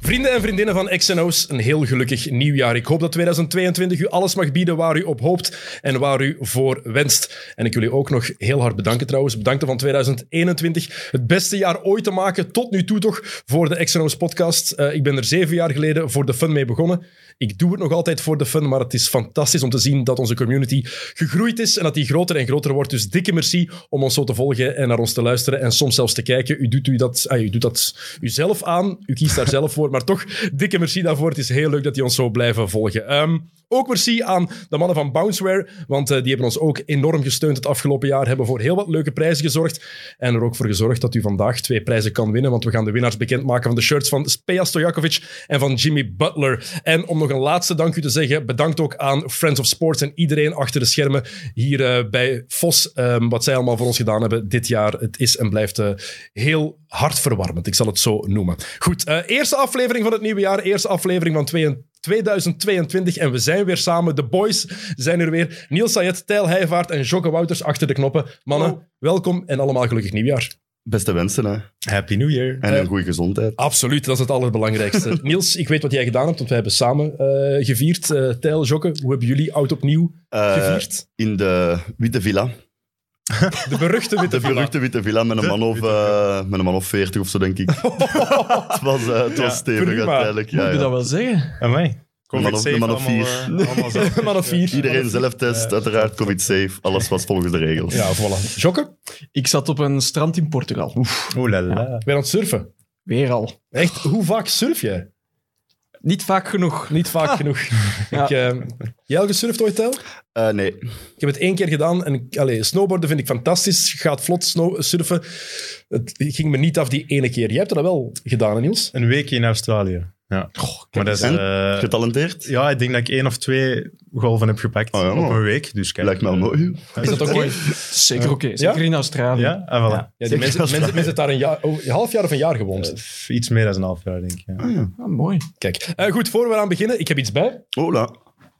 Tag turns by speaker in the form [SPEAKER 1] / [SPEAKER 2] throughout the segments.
[SPEAKER 1] Vrienden en vriendinnen van XNO's, een heel gelukkig nieuwjaar. Ik hoop dat 2022 u alles mag bieden waar u op hoopt en waar u voor wenst. En ik wil u ook nog heel hard bedanken trouwens. Bedanken van 2021. Het beste jaar ooit te maken, tot nu toe toch, voor de XNO's podcast. Eh, ik ben er zeven jaar geleden voor de fun mee begonnen. Ik doe het nog altijd voor de fun, maar het is fantastisch om te zien dat onze community gegroeid is en dat die groter en groter wordt. Dus dikke merci om ons zo te volgen en naar ons te luisteren en soms zelfs te kijken. U doet, u dat, ah, u doet dat uzelf aan, u kiest daar zelf voor, maar toch dikke merci daarvoor. Het is heel leuk dat die ons zo blijven volgen. Ehm, ook merci aan de mannen van Bounceware, want eh, die hebben ons ook enorm gesteund het afgelopen jaar, hebben voor heel wat leuke prijzen gezorgd en er ook voor gezorgd dat u vandaag twee prijzen kan winnen, want we gaan de winnaars bekendmaken van de shirts van Speja Stojakovic en van Jimmy Butler. En om nog een laatste dank u te zeggen, bedankt ook aan Friends of Sports en iedereen achter de schermen hier eh, bij Vos, ehm, wat zij allemaal voor ons gedaan hebben dit jaar. Het is en blijft eh, heel hartverwarmend, ik zal het zo noemen. Goed, eh, eerste aflevering van het nieuwe jaar, eerste aflevering van 22 2022 en we zijn weer samen. De boys zijn er weer. Niels Sayet, Tijl Heijvaart en Jocke Wouters achter de knoppen. Mannen, welkom en allemaal gelukkig nieuwjaar.
[SPEAKER 2] Beste wensen, hè.
[SPEAKER 3] Happy New Year.
[SPEAKER 2] En
[SPEAKER 1] Eh,
[SPEAKER 2] een goede gezondheid.
[SPEAKER 1] Absoluut, dat is het allerbelangrijkste. Niels, ik weet wat jij gedaan hebt, want we hebben samen eh, gevierd. Eh Tijl, Jokke, hoe hebben jullie oud opnieuw
[SPEAKER 2] Eh,
[SPEAKER 1] gevierd?
[SPEAKER 2] in de Witte Villa.
[SPEAKER 1] De beruchte witte
[SPEAKER 2] De
[SPEAKER 1] villa.
[SPEAKER 2] beruchte Witte Villa met een, man of, eh, met een man of 40 of zo, denk ik. het was, eh, het was stevig
[SPEAKER 1] prima.
[SPEAKER 2] uiteindelijk. Ja,
[SPEAKER 4] Moet je
[SPEAKER 2] ja.
[SPEAKER 4] dat wel zeggen?
[SPEAKER 3] Amai.
[SPEAKER 2] Een man of- een man of
[SPEAKER 3] Allemaal,
[SPEAKER 2] vier.
[SPEAKER 3] eh, allemaal zelf.
[SPEAKER 1] Man of vier.
[SPEAKER 2] Iedereen zelftest, uiteraard covid-safe. Alles was volgens de regels.
[SPEAKER 1] Ja, voilà. Jokke,
[SPEAKER 4] Ik zat op een strand in Portugal.
[SPEAKER 3] Oeh la la.
[SPEAKER 1] weer aan het surfen.
[SPEAKER 4] Weer al.
[SPEAKER 1] Echt, hoe vaak surf jij?
[SPEAKER 4] Niet vaak genoeg.
[SPEAKER 1] Niet vaak genoeg.
[SPEAKER 4] Ja.
[SPEAKER 1] Ik, eh, jij al gesurfd ooit, Tijl?
[SPEAKER 2] Eh, nee,
[SPEAKER 1] Ik heb het één keer gedaan en ik- allee, snowboarden vind ik fantastisch. Gaat vlot snow, surfen. Het ging me niet af die ene keer. Jij hebt dat wel gedaan, hè, Niels?
[SPEAKER 3] Een weekje in Australië. Ja. maar dat is,
[SPEAKER 2] en?
[SPEAKER 3] eh,
[SPEAKER 2] getalenteerd?
[SPEAKER 3] ja, ik denk dat ik één of twee golven heb gepakt
[SPEAKER 2] Oh, ja,
[SPEAKER 3] op
[SPEAKER 2] maar.
[SPEAKER 3] een week. Dus kijk,
[SPEAKER 2] Lijkt me wel mooi.
[SPEAKER 1] Is dat ook mooi?
[SPEAKER 4] Zeker oké. Zeker in Australië.
[SPEAKER 3] Ja, ah, voilà.
[SPEAKER 1] Ja, die mensen, mensen, mensen hebben daar een, jaar, oh, een half jaar of een jaar gewoond.
[SPEAKER 3] F- Iets meer dan een half jaar, denk ik. Ja.
[SPEAKER 4] Ah, mooi.
[SPEAKER 1] Kijk, Eh, goed, voor we aan beginnen, ik heb iets bij.
[SPEAKER 2] Hola.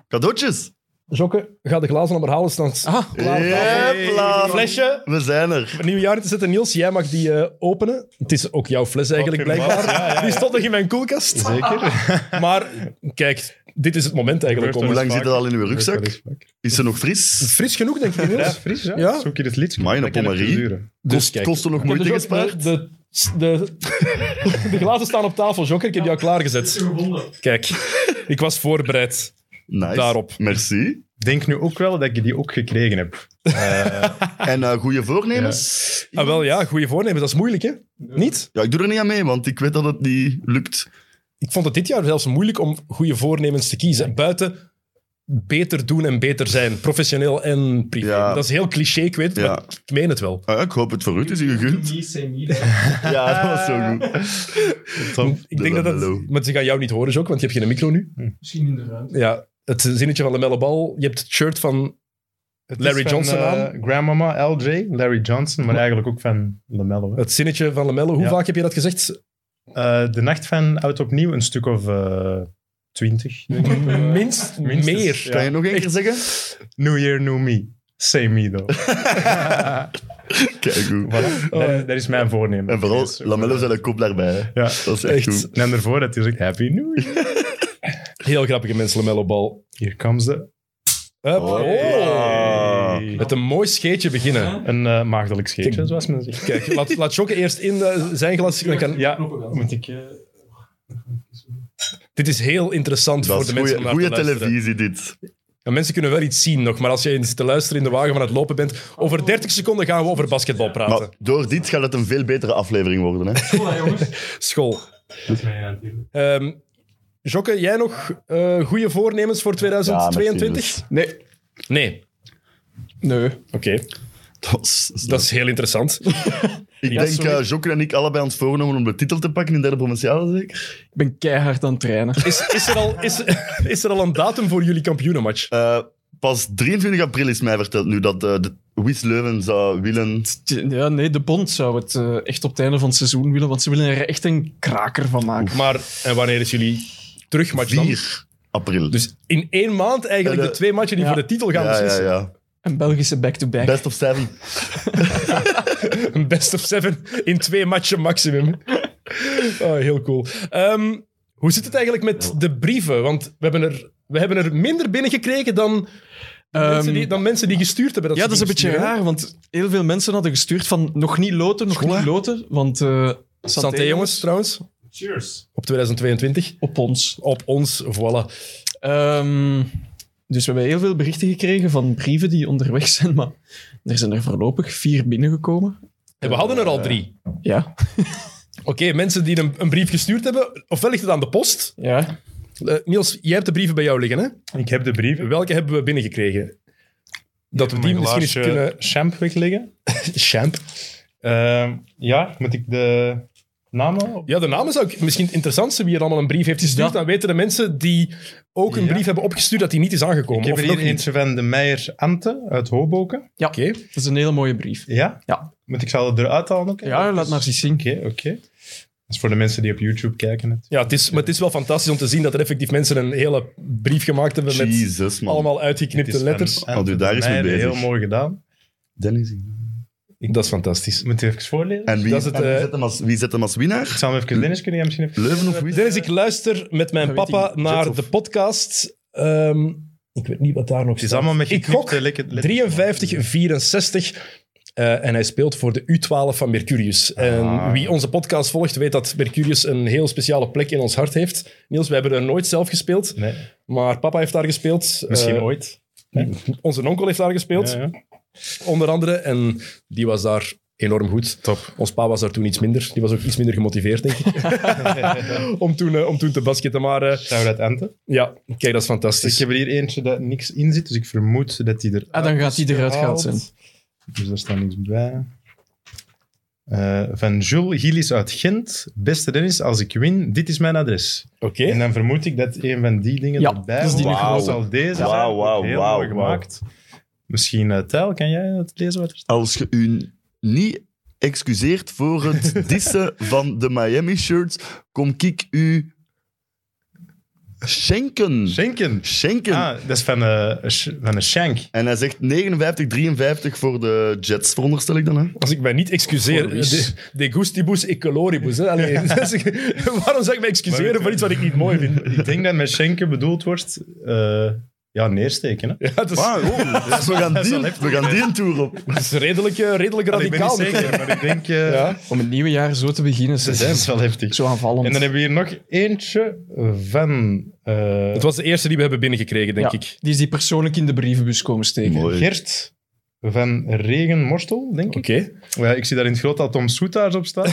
[SPEAKER 2] Cadeautjes.
[SPEAKER 1] Jokke, ga de glazen maar halen. Staan
[SPEAKER 4] Ah,
[SPEAKER 1] klaar.
[SPEAKER 2] Jepla.
[SPEAKER 1] Flesje.
[SPEAKER 2] We zijn er.
[SPEAKER 1] Een nieuw jaar in te zetten, Niels. Jij mag die eh, openen. Het is ook jouw fles eigenlijk,
[SPEAKER 3] Oké,
[SPEAKER 1] blijkbaar. Die stond nog in mijn koelkast. Zeker. Maar kijk, dit is het moment eigenlijk om...
[SPEAKER 2] Hoe lang zit het al in uw
[SPEAKER 3] Dat
[SPEAKER 2] rugzak?
[SPEAKER 3] is vaak.
[SPEAKER 2] Is ze nog fris?
[SPEAKER 1] Fris genoeg, denk ik, Niels.
[SPEAKER 3] Fris, ja.
[SPEAKER 1] Ja.
[SPEAKER 3] Zoek je het lied.
[SPEAKER 2] Mijn
[SPEAKER 3] Dat kan even
[SPEAKER 2] pommerie.
[SPEAKER 3] duren.
[SPEAKER 1] Dus
[SPEAKER 2] Kost,
[SPEAKER 1] kijk,
[SPEAKER 2] kost er nog
[SPEAKER 1] Ik heb
[SPEAKER 2] moeite
[SPEAKER 1] dus ook
[SPEAKER 2] gespaard?
[SPEAKER 1] De, de, de, de glazen staan op tafel, Jokker. Ik heb jou klaargezet. Kijk, ik was voorbereid.
[SPEAKER 2] Nice.
[SPEAKER 1] Daarop.
[SPEAKER 2] Merci.
[SPEAKER 3] Denk nu ook wel dat je die ook gekregen hebt.
[SPEAKER 2] En eh, goede voornemens?
[SPEAKER 1] Ah, wel ja, goede voornemens. Dat is moeilijk, hè? Niet?
[SPEAKER 2] Ja, ik doe er niet aan mee, want ik weet dat het niet lukt.
[SPEAKER 1] Ik vond het dit jaar zelfs moeilijk om goede voornemens te kiezen. Buiten beter doen en beter zijn. Professioneel en privé.
[SPEAKER 2] Ja.
[SPEAKER 1] Dat is heel cliché, ik weet het,
[SPEAKER 2] Ja.
[SPEAKER 1] maar ik meen het wel.
[SPEAKER 2] Ah ja, ik hoop het voor u, het is u gegund. Ja, dat was zo goed.
[SPEAKER 3] Top.
[SPEAKER 1] Ik denk dat
[SPEAKER 2] Lamello.
[SPEAKER 1] dat... Maar ze gaan jou niet horen, Jok, want je hebt geen micro nu.
[SPEAKER 4] Misschien in de ruimte.
[SPEAKER 1] Ja, het zinnetje van de Mellebal. Je hebt het shirt van...
[SPEAKER 3] Het
[SPEAKER 1] Larry
[SPEAKER 3] is van,
[SPEAKER 1] Johnson
[SPEAKER 3] eh,
[SPEAKER 1] aan.
[SPEAKER 3] grandmama, LJ, Larry Johnson, maar eigenlijk ook van LaMelo. hè.
[SPEAKER 1] Het zinnetje van Lamelle, hoe
[SPEAKER 3] Ja.
[SPEAKER 1] vaak heb je dat gezegd?
[SPEAKER 3] Eh, de nacht van Oud Opnieuw, een stuk of eh, twintig.
[SPEAKER 1] Minst,
[SPEAKER 3] minstens.
[SPEAKER 1] meer.
[SPEAKER 2] Kan je nog één keer zeggen?
[SPEAKER 3] new Year, New Me. Same me, though.
[SPEAKER 2] Kijk goed.
[SPEAKER 3] Voilà. dat, dat is mijn voornemen.
[SPEAKER 2] En vooral,
[SPEAKER 3] Yes.
[SPEAKER 2] Lamello zijn de kop daarbij. hè.
[SPEAKER 3] Ja.
[SPEAKER 2] Dat is echt,
[SPEAKER 1] Echt.
[SPEAKER 2] goed.
[SPEAKER 3] En daarvoor dat hij zegt, Happy New Year.
[SPEAKER 1] Heel grappige mensen, Lamello Bal.
[SPEAKER 3] Hier comes de...
[SPEAKER 1] Hup. Oh.
[SPEAKER 2] Ah.
[SPEAKER 1] Met een mooi scheetje beginnen.
[SPEAKER 3] Een eh, maagdelijk scheetje,
[SPEAKER 1] Kijk.
[SPEAKER 3] zoals men zegt.
[SPEAKER 1] Kijk, laat, laat Jokke eerst in eh, zijn glas. Dan kan,
[SPEAKER 3] Ja, moet ik... eh,
[SPEAKER 1] dit is heel interessant
[SPEAKER 2] Dat
[SPEAKER 1] voor
[SPEAKER 2] is
[SPEAKER 1] de mensen om
[SPEAKER 2] goede,
[SPEAKER 1] naar te luisteren.
[SPEAKER 2] televisie, dit.
[SPEAKER 1] En mensen kunnen wel iets zien nog, maar als je eens te luisteren in de wagen van het lopen bent, over 30 seconden gaan we over basketbal praten.
[SPEAKER 2] Maar door dit gaat het een veel betere aflevering worden. Hè?
[SPEAKER 1] School. Ehm Jokke, jij nog eh, goede voornemens voor 2022?
[SPEAKER 2] Ja,
[SPEAKER 4] Nee.
[SPEAKER 1] nee.
[SPEAKER 4] Nee.
[SPEAKER 1] Oké,
[SPEAKER 2] Dat was- dat is-
[SPEAKER 1] dat is heel interessant.
[SPEAKER 2] ik denk,
[SPEAKER 1] sorry.
[SPEAKER 2] eh Jokke en ik allebei ons voorgenomen om de titel te pakken in derde provinciale, zeker?
[SPEAKER 4] Ik ben keihard aan het trainen.
[SPEAKER 1] Is, is, er al, is, is er al een datum voor jullie kampioenenmatch?
[SPEAKER 2] Eh, pas 23 april is mij verteld nu dat eh, de Wies Leuven zou willen...
[SPEAKER 4] Ja, nee, de bond zou het eh, echt op het einde van het seizoen willen, want ze willen er echt een kraker van maken.
[SPEAKER 1] Maar en wanneer is jullie terugmatch dan?
[SPEAKER 2] 4 april.
[SPEAKER 1] Dus in één maand eigenlijk
[SPEAKER 2] Eh,
[SPEAKER 1] de,
[SPEAKER 2] de-
[SPEAKER 1] twee matchen die
[SPEAKER 4] Ja.
[SPEAKER 1] voor de titel gaan
[SPEAKER 2] ja, ja,
[SPEAKER 1] beslissen.
[SPEAKER 2] ja.
[SPEAKER 4] Een Belgische back-to-back.
[SPEAKER 2] Best of seven.
[SPEAKER 1] Een best of seven in twee matchen maximum. Oh, heel cool. Ehm, hoe zit het eigenlijk met de brieven? Want we hebben er, we hebben er minder binnengekregen dan, dan
[SPEAKER 4] Ehm,
[SPEAKER 1] mensen die, dan mensen die gestuurd hebben. Dat
[SPEAKER 4] ja,
[SPEAKER 1] ze
[SPEAKER 4] dat is een beetje
[SPEAKER 1] dingen sturen.
[SPEAKER 4] raar, want heel veel mensen hadden gestuurd van nog niet loten, nog
[SPEAKER 1] School,
[SPEAKER 4] niet
[SPEAKER 1] hè?
[SPEAKER 4] loten. Want eh santé,
[SPEAKER 1] Santé, jongens, trouwens.
[SPEAKER 3] Cheers.
[SPEAKER 1] Op 2022.
[SPEAKER 4] Op ons.
[SPEAKER 1] Op ons, voilà.
[SPEAKER 4] Ehm, dus we hebben heel veel berichten gekregen van brieven die onderweg zijn, maar er zijn er voorlopig vier binnengekomen.
[SPEAKER 1] En we hadden er
[SPEAKER 4] eh.
[SPEAKER 1] al drie.
[SPEAKER 4] Ja.
[SPEAKER 1] Oké, mensen die een, een brief gestuurd hebben, ofwel ligt het aan de post.
[SPEAKER 4] ja.
[SPEAKER 1] Eh, Niels, jij hebt de brieven bij jou liggen, hè?
[SPEAKER 3] Ik heb de brieven.
[SPEAKER 1] Welke hebben we binnengekregen? Dat we die misschien eens kunnen...
[SPEAKER 3] champ wegleggen.
[SPEAKER 1] Champ.
[SPEAKER 3] Ehm, ja, moet ik de namen op?
[SPEAKER 1] Ja, de namen zou ik misschien het interessantste wie er allemaal een brief heeft gestuurd.
[SPEAKER 4] Ja.
[SPEAKER 1] Dan weten de mensen die ook een
[SPEAKER 3] Ja.
[SPEAKER 1] brief hebben opgestuurd dat die niet is aangekomen.
[SPEAKER 3] Ik heb
[SPEAKER 1] of
[SPEAKER 3] er
[SPEAKER 1] nog
[SPEAKER 3] hier
[SPEAKER 1] niet.
[SPEAKER 3] eentje van de Meijer Ante uit Hoboken.
[SPEAKER 4] ja.
[SPEAKER 1] Oké.
[SPEAKER 4] Dat is een hele mooie brief.
[SPEAKER 3] Ja?
[SPEAKER 4] Ja.
[SPEAKER 3] Moet ik ze al eruit halen? ook?
[SPEAKER 4] Ja, laat maar zien zien.
[SPEAKER 3] Oké, oké. Dat is voor de mensen die op YouTube kijken. Het.
[SPEAKER 1] Ja, het is, maar het is wel fantastisch om te zien dat er effectief mensen een hele brief gemaakt hebben met
[SPEAKER 2] Jezus, man.
[SPEAKER 1] allemaal
[SPEAKER 3] Het
[SPEAKER 1] uitgeknipte
[SPEAKER 3] is
[SPEAKER 1] letters.
[SPEAKER 3] van Ante
[SPEAKER 2] Oh, doe daar
[SPEAKER 3] de
[SPEAKER 2] eens mee
[SPEAKER 3] Meijer,
[SPEAKER 2] bezig.
[SPEAKER 3] Heel mooi gedaan.
[SPEAKER 2] Dennis.
[SPEAKER 1] Dat is fantastisch.
[SPEAKER 3] Moet je even voorlezen?
[SPEAKER 2] En wie,
[SPEAKER 1] Dat is het,
[SPEAKER 2] en wie
[SPEAKER 1] eh,
[SPEAKER 2] zet hem als, wie zet hem als winnaar?
[SPEAKER 3] Ik zal hem even Dennis kunnen jij misschien even...
[SPEAKER 2] Leuven of wie?
[SPEAKER 1] Dennis, ik luister met mijn
[SPEAKER 4] Dat weet
[SPEAKER 1] papa
[SPEAKER 4] ik
[SPEAKER 2] niet. Jets
[SPEAKER 1] naar
[SPEAKER 2] of-
[SPEAKER 1] de podcast. Ehm, ik weet niet wat daar nog
[SPEAKER 3] Het is
[SPEAKER 1] staat.
[SPEAKER 3] allemaal met
[SPEAKER 1] ik gok
[SPEAKER 3] geknipte lekker- letters.
[SPEAKER 1] 53-64. eh, en hij speelt voor de U12 van Mercurius. En
[SPEAKER 3] Ah.
[SPEAKER 1] wie onze podcast volgt, weet dat Mercurius een heel speciale plek in ons hart heeft. Niels, wij hebben er nooit zelf gespeeld,
[SPEAKER 3] Nee,
[SPEAKER 1] maar papa heeft daar gespeeld.
[SPEAKER 3] misschien
[SPEAKER 1] Eh,
[SPEAKER 3] ooit.
[SPEAKER 1] Onze onkel heeft daar gespeeld,
[SPEAKER 3] Ja, ja.
[SPEAKER 1] onder andere. En die was daar enorm goed.
[SPEAKER 3] Top.
[SPEAKER 1] Ons pa was daar toen iets minder. Die was ook iets minder gemotiveerd, denk ik, om, toen, eh, om toen te basketten. Maar eh,
[SPEAKER 3] Zou dat enten?
[SPEAKER 1] ja, kijk, dat is fantastisch.
[SPEAKER 3] Dus Ik heb er hier eentje dat niks in zit, dus ik vermoed dat die er.
[SPEAKER 4] Ah, dan gaat die eruit gehaald zijn.
[SPEAKER 3] Dus daar staat niks bij. Eh, van Jules Gillis uit Gent. Beste Dennis, als ik win, dit is mijn adres.
[SPEAKER 1] Oké.
[SPEAKER 3] En dan vermoed ik dat een van die dingen
[SPEAKER 4] Ja,
[SPEAKER 3] erbij
[SPEAKER 4] dat is die
[SPEAKER 3] hoort.
[SPEAKER 4] nu
[SPEAKER 3] Dat
[SPEAKER 2] grote.
[SPEAKER 3] zal deze zijn.
[SPEAKER 2] Wauw, wauw,
[SPEAKER 3] Heel
[SPEAKER 2] wauw,
[SPEAKER 3] mooi
[SPEAKER 2] wauw.
[SPEAKER 3] gemaakt. Misschien, eh Tijl, kan jij het lezen wat er staat?
[SPEAKER 2] Als je u niet excuseert voor het dissen van de Miami shirts, kom ik u schenken.
[SPEAKER 3] Schenken.
[SPEAKER 2] Schenken.
[SPEAKER 3] Ah, dat is van, eh, sh- van een shank.
[SPEAKER 2] En hij zegt 59-53 voor de Jets, veronderstel ik dan. Hè?
[SPEAKER 1] Als ik mij niet excuseer,
[SPEAKER 4] Voor Luis.
[SPEAKER 1] de, de gustibus e coloribus. Hè? Allee, dus ik- waarom zou ik mij excuseren voor iets wat ik niet mooi vind?
[SPEAKER 3] Ik denk dat met schenken bedoeld wordt... eh, ja, neersteken. Hè?
[SPEAKER 1] Ja, dat is,
[SPEAKER 2] Ah, oh, dus we gaan
[SPEAKER 3] Dat is
[SPEAKER 2] die,
[SPEAKER 3] wel heftig,
[SPEAKER 2] we gaan die een tour op.
[SPEAKER 1] dat is redelijk, eh, redelijk
[SPEAKER 3] Ik ben niet
[SPEAKER 1] radicaal.
[SPEAKER 3] zeker, maar ik denk... eh,
[SPEAKER 1] Ja.
[SPEAKER 4] Om het nieuwe jaar zo te beginnen, ze
[SPEAKER 3] Dat
[SPEAKER 4] zijn
[SPEAKER 3] is wel heftig.
[SPEAKER 4] zo aanvallend.
[SPEAKER 3] En dan hebben we hier nog eentje van eh,
[SPEAKER 1] Het was de eerste die we hebben binnengekregen, denk
[SPEAKER 4] Ja,
[SPEAKER 1] ik.
[SPEAKER 4] Die is die persoonlijk in de brievenbus komen steken.
[SPEAKER 2] Mooi.
[SPEAKER 3] Gert van Regenmorstel, denk ik.
[SPEAKER 1] Oké,
[SPEAKER 3] Ja, ik zie daar in het groot al Tom Soetaars op staan.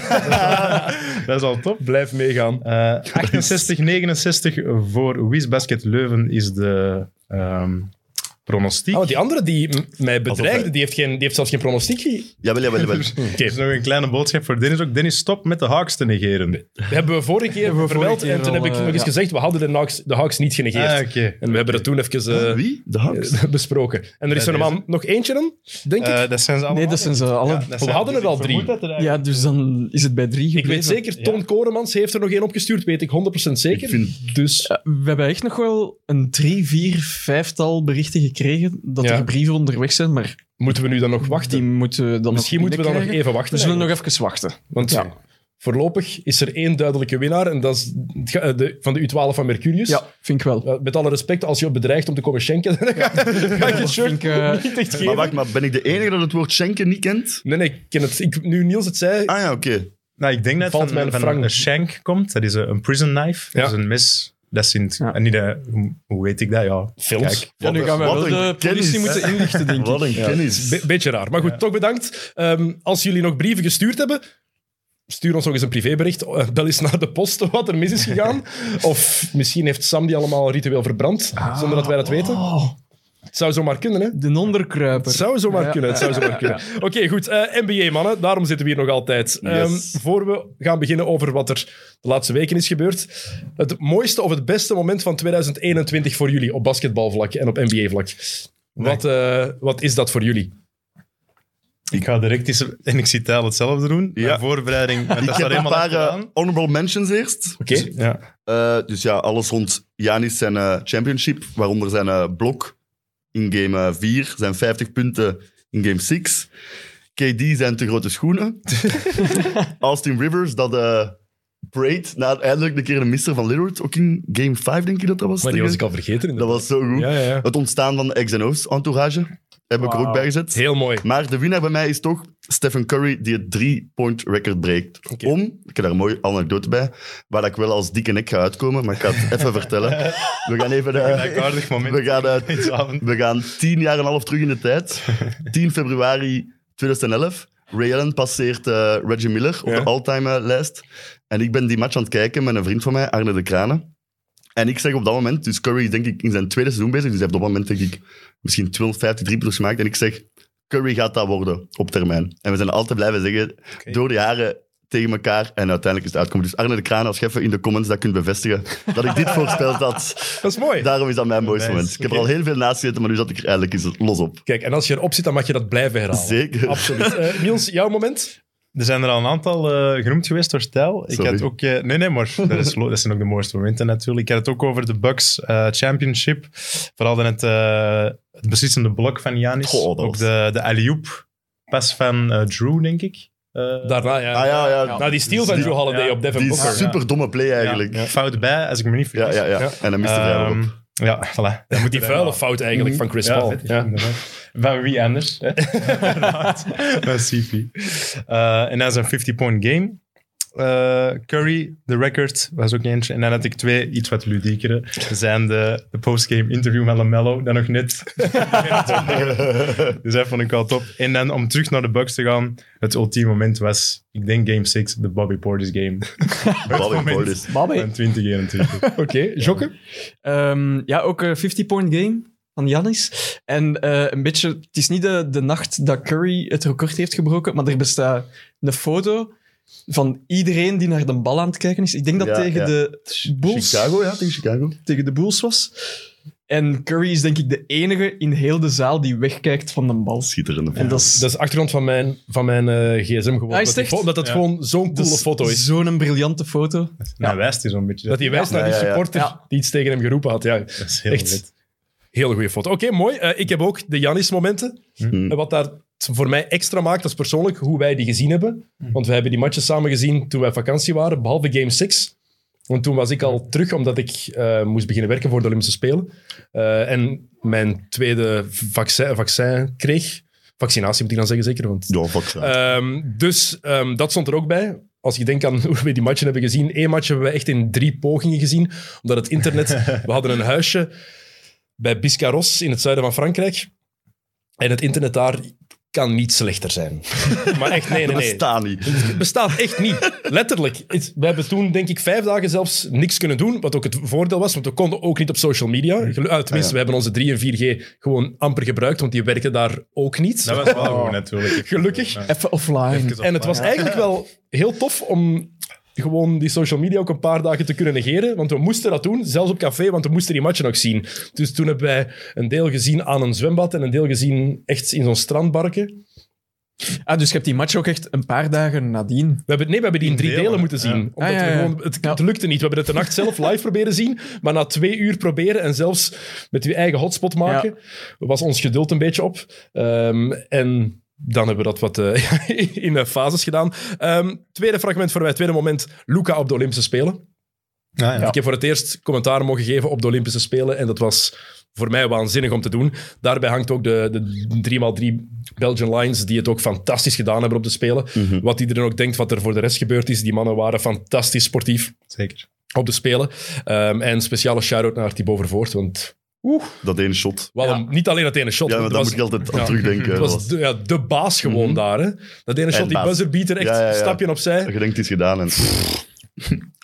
[SPEAKER 3] dat is al top.
[SPEAKER 1] blijf meegaan.
[SPEAKER 3] Eh 68-69 voor Wies Basket Leuven is de ehm, pronostiek.
[SPEAKER 1] Ah, want die andere die m- mij bedreigde,
[SPEAKER 2] hij-
[SPEAKER 1] die heeft, geen, die heeft zelfs geen pronostiek. ge-
[SPEAKER 2] Jawel, jawel, jawel.
[SPEAKER 1] Oké,
[SPEAKER 3] Er is nog een kleine boodschap voor Dennis ook. Dennis, stop met de Hawks te negeren.
[SPEAKER 1] dat hebben we vorige keer
[SPEAKER 4] Hebben we vorige
[SPEAKER 1] vermeld.
[SPEAKER 4] keer
[SPEAKER 1] En toen heb
[SPEAKER 4] al,
[SPEAKER 1] ik
[SPEAKER 4] eh,
[SPEAKER 1] nog eens
[SPEAKER 4] ja.
[SPEAKER 1] gezegd, we hadden de Hawks, de Hawks niet genegeerd.
[SPEAKER 3] Ah, oké.
[SPEAKER 1] En we hebben dat toen even eh,
[SPEAKER 2] Wie? De Hawks?
[SPEAKER 1] eh, besproken. En er is
[SPEAKER 3] Ja,
[SPEAKER 1] er normaal nog eentje dan, denk ik.
[SPEAKER 3] Eh, dat zijn ze allemaal.
[SPEAKER 4] Nee, dat zijn ze alle.
[SPEAKER 3] Ja,
[SPEAKER 4] Ja,
[SPEAKER 3] dat
[SPEAKER 1] We
[SPEAKER 3] zijn-
[SPEAKER 1] hadden er
[SPEAKER 3] dus
[SPEAKER 1] al
[SPEAKER 3] ik
[SPEAKER 1] drie.
[SPEAKER 3] vermoed dat er eigenlijk-
[SPEAKER 4] dus dan is het bij drie
[SPEAKER 1] Ik
[SPEAKER 4] gebleven.
[SPEAKER 1] weet zeker, Ton Koremans heeft er nog één opgestuurd, weet ik 100% zeker.
[SPEAKER 2] Ik vind-
[SPEAKER 1] Dus
[SPEAKER 4] Ja, we hebben echt nog wel een drie, vier, vijftal berichten gekregen dat
[SPEAKER 1] Ja.
[SPEAKER 4] er brieven onderweg zijn, maar
[SPEAKER 1] moeten we nu dan nog
[SPEAKER 4] die
[SPEAKER 1] wachten?
[SPEAKER 4] moeten dan
[SPEAKER 1] Misschien
[SPEAKER 4] nog
[SPEAKER 1] moeten we dan nog
[SPEAKER 4] binnenkrijgen.
[SPEAKER 1] even wachten.
[SPEAKER 4] We zullen
[SPEAKER 1] eigenlijk.
[SPEAKER 4] nog even wachten.
[SPEAKER 1] Want
[SPEAKER 4] Ja.
[SPEAKER 1] voorlopig is er één duidelijke winnaar en dat is het ga- de, van de U12 van Mercurius.
[SPEAKER 4] Ja, vind ik wel.
[SPEAKER 1] Ja, Met alle respect, als je wordt bedreigd om te komen schenken, dan ga ga ik je
[SPEAKER 4] Dat
[SPEAKER 1] shirt
[SPEAKER 4] vind ik, eh,
[SPEAKER 1] niet echt
[SPEAKER 2] Maar
[SPEAKER 1] geven.
[SPEAKER 2] wacht, maar ben ik de enige dat het woord schenken niet kent?
[SPEAKER 1] Nee, nee, ik ken het. Ik, nu Niels het zei,
[SPEAKER 2] Ah ja, oké.
[SPEAKER 3] Nou, ik denk dat
[SPEAKER 1] Valt
[SPEAKER 3] het
[SPEAKER 1] mijn
[SPEAKER 3] van, van
[SPEAKER 1] frank.
[SPEAKER 3] een shank komt. Dat is een, een prison knife.
[SPEAKER 1] Ja.
[SPEAKER 3] Dat is een mes. Dat is in het-
[SPEAKER 4] Ja.
[SPEAKER 3] En niet een- hoe, hoe weet ik dat? Ja.
[SPEAKER 1] films.
[SPEAKER 3] Kijk.
[SPEAKER 4] eh, Ja, nu gaan we
[SPEAKER 2] Wat
[SPEAKER 4] wel
[SPEAKER 2] een
[SPEAKER 4] de politie
[SPEAKER 2] kennis.
[SPEAKER 4] moeten inlichten, denk ik.
[SPEAKER 2] Wat een kennis.
[SPEAKER 1] Be- beetje raar. Maar goed, toch bedankt. Ehm, als jullie nog brieven gestuurd hebben, stuur ons nog eens een privébericht. Eh, Bel eens naar de post wat er mis is gegaan. of misschien heeft Sam die allemaal ritueel verbrand,
[SPEAKER 4] Ah.
[SPEAKER 1] zonder dat wij dat weten.
[SPEAKER 4] Oh,
[SPEAKER 1] Het zou zomaar kunnen, hè?
[SPEAKER 4] de onderkruiper.
[SPEAKER 1] Het zou zomaar
[SPEAKER 4] Ja.
[SPEAKER 1] kunnen. Het zou zomaar kunnen. Oké, goed. Eh, NBA-mannen, daarom zitten we hier nog altijd. Ehm,
[SPEAKER 2] Yes.
[SPEAKER 1] voor we gaan beginnen over wat er de laatste weken is gebeurd. Het mooiste of het beste moment van 2021 voor jullie op basketbalvlak en op NBA-vlak. Wat, eh, wat is dat voor jullie?
[SPEAKER 3] Ik ga direct eens... En ik zie Tijl hetzelfde doen.
[SPEAKER 2] Ja.
[SPEAKER 3] Mijn voorbereiding. want
[SPEAKER 2] Ik
[SPEAKER 3] dat
[SPEAKER 2] heb
[SPEAKER 3] staat
[SPEAKER 2] een
[SPEAKER 3] helemaal
[SPEAKER 2] paar eh,
[SPEAKER 3] achteraan.
[SPEAKER 2] honorable mentions eerst. dus
[SPEAKER 1] Oké?
[SPEAKER 4] Dus
[SPEAKER 3] Ja.
[SPEAKER 2] Eh, dus ja, alles rond Janis zijn eh, championship, waaronder zijn eh, blok in game eh, 4, zijn 50 punten in game 6. KD zijn te grote schoenen. Austin Rivers, dat eh Braid, na eindelijk een keer een mister van Lillard, ook in game 5 denk ik dat dat was.
[SPEAKER 1] Maar die was ik
[SPEAKER 2] tegen.
[SPEAKER 1] al vergeten.
[SPEAKER 2] dat
[SPEAKER 1] inderdaad.
[SPEAKER 2] was zo goed.
[SPEAKER 1] Ja, ja, ja.
[SPEAKER 2] Het ontstaan van de X's en O's entourage heb ik er ook
[SPEAKER 4] Wauw.
[SPEAKER 2] bij gezet.
[SPEAKER 1] Heel mooi.
[SPEAKER 2] Maar de winnaar bij mij is toch Stephen Curry, die het drie-point record breekt.
[SPEAKER 1] Oké.
[SPEAKER 2] Om, ik heb daar een mooie anekdote bij, waar ik wel als dikke nek ga uitkomen, maar ik ga het even vertellen. We gaan even... eh,
[SPEAKER 3] Gelijkwaardig moment.
[SPEAKER 2] we, gaan, eh,
[SPEAKER 3] Iets avond.
[SPEAKER 2] we gaan tien jaar en een half terug in de tijd. 10 februari 2011. Ray Allen passeert eh, Reggie Miller op
[SPEAKER 1] Ja.
[SPEAKER 2] de all-time eh, lijst. En ik ben die match aan het kijken met een vriend van mij, Arne de Kranen. En ik zeg op dat moment, dus Curry is denk ik in zijn tweede seizoen bezig, dus hij heeft op dat moment denk ik misschien 250 driepunters gemaakt. En ik zeg, Curry gaat dat worden op termijn. En we zijn altijd blijven zeggen, door de jaren tegen elkaar. En uiteindelijk is het uitkomen. Dus Arne de Kranen, als je even in de comments dat kunt bevestigen, dat ik dit voorspeld had.
[SPEAKER 1] Dat is mooi.
[SPEAKER 2] Daarom is dat mijn mooiste
[SPEAKER 3] Nice.
[SPEAKER 2] moment. Ik heb er
[SPEAKER 1] Oké.
[SPEAKER 2] al heel veel naast gezeten, maar nu zat ik er eigenlijk eens los op.
[SPEAKER 1] Kijk, en als je erop zit, dan mag je dat blijven herhalen.
[SPEAKER 2] Zeker.
[SPEAKER 1] Absoluut. Eh, Niels, jouw moment?
[SPEAKER 3] Er zijn er al een aantal eh, genoemd geweest door Stijl. Ik
[SPEAKER 2] Sorry.
[SPEAKER 3] had ook... eh, nee, nee, maar dat, is, lo- dat zijn ook de mooiste momenten natuurlijk. Ik had het ook over de Bucks eh, Championship. Vooral dan het, eh, het beslissende blok van Janis.
[SPEAKER 2] Goh, dat was-
[SPEAKER 3] ook de, de alley-oop pas van eh, Drew, denk ik. Eh,
[SPEAKER 1] Daarna, ja.
[SPEAKER 2] Ah ja, ja.
[SPEAKER 1] Nou, die steal van
[SPEAKER 3] Ja.
[SPEAKER 1] Joe Holiday
[SPEAKER 3] Ja.
[SPEAKER 1] op Devin
[SPEAKER 2] Die
[SPEAKER 1] Booker.
[SPEAKER 2] super domme play eigenlijk.
[SPEAKER 3] Ja,
[SPEAKER 2] Ja,
[SPEAKER 3] fout bij, als ik me niet vergis.
[SPEAKER 2] ja, ja.
[SPEAKER 1] Ja.
[SPEAKER 2] En dan miste hij
[SPEAKER 3] Ehm,
[SPEAKER 2] erop.
[SPEAKER 3] ja, voilà. Dat moet
[SPEAKER 1] Die vuile fout eigenlijk
[SPEAKER 2] Mhm.
[SPEAKER 1] van Chris Paul.
[SPEAKER 3] Ja.
[SPEAKER 1] Ja.
[SPEAKER 3] vet, Van wie anders? hè? Inderdaad. Van CP. Eh, En dan zijn 50-point game. Eh, Curry, de record, was ook eentje. En dan had ik twee iets wat ludiekere. Dat zijn de, de postgame interview met LaMelo, dan nog net.
[SPEAKER 1] Ehm,
[SPEAKER 3] dus dat vond ik wel top. En dan om terug naar de Bucks te gaan, het ultieme moment was, ik denk game 6, de Bobby Portis game.
[SPEAKER 2] Bobby
[SPEAKER 3] moment.
[SPEAKER 2] Portis.
[SPEAKER 4] Babbe.
[SPEAKER 3] Van 2021.
[SPEAKER 1] Oké, Jokke?
[SPEAKER 4] Ehm, ja, ook een 50-point game van Janis. En eh, een beetje, het is niet de, de nacht dat Curry het record heeft gebroken, maar er bestaat een foto van iedereen die naar de bal aan het kijken is. Ik denk dat
[SPEAKER 2] Ja,
[SPEAKER 4] tegen
[SPEAKER 2] ja.
[SPEAKER 4] de Bulls,
[SPEAKER 2] Chicago, ja, tegen Chicago.
[SPEAKER 4] tegen de Bulls was. En Curry is denk ik de enige in heel de zaal die wegkijkt van de bal.
[SPEAKER 2] Schitterende
[SPEAKER 4] En
[SPEAKER 2] foto.
[SPEAKER 4] dat is,
[SPEAKER 1] Dat is de achtergrond van mijn, van mijn eh, gsm geworden.
[SPEAKER 4] Ah, is
[SPEAKER 1] Dat
[SPEAKER 4] het
[SPEAKER 1] die
[SPEAKER 4] echt?
[SPEAKER 1] fo- Omdat dat
[SPEAKER 3] Ja.
[SPEAKER 1] gewoon zo'n
[SPEAKER 4] dat
[SPEAKER 1] coole
[SPEAKER 4] is
[SPEAKER 1] foto is.
[SPEAKER 4] Dus zo'n briljante foto.
[SPEAKER 3] Nou, wijst hij zo'n beetje.
[SPEAKER 1] Dat hij wijst
[SPEAKER 2] Ja,
[SPEAKER 1] naar die
[SPEAKER 2] ja, ja.
[SPEAKER 1] supporter
[SPEAKER 4] Ja.
[SPEAKER 1] die iets tegen hem geroepen had. Ja,
[SPEAKER 3] Dat is heel
[SPEAKER 1] Echt.
[SPEAKER 3] vet.
[SPEAKER 1] heel goede foto. Oké, mooi. Eh, ik heb ook de Janis-momenten.
[SPEAKER 2] Hm.
[SPEAKER 1] En wat daar t- voor mij extra maakt, dat is persoonlijk hoe wij die gezien hebben. Want we hebben die matches samen gezien toen wij op vakantie waren, behalve Game 6. Want toen was ik al terug, omdat ik eh, moest beginnen werken voor de Olympische Spelen. Eh, en mijn tweede vaccin, vaccin kreeg. Vaccinatie moet ik dan zeggen, zeker. Want
[SPEAKER 2] Ja, fuck ja.
[SPEAKER 1] Ehm, dus ehm, dat stond er ook bij. Als je denkt aan hoe we die matchen hebben gezien. Eén match hebben we echt in drie pogingen gezien. Omdat het internet... we hadden een huisje bij Biscarros in het zuiden van Frankrijk. En het internet daar kan niet slechter zijn. maar echt, nee, nee,
[SPEAKER 2] Dat
[SPEAKER 1] nee.
[SPEAKER 2] staat niet.
[SPEAKER 1] Het bestaat echt niet. Letterlijk. Het- we hebben toen, denk ik, vijf dagen zelfs niks kunnen doen. Wat ook het voordeel was, want we konden ook niet op social media.
[SPEAKER 3] Mm.
[SPEAKER 1] Gelu- ah, tenminste, we hebben onze 3 en 4G gewoon amper gebruikt, want die werken daar ook niet.
[SPEAKER 3] Dat was wel goed, natuurlijk.
[SPEAKER 1] Gelukkig.
[SPEAKER 3] Ja.
[SPEAKER 4] Even offline.
[SPEAKER 1] Oh. En het was eigenlijk wel heel tof om gewoon die social media ook een paar dagen te kunnen negeren. Want we moesten dat doen, zelfs op café, want we moesten die matchen nog zien. Dus toen hebben wij een deel gezien aan een zwembad en een deel gezien echt in zo'n strandbarken.
[SPEAKER 4] Ah, dus je hebt die match ook echt een paar dagen nadien.
[SPEAKER 1] We hebben, nee, we hebben die in
[SPEAKER 3] In
[SPEAKER 1] drie delen,
[SPEAKER 3] delen,
[SPEAKER 1] moeten zien.
[SPEAKER 3] ja.
[SPEAKER 1] Omdat
[SPEAKER 4] Ah, ja,
[SPEAKER 1] we
[SPEAKER 4] ja.
[SPEAKER 1] gewoon, het, het
[SPEAKER 4] Ja.
[SPEAKER 1] lukte niet. We hebben het de nacht zelf live proberen zien, maar na twee uur proberen en zelfs met je eigen hotspot maken, was ons geduld een beetje op. Ehm, en dan hebben we dat wat eh, in eh, fases gedaan. Ehm, tweede fragment voor mij, tweede moment, Luca op de Olympische Spelen.
[SPEAKER 3] Ja, ja.
[SPEAKER 1] Ik heb voor het eerst commentaar mogen geven op de Olympische Spelen. En dat was voor mij waanzinnig om te doen. Daarbij hangt ook de, de 3x3 Belgian Lions, die het ook fantastisch gedaan hebben op de Spelen.
[SPEAKER 2] Mhm.
[SPEAKER 1] Wat iedereen ook denkt wat er voor de rest gebeurd is. Die mannen waren fantastisch sportief
[SPEAKER 3] Zeker.
[SPEAKER 1] op de Spelen. Ehm, en speciale shout-out naar Thibaut Vervoort, want
[SPEAKER 2] Dat ene shot.
[SPEAKER 1] wel,
[SPEAKER 4] Ja.
[SPEAKER 1] een- niet alleen dat ene shot.
[SPEAKER 2] Ja, maar
[SPEAKER 1] het
[SPEAKER 2] daar
[SPEAKER 1] was,
[SPEAKER 2] moet ik altijd
[SPEAKER 1] ja.
[SPEAKER 2] aan terugdenken.
[SPEAKER 1] het
[SPEAKER 2] Dat
[SPEAKER 1] was de, ja, de baas gewoon daar. Hè. Dat ene shot, die
[SPEAKER 2] baas.
[SPEAKER 1] buzzerbeater, echt
[SPEAKER 2] Ja, ja, ja.
[SPEAKER 1] stapje opzij.
[SPEAKER 2] je denkt, het is gedaan. En...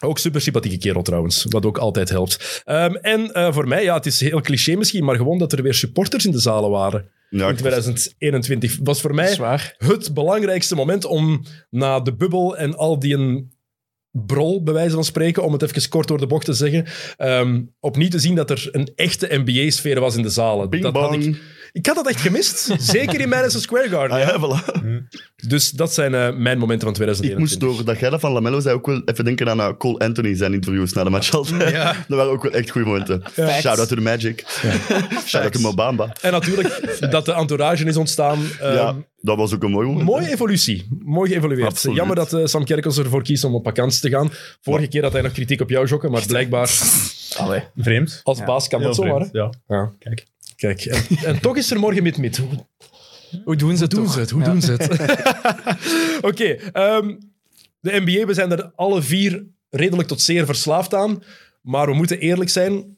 [SPEAKER 1] Ook super sympathieke kerel trouwens, wat ook altijd helpt. Ehm, en eh, voor mij, ja, het is heel cliché misschien, maar gewoon dat er weer supporters in de zalen waren.
[SPEAKER 2] Ja,
[SPEAKER 1] In
[SPEAKER 2] ik-
[SPEAKER 1] 2021 was voor
[SPEAKER 4] Dat is
[SPEAKER 1] mij
[SPEAKER 4] waar.
[SPEAKER 1] het belangrijkste moment om na de bubbel en al die een brol, bij wijze van spreken, om het even kort door de bocht te zeggen, ehm, opnieuw te zien dat er een echte NBA-sfeer was in de zalen.
[SPEAKER 2] Bing
[SPEAKER 1] dat had ik
[SPEAKER 2] bang.
[SPEAKER 1] Ik had dat echt gemist. Zeker in Madison Square Garden.
[SPEAKER 2] Ah
[SPEAKER 1] ja.
[SPEAKER 2] ja, voilà.
[SPEAKER 1] Dus dat zijn eh, mijn momenten van
[SPEAKER 2] Ik moest
[SPEAKER 1] 2021.
[SPEAKER 4] dus-
[SPEAKER 2] door dat jij dat van Lamello zei ook wel even denken aan eh, Cole Anthony zijn interviews na de match altijd. Dat waren ook wel echt goede momenten. Shout-out to the Magic. Shout-out to Mobamba.
[SPEAKER 1] En natuurlijk dat de entourage is ontstaan. eh,
[SPEAKER 4] Ehm,
[SPEAKER 2] ja, dat was ook een mooi moment.
[SPEAKER 1] Mooie evolutie. Mooi geëvolueerd.
[SPEAKER 2] Absoluut.
[SPEAKER 1] Jammer dat eh, Sam Kerkels ervoor kiest om op vakantie te gaan. Vorige keer had hij nog kritiek op jou, Jokke, maar blijkbaar
[SPEAKER 3] Vreemd.
[SPEAKER 1] als baas kan dat
[SPEAKER 3] Heel
[SPEAKER 1] zomaar. hè?
[SPEAKER 3] vreemd, Ja.
[SPEAKER 1] Ja, kijk. Kijk, en, en toch is er morgen mid-mid. Hoe
[SPEAKER 4] Hoe doen ze het
[SPEAKER 1] doen
[SPEAKER 4] toch?
[SPEAKER 1] ze het? Hoe
[SPEAKER 4] Ja.
[SPEAKER 1] doen ze het? Oké, ehm, de NBA, we zijn er alle vier redelijk tot zeer verslaafd aan. Maar we moeten eerlijk zijn.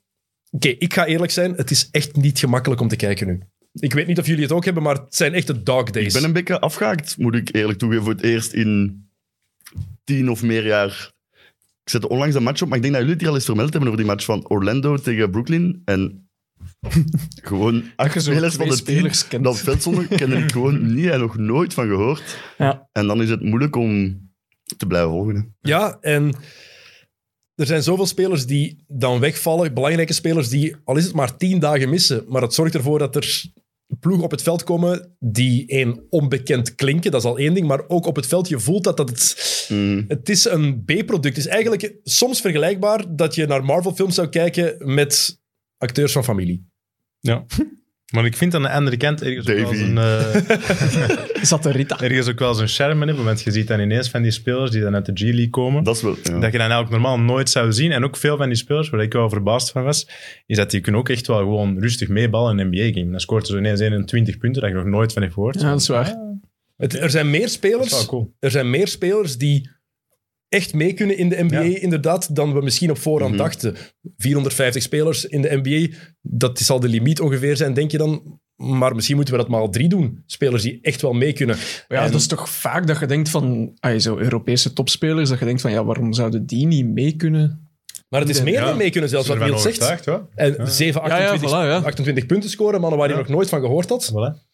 [SPEAKER 1] Oké, ik ga eerlijk zijn. Het is echt niet gemakkelijk om te kijken nu. Ik weet niet of jullie het ook hebben, maar het zijn echt de dog days.
[SPEAKER 2] Ik ben een beetje afgehaakt, moet ik eerlijk toegeven, voor het eerst in tien of meer jaar. Ik zette onlangs een match op, maar ik denk dat jullie het hier al eens vermeld hebben over die match van Orlando tegen Brooklyn. En gewoon acht
[SPEAKER 4] zo
[SPEAKER 2] spelers van
[SPEAKER 4] twee
[SPEAKER 2] de team
[SPEAKER 4] spelers kent.
[SPEAKER 2] dat veld stonden, kende ik gewoon niet en nog nooit van gehoord.
[SPEAKER 4] Ja.
[SPEAKER 2] En dan is het moeilijk om te blijven volgen. hè.
[SPEAKER 1] Ja, en er zijn zoveel spelers die dan wegvallen. Belangrijke spelers die, al is het maar tien dagen missen. Maar dat zorgt ervoor dat er ploegen op het veld komen die één onbekend klinken. Dat is al één ding. Maar ook op het veld, je voelt dat, dat het...
[SPEAKER 2] Mm.
[SPEAKER 1] Het is een B-product. Het is eigenlijk soms vergelijkbaar dat je naar Marvel-films zou kijken met acteurs van familie.
[SPEAKER 3] ja. Maar ik vind aan de andere kant ergens ook wel
[SPEAKER 2] Davy.
[SPEAKER 3] eens een, eh,
[SPEAKER 4] Zat er Rita?
[SPEAKER 3] ergens ook wel eens een charme in hebben, want je ziet dan ineens van die spelers die dan uit de G-League komen.
[SPEAKER 2] Dat is wel... ja.
[SPEAKER 3] Dat je dan eigenlijk normaal nooit zou zien. En ook veel van die spelers, waar ik wel verbaasd van was, is dat die kunnen ook echt wel gewoon rustig meeballen in een NBA-game. Dan scoort er zo ineens 21 punten, dat je nog nooit van heeft gehoord.
[SPEAKER 4] Ja, dat is waar.
[SPEAKER 1] Het, er zijn meer
[SPEAKER 3] Dat is wel
[SPEAKER 1] spelers
[SPEAKER 3] cool.
[SPEAKER 1] er zijn meer spelers die echt mee kunnen in de NBA,
[SPEAKER 3] Ja.
[SPEAKER 1] inderdaad, dan we misschien op voorhand
[SPEAKER 2] Mhm.
[SPEAKER 1] dachten. 450 spelers in de NBA, dat zal de limiet ongeveer zijn, denk je dan. Maar misschien moeten we dat maal drie doen. Spelers die echt wel mee kunnen.
[SPEAKER 4] Maar Ja,
[SPEAKER 1] En-
[SPEAKER 4] dat is toch vaak dat je denkt van, ah, zo Europese topspelers, dat je denkt van, ja, waarom zouden die niet mee kunnen?
[SPEAKER 1] Maar het is meer
[SPEAKER 3] Ja.
[SPEAKER 1] dan mee kunnen, zelfs
[SPEAKER 3] Ik
[SPEAKER 1] wat
[SPEAKER 3] ben ervan
[SPEAKER 1] Niels zegt.
[SPEAKER 3] overtuigd, hoor.
[SPEAKER 1] En 7,
[SPEAKER 4] Ja, ja,
[SPEAKER 1] 28,
[SPEAKER 4] voilà, ja.
[SPEAKER 1] 28 punten scoren, mannen waar je
[SPEAKER 3] Ja.
[SPEAKER 1] nog nooit van gehoord had.
[SPEAKER 3] Voilà.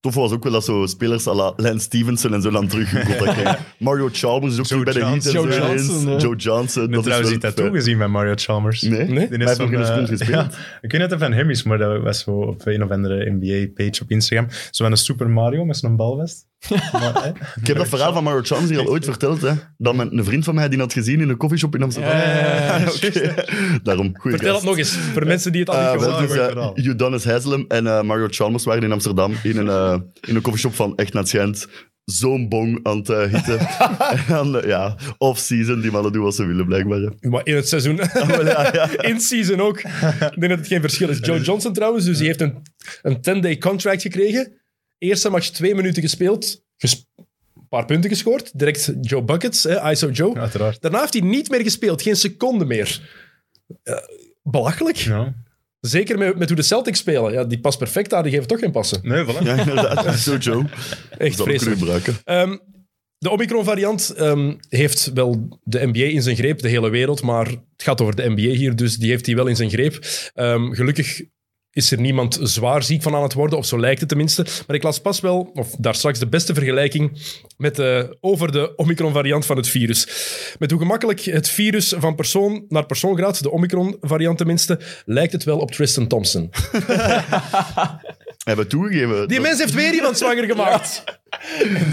[SPEAKER 2] Tof was ook wel dat zo spelers à la Lance Stevenson en zo dan teruggekomen. Mario Chalmers is ook
[SPEAKER 3] Joe
[SPEAKER 2] terug bij de Heat. en
[SPEAKER 3] Johnson.
[SPEAKER 2] zo
[SPEAKER 4] Joe
[SPEAKER 2] ineens.
[SPEAKER 4] Johnson, ja.
[SPEAKER 2] Joe Johnson.
[SPEAKER 3] Ik heb
[SPEAKER 2] dat is
[SPEAKER 3] trouwens
[SPEAKER 2] wel
[SPEAKER 3] niet dat
[SPEAKER 2] fijn.
[SPEAKER 3] gezien met Mario Chalmers.
[SPEAKER 2] Nee?
[SPEAKER 1] Nee?
[SPEAKER 3] Die
[SPEAKER 2] Hij heeft nog geen
[SPEAKER 3] zo'n,
[SPEAKER 2] seconde
[SPEAKER 3] eh,
[SPEAKER 2] gespeeld.
[SPEAKER 3] ja, ik weet niet of het van hem is, maar dat was zo op een of andere NBA-page op Instagram. Zo van een Super Mario met zo'n balvest. Maar, hè,
[SPEAKER 2] Ik heb dat verhaal van Mario Chalmers hier al ooit verteld. Hè? Dat met een vriend van mij die had gezien in een coffeeshop in Amsterdam.
[SPEAKER 4] Ja, ja, ja, ja,
[SPEAKER 2] Oké. Daarom, goeie
[SPEAKER 1] Vertel
[SPEAKER 2] gast.
[SPEAKER 1] het nog eens, voor mensen die het al niet
[SPEAKER 2] Eh,
[SPEAKER 1] gehoord
[SPEAKER 2] wel,
[SPEAKER 1] hebben.
[SPEAKER 2] dus,
[SPEAKER 3] Goeie
[SPEAKER 2] eh,
[SPEAKER 3] verhaal.
[SPEAKER 2] Udonis Haslem en eh, Mario Chalmers waren in Amsterdam in een, eh, in een coffeeshop van Echt Naar Schijnt. Zo'n bong aan het eh, hitten. en, eh, ja, off-season, die mannen doen wat ze willen, blijkbaar. hè.
[SPEAKER 1] Maar in het seizoen. In season ook. Ik denk dat het geen verschil is. Joe Johnson trouwens, dus die heeft een, een 10-day contract gekregen. Eerste match twee minuten gespeeld. ges- een paar punten gescoord. Direct Joe Buckets, hè, ISO Joe.
[SPEAKER 3] Uiteraard.
[SPEAKER 1] Daarna heeft hij niet meer gespeeld. Geen seconde meer. Eh, belachelijk.
[SPEAKER 3] Ja.
[SPEAKER 1] Zeker met, met hoe de Celtics spelen. Ja, die past perfect daar. Die geven toch geen passen.
[SPEAKER 3] Nee, voilà.
[SPEAKER 2] Ja, inderdaad. Zo, Joe.
[SPEAKER 1] Echt
[SPEAKER 2] Dat kunnen
[SPEAKER 1] vreselijk.
[SPEAKER 2] gebruiken.
[SPEAKER 1] Ehm, de Omicron-variant ehm, heeft wel de NBA in zijn greep, de hele wereld, maar het gaat over de NBA hier, dus die heeft hij wel in zijn greep. Ehm, gelukkig is er niemand zwaar ziek van aan het worden, of zo lijkt het tenminste. Maar ik las pas wel, of daar straks, de beste vergelijking met de, over de Omicron-variant van het virus. Met hoe gemakkelijk het virus van persoon naar persoon gaat, de Omicron-variant tenminste, lijkt het wel op Tristan Thompson.
[SPEAKER 2] Hebben toegegeven.
[SPEAKER 1] Die
[SPEAKER 2] dat-
[SPEAKER 1] mens heeft weer iemand zwanger gemaakt.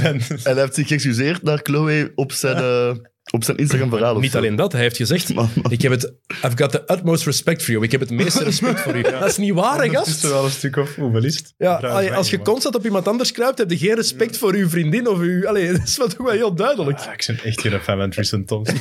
[SPEAKER 2] En hij heeft zich geëxcuseerd naar Chloe op zijn, eh, op zijn Instagram-verhaal. of
[SPEAKER 1] Niet
[SPEAKER 2] zo.
[SPEAKER 1] alleen dat, hij heeft gezegd:
[SPEAKER 2] Man, man.
[SPEAKER 1] Ik heb het, I've got the utmost respect for you. Ik heb het meeste respect voor u. Dat is niet waar, hè,
[SPEAKER 3] Dat is
[SPEAKER 1] gast.
[SPEAKER 3] er wel een stuk of hoeveel is het?
[SPEAKER 1] Ja,
[SPEAKER 3] Trouwens,
[SPEAKER 1] allee, als je
[SPEAKER 3] man.
[SPEAKER 1] constant op iemand anders kruipt, heb je geen respect voor uw vriendin of uw. Allee, dat is wel toch wel heel duidelijk.
[SPEAKER 3] Ah, ik ben echt geen fan van Tristan Thompson.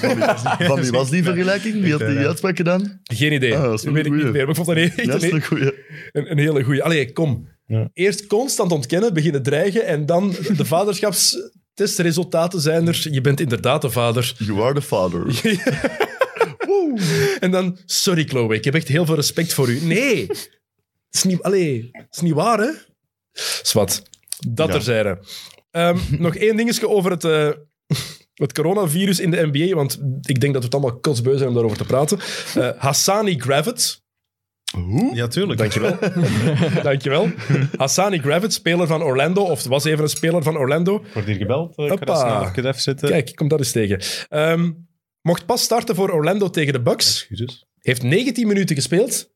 [SPEAKER 2] Van wie was die vergelijking? Wie had
[SPEAKER 3] Ik,
[SPEAKER 2] die
[SPEAKER 3] eh,
[SPEAKER 2] uitspraak gedaan?
[SPEAKER 1] Geen idee.
[SPEAKER 2] Ah, dat
[SPEAKER 1] dat
[SPEAKER 2] is wel
[SPEAKER 1] weet ik
[SPEAKER 2] een
[SPEAKER 1] niet
[SPEAKER 2] goeie.
[SPEAKER 1] meer. Maar ik vond dat echt
[SPEAKER 2] Ja, dat is
[SPEAKER 1] een,
[SPEAKER 2] een goeie.
[SPEAKER 1] een, een hele goeie. Allee, kom.
[SPEAKER 3] Ja.
[SPEAKER 1] Eerst constant ontkennen, beginnen dreigen en dan de vaderschapstestresultaten zijn er. Je bent inderdaad de vader.
[SPEAKER 2] You are the father.
[SPEAKER 1] En dan, sorry Chloe, ik heb echt heel veel respect voor u. Nee, het is niet, allee, het is niet waar, hè? Zwat, dat
[SPEAKER 2] Ja.
[SPEAKER 1] terzijde. Ehm, nog één dingetje over het, eh, het coronavirus in de NBA, want ik denk dat we het allemaal kotsbeu zijn om daarover te praten. Eh, Hassani Gravitz,
[SPEAKER 2] Hoe?
[SPEAKER 3] Ja, tuurlijk.
[SPEAKER 1] dankjewel. dankjewel. Hassani Gravitz, speler van Orlando, of was even een speler van Orlando.
[SPEAKER 3] Wordt hier gebeld? eh, Ik ga
[SPEAKER 1] Hoppa.
[SPEAKER 3] dat snel even even zitten.
[SPEAKER 1] Kijk, ik kom dat eens tegen. Ehm, mocht pas starten voor Orlando tegen de Bucks.
[SPEAKER 3] Excuses.
[SPEAKER 1] heeft 19 minuten gespeeld.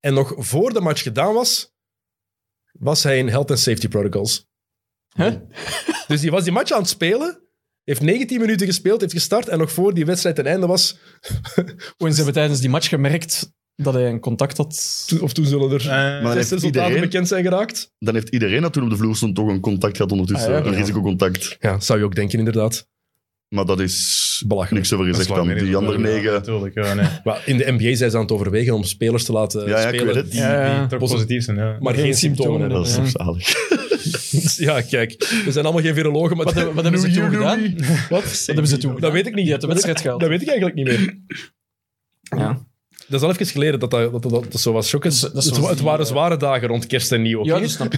[SPEAKER 1] En nog voor de match gedaan was, was hij in health and safety protocols.
[SPEAKER 4] Huh?
[SPEAKER 1] Dus die was die match aan het spelen, heeft 19 minuten gespeeld, heeft gestart en nog voor die wedstrijd ten einde was,
[SPEAKER 4] En ze hebben tijdens die match gemerkt dat hij een contact had.
[SPEAKER 1] to- of toen zullen er
[SPEAKER 3] Eh,
[SPEAKER 2] Maar
[SPEAKER 1] zes
[SPEAKER 2] heeft
[SPEAKER 1] resultaten
[SPEAKER 2] iedereen-
[SPEAKER 1] bekend zijn geraakt.
[SPEAKER 2] Dan heeft iedereen dat toen op de vloer stond toch een contact gehad ondertussen.
[SPEAKER 4] Ah, ja,
[SPEAKER 2] een
[SPEAKER 4] ja.
[SPEAKER 2] risicocontact.
[SPEAKER 1] Ja, zou je ook denken inderdaad.
[SPEAKER 2] Maar dat is
[SPEAKER 1] Belachelijk.
[SPEAKER 2] niks over gezegd dan. Die andere negen...
[SPEAKER 3] Natuurlijk, ja, nee.
[SPEAKER 1] Maar in de NBA zijn ze aan het overwegen om spelers te laten
[SPEAKER 2] Ja, ja, ik
[SPEAKER 1] spelen
[SPEAKER 2] weet het.
[SPEAKER 1] die-
[SPEAKER 4] Ja, ja.
[SPEAKER 3] Toch positief zijn, ja.
[SPEAKER 1] maar geen
[SPEAKER 4] Geen
[SPEAKER 1] symptomen
[SPEAKER 4] symptomen
[SPEAKER 1] hebben.
[SPEAKER 2] Dat is toch
[SPEAKER 4] Ja.
[SPEAKER 2] zalig.
[SPEAKER 1] Ja, kijk, we zijn allemaal geen virologen, maar
[SPEAKER 4] Wat, hebben- wat hebben ze toen gedaan? Wat
[SPEAKER 1] Wat?
[SPEAKER 4] hebben ze toen
[SPEAKER 1] Dat
[SPEAKER 4] gedaan?
[SPEAKER 1] weet ik niet.
[SPEAKER 4] Die had de wedstrijd gehaald.
[SPEAKER 1] Dat weet ik eigenlijk niet meer.
[SPEAKER 4] Ja.
[SPEAKER 1] Dat is al even geleden dat dat, dat, dat, dat zo was. Shockend.
[SPEAKER 4] Dat is- dat is
[SPEAKER 1] het,
[SPEAKER 4] zoals
[SPEAKER 1] wa- het
[SPEAKER 4] die,
[SPEAKER 1] waren
[SPEAKER 4] eh,
[SPEAKER 1] zware dagen rond kerst en nieuw. oké?
[SPEAKER 4] Ja, dus- dat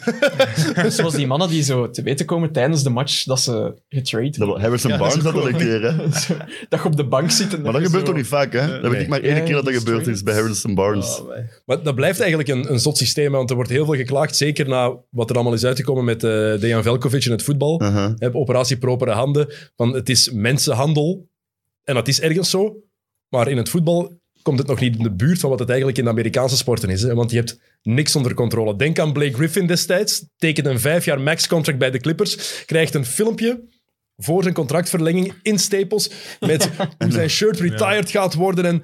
[SPEAKER 4] snap ik. Zoals die mannen die zo te weten komen tijdens de match dat ze getrade
[SPEAKER 2] Dat wel- Harrison
[SPEAKER 3] Ja, dat is
[SPEAKER 2] Barnes dat al
[SPEAKER 3] cool.
[SPEAKER 2] een keer, hè.
[SPEAKER 4] Dat je op de bank zit. En
[SPEAKER 2] Maar dat
[SPEAKER 4] je
[SPEAKER 2] gebeurt
[SPEAKER 4] zo-
[SPEAKER 2] toch niet vaak, hè? Dat weet
[SPEAKER 1] nee.
[SPEAKER 2] ik maar één
[SPEAKER 4] Ja,
[SPEAKER 2] keer dat dat
[SPEAKER 4] dat is
[SPEAKER 2] gebeurd
[SPEAKER 4] straight.
[SPEAKER 2] is bij Harrison
[SPEAKER 3] Oh,
[SPEAKER 2] Barnes.
[SPEAKER 1] Maar dat blijft eigenlijk een, een zot systeem, hè, want er wordt heel veel geklaagd. Zeker na wat er allemaal is uitgekomen met eh, Dejan Velkovic in het voetbal.
[SPEAKER 2] Uh-huh.
[SPEAKER 1] Hè, Operatie Propere Handen. Van het is mensenhandel. En dat is ergens zo. Maar in het voetbal komt het nog niet in de buurt van wat het eigenlijk in de Amerikaanse sporten is. Hè? Want je hebt niks onder controle. Denk aan Blake Griffin destijds. Tekent een vijf jaar max-contract bij de Clippers. Krijgt een filmpje voor zijn contractverlenging in Staples. Met hoe zijn shirt retired gaat worden. En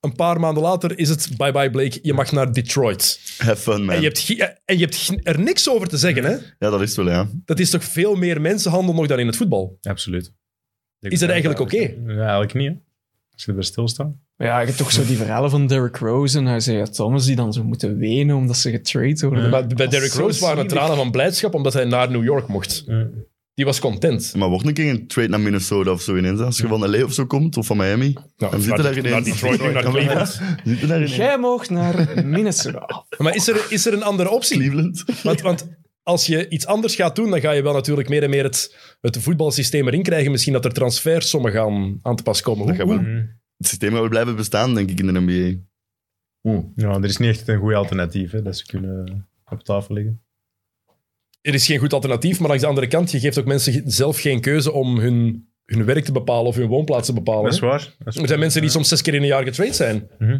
[SPEAKER 1] een paar maanden later is het bye-bye Blake. Je mag naar Detroit.
[SPEAKER 2] Have fun, man.
[SPEAKER 1] En je hebt, ge- en je hebt ge- er niks over te zeggen. Hè?
[SPEAKER 2] Ja, dat is wel, ja.
[SPEAKER 1] Dat is toch veel meer mensenhandel nog dan in het voetbal?
[SPEAKER 3] Absoluut.
[SPEAKER 1] Is dat eigenlijk oké?
[SPEAKER 3] Ja, eigenlijk niet, hè. Als je erbij stilstaat.
[SPEAKER 4] Maar Ja, je hebt toch zo die verhalen van Derrick Rose en Isaiah Thomas die dan zo moeten wenen omdat ze getrade worden.
[SPEAKER 3] Ja.
[SPEAKER 1] Maar bij
[SPEAKER 4] Dat is
[SPEAKER 1] Derrick
[SPEAKER 4] zo
[SPEAKER 1] Rose waren het
[SPEAKER 4] zielig.
[SPEAKER 1] tranen van blijdschap omdat hij naar New York mocht.
[SPEAKER 3] Ja.
[SPEAKER 1] Die was content.
[SPEAKER 2] Maar wordt een keer een trade naar Minnesota of zo ineens? hè? Als je van LA of zo komt, of van Miami, dan zitten daar ineens... Ja, maar- Zitten daar ineens...
[SPEAKER 4] Jij mocht naar Minnesota.
[SPEAKER 1] Maar is er, is er een andere optie?
[SPEAKER 2] Cleveland.
[SPEAKER 1] Want, want als je iets anders gaat doen, dan ga je wel natuurlijk meer en meer het, het voetbalsysteem erin krijgen. Misschien dat er transfersommen gaan aan te pas komen.
[SPEAKER 2] Dat
[SPEAKER 1] Hoe-
[SPEAKER 2] gaat wel-
[SPEAKER 1] hoe-
[SPEAKER 2] Het systeem gaat wel blijven bestaan, denk ik, in de NBA.
[SPEAKER 3] Ja, er is niet echt een goed alternatief, hè, dat ze kunnen op tafel liggen.
[SPEAKER 1] er is geen goed alternatief, maar langs de andere kant, je geeft ook mensen ge- zelf geen keuze om hun, hun werk te bepalen of hun woonplaats te bepalen.
[SPEAKER 3] Dat is
[SPEAKER 1] hè?
[SPEAKER 3] waar. dat is
[SPEAKER 1] Er
[SPEAKER 3] waar.
[SPEAKER 1] zijn mensen die soms zes keer in een jaar getraind zijn. Dus-
[SPEAKER 3] Mhm.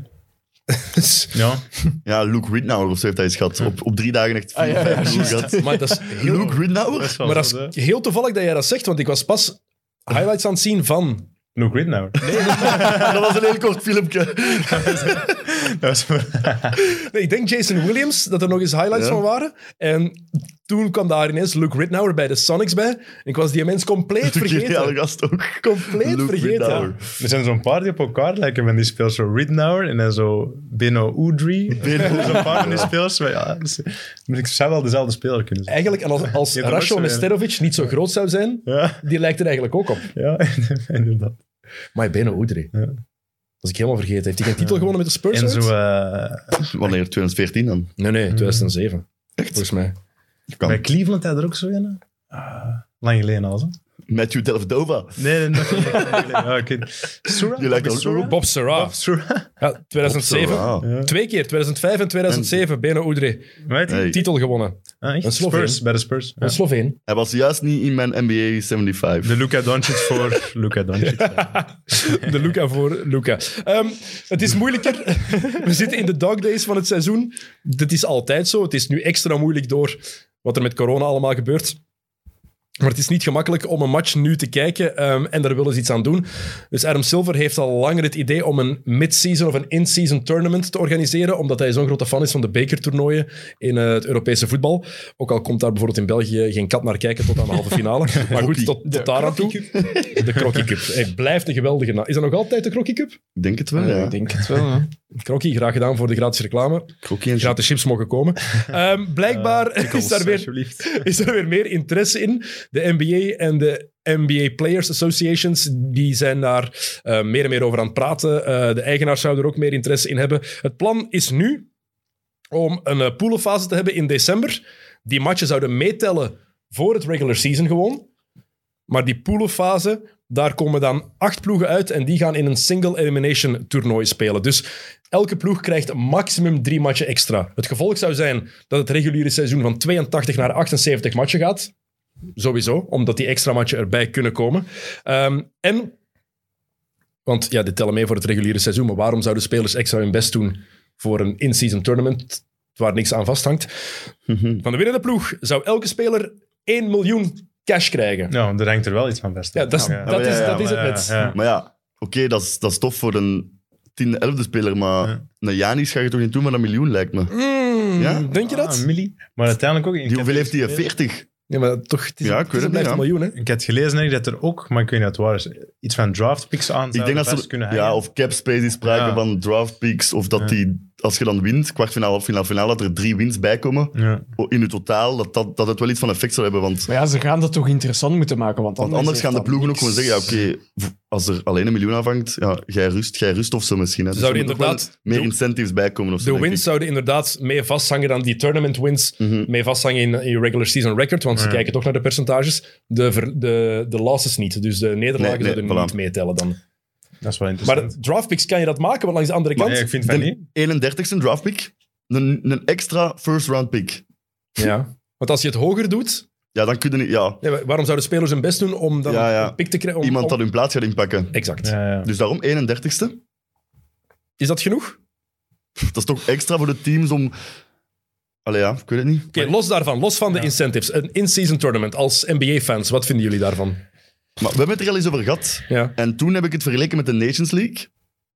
[SPEAKER 3] Ja,
[SPEAKER 2] Ja, Luke Ridnour of zo heeft hij eens gehad. Op, op drie dagen echt vier,
[SPEAKER 4] Ah, ja, ja,
[SPEAKER 2] vijf miljoen
[SPEAKER 4] juist.
[SPEAKER 2] gehad.
[SPEAKER 1] maar dat is heel
[SPEAKER 2] Luke Ridnour?
[SPEAKER 1] Maar dat is heel toevallig dat jij dat zegt, want ik was pas highlights aan het zien van...
[SPEAKER 3] Luke Ridnour.
[SPEAKER 2] dat was een heel kort filmpje.
[SPEAKER 3] Dat was-
[SPEAKER 1] Nee, ik denk Jason Williams, dat er nog eens highlights
[SPEAKER 2] Ja.
[SPEAKER 1] van waren. En toen kwam daar ineens Luke Ridnour bij de Sonics bij. En ik was die mens compleet
[SPEAKER 2] Geniale
[SPEAKER 1] vergeten.
[SPEAKER 2] gast ook.
[SPEAKER 1] Compleet
[SPEAKER 2] Luke
[SPEAKER 1] vergeten.
[SPEAKER 2] Ridnour.
[SPEAKER 3] er zijn zo'n paar die op elkaar lijken, want die speelt zo Ridnour en dan zo Beno Oudry. Er zijn Zo'n paar van die speels. Maar ja, dus, maar ik zou wel dezelfde speler kunnen zijn.
[SPEAKER 1] Eigenlijk, en als, als
[SPEAKER 3] Je hebt er
[SPEAKER 1] Ratio
[SPEAKER 3] ook zo, ja.
[SPEAKER 1] Nesterovic niet zo groot zou zijn,
[SPEAKER 3] Ja,
[SPEAKER 1] die lijkt er eigenlijk ook op.
[SPEAKER 3] ja, inderdaad.
[SPEAKER 1] Maar Beno Oudry.
[SPEAKER 3] Ja.
[SPEAKER 1] Dat was ik helemaal vergeten. Heeft hij geen titel gewonnen met de Spurs?
[SPEAKER 3] En zo...
[SPEAKER 1] ooit?
[SPEAKER 3] eh,
[SPEAKER 2] Wanneer? 2014 dan?
[SPEAKER 1] Nee, nee, 2007. Echt? Volgens mij.
[SPEAKER 2] Kan.
[SPEAKER 3] bij Cleveland had er ook zo een. Ah, lang geleden al, zo.
[SPEAKER 2] Matthew Delvedova.
[SPEAKER 3] Nee, nee, nog niet. Ja, oké. Sura?
[SPEAKER 2] Die lijkt ook
[SPEAKER 3] Sura?
[SPEAKER 2] op
[SPEAKER 1] Bob Serra.
[SPEAKER 3] Sura?
[SPEAKER 1] Ja, 2007.
[SPEAKER 2] Wow.
[SPEAKER 3] Ja.
[SPEAKER 1] Twee keer, 2005 en 2007. Beno Oudry.
[SPEAKER 3] Weet je?
[SPEAKER 2] Hey.
[SPEAKER 1] Titel gewonnen.
[SPEAKER 3] Ah, echt?
[SPEAKER 1] Een Sloveen.
[SPEAKER 3] Spurs, bij de Spurs. Ja.
[SPEAKER 1] Een Sloveen.
[SPEAKER 2] Hij was juist niet in mijn NBA 75.
[SPEAKER 3] De Luka Doncic voor Luka Doncic.
[SPEAKER 1] De Luca voor Luca. Ehm, het is moeilijker. We zitten in de dog days van het seizoen. Dit is altijd zo. Het is nu extra moeilijk door wat er met corona allemaal gebeurt. Maar het is niet gemakkelijk om een match nu te kijken ehm, en daar willen ze iets aan doen. Dus Adam Silver heeft al langer het idee om een mid-season of een in-season tournament te organiseren, omdat hij zo'n grote fan is van de bekertoernooien in eh, het Europese voetbal. Ook al komt daar bijvoorbeeld in België geen kat naar kijken tot aan de halve finale. Maar goed, tot,
[SPEAKER 4] De
[SPEAKER 1] tot daar aan toe. De Crocky Cup. Het blijft een geweldige naam. Is dat nog altijd de Crocky Cup?
[SPEAKER 2] Ik denk het wel, ja.
[SPEAKER 4] Ik denk het wel. hè.
[SPEAKER 1] Crocky, graag gedaan voor de gratis reclame.
[SPEAKER 2] Krokkie en
[SPEAKER 1] Gratis chips mogen komen. Ehm,
[SPEAKER 4] Eh,
[SPEAKER 1] blijkbaar is, daar weer,
[SPEAKER 3] Ah, Alsjeblieft.
[SPEAKER 1] is daar weer meer interesse in. De NBA en de NBA Players Associations die zijn daar eh, meer en meer over aan het praten. Eh, de eigenaars zouden er ook meer interesse in hebben. Het plan is nu om een eh, poolenfase te hebben in december. Die matchen zouden meetellen voor het regular season gewoon. Maar die poolenfase, daar komen dan acht ploegen uit en die gaan in een single elimination toernooi spelen. Dus elke ploeg krijgt maximum drie matchen extra. Het gevolg zou zijn dat het reguliere seizoen van 82 naar 78 matchen gaat. Sowieso, omdat die extra matchen erbij kunnen komen. Ehm, en, want ja, dit tellen mee voor het reguliere seizoen, maar waarom zouden spelers extra hun best doen voor een in-season tournament? waar niks aan vasthangt. Van de winnende ploeg zou elke speler 1 miljoen cash krijgen.
[SPEAKER 3] Nou, er hangt er wel iets van vast. hè?
[SPEAKER 1] Ja, dat is, dat
[SPEAKER 2] ja,
[SPEAKER 1] is,
[SPEAKER 2] ja,
[SPEAKER 1] dat is het
[SPEAKER 3] maar ja,
[SPEAKER 1] net.
[SPEAKER 3] ja.
[SPEAKER 2] Maar ja, oké, dat, is, dat is tof voor een tiende, elfde speler, maar
[SPEAKER 3] Ja.
[SPEAKER 2] naar Janis ga je toch niet doen met een miljoen, lijkt me.
[SPEAKER 1] Mm,
[SPEAKER 2] Ja?
[SPEAKER 1] Denk je dat?
[SPEAKER 3] Ah, milli. Maar uiteindelijk ook...
[SPEAKER 2] Die, hoeveel heeft hij? 40?
[SPEAKER 1] Ja, maar toch, het, is,
[SPEAKER 2] Ja, ik
[SPEAKER 1] het,
[SPEAKER 2] weet
[SPEAKER 1] is-
[SPEAKER 2] het
[SPEAKER 1] blijft
[SPEAKER 2] niet,
[SPEAKER 1] een miljoen, hè?
[SPEAKER 3] Ik had gelezen hè, dat er ook, maar ik weet niet wat het waar is, iets van draft picks aan
[SPEAKER 2] Ik denk dat
[SPEAKER 3] vast
[SPEAKER 2] ze...
[SPEAKER 3] kunnen hangen.
[SPEAKER 2] Ja, of cap space is sprake
[SPEAKER 3] Ja.
[SPEAKER 2] van draft picks, of dat
[SPEAKER 3] Ja.
[SPEAKER 2] die, als je dan wint, kwartfinale, halffinale, finale, dat er drie wins bij komen Oh,
[SPEAKER 3] Ja.
[SPEAKER 2] in het totaal, dat, dat, dat het wel iets van effect zou hebben, want...
[SPEAKER 4] Maar ja, ze gaan dat toch interessant moeten maken. Want
[SPEAKER 2] Want
[SPEAKER 4] anders,
[SPEAKER 2] anders
[SPEAKER 4] heeft
[SPEAKER 2] gaan de
[SPEAKER 4] dat
[SPEAKER 2] ploegen ook
[SPEAKER 4] niks.
[SPEAKER 2] gewoon zeggen, ja, oké, v- als er alleen een miljoen aanvangt, ja, jij rust, jij rust of zo misschien. Hè. Dus
[SPEAKER 1] zouden
[SPEAKER 2] er moeten wel
[SPEAKER 1] inderdaad
[SPEAKER 2] meer
[SPEAKER 1] de-
[SPEAKER 2] incentives bijkomen of zo,
[SPEAKER 1] De
[SPEAKER 2] denk
[SPEAKER 1] wins
[SPEAKER 2] ik.
[SPEAKER 1] zouden inderdaad mee vasthangen dan die tournament wins.
[SPEAKER 2] Mhm.
[SPEAKER 1] Mee vasthangen in, in je regular season record, want ze
[SPEAKER 3] Ja.
[SPEAKER 1] kijken toch naar de percentages. De, ver- de, de losses niet, dus de nederlagen
[SPEAKER 2] Nee, nee,
[SPEAKER 1] zouden
[SPEAKER 2] voilà. Dus
[SPEAKER 1] niet meetellen dan.
[SPEAKER 3] Dat is wel interessant.
[SPEAKER 1] Maar draftpicks kan je dat maken, want langs de andere
[SPEAKER 3] Maar
[SPEAKER 1] kant...
[SPEAKER 3] nee, ik vind van
[SPEAKER 2] de-
[SPEAKER 3] niet.
[SPEAKER 2] 31ste draft pick, een, een extra first round pick.
[SPEAKER 1] ja. Want als je het hoger doet,
[SPEAKER 2] Ja, dan kunnen die- ja,
[SPEAKER 1] ja, waarom zouden spelers hun best doen om dan
[SPEAKER 2] Ja, ja.
[SPEAKER 1] een pick te krijgen? om-
[SPEAKER 2] iemand
[SPEAKER 1] om-
[SPEAKER 2] dat hun plaats gaat inpakken.
[SPEAKER 1] Exact.
[SPEAKER 3] Ja, ja.
[SPEAKER 2] Dus daarom 31ste.
[SPEAKER 1] Is dat genoeg? Oké,
[SPEAKER 2] Dat is toch extra voor de teams om... Allee ja, ik weet het niet.
[SPEAKER 1] los daarvan, los van de incentives. Een in-season tournament als NBA-fans, wat vinden jullie daarvan?
[SPEAKER 2] Maar we hebben het er al eens over gehad.
[SPEAKER 1] Ja.
[SPEAKER 2] En toen heb ik het vergeleken met de Nations League.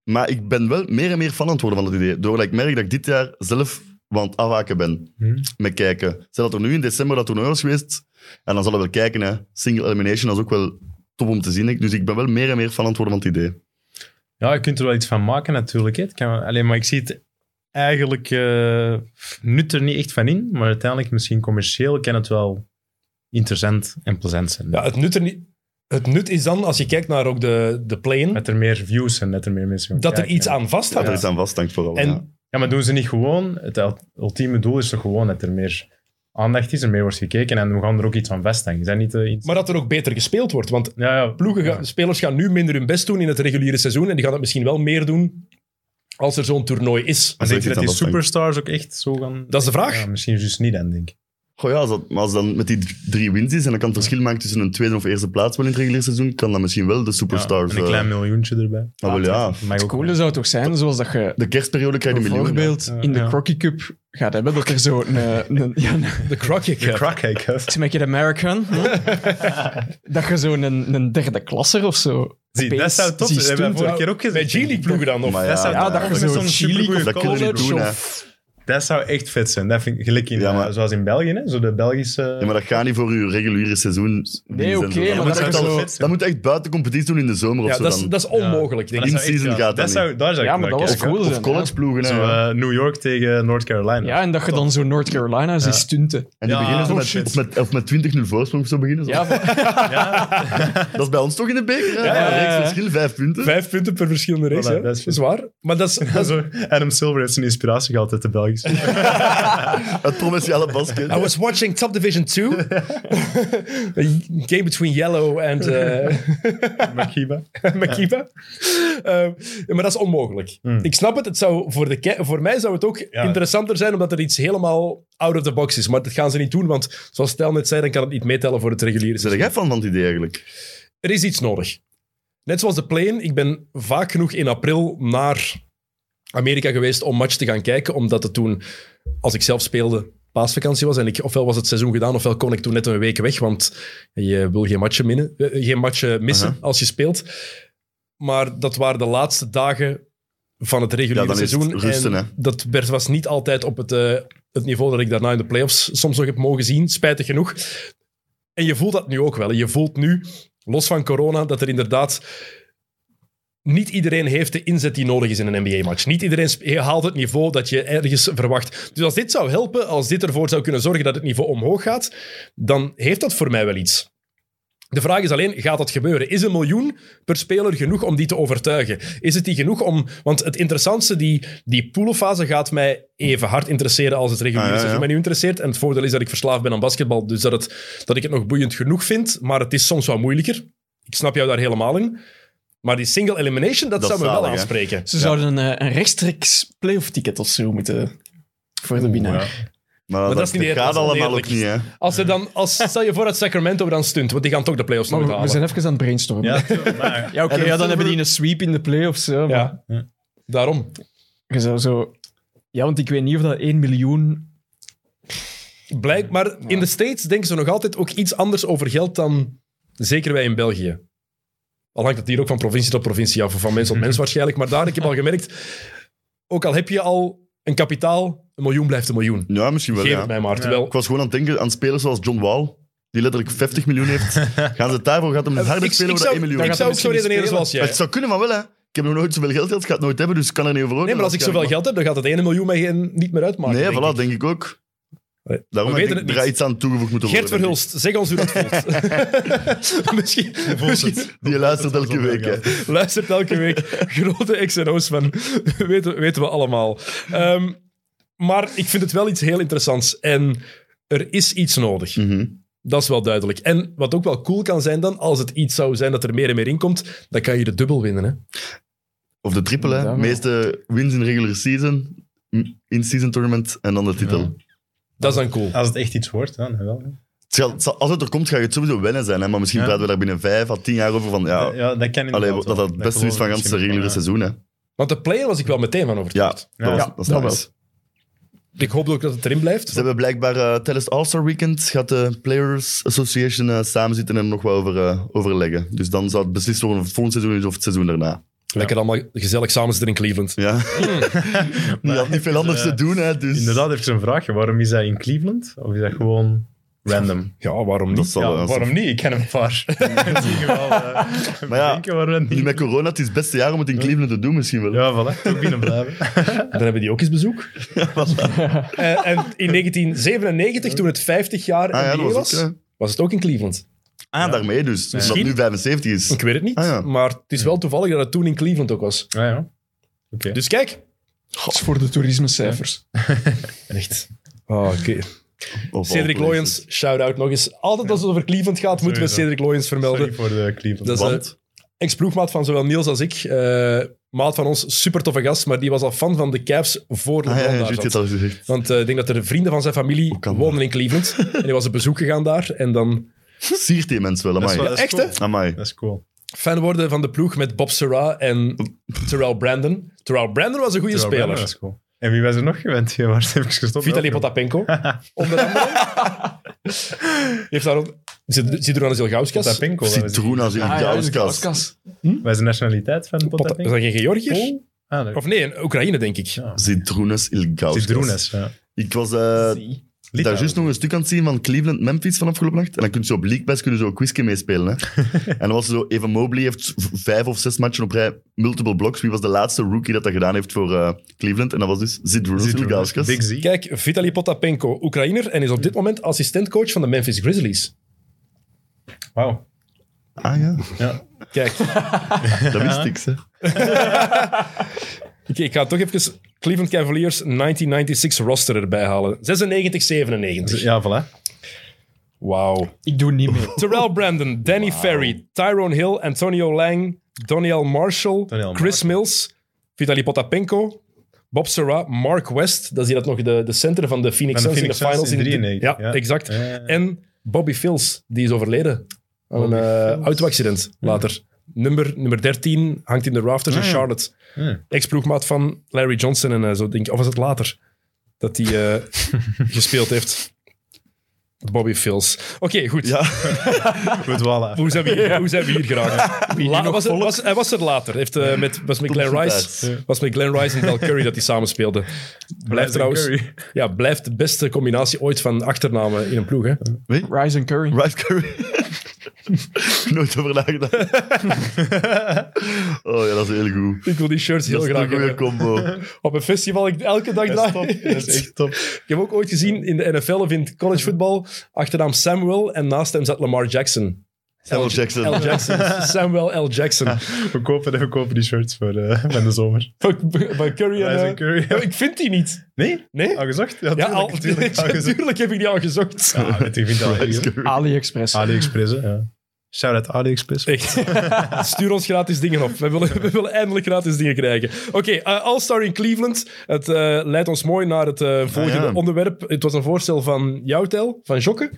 [SPEAKER 2] Maar ik ben wel meer en meer fan aan het worden van dat idee. Doordat ik merk dat ik dit jaar zelf wel aan het afhaken ben.
[SPEAKER 3] Hm.
[SPEAKER 2] Met kijken. Stel dat er nu in december dat toernooi was geweest. En dan zullen we wel kijken. Hè. Single elimination, dat is ook wel top om te zien. denk ik. Dus ik ben wel meer en meer fan aan het worden van het idee.
[SPEAKER 3] Ja, je kunt er wel iets van maken natuurlijk. Hè. Het kan, alleen, maar ik zie het eigenlijk eh, nut er niet echt van in. Maar uiteindelijk, misschien commercieel, kan het wel interessant en plezant zijn.
[SPEAKER 1] Ja, het, nut er niet, het nut is dan, als je kijkt naar ook de, de play-in,
[SPEAKER 3] Dat er meer views zijn, dat er meer mensen gaan
[SPEAKER 1] dat er
[SPEAKER 3] kijken.
[SPEAKER 1] iets aan
[SPEAKER 2] Dat
[SPEAKER 1] vaststaat.
[SPEAKER 2] er is aan vast hangt vooral.
[SPEAKER 1] En-
[SPEAKER 2] ja.
[SPEAKER 3] Ja, maar doen ze niet gewoon... Het ul- ultieme doel is toch gewoon dat er meer aandacht is, er meer wordt gekeken en we gaan er ook iets aan vasthangen. Is dat niet eh, iets...
[SPEAKER 1] Maar dat er ook beter gespeeld wordt. Want
[SPEAKER 3] ja, ja.
[SPEAKER 1] ploegen gaan-
[SPEAKER 3] Ja.
[SPEAKER 1] spelers gaan nu minder hun best doen in het reguliere seizoen. En die gaan het misschien wel meer doen als er zo'n toernooi is.
[SPEAKER 3] Maar denk
[SPEAKER 2] Als er
[SPEAKER 3] je
[SPEAKER 2] iets
[SPEAKER 3] dat
[SPEAKER 2] aan
[SPEAKER 3] die
[SPEAKER 2] vasthangt.
[SPEAKER 3] superstars ook echt zo gaan...
[SPEAKER 1] Dat is de vraag.
[SPEAKER 3] Ja, misschien juist niet dan, denk ik.
[SPEAKER 2] Goh ja, als dat, maar als dan met die d- drie wins is en dan kan het verschil maken tussen een tweede of eerste plaats wel in het reguliere seizoen, kan dan misschien wel de superstars...
[SPEAKER 3] Ja, en een
[SPEAKER 2] eh,
[SPEAKER 3] klein miljoentje erbij.
[SPEAKER 2] Ah, wel, ja.
[SPEAKER 3] Dat mag
[SPEAKER 4] Het
[SPEAKER 3] ook
[SPEAKER 4] coole zou toch zijn, zoals dat je
[SPEAKER 2] de kerstperiode krijg je een miljoen. hè.
[SPEAKER 4] bijvoorbeeld
[SPEAKER 3] miljoen, ja.
[SPEAKER 4] in de
[SPEAKER 3] Ja.
[SPEAKER 4] Crocky Cup gaat hebben, dat er zo een... een, een- ja, een-
[SPEAKER 1] De Crockett
[SPEAKER 3] De
[SPEAKER 1] Cup.
[SPEAKER 3] crack, I guess.
[SPEAKER 4] to make it American. hè? dat je zo'n een, een derde klasser of zo...
[SPEAKER 3] Zie, dat
[SPEAKER 4] opeens
[SPEAKER 3] zou tof
[SPEAKER 4] ziet
[SPEAKER 3] zijn. We hebben
[SPEAKER 4] doen.
[SPEAKER 3] vorige keer ook gezien.
[SPEAKER 1] Bij G-League ploegen dan nog.
[SPEAKER 2] Maar
[SPEAKER 3] Dat zou
[SPEAKER 2] ja,
[SPEAKER 4] Ja, dat je
[SPEAKER 3] Met zo'n
[SPEAKER 4] zo'n chili...
[SPEAKER 3] supergoeie-
[SPEAKER 2] dat kunnen we niet
[SPEAKER 3] college
[SPEAKER 2] doen, hè.
[SPEAKER 3] Dat zou echt vet zijn. Dat vind ik gelijk in,
[SPEAKER 2] Ja, maar-
[SPEAKER 3] eh, zoals in België, hè? zo de Belgische...
[SPEAKER 2] Ja, maar dat gaat niet voor je reguliere seizoen.
[SPEAKER 4] Nee, oké,
[SPEAKER 2] dat,
[SPEAKER 4] maar dat
[SPEAKER 2] moet
[SPEAKER 4] is
[SPEAKER 2] echt
[SPEAKER 4] zo-
[SPEAKER 2] al- dat moet echt buiten competitie doen in de zomer of
[SPEAKER 1] Ja,
[SPEAKER 2] zo.
[SPEAKER 1] dat is,
[SPEAKER 2] dan.
[SPEAKER 1] dat is onmogelijk,
[SPEAKER 3] Maar
[SPEAKER 1] denk ik.
[SPEAKER 3] dat zou echt
[SPEAKER 2] In-season
[SPEAKER 3] gaaf-
[SPEAKER 2] gaat dat
[SPEAKER 3] dat zou, Daar zou ik
[SPEAKER 4] Ja, maar
[SPEAKER 3] naar
[SPEAKER 4] dat was
[SPEAKER 3] kijken.
[SPEAKER 4] cool.
[SPEAKER 2] of
[SPEAKER 4] zijn,
[SPEAKER 2] collegeploegen.
[SPEAKER 3] Zo,
[SPEAKER 2] hè.
[SPEAKER 3] eh, New York tegen North Carolina.
[SPEAKER 4] Ja, en dat je dan zo North Carolina ziet stunten.
[SPEAKER 2] en die
[SPEAKER 3] ja,
[SPEAKER 2] beginnen zo
[SPEAKER 3] oh,
[SPEAKER 2] met,
[SPEAKER 3] shit.
[SPEAKER 2] of met, of met 20-0 voorsprong of zo beginnen. zo.
[SPEAKER 4] Ja, van-
[SPEAKER 2] Dat is bij ons toch in de beker. hè?
[SPEAKER 3] Ja, ja,
[SPEAKER 2] Een
[SPEAKER 4] ja, ja.
[SPEAKER 2] reeks verschil, vijf punten.
[SPEAKER 1] Vijf punten per verschillende race,
[SPEAKER 3] Voilà,
[SPEAKER 1] hè.
[SPEAKER 3] dat
[SPEAKER 1] dat
[SPEAKER 3] is-
[SPEAKER 1] is, waar. Maar dat is, dat is-
[SPEAKER 3] Zo, Adam Silver heeft zijn inspiratie gehad uit de Belgische.
[SPEAKER 2] Het provinciale basket.
[SPEAKER 1] I was watching Top Division 2. game between Yellow and eh,
[SPEAKER 3] Makiba.
[SPEAKER 1] Makiba. Eh, maar dat is onmogelijk. Ik snap het. het zou voor, de ke- voor mij zou het ook interessanter zijn omdat er iets helemaal out of the box is. Maar dat gaan ze niet doen, want zoals Stel net zei, dan kan het niet meetellen voor het reguliere
[SPEAKER 2] Zeg
[SPEAKER 1] seizoen.
[SPEAKER 2] jij van van het idee eigenlijk?
[SPEAKER 1] Er is iets nodig. Net zoals de play-in. Ik ben vaak genoeg in april naar Amerika geweest om match te gaan kijken, omdat het toen, als ik zelf speelde, paasvakantie was. En ik, ofwel was het seizoen gedaan, ofwel kon ik toen net een week weg, want je wil geen matchen, minnen, eh, geen matchen missen
[SPEAKER 2] Aha.
[SPEAKER 1] als je speelt. Maar dat waren de laatste dagen van het reguliere
[SPEAKER 2] Ja, dan is het
[SPEAKER 1] seizoen.
[SPEAKER 2] rusten, hè.
[SPEAKER 1] en dat werd- was niet altijd op het, eh, het niveau dat ik daarna in de playoffs soms nog heb mogen zien, spijtig genoeg. En je voelt dat nu ook wel. Je voelt nu, los van corona, dat er inderdaad niet iedereen heeft de inzet die nodig is in een NBA-match. Niet iedereen sp- haalt het niveau dat je ergens verwacht. Dus als dit zou helpen, als dit ervoor zou kunnen zorgen dat het niveau omhoog gaat, dan heeft dat voor mij wel iets. De vraag is alleen, gaat dat gebeuren? Is een miljoen per speler genoeg om die te overtuigen? Is het die genoeg om... Want het interessantste, die, die poolenfase gaat mij even hard interesseren als het reguliere
[SPEAKER 2] Ah, ja, ja.
[SPEAKER 1] seizoen mij nu interesseert. En het voordeel is dat ik verslaafd ben aan basketbal, dus dat, het, dat ik het nog boeiend genoeg vind. Maar het is soms wat moeilijker. Ik snap jou daar helemaal in. Maar die single elimination, dat,
[SPEAKER 2] Dat
[SPEAKER 1] zou me
[SPEAKER 2] is
[SPEAKER 1] wel
[SPEAKER 2] zalig, hè?
[SPEAKER 1] aanspreken.
[SPEAKER 4] ze zouden een, eh, een rechtstreeks playoff ticket of zo moeten... Voor de winnaar.
[SPEAKER 2] Maar, dat,
[SPEAKER 1] dat is niet eerlijk,
[SPEAKER 2] gaat
[SPEAKER 1] dat is
[SPEAKER 2] allemaal ook
[SPEAKER 1] oneerlijk.
[SPEAKER 2] niet, hè?
[SPEAKER 1] Als er dan, als, stel je voor dat Sacramento dan stunt, want die gaan toch de playoffs
[SPEAKER 4] Maar
[SPEAKER 1] nooit
[SPEAKER 4] we, we
[SPEAKER 1] halen.
[SPEAKER 4] zijn even aan het brainstormen. Ja,
[SPEAKER 3] Ja, maar,
[SPEAKER 2] Adam
[SPEAKER 4] oké, ja, dan
[SPEAKER 2] Silver-
[SPEAKER 4] hebben die een sweep in de playoffs. Ja, maar
[SPEAKER 1] Ja, daarom.
[SPEAKER 4] Je zou zo Ja, want ik weet niet of dat 1 miljoen...
[SPEAKER 1] Blijk, maar in de States denken ze nog altijd ook iets anders over geld dan zeker wij in België. Al hangt het hier ook van provincie tot provincie af, of van mens tot mens waarschijnlijk. Maar daar, ik heb al gemerkt, ook al heb je al een kapitaal, een miljoen blijft een miljoen.
[SPEAKER 2] Ja, misschien wel.
[SPEAKER 1] Geef
[SPEAKER 2] Ja.
[SPEAKER 1] het mij maar. Terwijl,
[SPEAKER 2] Ik was gewoon aan het denken aan spelers zoals John Wall, die letterlijk 50 miljoen heeft. Gaan ze daarvoor gaat hem harder
[SPEAKER 1] ik,
[SPEAKER 2] spelen
[SPEAKER 1] ik
[SPEAKER 2] voor dat 1
[SPEAKER 1] zou, ik
[SPEAKER 2] miljoen.
[SPEAKER 4] gaat hij
[SPEAKER 1] zou ook zo
[SPEAKER 4] misschien
[SPEAKER 1] redeneren
[SPEAKER 4] spelen.
[SPEAKER 1] zoals
[SPEAKER 2] Maar
[SPEAKER 1] jij.
[SPEAKER 2] Het zou kunnen, maar wel hè. Ik heb nog nooit zoveel geld gehad, ik ga het nooit hebben, dus ik kan er niet over
[SPEAKER 1] Nee,
[SPEAKER 2] oordelen,
[SPEAKER 1] maar als ik zoveel
[SPEAKER 2] waarschijnlijk.
[SPEAKER 1] geld heb, dan gaat het ene miljoen mij geen- niet meer uitmaken.
[SPEAKER 2] Nee,
[SPEAKER 1] denk
[SPEAKER 2] voilà,
[SPEAKER 1] ik.
[SPEAKER 2] denk ik ook.
[SPEAKER 1] Nee,
[SPEAKER 2] Daarom
[SPEAKER 1] we
[SPEAKER 2] heb
[SPEAKER 1] weten
[SPEAKER 2] ik
[SPEAKER 1] het
[SPEAKER 2] er
[SPEAKER 1] niet.
[SPEAKER 2] iets aan toegevoegd moeten
[SPEAKER 1] Gert
[SPEAKER 2] worden. denk ik.
[SPEAKER 1] Verhulst, zeg ons hoe dat voelt. misschien, misschien
[SPEAKER 2] Die luistert elke
[SPEAKER 3] Zoveel
[SPEAKER 2] week. hè.
[SPEAKER 3] geld.
[SPEAKER 1] luistert elke week grote XNO's van, weten, weten we allemaal. Ehm, maar ik vind het wel iets heel interessants. En er is iets nodig.
[SPEAKER 2] Mhm.
[SPEAKER 1] Dat is wel duidelijk. En wat ook wel cool kan zijn dan, als het iets zou zijn dat er meer en meer inkomt, dan kan je de dubbel winnen. Hè?
[SPEAKER 2] Of de triple, hè.
[SPEAKER 4] Ja, maar-
[SPEAKER 2] Meeste wins in regular season, in-season tournament en dan de titel.
[SPEAKER 3] Ja.
[SPEAKER 1] Dat is dan cool.
[SPEAKER 3] Als het echt iets wordt, dan wel. hè.
[SPEAKER 2] Het zal- het zal- als het er komt, ga je het sowieso wennen zijn. Hè? Maar misschien
[SPEAKER 3] Ja.
[SPEAKER 2] praten we daar binnen vijf à tien jaar over van... Ja,
[SPEAKER 3] Ja, dat kan
[SPEAKER 2] allee,
[SPEAKER 3] inderdaad wel.
[SPEAKER 2] dat dat het beste is
[SPEAKER 3] geloof
[SPEAKER 2] van
[SPEAKER 3] ik
[SPEAKER 2] het
[SPEAKER 3] misschien
[SPEAKER 2] reguliere
[SPEAKER 3] wel, ja.
[SPEAKER 2] seizoen. Hè? Ja,
[SPEAKER 1] Want de player was ik wel meteen van overtuigd.
[SPEAKER 2] dat,
[SPEAKER 3] Ja.
[SPEAKER 2] was- dat is
[SPEAKER 4] dat
[SPEAKER 2] nice.
[SPEAKER 4] wel.
[SPEAKER 1] Ik hoop ook dat het erin blijft.
[SPEAKER 2] Ze hebben blijkbaar eh, tijdens het All-Star Weekend gaat de Players Association eh, samen zitten en er nog wel over eh, overleggen. Dus dan zou het beslist worden of het volgend seizoen is of het seizoen daarna.
[SPEAKER 1] Lekker allemaal gezellig samen zitten in Cleveland.
[SPEAKER 2] Ja. Je had niet veel anders te doen, hè, dus...
[SPEAKER 3] Inderdaad, heeft ze een vraagje. Waarom is dat in Cleveland? Of is dat gewoon random?
[SPEAKER 1] Ja, waarom
[SPEAKER 2] Dat
[SPEAKER 1] niet?
[SPEAKER 2] zal,
[SPEAKER 3] Ja,
[SPEAKER 2] eh,
[SPEAKER 3] waarom niet? Ik ken een paar. Ik zie wel, eh,
[SPEAKER 2] Maar ja,
[SPEAKER 3] denken waarom
[SPEAKER 2] Nu
[SPEAKER 3] niet.
[SPEAKER 2] met corona, het is het beste jaar om het in Cleveland te doen misschien wel.
[SPEAKER 3] Ja, voilà. Toch binnen blijven.
[SPEAKER 1] Dan hebben die ook eens bezoek. Eh, en in 1997, toen het 50 jaar
[SPEAKER 2] Ah, ja,
[SPEAKER 1] NBA
[SPEAKER 2] dat
[SPEAKER 1] was,
[SPEAKER 2] was ook, ja.
[SPEAKER 1] was het ook in Cleveland.
[SPEAKER 2] Ah, daarmee dus. Omdat
[SPEAKER 1] Misschien-
[SPEAKER 2] het nu 75 is.
[SPEAKER 1] Ik weet het niet,
[SPEAKER 2] Ah, ja.
[SPEAKER 1] maar het is wel toevallig dat het toen in Cleveland ook was.
[SPEAKER 3] Ah, ja. Oké.
[SPEAKER 1] Dus kijk.
[SPEAKER 4] Dat is voor de toerismecijfers.
[SPEAKER 1] Echt. Oh, oké.
[SPEAKER 2] Of
[SPEAKER 1] Cedric
[SPEAKER 2] all places.
[SPEAKER 1] Loyens, shout-out nog eens. Altijd als het over Cleveland gaat, moeten we
[SPEAKER 3] Sowieso.
[SPEAKER 1] Cedric Loyens
[SPEAKER 3] Sorry
[SPEAKER 1] vermelden.
[SPEAKER 3] voor de Cleveland.
[SPEAKER 1] Dat is
[SPEAKER 2] Want?
[SPEAKER 1] een ex-ploegmaat van zowel Niels als ik. Eh, maat van ons, super toffe gast, maar die was al fan van de Cavs voor
[SPEAKER 2] Ah,
[SPEAKER 1] LeBron
[SPEAKER 2] ja,
[SPEAKER 1] daar
[SPEAKER 2] ja, juist, je
[SPEAKER 1] zat.
[SPEAKER 2] hebt al gezegd.
[SPEAKER 1] Want eh, ik denk dat er vrienden van zijn familie
[SPEAKER 2] kan dat?
[SPEAKER 1] woonden in Cleveland. en hij was op bezoek gegaan daar. En dan
[SPEAKER 2] Siert die mens wel,
[SPEAKER 3] Dat is
[SPEAKER 2] amai.
[SPEAKER 3] wel-
[SPEAKER 2] Ja,
[SPEAKER 3] dat is
[SPEAKER 1] echt,
[SPEAKER 3] cool.
[SPEAKER 1] hè?
[SPEAKER 2] Amai.
[SPEAKER 3] Dat is cool.
[SPEAKER 1] fan worden van de ploeg met Bob Serra en Terrell Brandon. Terrell Brandon was een goede
[SPEAKER 3] Terwijl Brandon, Dat
[SPEAKER 1] speler.
[SPEAKER 3] is cool. En wie was er nog gewend? Ja, waar heb ik gestopt?
[SPEAKER 1] Vitaly Potapenko, onder andere. heeft daar ook... Zit, zit er aan een
[SPEAKER 3] Dat
[SPEAKER 1] Zilgauskas?
[SPEAKER 3] Pinko.
[SPEAKER 2] Citroen als in
[SPEAKER 4] Ah, ja,
[SPEAKER 2] jouw
[SPEAKER 4] dat is een
[SPEAKER 2] kast.
[SPEAKER 4] gaskas.
[SPEAKER 3] Wat is de nationaliteit van
[SPEAKER 1] Pota- Is
[SPEAKER 3] Potapinko?
[SPEAKER 1] dat geen Georgiër?
[SPEAKER 3] Ah, dat-
[SPEAKER 1] Of nee, een Oekraïne, denk ik.
[SPEAKER 3] ja.
[SPEAKER 2] Citroenas il Gauskas.
[SPEAKER 3] Citroenes, ja.
[SPEAKER 2] Ik was eh, daar juist nog een stuk aan het zien van Cleveland-Memphis van afgelopen nacht. En dan kun je zo op League Pass kun je zo een quizje meespelen. Hè. en dan was er zo, Evan Mobley heeft v- vijf of zes matchen op rij, multiple blocks. Wie was de laatste rookie dat dat gedaan heeft voor eh, Cleveland? En dat was dus Citroenas il
[SPEAKER 3] Citroenes. Big
[SPEAKER 2] Gauskas.
[SPEAKER 3] Z.
[SPEAKER 1] Kijk, Vitaly Potapenko, Oekraïner, en is op dit moment assistentcoach van de Memphis Grizzlies.
[SPEAKER 3] Wauw.
[SPEAKER 2] Ah ja,
[SPEAKER 3] Ja.
[SPEAKER 1] Kijk,
[SPEAKER 2] dat wist ik. Hè.
[SPEAKER 1] ik, ik ga toch even Cleveland Cavaliers 1996 roster erbij halen. 96-97.
[SPEAKER 3] ja, voilà.
[SPEAKER 1] Wauw.
[SPEAKER 4] Ik doe niet mee.
[SPEAKER 1] Terrell Brandon, Danny Ferry, Tyrone Hill, Antonio Lang, Doniel Marshall,
[SPEAKER 3] Doniel
[SPEAKER 1] Chris Mills, Vitaly Potapenko, Bob Serra, Mark West, dat is hier dat nog de, de center van de Phoenix
[SPEAKER 3] Van de
[SPEAKER 1] Suns in de
[SPEAKER 3] Phoenix
[SPEAKER 1] finals.
[SPEAKER 3] Suns in
[SPEAKER 1] de-
[SPEAKER 3] 93,
[SPEAKER 1] ja,
[SPEAKER 3] ja.
[SPEAKER 1] exact.
[SPEAKER 3] Ja, ja, ja.
[SPEAKER 1] En Bobby Fils, die is overleden aan een
[SPEAKER 3] Bobby
[SPEAKER 1] eh,
[SPEAKER 3] Fils.
[SPEAKER 1] auto-accident later. Nummer, nummer 13 hangt in de rafters in
[SPEAKER 3] Ah, ja.
[SPEAKER 1] Charlotte.
[SPEAKER 3] Ja.
[SPEAKER 1] Ex-ploegmaat van Larry Johnson en eh, zo, denk ik. Of was het later dat hij eh, gespeeld heeft? Bobby Fils. Oké, goed.
[SPEAKER 3] We dwalen af.
[SPEAKER 1] Hoe zijn we hier, hoe zijn we hier geraakt? La- was het- was- hij was er later. Heeft, eh, met, was, met Glenn
[SPEAKER 2] Tot
[SPEAKER 1] Rice,
[SPEAKER 2] ziens.
[SPEAKER 1] was met Glenn Rice en Del Curry dat die samen speelden. Blijft trouwens
[SPEAKER 3] Curry.
[SPEAKER 1] ja, blijft de beste combinatie ooit van achternamen in een ploeg. Hè?
[SPEAKER 4] Rice and Curry.
[SPEAKER 2] Rice Curry. Nooit over nagedacht. oh ja, dat is heel goed.
[SPEAKER 1] Ik wil die shirts heel
[SPEAKER 2] Dat is een
[SPEAKER 1] graag
[SPEAKER 2] goede
[SPEAKER 1] hebben.
[SPEAKER 2] combo.
[SPEAKER 1] Op een festival, ik elke dag daar. Ik
[SPEAKER 3] top.
[SPEAKER 1] heb ook ooit gezien in de NFL of in college voetbal, achternaam Samuel en naast hem zat Lamar Jackson.
[SPEAKER 2] L. Jackson.
[SPEAKER 1] L. Jackson. Samuel L. Jackson.
[SPEAKER 3] We kopen, we kopen die shirts voor eh, van de zomer.
[SPEAKER 1] Ook b- Bij Curry en...
[SPEAKER 3] Rice
[SPEAKER 1] eh,
[SPEAKER 3] and Curry. Ah,
[SPEAKER 1] ja, ik vind die niet.
[SPEAKER 3] Nee?
[SPEAKER 1] Nee?
[SPEAKER 3] Al gezocht? Ja,
[SPEAKER 1] Ja,
[SPEAKER 3] tuurlijk,
[SPEAKER 1] al,
[SPEAKER 3] tuurlijk, al gezocht.
[SPEAKER 1] natuurlijk heb ik die al gezocht.
[SPEAKER 3] Ja, weet je, ik vind dat wel
[SPEAKER 2] Rice
[SPEAKER 3] erg, hoor.
[SPEAKER 4] Ah,
[SPEAKER 2] Curry.
[SPEAKER 4] AliExpress.
[SPEAKER 3] Ah. AliExpress, hè, ja. Shout-out AliExpress.
[SPEAKER 1] Echt. Stuur ons gratis dingen op. We willen, we willen eindelijk gratis dingen krijgen. Oké, eh, All-Star in Cleveland. Het eh, leidt ons mooi naar het eh, volgende
[SPEAKER 2] Ah, ja.
[SPEAKER 1] onderwerp. Het was een voorstel van jou, Tel, van Jokke.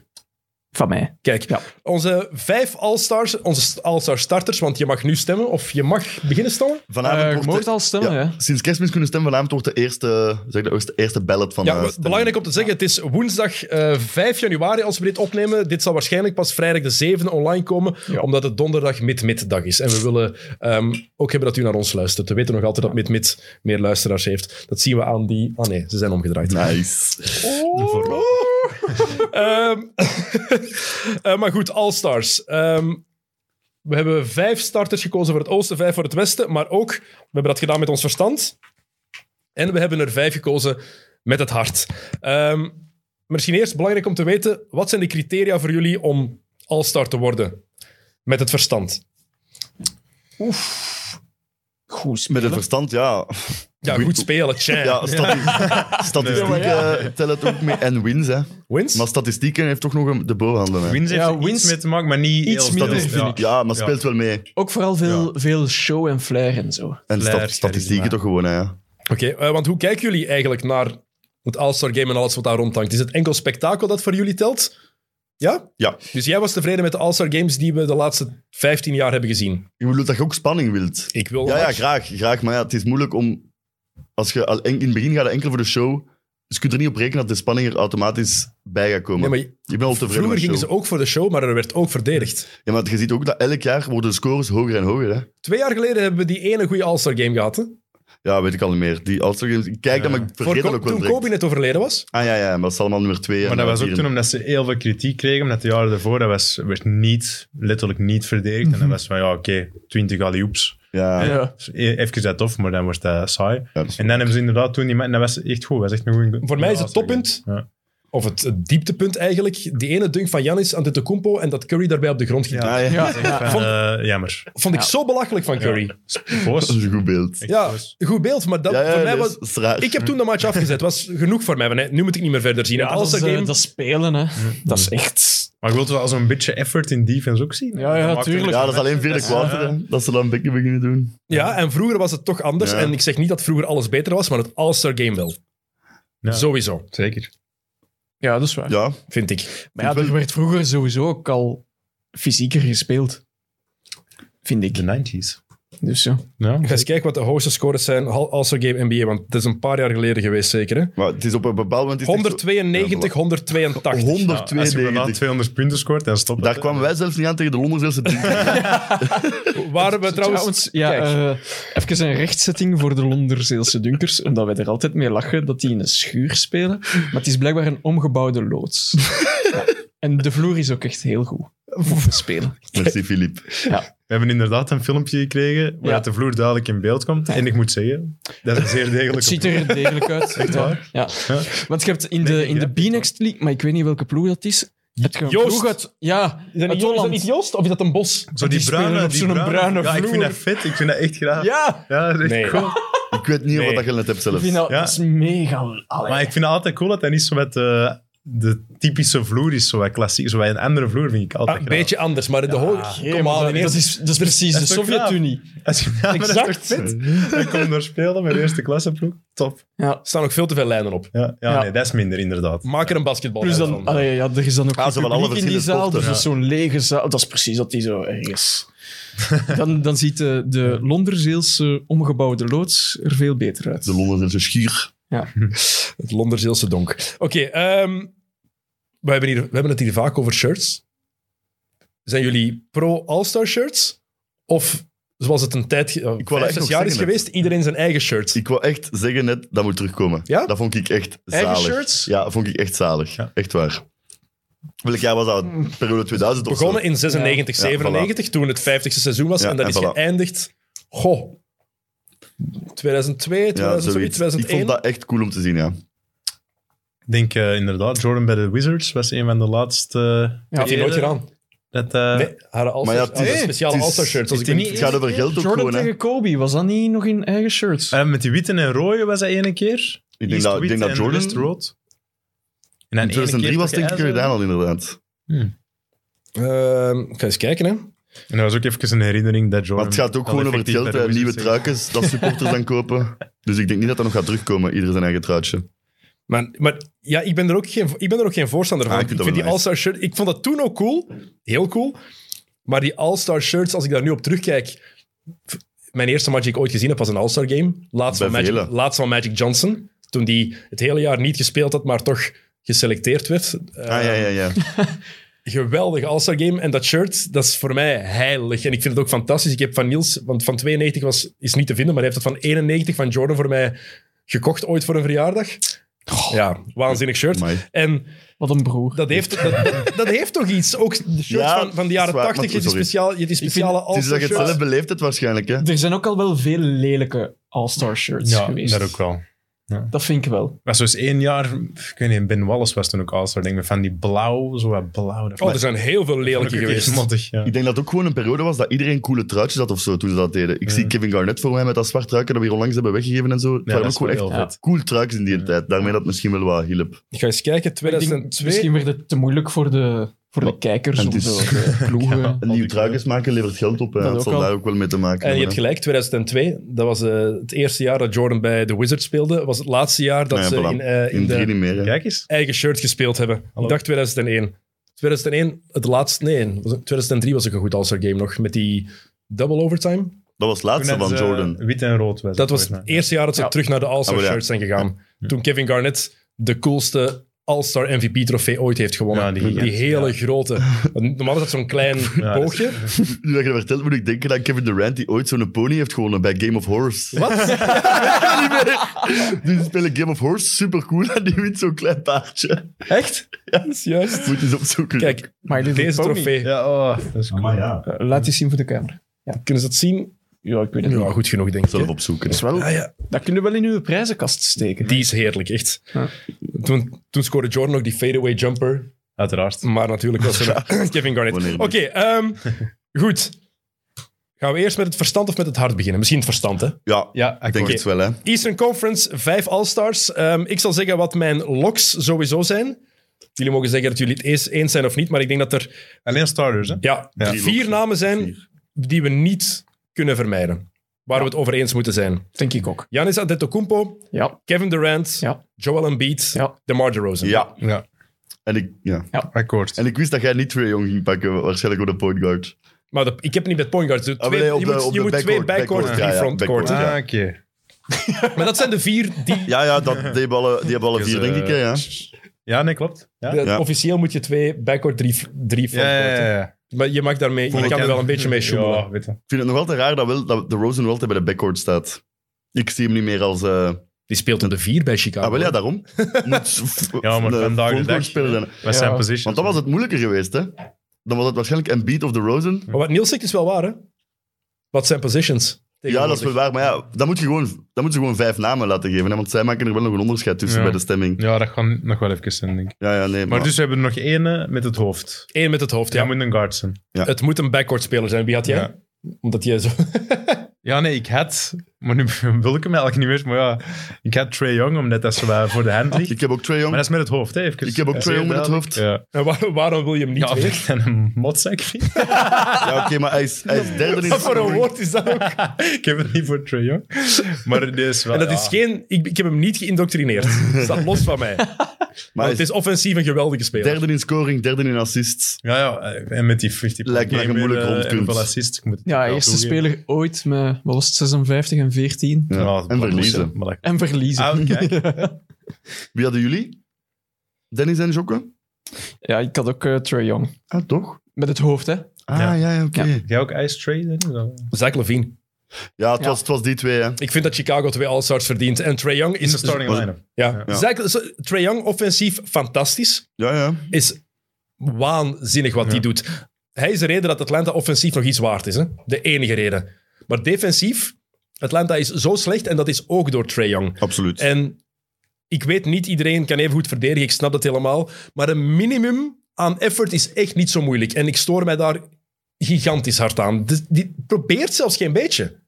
[SPEAKER 4] Van mij.
[SPEAKER 1] Kijk,
[SPEAKER 4] Ja.
[SPEAKER 1] onze vijf All-Stars, onze st- All-Star starters, want je mag nu stemmen of je mag beginnen stemmen.
[SPEAKER 2] Vanavond
[SPEAKER 4] Eh je
[SPEAKER 2] wordt
[SPEAKER 4] moet
[SPEAKER 2] de-
[SPEAKER 4] al stemmen,
[SPEAKER 2] ja,
[SPEAKER 4] hè.
[SPEAKER 2] Sinds kerstmis kunnen stemmen. Vanavond wordt de eerste, zeg dat, de eerste ballot van
[SPEAKER 1] Ja,
[SPEAKER 2] eh,
[SPEAKER 1] wat
[SPEAKER 2] stemmen.
[SPEAKER 1] belangrijk om te zeggen, het is woensdag eh, 5 januari als we dit opnemen. Dit zal waarschijnlijk pas vrijdag de 7e online komen, omdat het donderdag mid-middag is. En we willen ehm, ook hebben dat u naar ons luistert. We weten nog altijd dat mid-mid meer luisteraars heeft. Dat zien we aan die... Ah nee, ze zijn omgedraaid.
[SPEAKER 2] Nice.
[SPEAKER 1] Ehm, eh, maar goed, All-Stars. Ehm, we hebben vijf starters gekozen voor het oosten, vijf voor het westen. Maar ook, we hebben dat gedaan met ons verstand. En we hebben er vijf gekozen met het hart. Ehm, maar misschien eerst belangrijk om te weten, wat zijn de criteria voor jullie om All-Star te worden? Met het verstand.
[SPEAKER 4] Goed.
[SPEAKER 2] Met het verstand, ja.
[SPEAKER 1] Ja, goed spelen, tja.
[SPEAKER 2] Ja, stati- statistieken tellen het ook mee. En wins, hè.
[SPEAKER 1] Wins?
[SPEAKER 2] Maar statistieken heeft toch nog een, de bovenhand. hè.
[SPEAKER 3] Wins heeft
[SPEAKER 4] Ja,
[SPEAKER 3] er
[SPEAKER 4] Wins-
[SPEAKER 3] iets mee te maken, maar niet
[SPEAKER 4] iets
[SPEAKER 3] heel
[SPEAKER 4] minder,
[SPEAKER 3] veel.
[SPEAKER 4] vind
[SPEAKER 3] Ja.
[SPEAKER 4] ik.
[SPEAKER 2] Ja, maar speelt wel mee.
[SPEAKER 4] Ook vooral veel, veel show en flair en zo.
[SPEAKER 2] En
[SPEAKER 3] Flair,
[SPEAKER 2] sta-
[SPEAKER 3] charisma.
[SPEAKER 2] statistieken toch gewoon, hè. ja.
[SPEAKER 1] Oké, eh, want hoe kijken jullie eigenlijk naar het All-Star Game en alles wat daar rondhangt? Is het enkel spektakel dat voor jullie telt? Ja?
[SPEAKER 2] Ja.
[SPEAKER 1] Dus jij was tevreden met de All-Star Games die we de laatste 15 jaar hebben gezien?
[SPEAKER 2] Je bedoelt dat je ook spanning wilt.
[SPEAKER 1] Ik wil
[SPEAKER 2] Ja,
[SPEAKER 1] een
[SPEAKER 2] ja,
[SPEAKER 1] match.
[SPEAKER 2] graag, graag. Maar ja, het is moeilijk om... Als je, al- in het begin gaat het enkel voor de show. Dus je kunt er niet op rekenen dat de spanning er automatisch bij gaat komen.
[SPEAKER 1] Nee, maar je-
[SPEAKER 2] je bent al tevreden
[SPEAKER 1] vroeger
[SPEAKER 2] met de
[SPEAKER 1] gingen
[SPEAKER 2] show.
[SPEAKER 1] ze ook voor de show, maar er werd ook verdedigd.
[SPEAKER 2] Ja, maar je ziet ook dat elk jaar worden de scores hoger en hoger, hè.
[SPEAKER 1] Twee jaar geleden hebben we die ene goede All-Star Game gehad. Hè?
[SPEAKER 2] Ja, weet ik al niet meer. Die All-Star Games... Ik kijk dat, maar ik
[SPEAKER 1] Voor
[SPEAKER 2] vergeet dat
[SPEAKER 1] Ko-
[SPEAKER 2] ook wel
[SPEAKER 1] toen
[SPEAKER 2] direct.
[SPEAKER 1] Kobe net overleden was.
[SPEAKER 2] Ah ja, ja, maar dat is allemaal nummer twee.
[SPEAKER 3] Maar
[SPEAKER 2] en
[SPEAKER 3] dat
[SPEAKER 2] dan
[SPEAKER 3] was ook
[SPEAKER 2] vier.
[SPEAKER 3] toen omdat ze heel veel kritiek kregen, omdat de jaren daarvoor dat was, werd niet, letterlijk niet verdedigd. En dan was het van, ja, oké, 20 alley-oops.
[SPEAKER 2] Ja, ja.
[SPEAKER 4] Ja.
[SPEAKER 3] Dus e- Even dat tof, maar dan wordt dat saai.
[SPEAKER 2] dat is-
[SPEAKER 3] En dan hebben ze inderdaad toen die ma- en dat was echt goed. Was echt een goeie-
[SPEAKER 1] Voor mij is het
[SPEAKER 3] goeie
[SPEAKER 1] toppunt,
[SPEAKER 3] Ja.
[SPEAKER 1] of het, het dieptepunt eigenlijk, die ene dunk van Giannis Antetokounmpo en dat Curry daarbij op de grond ging.
[SPEAKER 3] Ja.
[SPEAKER 2] Ah, ja.
[SPEAKER 4] Ja,
[SPEAKER 3] afzeging.
[SPEAKER 1] Vond-
[SPEAKER 3] Van, eh, jammer.
[SPEAKER 1] Vond ik
[SPEAKER 4] Ja.
[SPEAKER 1] zo belachelijk van Curry.
[SPEAKER 2] Dat is
[SPEAKER 3] Boos.
[SPEAKER 2] een goed beeld. Ja,
[SPEAKER 1] Ja,
[SPEAKER 3] boos.
[SPEAKER 1] goed beeld, maar dat,
[SPEAKER 2] ja, dus-
[SPEAKER 1] voor mij
[SPEAKER 2] dat
[SPEAKER 1] was,
[SPEAKER 2] is- dat is raar.
[SPEAKER 1] Ik heb toen de match afgezet. Het was genoeg voor mij. want, hè, Nu moet ik niet meer verder zien. Het
[SPEAKER 4] dat, is,
[SPEAKER 1] All-Star
[SPEAKER 4] eh,
[SPEAKER 1] Game-
[SPEAKER 4] dat spelen, hè. Dat is echt...
[SPEAKER 3] Maar ik wil wel zo'n beetje effort in defense ook zien.
[SPEAKER 4] Ja, ja,
[SPEAKER 3] Dat maakt
[SPEAKER 4] tuurlijk.
[SPEAKER 3] ook-
[SPEAKER 2] Ja, dat is alleen vierde
[SPEAKER 3] Dat is,
[SPEAKER 2] kwartier,
[SPEAKER 3] eh,
[SPEAKER 2] hè, dat ze dan een beetje beginnen doen.
[SPEAKER 1] ja, en vroeger was het toch anders.
[SPEAKER 2] Ja.
[SPEAKER 1] En ik zeg niet dat vroeger alles beter was, maar het All-Star Game wel.
[SPEAKER 3] Ja.
[SPEAKER 1] Sowieso,
[SPEAKER 3] Zeker.
[SPEAKER 4] Ja, dat is waar.
[SPEAKER 2] Ja,
[SPEAKER 1] vind ik.
[SPEAKER 4] Maar ja,
[SPEAKER 2] Ik wil-
[SPEAKER 4] er werd vroeger sowieso ook al fysieker gespeeld. Vind ik.
[SPEAKER 3] De 90s.
[SPEAKER 4] Dus ja.
[SPEAKER 3] Ja.
[SPEAKER 1] Ga eens kijken wat de hoogste scores zijn. Hal- All-Star Game NBA, want het is een paar jaar geleden geweest zeker. Hè?
[SPEAKER 2] maar het is op een bepaald moment... is het echt zo-
[SPEAKER 1] 192, 182.
[SPEAKER 2] 192.
[SPEAKER 3] Nou, als je bijna 200 punten scoort, dan stopt
[SPEAKER 2] Daar
[SPEAKER 3] het.
[SPEAKER 2] kwamen wij zelfs niet aan tegen de Londense
[SPEAKER 1] Waren we trouwens...
[SPEAKER 4] Trouwens, ja,
[SPEAKER 1] kijk.
[SPEAKER 4] eh, even een rechtzetting voor de Londerzeelse dunkers, omdat wij er altijd mee lachen dat die in een schuur spelen. Maar het is blijkbaar een omgebouwde loods. Ja. En de vloer is ook echt heel goed voor spelen.
[SPEAKER 2] Merci, Philippe.
[SPEAKER 3] We hebben inderdaad een filmpje gekregen waar
[SPEAKER 4] Ja.
[SPEAKER 3] de vloer duidelijk in beeld komt. En ik moet zeggen, dat is een zeer degelijk.
[SPEAKER 4] Het ziet er degelijk uit.
[SPEAKER 3] Echt waar?
[SPEAKER 4] Ja. Want je hebt in de, in de B-Next League, maar ik weet niet welke ploeg dat is. Heb je een
[SPEAKER 1] Joost.
[SPEAKER 4] ploeg uit... Ja,
[SPEAKER 1] Is dat,
[SPEAKER 4] uit
[SPEAKER 1] niet, is dat
[SPEAKER 4] Holland.
[SPEAKER 1] niet Joost of is dat een bos?
[SPEAKER 3] Zo die,
[SPEAKER 4] Die spelen
[SPEAKER 3] bruine,
[SPEAKER 4] op
[SPEAKER 3] die
[SPEAKER 4] zo'n bruine
[SPEAKER 3] Ja, ik
[SPEAKER 4] vloer.
[SPEAKER 3] vind dat vet. Ik vind dat echt graag.
[SPEAKER 4] Ja,
[SPEAKER 3] Ja, dat is echt
[SPEAKER 1] Nee.
[SPEAKER 3] cool.
[SPEAKER 2] Ik weet niet
[SPEAKER 1] Nee.
[SPEAKER 2] wat je net hebt
[SPEAKER 4] ik
[SPEAKER 2] zelfs.
[SPEAKER 4] vind dat,
[SPEAKER 3] Ja.
[SPEAKER 4] dat is mega... Allee.
[SPEAKER 3] Maar ik vind het altijd cool dat dat niet zo met eh, de typische vloer is, zo wat klassiek. Zo wat een andere vloer vind ik altijd
[SPEAKER 1] Ah, een
[SPEAKER 3] graag.
[SPEAKER 1] beetje anders, maar in de hoogte.
[SPEAKER 4] Oké, maar dat, dat is, dat is precies
[SPEAKER 3] Dat
[SPEAKER 4] de
[SPEAKER 3] is toch graaf?
[SPEAKER 4] Sovjet-Unie.
[SPEAKER 3] Als je ja, maar dat is toch
[SPEAKER 4] Exact.
[SPEAKER 3] vet? Ik kom daar spelen met de eerste klasseploeg. Top.
[SPEAKER 1] Er staan nog veel te veel lijnen op.
[SPEAKER 3] Ja, ja,
[SPEAKER 4] Ja.
[SPEAKER 3] nee, dat is minder inderdaad.
[SPEAKER 1] Maak er een basketbal
[SPEAKER 4] Plus
[SPEAKER 1] van.
[SPEAKER 4] dan, allee, ja, er is dan ook
[SPEAKER 2] Ah,
[SPEAKER 4] geen
[SPEAKER 2] zo van alle
[SPEAKER 4] publiek in die
[SPEAKER 2] verschillende
[SPEAKER 4] zaal, dus
[SPEAKER 2] sporten,
[SPEAKER 4] dat is zo'n lege zaal. Dat is precies dat die zo ergens... dan, dan ziet de, de Londerzeelse omgebouwde loods er veel beter uit.
[SPEAKER 2] De Londense schier.
[SPEAKER 1] Het Londerzeelse donk. Oké, ehm, we, hebben hier- we hebben het hier vaak over shirts. Zijn jullie pro-All-Star shirts? Of zoals het een tijd, eh,
[SPEAKER 2] echt
[SPEAKER 1] vijf, zes
[SPEAKER 2] nog
[SPEAKER 1] jaar is
[SPEAKER 2] zeggen, hè.
[SPEAKER 1] geweest, iedereen zijn eigen shirt?
[SPEAKER 2] Ik wou echt zeggen net, dat moet terugkomen.
[SPEAKER 1] Ja?
[SPEAKER 2] Dat vond ik echt zalig.
[SPEAKER 4] Eigen shirts?
[SPEAKER 2] Ja, vond ik echt zalig.
[SPEAKER 3] Ja.
[SPEAKER 2] Echt waar. Welk jaar was dat? Periode 2000 of zo?
[SPEAKER 1] Begonnen in 96,
[SPEAKER 2] Ja,
[SPEAKER 1] 97, toen het 50ste seizoen was.
[SPEAKER 2] Ja,
[SPEAKER 1] en dat
[SPEAKER 2] en
[SPEAKER 1] is
[SPEAKER 2] voilà.
[SPEAKER 1] geëindigd, goh, 2002, 2000, zoiets,
[SPEAKER 2] Ik vond
[SPEAKER 1] 2001.
[SPEAKER 2] dat echt cool om te zien, ja.
[SPEAKER 3] Ik denk eh, inderdaad, Jordan bij de Wizards was een van de laatste.
[SPEAKER 4] Ja.
[SPEAKER 1] Had hij nooit
[SPEAKER 3] eerder
[SPEAKER 1] gedaan.
[SPEAKER 3] Dat, eh,
[SPEAKER 1] Eh, Nee, hadden All-Stars,
[SPEAKER 2] Maar ja, het is-
[SPEAKER 1] hadden speciale
[SPEAKER 2] het is-
[SPEAKER 1] All-Star shirts. Als ik
[SPEAKER 3] het is
[SPEAKER 1] me-
[SPEAKER 3] niet-
[SPEAKER 2] Het gaat over geld ook
[SPEAKER 4] Jordan
[SPEAKER 2] gewoon, hè.
[SPEAKER 4] tegen Kobe, was dat niet nog in eigen shirts?
[SPEAKER 3] eh, met die witte en rode was dat ene keer.
[SPEAKER 2] Ik denk dat, ik denk dat Jordan... In
[SPEAKER 3] Rood. En dan
[SPEAKER 2] 2003 was denk ik er gedaan al, inderdaad.
[SPEAKER 1] Ehm, ik ga eens kijken, hè.
[SPEAKER 3] En dat was ook even een herinnering dat Jordan...
[SPEAKER 2] Maar het gaat ook gewoon over het geld, hè. nieuwe truikens dat supporters dan kopen. Dus ik denk niet dat dat nog gaat terugkomen, ieder zijn eigen truitje.
[SPEAKER 1] Maar, maar ja, ik ben, er ook geen, ik ben er ook geen voorstander van.
[SPEAKER 2] Ah, ik
[SPEAKER 1] ik,
[SPEAKER 2] vind dat
[SPEAKER 1] vind die
[SPEAKER 2] wel nice.
[SPEAKER 1] All-Star shirt... Ik vond dat toen ook cool. Heel cool. Maar die All-Star shirts, als ik daar nu op terugkijk... f- Mijn eerste match die ik ooit gezien heb was een All-Star game. Laatst
[SPEAKER 2] Bij
[SPEAKER 1] van, Magic,
[SPEAKER 2] velen.
[SPEAKER 1] laatst van Magic Johnson. Toen die het hele jaar niet gespeeld had, maar toch geselecteerd werd. Eh,
[SPEAKER 2] Ah, ja, ja, ja.
[SPEAKER 1] geweldige All-Star Game. En dat shirt, dat is voor mij heilig. En ik vind het ook fantastisch. Ik heb van Niels, want van 92 was, is niet te vinden, maar hij heeft het van 91 van Jordan voor mij gekocht ooit voor een verjaardag. Ja, waanzinnig shirt.
[SPEAKER 2] Amai.
[SPEAKER 1] En
[SPEAKER 4] Wat een broer.
[SPEAKER 1] dat heeft, dat, dat, dat heeft toch iets. Ook de shirts van,
[SPEAKER 2] Ja,
[SPEAKER 1] van de
[SPEAKER 2] dat is
[SPEAKER 1] jaren
[SPEAKER 2] waar,
[SPEAKER 1] 80, je hebt
[SPEAKER 2] maar-
[SPEAKER 1] die
[SPEAKER 2] sorry.
[SPEAKER 1] speciale, je hebt die speciale
[SPEAKER 2] Het is
[SPEAKER 1] All-Star
[SPEAKER 2] dat je het zelf
[SPEAKER 1] shirts.
[SPEAKER 2] beleefd hebt waarschijnlijk, hè?
[SPEAKER 4] Er zijn ook al wel veel lelijke All-Star shirts
[SPEAKER 3] Ja,
[SPEAKER 4] geweest.
[SPEAKER 3] dat ook wel.
[SPEAKER 4] Dat vind ik wel.
[SPEAKER 3] was zoals één jaar, ik weet niet, Ben Wallace was toen ook All-Star, denk ik, van die blauw, zo wat blauw. Dat
[SPEAKER 1] Oh, er zijn heel veel lelijke geweest.
[SPEAKER 3] Mottig, ja.
[SPEAKER 2] Ik denk dat het ook gewoon een periode was dat iedereen coole truitjes had of zo toen ze dat deden. Ik zie Kevin Garnett voor mij met dat zwart truikje dat we hier onlangs hebben weggegeven en zo.
[SPEAKER 3] Ja,
[SPEAKER 2] dat
[SPEAKER 3] dat
[SPEAKER 2] was
[SPEAKER 3] is
[SPEAKER 2] gewoon
[SPEAKER 3] wel
[SPEAKER 2] echt
[SPEAKER 3] heel vet.
[SPEAKER 2] cool truikjes in die tijd. Daarmee dat misschien wel wat hielp.
[SPEAKER 1] Ik ga eens kijken,
[SPEAKER 4] Ik denk,
[SPEAKER 1] 2002.
[SPEAKER 4] misschien werd het te moeilijk voor de, voor de
[SPEAKER 2] Maar-
[SPEAKER 4] kijkers
[SPEAKER 2] en
[SPEAKER 4] om
[SPEAKER 2] het is-
[SPEAKER 4] zo de ploegen.
[SPEAKER 2] En nieuwe truikjes maken levert geld op. hè.
[SPEAKER 4] Dat
[SPEAKER 2] Dat,
[SPEAKER 4] ook
[SPEAKER 2] zal
[SPEAKER 4] al.
[SPEAKER 2] daar ook wel mee te maken
[SPEAKER 1] En Eh, je hebt
[SPEAKER 2] hebben.
[SPEAKER 1] gelijk, 2002, dat was eh, het eerste jaar dat Jordan bij de Wizards speelde. Dat was het laatste jaar dat
[SPEAKER 2] Nou
[SPEAKER 1] ze
[SPEAKER 2] ja,
[SPEAKER 1] in,
[SPEAKER 2] voilà.
[SPEAKER 1] eh, in
[SPEAKER 2] in
[SPEAKER 1] de
[SPEAKER 2] drie niet meer. hè.
[SPEAKER 3] Kijk eens.
[SPEAKER 1] eigen shirt gespeeld hebben.
[SPEAKER 3] Hallo.
[SPEAKER 1] Ik dacht 2001. 2001, het laatste... Nee, was het- 2003 was ook een goed All-Star game nog, met die double overtime.
[SPEAKER 2] Dat was het laatste
[SPEAKER 3] Toen
[SPEAKER 2] van
[SPEAKER 3] hadden ze eh,
[SPEAKER 2] Jordan.
[SPEAKER 3] Wit en rood was
[SPEAKER 1] Dat was
[SPEAKER 3] volgens
[SPEAKER 1] het
[SPEAKER 3] mij.
[SPEAKER 1] eerste jaar dat ze
[SPEAKER 4] Ja.
[SPEAKER 1] terug naar de All-Star
[SPEAKER 2] Ah, maar ja.
[SPEAKER 1] shirts zijn gegaan. Toen Kevin Garnett de coolste All-Star MVP-trofee ooit heeft gewonnen.
[SPEAKER 3] Ja, die
[SPEAKER 1] die
[SPEAKER 3] gigant,
[SPEAKER 1] hele
[SPEAKER 3] ja.
[SPEAKER 1] grote. Want Normaal is dat zo'n klein
[SPEAKER 3] Ja, dat is-
[SPEAKER 1] boogje.
[SPEAKER 2] Nu dat je dat vertelt, moet ik denken dat Kevin Durant die ooit zo'n pony heeft gewonnen bij Game of Horse.
[SPEAKER 1] Wat?
[SPEAKER 2] Die spelen Game of Horse super cool en die wint zo'n klein paardje.
[SPEAKER 1] Echt? Ja, dat is juist.
[SPEAKER 2] Moet je eens opzoeken.
[SPEAKER 1] Kijk,
[SPEAKER 4] My Little
[SPEAKER 1] deze
[SPEAKER 4] Pony.
[SPEAKER 1] trofee.
[SPEAKER 3] Ja, oh, dat is cool.
[SPEAKER 4] Eh, Laat die zien voor de camera.
[SPEAKER 1] Kunnen ze dat zien?
[SPEAKER 4] Ja, ik weet het
[SPEAKER 1] Ja, goed genoeg, denk ik.
[SPEAKER 2] zelf
[SPEAKER 1] hè.
[SPEAKER 2] opzoeken.
[SPEAKER 4] Dat is wel...
[SPEAKER 1] Ah, ja.
[SPEAKER 4] Dat Eh, kunnen we wel in uw prijzenkast steken.
[SPEAKER 1] Die is heerlijk, echt.
[SPEAKER 4] Ja.
[SPEAKER 1] Toen, toen scoorde Jordan ook die fadeaway jumper.
[SPEAKER 3] Uiteraard.
[SPEAKER 1] Maar natuurlijk was er Kevin Garnett.
[SPEAKER 2] Wanneer
[SPEAKER 1] Oké,
[SPEAKER 2] niet?
[SPEAKER 1] ehm, goed. Gaan we eerst met het verstand of met het hart beginnen? Misschien het verstand, hè?
[SPEAKER 2] Ja,
[SPEAKER 3] Ja,
[SPEAKER 2] ik denk
[SPEAKER 1] Oké.
[SPEAKER 2] het wel, hè.
[SPEAKER 1] Eastern Conference, vijf All-Stars. Ehm, ik zal zeggen wat mijn locks sowieso zijn. Jullie mogen zeggen dat jullie het eens, eens zijn of niet, maar ik denk dat er
[SPEAKER 3] Alleen starters, hè?
[SPEAKER 1] ja,
[SPEAKER 3] Ja.
[SPEAKER 2] Drie
[SPEAKER 1] vier
[SPEAKER 2] locks, hè.
[SPEAKER 1] namen zijn
[SPEAKER 2] Vier.
[SPEAKER 1] die we niet kunnen vermijden. Waar we het over eens moeten zijn.
[SPEAKER 4] Denk ik ook.
[SPEAKER 1] Giannis Antetokounmpo,
[SPEAKER 4] Ja.
[SPEAKER 1] Kevin Durant,
[SPEAKER 4] Ja.
[SPEAKER 1] Joel Embiid,
[SPEAKER 4] Ja.
[SPEAKER 1] DeMar DeRozan.
[SPEAKER 2] Ja.
[SPEAKER 3] Ja,
[SPEAKER 2] En ik, ja.
[SPEAKER 3] akkoord.
[SPEAKER 2] en ik wist dat jij niet Trae Young ging pakken, waarschijnlijk op de point guard.
[SPEAKER 1] Maar de- ik heb niet met point guards. Dus
[SPEAKER 2] Ah,
[SPEAKER 1] twee-
[SPEAKER 2] nee, op
[SPEAKER 1] je
[SPEAKER 2] de-
[SPEAKER 1] moet,
[SPEAKER 2] op
[SPEAKER 1] je
[SPEAKER 2] de
[SPEAKER 1] moet twee backcourt
[SPEAKER 2] backcourt,
[SPEAKER 1] en
[SPEAKER 2] backcourt,
[SPEAKER 1] drie
[SPEAKER 2] ja, ja,
[SPEAKER 1] frontcourt.
[SPEAKER 2] backcourt.
[SPEAKER 3] Ah,
[SPEAKER 2] Ja.
[SPEAKER 3] oké.
[SPEAKER 1] Maar dat zijn de vier die
[SPEAKER 2] Ja, ja, dat, die, hebben alle, die hebben alle
[SPEAKER 3] Dus,
[SPEAKER 2] vier, denk
[SPEAKER 3] eh,
[SPEAKER 2] ik. Hè, ja.
[SPEAKER 3] Ja, nee, klopt. Ja,
[SPEAKER 1] Ja,
[SPEAKER 2] Ja.
[SPEAKER 1] Officieel moet je twee backcourt, drie, drie
[SPEAKER 3] ja,
[SPEAKER 1] frontcourt.
[SPEAKER 3] ja, ja, ja.
[SPEAKER 1] Maar je mag daarmee, je kan er wel een beetje mee sjoemelen.
[SPEAKER 3] Ja, weet je.
[SPEAKER 2] Ik vind het nog altijd raar dat, wel, dat de Rosen wel altijd bij de backcourt staat. Ik zie hem niet meer als... eh,
[SPEAKER 1] Die speelt op de vier bij Chicago.
[SPEAKER 2] ah, wel ja, daarom. Moet
[SPEAKER 3] Ja, maar
[SPEAKER 2] de
[SPEAKER 3] vandaag de
[SPEAKER 2] frontcourt
[SPEAKER 3] dag.
[SPEAKER 2] spelen dan.
[SPEAKER 3] Wat zijn
[SPEAKER 4] Ja.
[SPEAKER 3] positions?
[SPEAKER 2] Want dat was het moeilijker geweest, hè. Dan was het waarschijnlijk een beat of de Rosen.
[SPEAKER 1] Maar wat Niels zegt is wel waar, hè? Wat zijn positions?
[SPEAKER 2] Ja, dat is wel waar. Maar ja, dan moet je gewoon, dan moet je gewoon vijf namen laten geven. Hè, want zij maken er wel nog een onderscheid tussen
[SPEAKER 3] Ja.
[SPEAKER 2] bij de stemming.
[SPEAKER 3] Ja, dat gaat nog wel even zijn, denk ik.
[SPEAKER 2] Ja, ja, nee.
[SPEAKER 3] Maar
[SPEAKER 2] Maar,
[SPEAKER 3] dus we hebben er nog één met het hoofd.
[SPEAKER 1] Eén met het hoofd,
[SPEAKER 3] Ja.
[SPEAKER 1] ja.
[SPEAKER 3] Dat moet een guard zijn.
[SPEAKER 2] Ja.
[SPEAKER 1] Het moet een backcourt speler zijn. Wie had jij?
[SPEAKER 3] Ja.
[SPEAKER 1] Omdat jij zo...
[SPEAKER 3] Ja, nee, ik had... Maar nu wil ik hem eigenlijk niet meer. Maar ja, ik had Trae Young, omdat dat zo wat voor de hand ligt.
[SPEAKER 2] ik heb ook Trae Young.
[SPEAKER 3] dus- Maar dat is met het hoofd, hè? Even,
[SPEAKER 2] Ik heb ook
[SPEAKER 3] eh,
[SPEAKER 2] Trae Young met het hoofd. Ja,
[SPEAKER 3] Ja.
[SPEAKER 1] En waar- waarom wil je hem niet
[SPEAKER 3] Ja, of
[SPEAKER 1] weten?
[SPEAKER 3] ik dan een motzak vind.
[SPEAKER 2] oké, maar hij is, hij is derde in
[SPEAKER 1] Wat voor een
[SPEAKER 2] scoring.
[SPEAKER 1] woord is dat ook?
[SPEAKER 3] ik heb het niet voor Trae Young. Maar dit is wel...
[SPEAKER 1] En dat is
[SPEAKER 3] ja.
[SPEAKER 1] geen... Ik, ik heb hem niet geïndoctrineerd. Dat staat los van mij.
[SPEAKER 2] Maar hij
[SPEAKER 1] het
[SPEAKER 2] is
[SPEAKER 1] is offensief een geweldige speler.
[SPEAKER 2] derde in scoring, derde in assists.
[SPEAKER 3] Ja, ja. En met die 50
[SPEAKER 2] Lijkt me een moeilijk rondpunt.
[SPEAKER 3] rondpunt. assist. Ik moet het
[SPEAKER 4] Ja,
[SPEAKER 3] wel
[SPEAKER 4] eerste
[SPEAKER 3] toegeven.
[SPEAKER 4] speler ooit met, wat was het, 56 en 14.
[SPEAKER 2] Ja,
[SPEAKER 3] Ja,
[SPEAKER 2] en verliezen.
[SPEAKER 3] Maar dat-
[SPEAKER 4] En verliezen.
[SPEAKER 3] Ah, kijk.
[SPEAKER 2] Wie hadden jullie? Dennis en Jokke?
[SPEAKER 4] Ja, ik had ook eh, Trae Young.
[SPEAKER 2] Ah, toch?
[SPEAKER 4] Met het hoofd, hè.
[SPEAKER 2] Ah,
[SPEAKER 3] Ja.
[SPEAKER 2] ja, ja, oké.
[SPEAKER 4] Ja.
[SPEAKER 2] Ja,
[SPEAKER 3] Jij ook Ice Trae? Danny?
[SPEAKER 1] Zach Levine.
[SPEAKER 2] het,
[SPEAKER 4] Ja.
[SPEAKER 2] Was, het was die twee, hè.
[SPEAKER 1] Ik vind dat Chicago twee All-Stars verdient. En Trae Young
[SPEAKER 3] In
[SPEAKER 1] is...
[SPEAKER 3] de starting
[SPEAKER 2] was-
[SPEAKER 3] line-up.
[SPEAKER 1] Ja.
[SPEAKER 2] Ja.
[SPEAKER 1] Zach- zo- Trae Young offensief fantastisch.
[SPEAKER 2] Ja, ja.
[SPEAKER 1] is waanzinnig wat hij
[SPEAKER 3] Ja.
[SPEAKER 1] doet. Hij is de reden dat Atlanta offensief nog iets waard is. Hè? De enige reden. Maar defensief, Atlanta is zo slecht en dat is ook door Trae Young.
[SPEAKER 2] Absoluut.
[SPEAKER 1] En ik weet niet, iedereen kan even goed verdedigen, ik snap dat helemaal. Maar een minimum aan effort is echt niet zo moeilijk. En ik stoor mij daar gigantisch hard aan. Dus die probeert zelfs geen beetje.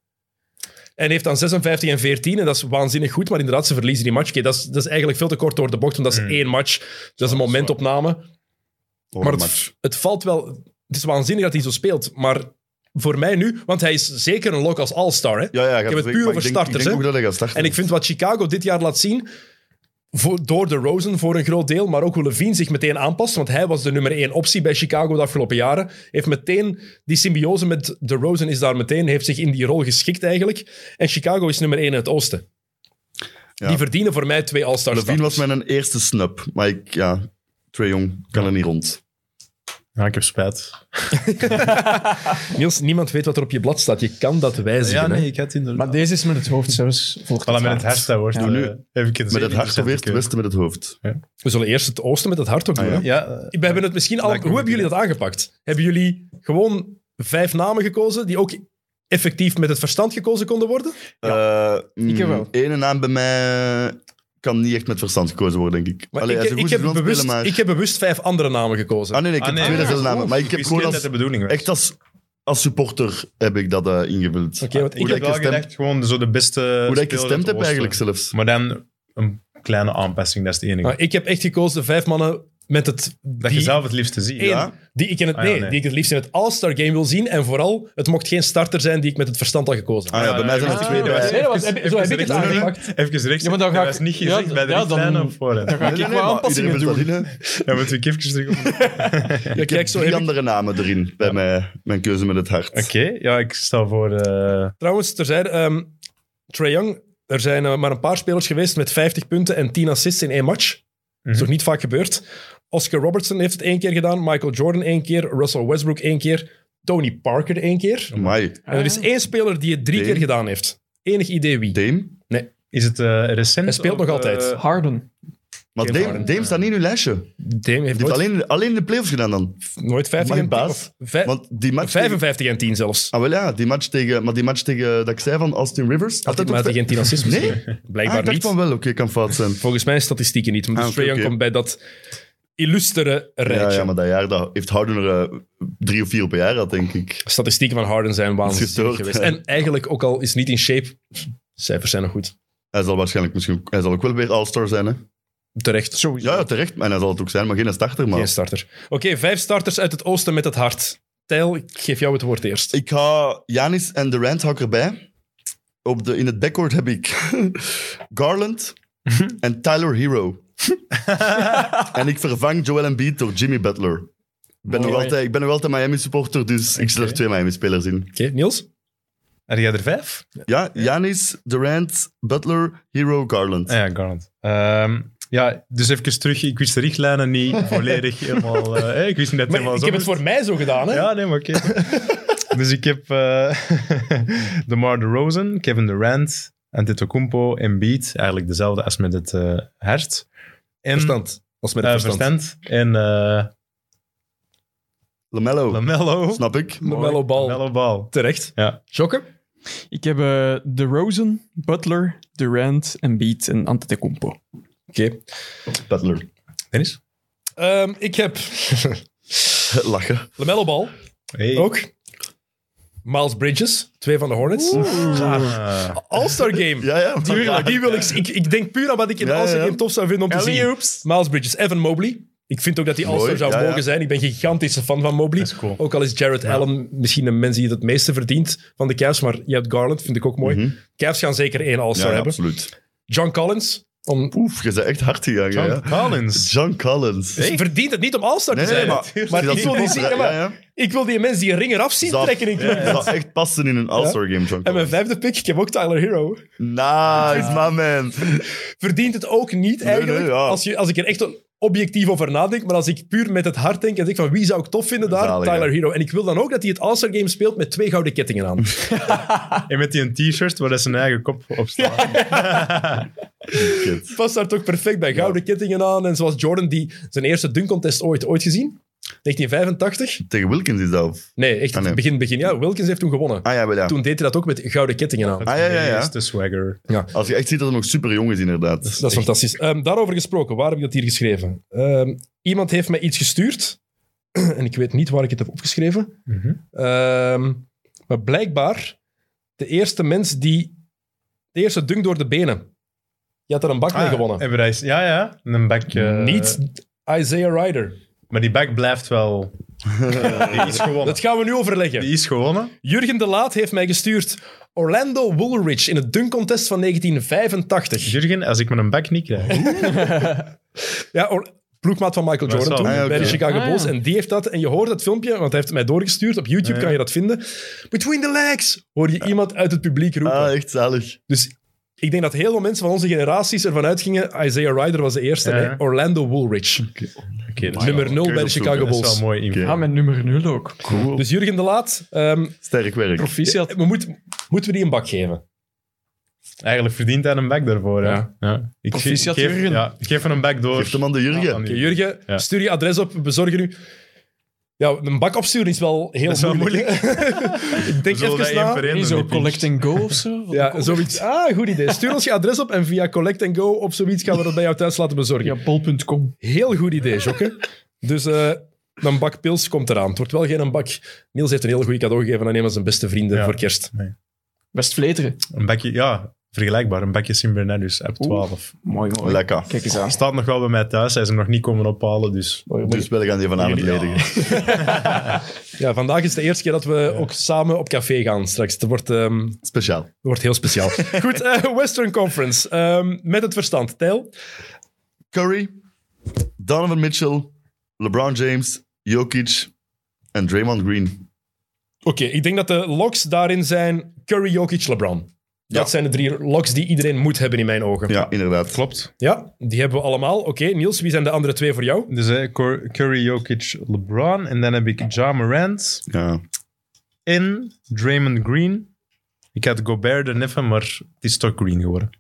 [SPEAKER 1] En heeft dan 56 en 14 en dat is waanzinnig goed. Maar inderdaad, ze verliezen die match. Oké, dat, is, dat is eigenlijk veel te kort door de bocht, want dat is
[SPEAKER 3] Mm.
[SPEAKER 1] één match. Hmm. Dat is een momentopname.
[SPEAKER 2] Hoor
[SPEAKER 1] Maar
[SPEAKER 2] een
[SPEAKER 1] het, het valt wel... Het is waanzinnig dat hij zo speelt, maar voor mij nu... Want hij is zeker een lock als all-star, hè?
[SPEAKER 2] Ja, ja, ik
[SPEAKER 1] het puur over
[SPEAKER 2] ik denk,
[SPEAKER 1] starters,
[SPEAKER 2] ik denk
[SPEAKER 1] hè.
[SPEAKER 2] ook dat hij gaat starten.
[SPEAKER 1] En ik vind wat Chicago dit jaar laat zien... voor, door de Rosen voor een groot deel, maar ook hoe Levine zich meteen aanpast, want hij was de nummer één optie bij Chicago de afgelopen jaren. Heeft meteen die symbiose met de Rosen is daar meteen, heeft zich in die rol geschikt eigenlijk. En Chicago is nummer één in het oosten.
[SPEAKER 2] Ja.
[SPEAKER 1] Die verdienen voor mij twee All-Star
[SPEAKER 2] Levine was
[SPEAKER 1] status.
[SPEAKER 2] mijn eerste snub, maar ik, ja, Trae Young kan er niet rond.
[SPEAKER 3] Ja, ik heb spijt.
[SPEAKER 1] Niels, niemand weet wat er op je blad staat. Je kan dat wijzigen. hè.
[SPEAKER 3] ik had inderdaad...
[SPEAKER 4] Maar deze is met het hoofd zelfs. Volgt
[SPEAKER 3] Voilà,
[SPEAKER 4] het
[SPEAKER 3] met het
[SPEAKER 4] hart.
[SPEAKER 3] hashtag wordt
[SPEAKER 2] Doe
[SPEAKER 3] eh,
[SPEAKER 2] nu.
[SPEAKER 3] Even een
[SPEAKER 2] Met het hart
[SPEAKER 3] interessante
[SPEAKER 2] geweest, het
[SPEAKER 3] keuze.
[SPEAKER 2] westen met het hoofd.
[SPEAKER 1] We zullen eerst het oosten met het hart ook doen.
[SPEAKER 2] Ah, ja.
[SPEAKER 1] hè?
[SPEAKER 3] Ja, eh,
[SPEAKER 1] We hebben het misschien al...
[SPEAKER 3] Lijkt me
[SPEAKER 1] Hoe
[SPEAKER 3] goed
[SPEAKER 1] hebben jullie dat aangepakt? Hebben jullie gewoon vijf namen gekozen die ook effectief met het verstand gekozen konden worden?
[SPEAKER 2] Eh,
[SPEAKER 4] Ik heb wel.
[SPEAKER 2] mm, Ene naam bij mij kan niet echt met verstand gekozen worden, denk ik.
[SPEAKER 1] Maar
[SPEAKER 2] Allee,
[SPEAKER 1] ik,
[SPEAKER 2] hij is een
[SPEAKER 1] ik,
[SPEAKER 2] goede
[SPEAKER 1] heb
[SPEAKER 2] speler,
[SPEAKER 1] bewust,
[SPEAKER 2] maar...
[SPEAKER 1] ik heb bewust vijf andere namen gekozen.
[SPEAKER 2] Ah nee, nee, ik
[SPEAKER 3] ah, nee,
[SPEAKER 2] heb twee
[SPEAKER 3] nee.
[SPEAKER 2] dezelfde namen. Maar ik heb
[SPEAKER 3] wist
[SPEAKER 2] gewoon
[SPEAKER 3] niet
[SPEAKER 2] als,
[SPEAKER 3] dat de bedoeling was.
[SPEAKER 2] echt als, als supporter heb ik dat eh, ingevuld.
[SPEAKER 1] Oké, want
[SPEAKER 3] ik
[SPEAKER 1] ik
[SPEAKER 2] dat
[SPEAKER 3] heb
[SPEAKER 2] ik
[SPEAKER 3] wel
[SPEAKER 2] gestemd-
[SPEAKER 3] gedacht, gewoon zo de beste
[SPEAKER 2] Hoe dat
[SPEAKER 3] speler
[SPEAKER 2] ik gestemd
[SPEAKER 3] uit
[SPEAKER 2] heb
[SPEAKER 3] het
[SPEAKER 2] eigenlijk
[SPEAKER 3] oosten.
[SPEAKER 2] zelfs.
[SPEAKER 3] Maar dan een kleine aanpassing, dat is het enige.
[SPEAKER 1] Nou, ik heb echt gekozen vijf mannen met het...
[SPEAKER 3] dat je
[SPEAKER 1] die-
[SPEAKER 3] zelf het liefste ziet.
[SPEAKER 1] één,
[SPEAKER 2] Ja.
[SPEAKER 1] die ik in het,
[SPEAKER 3] Ah, ja,
[SPEAKER 1] nee,
[SPEAKER 3] nee.
[SPEAKER 1] die ik het liefst in het All-Star game wil zien. En vooral, het mocht geen starter zijn die ik met het verstand had gekozen.
[SPEAKER 2] Ah ja, bij mij zijn er
[SPEAKER 3] ah,
[SPEAKER 2] twee
[SPEAKER 3] nee,
[SPEAKER 2] bij.
[SPEAKER 3] nee,
[SPEAKER 1] Nee, dat was- heb- zo heb ik het
[SPEAKER 3] rechts-
[SPEAKER 1] aangepakt.
[SPEAKER 3] Even rechts.
[SPEAKER 4] Ja, maar dan ga
[SPEAKER 3] dat
[SPEAKER 4] ik-
[SPEAKER 3] was niet
[SPEAKER 4] ja,
[SPEAKER 3] gezegd bij de
[SPEAKER 4] ja,
[SPEAKER 3] richtlijn
[SPEAKER 4] dan-
[SPEAKER 3] of voorhand.
[SPEAKER 4] Dan ga ik
[SPEAKER 2] Nee, nee,
[SPEAKER 4] wel
[SPEAKER 2] nee, maar
[SPEAKER 4] aanpassingen
[SPEAKER 2] iedereen
[SPEAKER 4] doen.
[SPEAKER 2] vult dat in, hè.
[SPEAKER 3] Ja, moet ik even terug op. Oké,
[SPEAKER 1] Ja,
[SPEAKER 2] Ik heb
[SPEAKER 1] kijk, zo
[SPEAKER 2] drie
[SPEAKER 1] heb ik-
[SPEAKER 2] andere namen erin bij mij, mijn keuze met het hart.
[SPEAKER 3] ja, ik stel voor... eh,
[SPEAKER 1] Trouwens, terzijde, ehm Trae Young, er zijn eh, maar een paar spelers geweest met 50 punten en 10 assists in één match. Dat is
[SPEAKER 3] Mhm.
[SPEAKER 1] nog niet vaak gebeurd. Oscar Robertson heeft het één keer gedaan, Michael Jordan één keer, Russell Westbrook één keer, Tony Parker één keer.
[SPEAKER 2] Amai.
[SPEAKER 1] En er is één speler die het drie
[SPEAKER 2] Dame.
[SPEAKER 1] keer gedaan heeft. Enig idee wie.
[SPEAKER 2] Dame?
[SPEAKER 3] is het eh, recent?
[SPEAKER 1] Hij speelt nog
[SPEAKER 3] of,
[SPEAKER 1] altijd.
[SPEAKER 3] eh,
[SPEAKER 4] Harden.
[SPEAKER 2] Maar
[SPEAKER 1] James
[SPEAKER 2] Dame,
[SPEAKER 1] Harden.
[SPEAKER 2] Dame staat niet in uw lijstje.
[SPEAKER 1] Dame heeft
[SPEAKER 2] Die heeft
[SPEAKER 1] nooit,
[SPEAKER 2] alleen, alleen de playoffs gedaan dan.
[SPEAKER 1] nooit 50
[SPEAKER 2] Mag
[SPEAKER 1] en
[SPEAKER 2] ik
[SPEAKER 1] 10.
[SPEAKER 2] baas?
[SPEAKER 1] of vij-
[SPEAKER 2] Want die match... tegen-
[SPEAKER 1] 55 en 10 zelfs.
[SPEAKER 2] Ah, wel ja, die match tegen... Maar die match tegen... eh, Dat ik zei van Austin Rivers...
[SPEAKER 1] Had hij
[SPEAKER 2] ook
[SPEAKER 1] maar had hij
[SPEAKER 2] vij-
[SPEAKER 1] geen 10 assists
[SPEAKER 2] Nee?
[SPEAKER 1] misschien.
[SPEAKER 2] Ah, ik
[SPEAKER 1] Blijkbaar
[SPEAKER 2] dacht
[SPEAKER 1] niet.
[SPEAKER 2] van wel. Oké, kan fout zijn.
[SPEAKER 1] Volgens mijn statistieken niet. Maar
[SPEAKER 2] Ah,
[SPEAKER 1] dus
[SPEAKER 2] oké,
[SPEAKER 1] Trae Young
[SPEAKER 2] oké.
[SPEAKER 1] komt bij dat illustere
[SPEAKER 2] Ja,
[SPEAKER 1] rijtje.
[SPEAKER 2] ja, maar dat jaar dat heeft Harden er eh, drie of vier op een jaar had, denk ik.
[SPEAKER 1] statistieken van Harden zijn waanzinnig
[SPEAKER 2] gestoord,
[SPEAKER 1] geweest.
[SPEAKER 2] hè.
[SPEAKER 1] En eigenlijk, ook al is niet in shape, cijfers zijn nog goed.
[SPEAKER 2] Hij zal waarschijnlijk misschien... Hij zal ook wel weer All-Star zijn, hè?
[SPEAKER 1] Terecht.
[SPEAKER 4] Sowieso.
[SPEAKER 2] Ja, ja, terecht. En hij zal het ook zijn, maar geen starter, maar...
[SPEAKER 1] Geen starter. Oké, vijf starters uit het oosten met het hart. Tijl, ik geef jou het woord eerst.
[SPEAKER 2] Ik ga Janis en Durant hou ik erbij. Op de, in het backcourt heb ik Garland en Tyler Hero. en ik vervang Joel Embiid door Jimmy Butler. Ik ben, nog
[SPEAKER 4] Mooi.
[SPEAKER 2] altijd, ik ben nog altijd Miami supporter, dus ik zet er twee Miami spelers in.
[SPEAKER 1] Oké, Niels?
[SPEAKER 3] Had jij er vijf?
[SPEAKER 2] Ja, Janis, Durant, Butler, Hero, Garland.
[SPEAKER 3] Ah, ja, Garland. Ehm, ja, dus even terug. Ik wist de richtlijnen niet volledig helemaal... eh, ik wist niet dat het helemaal
[SPEAKER 1] ik
[SPEAKER 3] zo
[SPEAKER 1] heb het
[SPEAKER 3] moest.
[SPEAKER 1] voor mij zo gedaan, hè?
[SPEAKER 3] Ja, nee, maar oké. dus ik heb eh DeMar DeRozan, Kevin Durant, Antetokounmpo, Embiid. Eigenlijk dezelfde als met het eh hart. En,
[SPEAKER 1] Verstand. Als met
[SPEAKER 3] eh,
[SPEAKER 1] het verstand.
[SPEAKER 3] verstand. En eh
[SPEAKER 2] Lamello,
[SPEAKER 3] Lamello.
[SPEAKER 2] snap ik.
[SPEAKER 1] Mellow bal.
[SPEAKER 3] Lamello Ball.
[SPEAKER 1] Terecht.
[SPEAKER 3] Ja.
[SPEAKER 1] Jokken?
[SPEAKER 4] Ik heb eh DeRozan, Butler, Durant, Embiid en Antetokounmpo.
[SPEAKER 1] Oké.
[SPEAKER 2] Butler.
[SPEAKER 3] Dennis?
[SPEAKER 1] Ehm, ik heb
[SPEAKER 2] Lachen.
[SPEAKER 1] Lamello Ball,
[SPEAKER 3] Hey.
[SPEAKER 1] ook. Miles Bridges, twee van de Hornets.
[SPEAKER 3] Ah.
[SPEAKER 1] All-Star Game.
[SPEAKER 2] Ja, ja.
[SPEAKER 1] Die, wil- die wil ik, ik. Ik denk puur aan wat ik in de
[SPEAKER 2] Ja, ja,
[SPEAKER 1] All-Star
[SPEAKER 2] ja.
[SPEAKER 1] Game tof zou vinden om te zien.
[SPEAKER 4] Alley-oops.
[SPEAKER 1] Miles Bridges, Evan Mobley. Ik vind ook dat hij
[SPEAKER 2] Mooi,
[SPEAKER 1] All-Star zou
[SPEAKER 2] ja, ja.
[SPEAKER 1] mogen zijn. Ik ben een gigantische fan van Mobley.
[SPEAKER 3] Dat is cool.
[SPEAKER 1] Ook al is Jared Allen misschien de mens die het het meeste verdient van de Cavs. Maar je hebt Garland, vind ik ook mooi.
[SPEAKER 2] Mhm.
[SPEAKER 1] Cavs gaan zeker één All-Star
[SPEAKER 2] Ja, ja,
[SPEAKER 1] hebben.
[SPEAKER 2] absoluut.
[SPEAKER 1] John Collins. Om,
[SPEAKER 2] Oef, je bent echt hard gegaan,
[SPEAKER 3] John
[SPEAKER 2] ja.
[SPEAKER 3] Collins.
[SPEAKER 2] John Collins.
[SPEAKER 1] dus verdient het niet om All-Star
[SPEAKER 2] Nee,
[SPEAKER 1] te
[SPEAKER 2] nee,
[SPEAKER 1] zijn.
[SPEAKER 2] maar,
[SPEAKER 1] Maar ik wil die zien- ja, maar-
[SPEAKER 2] ja.
[SPEAKER 1] Ik wil die mens die een ring eraf zien
[SPEAKER 2] Zat.
[SPEAKER 1] trekken. in club.
[SPEAKER 2] Dat zou echt passen in een All-Star game, John
[SPEAKER 1] En mijn
[SPEAKER 2] Collins.
[SPEAKER 1] vijfde pick, ik heb ook Tyler Hero.
[SPEAKER 2] Nice, my man.
[SPEAKER 1] Verdient het ook niet eigenlijk.
[SPEAKER 2] nee, ja.
[SPEAKER 1] als, je, als ik er echt objectief over nadenk, maar als ik puur met het hart denk en denk van wie zou ik tof vinden daar?
[SPEAKER 2] Zalig,
[SPEAKER 1] Tyler
[SPEAKER 2] ja.
[SPEAKER 1] Hero. En ik wil dan ook dat hij het All-Star Game speelt met twee gouden kettingen aan.
[SPEAKER 3] En met die een t-shirt waar dat zijn eigen kop op staat.
[SPEAKER 2] Kid.
[SPEAKER 1] past daar toch perfect bij. Gouden kettingen aan. En zoals Jordan, die zijn eerste dunkcontest ooit, ooit gezien? 1985?
[SPEAKER 2] Tegen Wilkins is dat. of-
[SPEAKER 1] Nee, echt
[SPEAKER 2] Ah, nee.
[SPEAKER 1] begin, begin. Ja, Wilkins heeft toen gewonnen.
[SPEAKER 2] Ah ja, wel ja.
[SPEAKER 1] Toen deed hij dat ook met gouden kettingen aan.
[SPEAKER 3] Dat
[SPEAKER 2] Ah, ja, ja, ja.
[SPEAKER 3] is de swagger.
[SPEAKER 2] Als je echt ziet dat hij nog super jong is, inderdaad.
[SPEAKER 1] Dat is fantastisch. Ehm, daarover gesproken, waar heb ik dat hier geschreven? Ehm, iemand heeft mij iets gestuurd. en ik weet niet waar ik het heb opgeschreven.
[SPEAKER 3] Mhm.
[SPEAKER 1] Ehm, maar blijkbaar, de eerste mens die... De eerste dunk door de benen. Die had er een bak mee
[SPEAKER 3] Ah,
[SPEAKER 1] gewonnen.
[SPEAKER 3] hebben wij- Ja, ja. Een back... eh,
[SPEAKER 1] Niet Isaiah Ryder.
[SPEAKER 3] Maar die back blijft wel... Die is gewonnen.
[SPEAKER 1] Dat gaan we nu overleggen.
[SPEAKER 3] Die is gewonnen.
[SPEAKER 1] Jurgen de Laat heeft mij gestuurd Orlando Woolridge in het dunkcontest van 1985.
[SPEAKER 3] Jurgen, als ik me een bek niet krijg.
[SPEAKER 1] Ja, Or- ploegmaat van Michael
[SPEAKER 3] Dat is
[SPEAKER 1] Jordan toen,
[SPEAKER 3] wel-
[SPEAKER 2] Ah, ja,
[SPEAKER 1] bij de
[SPEAKER 2] oké.
[SPEAKER 1] Chicago
[SPEAKER 4] Ah,
[SPEAKER 1] Bulls.
[SPEAKER 4] ja.
[SPEAKER 1] En die heeft dat, en je hoort dat filmpje, want hij heeft het mij doorgestuurd. Op YouTube
[SPEAKER 3] Ja.
[SPEAKER 1] kan je dat vinden. Between the legs, hoor je iemand uit het publiek roepen.
[SPEAKER 2] Ah, echt zalig.
[SPEAKER 1] Dus ik denk dat heel veel mensen van onze generaties ervan uitgingen. Isaiah Ryder was de eerste,
[SPEAKER 3] Ja.
[SPEAKER 1] hè. Orlando Woolridge. nummer 0 bij de Chicago
[SPEAKER 2] Kun je
[SPEAKER 3] Dat is wel
[SPEAKER 1] Bulls.
[SPEAKER 3] mooi info.
[SPEAKER 2] Oké.
[SPEAKER 4] Ah, met nummer 0 ook. Cool.
[SPEAKER 1] Dus Jurgen de Laat, ehm,
[SPEAKER 2] Sterk werk.
[SPEAKER 4] Proficiat.
[SPEAKER 1] we moeten, moeten we die een bak geven?
[SPEAKER 3] Eigenlijk verdient hij een bek daarvoor. hè.
[SPEAKER 1] Ja.
[SPEAKER 3] Ja. Ik, ge- ik
[SPEAKER 4] Proficiat,
[SPEAKER 3] geef,
[SPEAKER 4] Jurgen.
[SPEAKER 3] ja, ik geef hem een bek door.
[SPEAKER 2] Geef hem aan de Jurgen.
[SPEAKER 1] Oké, Jurgen,
[SPEAKER 3] Ja.
[SPEAKER 1] stuur je adres op, we bezorgen u. Ja, een bak opsturen is wel heel
[SPEAKER 3] Dat is wel
[SPEAKER 1] moeilijk. ik denk
[SPEAKER 3] Zullen we
[SPEAKER 1] even
[SPEAKER 3] dat één
[SPEAKER 1] na.
[SPEAKER 3] per één
[SPEAKER 4] Nee,
[SPEAKER 3] doen,
[SPEAKER 4] zo
[SPEAKER 3] die pitch?
[SPEAKER 4] collect and go of zo. Van
[SPEAKER 1] Ja,
[SPEAKER 4] Coke.
[SPEAKER 1] zoiets. Ah, goed idee. Stuur ons je adres op en via Collect Go op zoiets gaan we dat bij jou thuis laten bezorgen.
[SPEAKER 4] Ja, bol.com.
[SPEAKER 1] Heel goed idee, Jokke. Dus eh, een bak pils komt eraan. Het wordt wel geen een bak. Niels heeft een heel goed cadeau gegeven aan een van zijn beste vrienden
[SPEAKER 3] Ja.
[SPEAKER 1] voor kerst.
[SPEAKER 4] Best vleteren.
[SPEAKER 3] Een bekje, ja, vergelijkbaar. Een bekje Simbernadus, dus app 12.
[SPEAKER 4] Mooi, mooi.
[SPEAKER 2] Lekker.
[SPEAKER 4] Kijk eens aan.
[SPEAKER 3] Staat nog wel bij mij thuis, hij is hem nog niet komen ophalen, dus...
[SPEAKER 2] Dus we gaan die vanavond
[SPEAKER 3] Ja.
[SPEAKER 2] ledigen.
[SPEAKER 1] Ja, vandaag is de eerste keer dat we ook samen op café gaan straks. Het wordt, ehm, het
[SPEAKER 2] Speciaal.
[SPEAKER 1] wordt heel speciaal. goed, eh, Western Conference. Ehm, met het verstand. Tijl?
[SPEAKER 2] Curry, Donovan Mitchell, LeBron James, Jokic en Draymond Green.
[SPEAKER 1] Oké, ik denk dat de locks daarin zijn Curry, Jokic, LeBron. Dat
[SPEAKER 2] Ja.
[SPEAKER 1] zijn de drie locks die iedereen moet hebben in mijn ogen. Ja,
[SPEAKER 2] Ja, inderdaad.
[SPEAKER 3] Klopt.
[SPEAKER 1] die hebben we allemaal. Oké, Niels, wie zijn de andere twee voor jou?
[SPEAKER 3] Dus hè, Cor- Curry, Jokic, LeBron. En dan heb ik Ja Morant
[SPEAKER 2] Ja.
[SPEAKER 3] en Draymond Green. Ik had Gobert er neffen, maar het is toch Green geworden.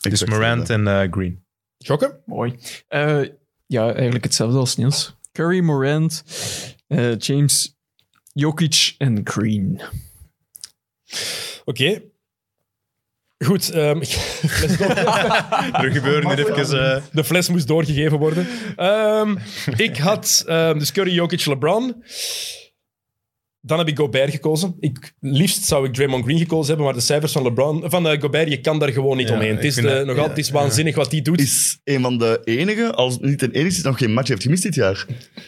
[SPEAKER 3] Dus
[SPEAKER 2] Exact,
[SPEAKER 3] Morant en eh, Green.
[SPEAKER 1] Jokke?
[SPEAKER 4] Mooi. Eh, ja, eigenlijk hetzelfde als Niels. Curry, Morant, eh, James, Jokic en Green.
[SPEAKER 1] Oké. Goed, ehm, let's go.
[SPEAKER 3] Er gebeuren hier even... eh,
[SPEAKER 1] De fles moest doorgegeven worden. Ehm, ik had ehm, dus Curry, Jokic, LeBron. Dan heb ik Gobert gekozen. Ik, liefst zou ik Draymond Green gekozen hebben, maar de cijfers van, LeBron, van eh, Gobert, je kan daar gewoon niet
[SPEAKER 3] Ja,
[SPEAKER 1] omheen.
[SPEAKER 3] ik
[SPEAKER 1] Het is,
[SPEAKER 3] vind
[SPEAKER 1] de-
[SPEAKER 3] dat-
[SPEAKER 1] nog altijd, het is waanzinnig wat hij doet.
[SPEAKER 2] Is een van de enige, als niet de enige, die nog geen match heeft gemist dit jaar.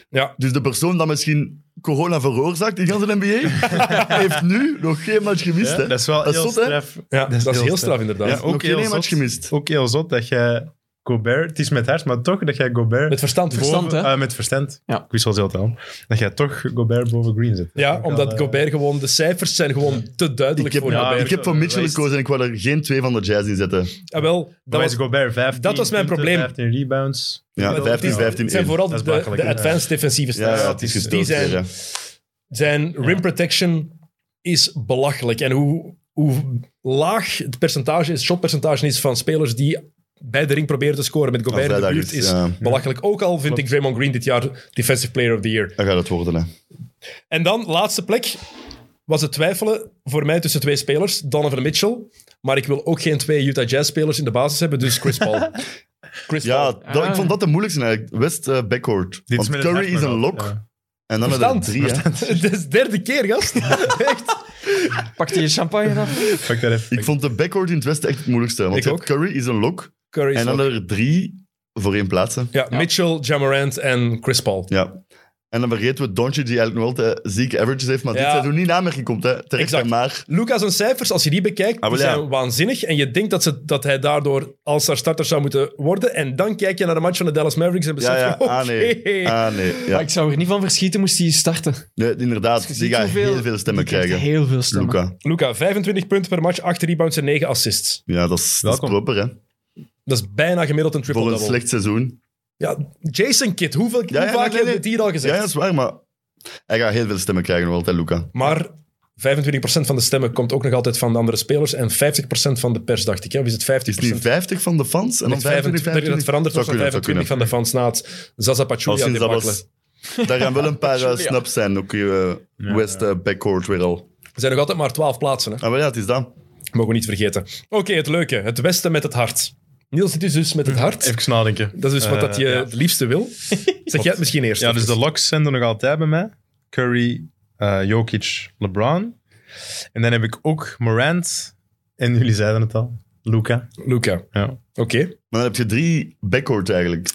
[SPEAKER 1] Ja.
[SPEAKER 2] Dus de persoon dat misschien corona veroorzaakt in de NBA, heeft nu nog geen match gemist. hè?
[SPEAKER 3] dat is wel
[SPEAKER 2] Dat is
[SPEAKER 3] heel
[SPEAKER 2] zot, hè?
[SPEAKER 3] straf.
[SPEAKER 1] Ja, dat is, heel straf,
[SPEAKER 2] Ja,
[SPEAKER 1] inderdaad.
[SPEAKER 3] ook
[SPEAKER 2] nog
[SPEAKER 3] heel
[SPEAKER 2] geen
[SPEAKER 3] zot.
[SPEAKER 2] match gemist.
[SPEAKER 3] Ook heel zot dat jij Gobert... Het is met hart, maar toch dat jij Gobert...
[SPEAKER 1] Met verstand.
[SPEAKER 3] boven-
[SPEAKER 4] verstand, hè?
[SPEAKER 3] eh, met verstand.
[SPEAKER 4] Ja.
[SPEAKER 3] Ik wist wel zelf al. Dat jij toch Gobert boven Green zet.
[SPEAKER 1] Ja,
[SPEAKER 3] Ook al,
[SPEAKER 1] omdat
[SPEAKER 3] eh,
[SPEAKER 1] Gobert gewoon... De cijfers zijn gewoon te duidelijk
[SPEAKER 2] Ik heb,
[SPEAKER 1] voor
[SPEAKER 3] ja,
[SPEAKER 1] Gobert.
[SPEAKER 2] ik heb voor Mitchell
[SPEAKER 3] Wijst.
[SPEAKER 2] gekozen en ik wil er geen twee van de Jazz in zetten.
[SPEAKER 1] Ah, wel, dat
[SPEAKER 3] Dat
[SPEAKER 1] was,
[SPEAKER 3] was Gobert 15
[SPEAKER 1] dat was mijn
[SPEAKER 3] punten,
[SPEAKER 1] probleem.
[SPEAKER 3] 15 rebounds.
[SPEAKER 2] Ja,
[SPEAKER 1] wel,
[SPEAKER 2] 15,
[SPEAKER 1] het is-
[SPEAKER 2] 15,
[SPEAKER 1] Het zijn
[SPEAKER 2] 1.
[SPEAKER 1] vooral
[SPEAKER 3] Dat
[SPEAKER 1] de,
[SPEAKER 3] is belachelijk,
[SPEAKER 1] de
[SPEAKER 3] hè?
[SPEAKER 1] advanced defensieve
[SPEAKER 2] Ja,
[SPEAKER 1] stats.
[SPEAKER 2] ja, het is
[SPEAKER 1] die
[SPEAKER 2] gestoord.
[SPEAKER 1] zijn,
[SPEAKER 2] weer, hè.
[SPEAKER 1] zijn rim protection is belachelijk. En hoe, hoe laag het percentage is, shotpercentage is van spelers die bij de ring proberen te scoren met Gobert
[SPEAKER 2] Als
[SPEAKER 1] in de
[SPEAKER 2] hij daar
[SPEAKER 1] buurt,
[SPEAKER 2] is,
[SPEAKER 1] is
[SPEAKER 2] ja.
[SPEAKER 1] belachelijk. Ook al vind ik Draymond Green dit jaar Defensive Player of the Year.
[SPEAKER 2] Dat gaat het worden, hè.
[SPEAKER 1] En dan, laatste plek, was het twijfelen voor mij tussen twee spelers. Donovan Mitchell, maar ik wil ook geen twee Utah Jazz-spelers in de basis hebben, dus Chris Paul. Chris
[SPEAKER 2] Ja,
[SPEAKER 1] Paul.
[SPEAKER 2] dat, ik vond dat de moeilijkste eigenlijk. West eh, backcourt.
[SPEAKER 3] Ah. Dit
[SPEAKER 2] Want
[SPEAKER 3] met het
[SPEAKER 2] Curry
[SPEAKER 3] hart,
[SPEAKER 2] is
[SPEAKER 3] maar
[SPEAKER 2] een
[SPEAKER 3] wel.
[SPEAKER 2] lock.
[SPEAKER 3] Ja.
[SPEAKER 2] En dan hebben we
[SPEAKER 1] Verstand.
[SPEAKER 2] er drie. hè.
[SPEAKER 1] Dit is de derde keer, gast. Echt.
[SPEAKER 4] Pak je champagne af?
[SPEAKER 3] Fuck dat even.
[SPEAKER 2] Ik vond de backcourt in het Westen echt het moeilijkste. Want
[SPEAKER 1] Ik
[SPEAKER 2] je
[SPEAKER 1] ook.
[SPEAKER 2] hebt Curry is een lock.
[SPEAKER 1] Curry is
[SPEAKER 2] en dan
[SPEAKER 1] ook-
[SPEAKER 2] hebben we er drie voor één plaatsen.
[SPEAKER 1] ja, Mitchell, Jamarant en Chris Paul.
[SPEAKER 2] Ja. En dan vergeten we Doncic, die eigenlijk nog altijd eh, zieke averages heeft, maar
[SPEAKER 1] Ja.
[SPEAKER 2] dit seizoen niet in aanmerking komt. Hè. Terecht
[SPEAKER 1] Exact.
[SPEAKER 2] en maar.
[SPEAKER 1] Lucas en cijfers, als je die bekijkt,
[SPEAKER 2] Ah,
[SPEAKER 1] die
[SPEAKER 2] wel ja.
[SPEAKER 1] zijn waanzinnig. En je denkt dat, ze, dat hij daardoor als haar starter zou moeten worden. En dan kijk je naar de match van de Dallas Mavericks en besef
[SPEAKER 2] Ja,
[SPEAKER 1] je,
[SPEAKER 2] ja. Ah,
[SPEAKER 1] Dus oké.
[SPEAKER 2] nee. Ah, nee.
[SPEAKER 4] Maar
[SPEAKER 2] Ja.
[SPEAKER 4] ik zou er niet van verschieten, moest hij starten.
[SPEAKER 2] Nee, inderdaad,
[SPEAKER 4] ziet
[SPEAKER 2] die gaat
[SPEAKER 4] hoeveel-
[SPEAKER 2] heel veel stemmen
[SPEAKER 4] Die krijgt
[SPEAKER 2] krijgen.
[SPEAKER 4] Heel veel stemmen.
[SPEAKER 2] Luca.
[SPEAKER 1] Luca, 25 punten per match, 8 rebounds en 9 assists.
[SPEAKER 2] Ja, dat is, dat is
[SPEAKER 3] Welkom.
[SPEAKER 2] proper, hè.
[SPEAKER 1] Dat is bijna gemiddeld een
[SPEAKER 2] Voor een
[SPEAKER 1] triple-double.
[SPEAKER 2] slecht seizoen.
[SPEAKER 1] Ja, Jason Kidd, hoeveel,
[SPEAKER 2] ja,
[SPEAKER 1] hoe
[SPEAKER 2] nee,
[SPEAKER 1] vaak
[SPEAKER 2] nee,
[SPEAKER 1] hebben we
[SPEAKER 2] nee.
[SPEAKER 1] het hier al
[SPEAKER 2] Ja,
[SPEAKER 1] gezegd?
[SPEAKER 2] dat is waar, maar hij gaat heel veel stemmen krijgen nog altijd, Luca.
[SPEAKER 1] Maar 25% van de stemmen komt ook nog altijd van de andere spelers. En 50% van de pers, dacht ik. Hè? Of is het 50%?
[SPEAKER 2] Is het niet 50 van de fans? En dan 25, 25?
[SPEAKER 1] dat verandert
[SPEAKER 2] Zou
[SPEAKER 1] tot van
[SPEAKER 2] kunnen, zou
[SPEAKER 1] 25
[SPEAKER 2] kunnen.
[SPEAKER 1] van de fans na het Zaza
[SPEAKER 2] Al
[SPEAKER 1] Pachulia
[SPEAKER 2] sinds dat
[SPEAKER 1] debakkelen.
[SPEAKER 2] was... Daar gaan wel een paar eh, snaps zijn, ook eh, West eh, backcourt weer al.
[SPEAKER 1] Er zijn nog altijd maar 12 plaatsen. Hè?
[SPEAKER 2] Ah, maar ja, het is dat.
[SPEAKER 1] Mogen we niet vergeten. Oké, het leuke. Het Westen met het hart. Niels, dit is dus met het hart.
[SPEAKER 3] Even nadenken.
[SPEAKER 1] Dat is dus wat
[SPEAKER 3] Eh,
[SPEAKER 1] dat je
[SPEAKER 3] ja.
[SPEAKER 1] het liefste wil. Zeg jij het misschien eerst?
[SPEAKER 3] Ja, dus de locks zijn er nog altijd bij mij. Curry, eh, Jokic, LeBron. En dan heb ik ook Morant. En jullie zeiden het al. Luca.
[SPEAKER 1] Luca.
[SPEAKER 3] Ja.
[SPEAKER 1] Oké.
[SPEAKER 2] Maar dan heb je drie backcourt eigenlijk.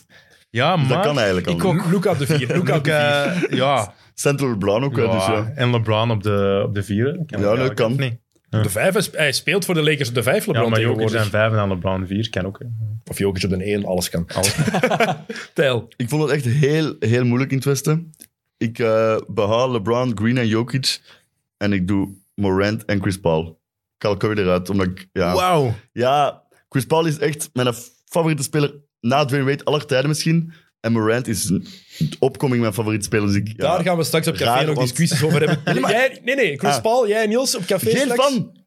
[SPEAKER 3] Ja,
[SPEAKER 2] Dus
[SPEAKER 3] maar...
[SPEAKER 2] dat kan eigenlijk al.
[SPEAKER 4] ik ook.
[SPEAKER 1] Luca de vier. Luca op de vier.
[SPEAKER 3] Luka, eh, ja.
[SPEAKER 2] Central LeBlanc ook, hè, dus
[SPEAKER 3] Ja,
[SPEAKER 2] ja.
[SPEAKER 3] En LeBron op de, op de vier.
[SPEAKER 2] Ja, dat
[SPEAKER 3] eigenlijk
[SPEAKER 2] kan.
[SPEAKER 3] ook Niet.
[SPEAKER 1] De vijf is- hij speelt voor de Lakers op de vijf,
[SPEAKER 3] Ja,
[SPEAKER 1] LeBron
[SPEAKER 3] maar Jokic
[SPEAKER 1] tegenwoordig.
[SPEAKER 3] zijn vijf en dan LeBron vier. Kan ook. hè.
[SPEAKER 1] Of Jokic op de één, alles kan.
[SPEAKER 3] Alles.
[SPEAKER 1] Tijl.
[SPEAKER 2] Ik vond het echt heel, heel moeilijk in het Westen. Ik eh, behaal LeBron, Green en Jokic. En ik doe Morant en Chris Paul. Cal Curry eruit, omdat ik... Ja,
[SPEAKER 3] Wauw.
[SPEAKER 2] ja Chris Paul is echt mijn favoriete speler na Dwayne Wade aller tijden misschien. En Morant is een- de opkoming mijn favoriete speler. Dus ik, ja.
[SPEAKER 1] Daar gaan we straks op café
[SPEAKER 2] Raar,
[SPEAKER 1] nog
[SPEAKER 2] want-
[SPEAKER 1] discussies over hebben. Jij, nee, nee, Chris
[SPEAKER 2] Ah.
[SPEAKER 1] Paul, jij en Niels op café
[SPEAKER 2] Geen
[SPEAKER 1] straks.
[SPEAKER 2] fan!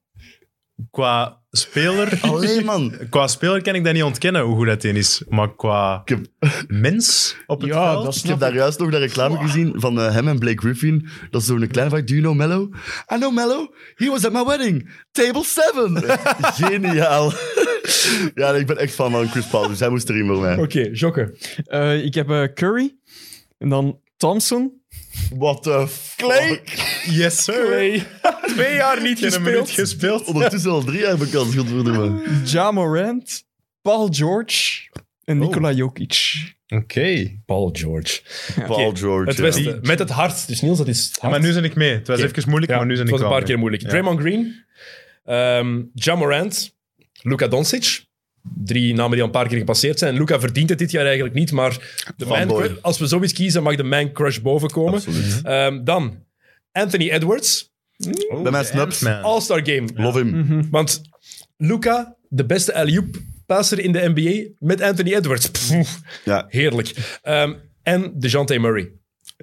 [SPEAKER 3] Qua speler...
[SPEAKER 2] Alleen man!
[SPEAKER 3] Qua speler kan ik dat niet ontkennen, hoe goed dat in is. Maar qua
[SPEAKER 2] Ik heb,
[SPEAKER 3] mens op het
[SPEAKER 4] Ja,
[SPEAKER 3] veld...
[SPEAKER 4] dat
[SPEAKER 2] ik heb
[SPEAKER 4] snap ik.
[SPEAKER 2] daar juist nog een reclame gezien van eh, hem en Blake Griffin. Dat is zo'n kleine vraag. Do you know Mello? I know Mello. He was at my wedding. Table 7. Geniaal. ja, nee, ik ben echt fan van Chris Paul, dus hij moest erin voor mij.
[SPEAKER 1] Oké, Jokke.
[SPEAKER 4] Eh, ik heb eh, Curry. En dan Thompson.
[SPEAKER 2] What the fuck?
[SPEAKER 3] Yes, sir.
[SPEAKER 1] Twee. Twee jaar niet
[SPEAKER 3] Geen minuut
[SPEAKER 1] gespeeld.
[SPEAKER 3] gespeeld.
[SPEAKER 2] Ondertussen al drie jaar bekend, schilderde man.
[SPEAKER 4] Ja Morant. Paul George. En Nikola Jokic.
[SPEAKER 3] Oké.
[SPEAKER 1] Paul George.
[SPEAKER 2] Paul George.
[SPEAKER 1] Het
[SPEAKER 2] ja.
[SPEAKER 1] Westen, met het hart. Dus Niels, dat is het hart.
[SPEAKER 3] Maar nu ben ik mee. Het was
[SPEAKER 1] Oké.
[SPEAKER 3] even moeilijk,
[SPEAKER 1] Ja,
[SPEAKER 3] maar nu ben
[SPEAKER 1] het was
[SPEAKER 3] ik
[SPEAKER 1] een
[SPEAKER 3] wel
[SPEAKER 1] paar
[SPEAKER 3] mee.
[SPEAKER 1] keer moeilijk.
[SPEAKER 3] Ja.
[SPEAKER 1] Draymond Green, ehm Ja Morant, Luka Doncic. Drie namen die al een paar keer gepasseerd zijn. Luka verdient het dit jaar eigenlijk niet, maar de man,
[SPEAKER 2] Fanboy.
[SPEAKER 1] cru- als we zoiets kiezen, mag de man crush boven komen.
[SPEAKER 2] Absoluut.
[SPEAKER 1] Ehm, dan Anthony Edwards,
[SPEAKER 3] Oh,
[SPEAKER 2] Bij mij
[SPEAKER 3] de
[SPEAKER 2] snaps.
[SPEAKER 3] Ant-Man.
[SPEAKER 1] All-Star Game.
[SPEAKER 2] Love him.
[SPEAKER 1] Mhm. Want Luca, de beste alley-oop passer in de NBA met Anthony Edwards. Pff,
[SPEAKER 2] Ja,
[SPEAKER 1] heerlijk. Ehm, en DeJounte Murray.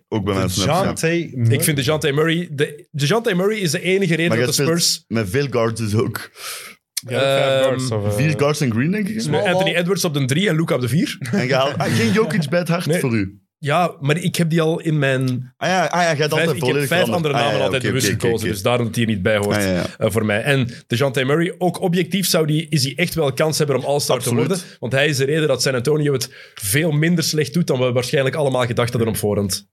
[SPEAKER 2] ook bij mij snaps. ja.
[SPEAKER 3] Jante
[SPEAKER 1] Ik vind DeJounte Murray... De, DeJounte Murray is de enige reden
[SPEAKER 2] Maar jij
[SPEAKER 1] dat de Spurs...
[SPEAKER 2] speelt met veel guards dus ook.
[SPEAKER 1] Ehm,
[SPEAKER 3] eh,
[SPEAKER 2] Vier guards en green, denk ik.
[SPEAKER 1] Met Anthony Edwards op de 3 en Luca op de 4.
[SPEAKER 2] En gehaald. Ah, geen Jokic bij het hart
[SPEAKER 1] Nee.
[SPEAKER 2] voor u.
[SPEAKER 1] Ja, maar ik heb die al in mijn.
[SPEAKER 2] Ah ja, ah, ja jij hebt altijd
[SPEAKER 1] Vijf, ik heb
[SPEAKER 2] volledig
[SPEAKER 1] vijf
[SPEAKER 2] veranderd.
[SPEAKER 1] andere
[SPEAKER 2] Ah,
[SPEAKER 1] namen
[SPEAKER 2] ja, ja,
[SPEAKER 1] altijd
[SPEAKER 2] oké,
[SPEAKER 1] bewust
[SPEAKER 2] oké, oké,
[SPEAKER 1] gekozen.
[SPEAKER 2] oké.
[SPEAKER 1] Dus daarom dat die hier niet bij hoort
[SPEAKER 2] Ah, ja, ja.
[SPEAKER 1] eh, voor mij. En DeJounte Murray, ook objectief zou die, is hij echt wel kans hebben om All-Star te
[SPEAKER 2] Absoluut.
[SPEAKER 1] worden. Want hij is de reden dat San Antonio het veel minder slecht doet dan we waarschijnlijk allemaal gedacht hadden op voorhand.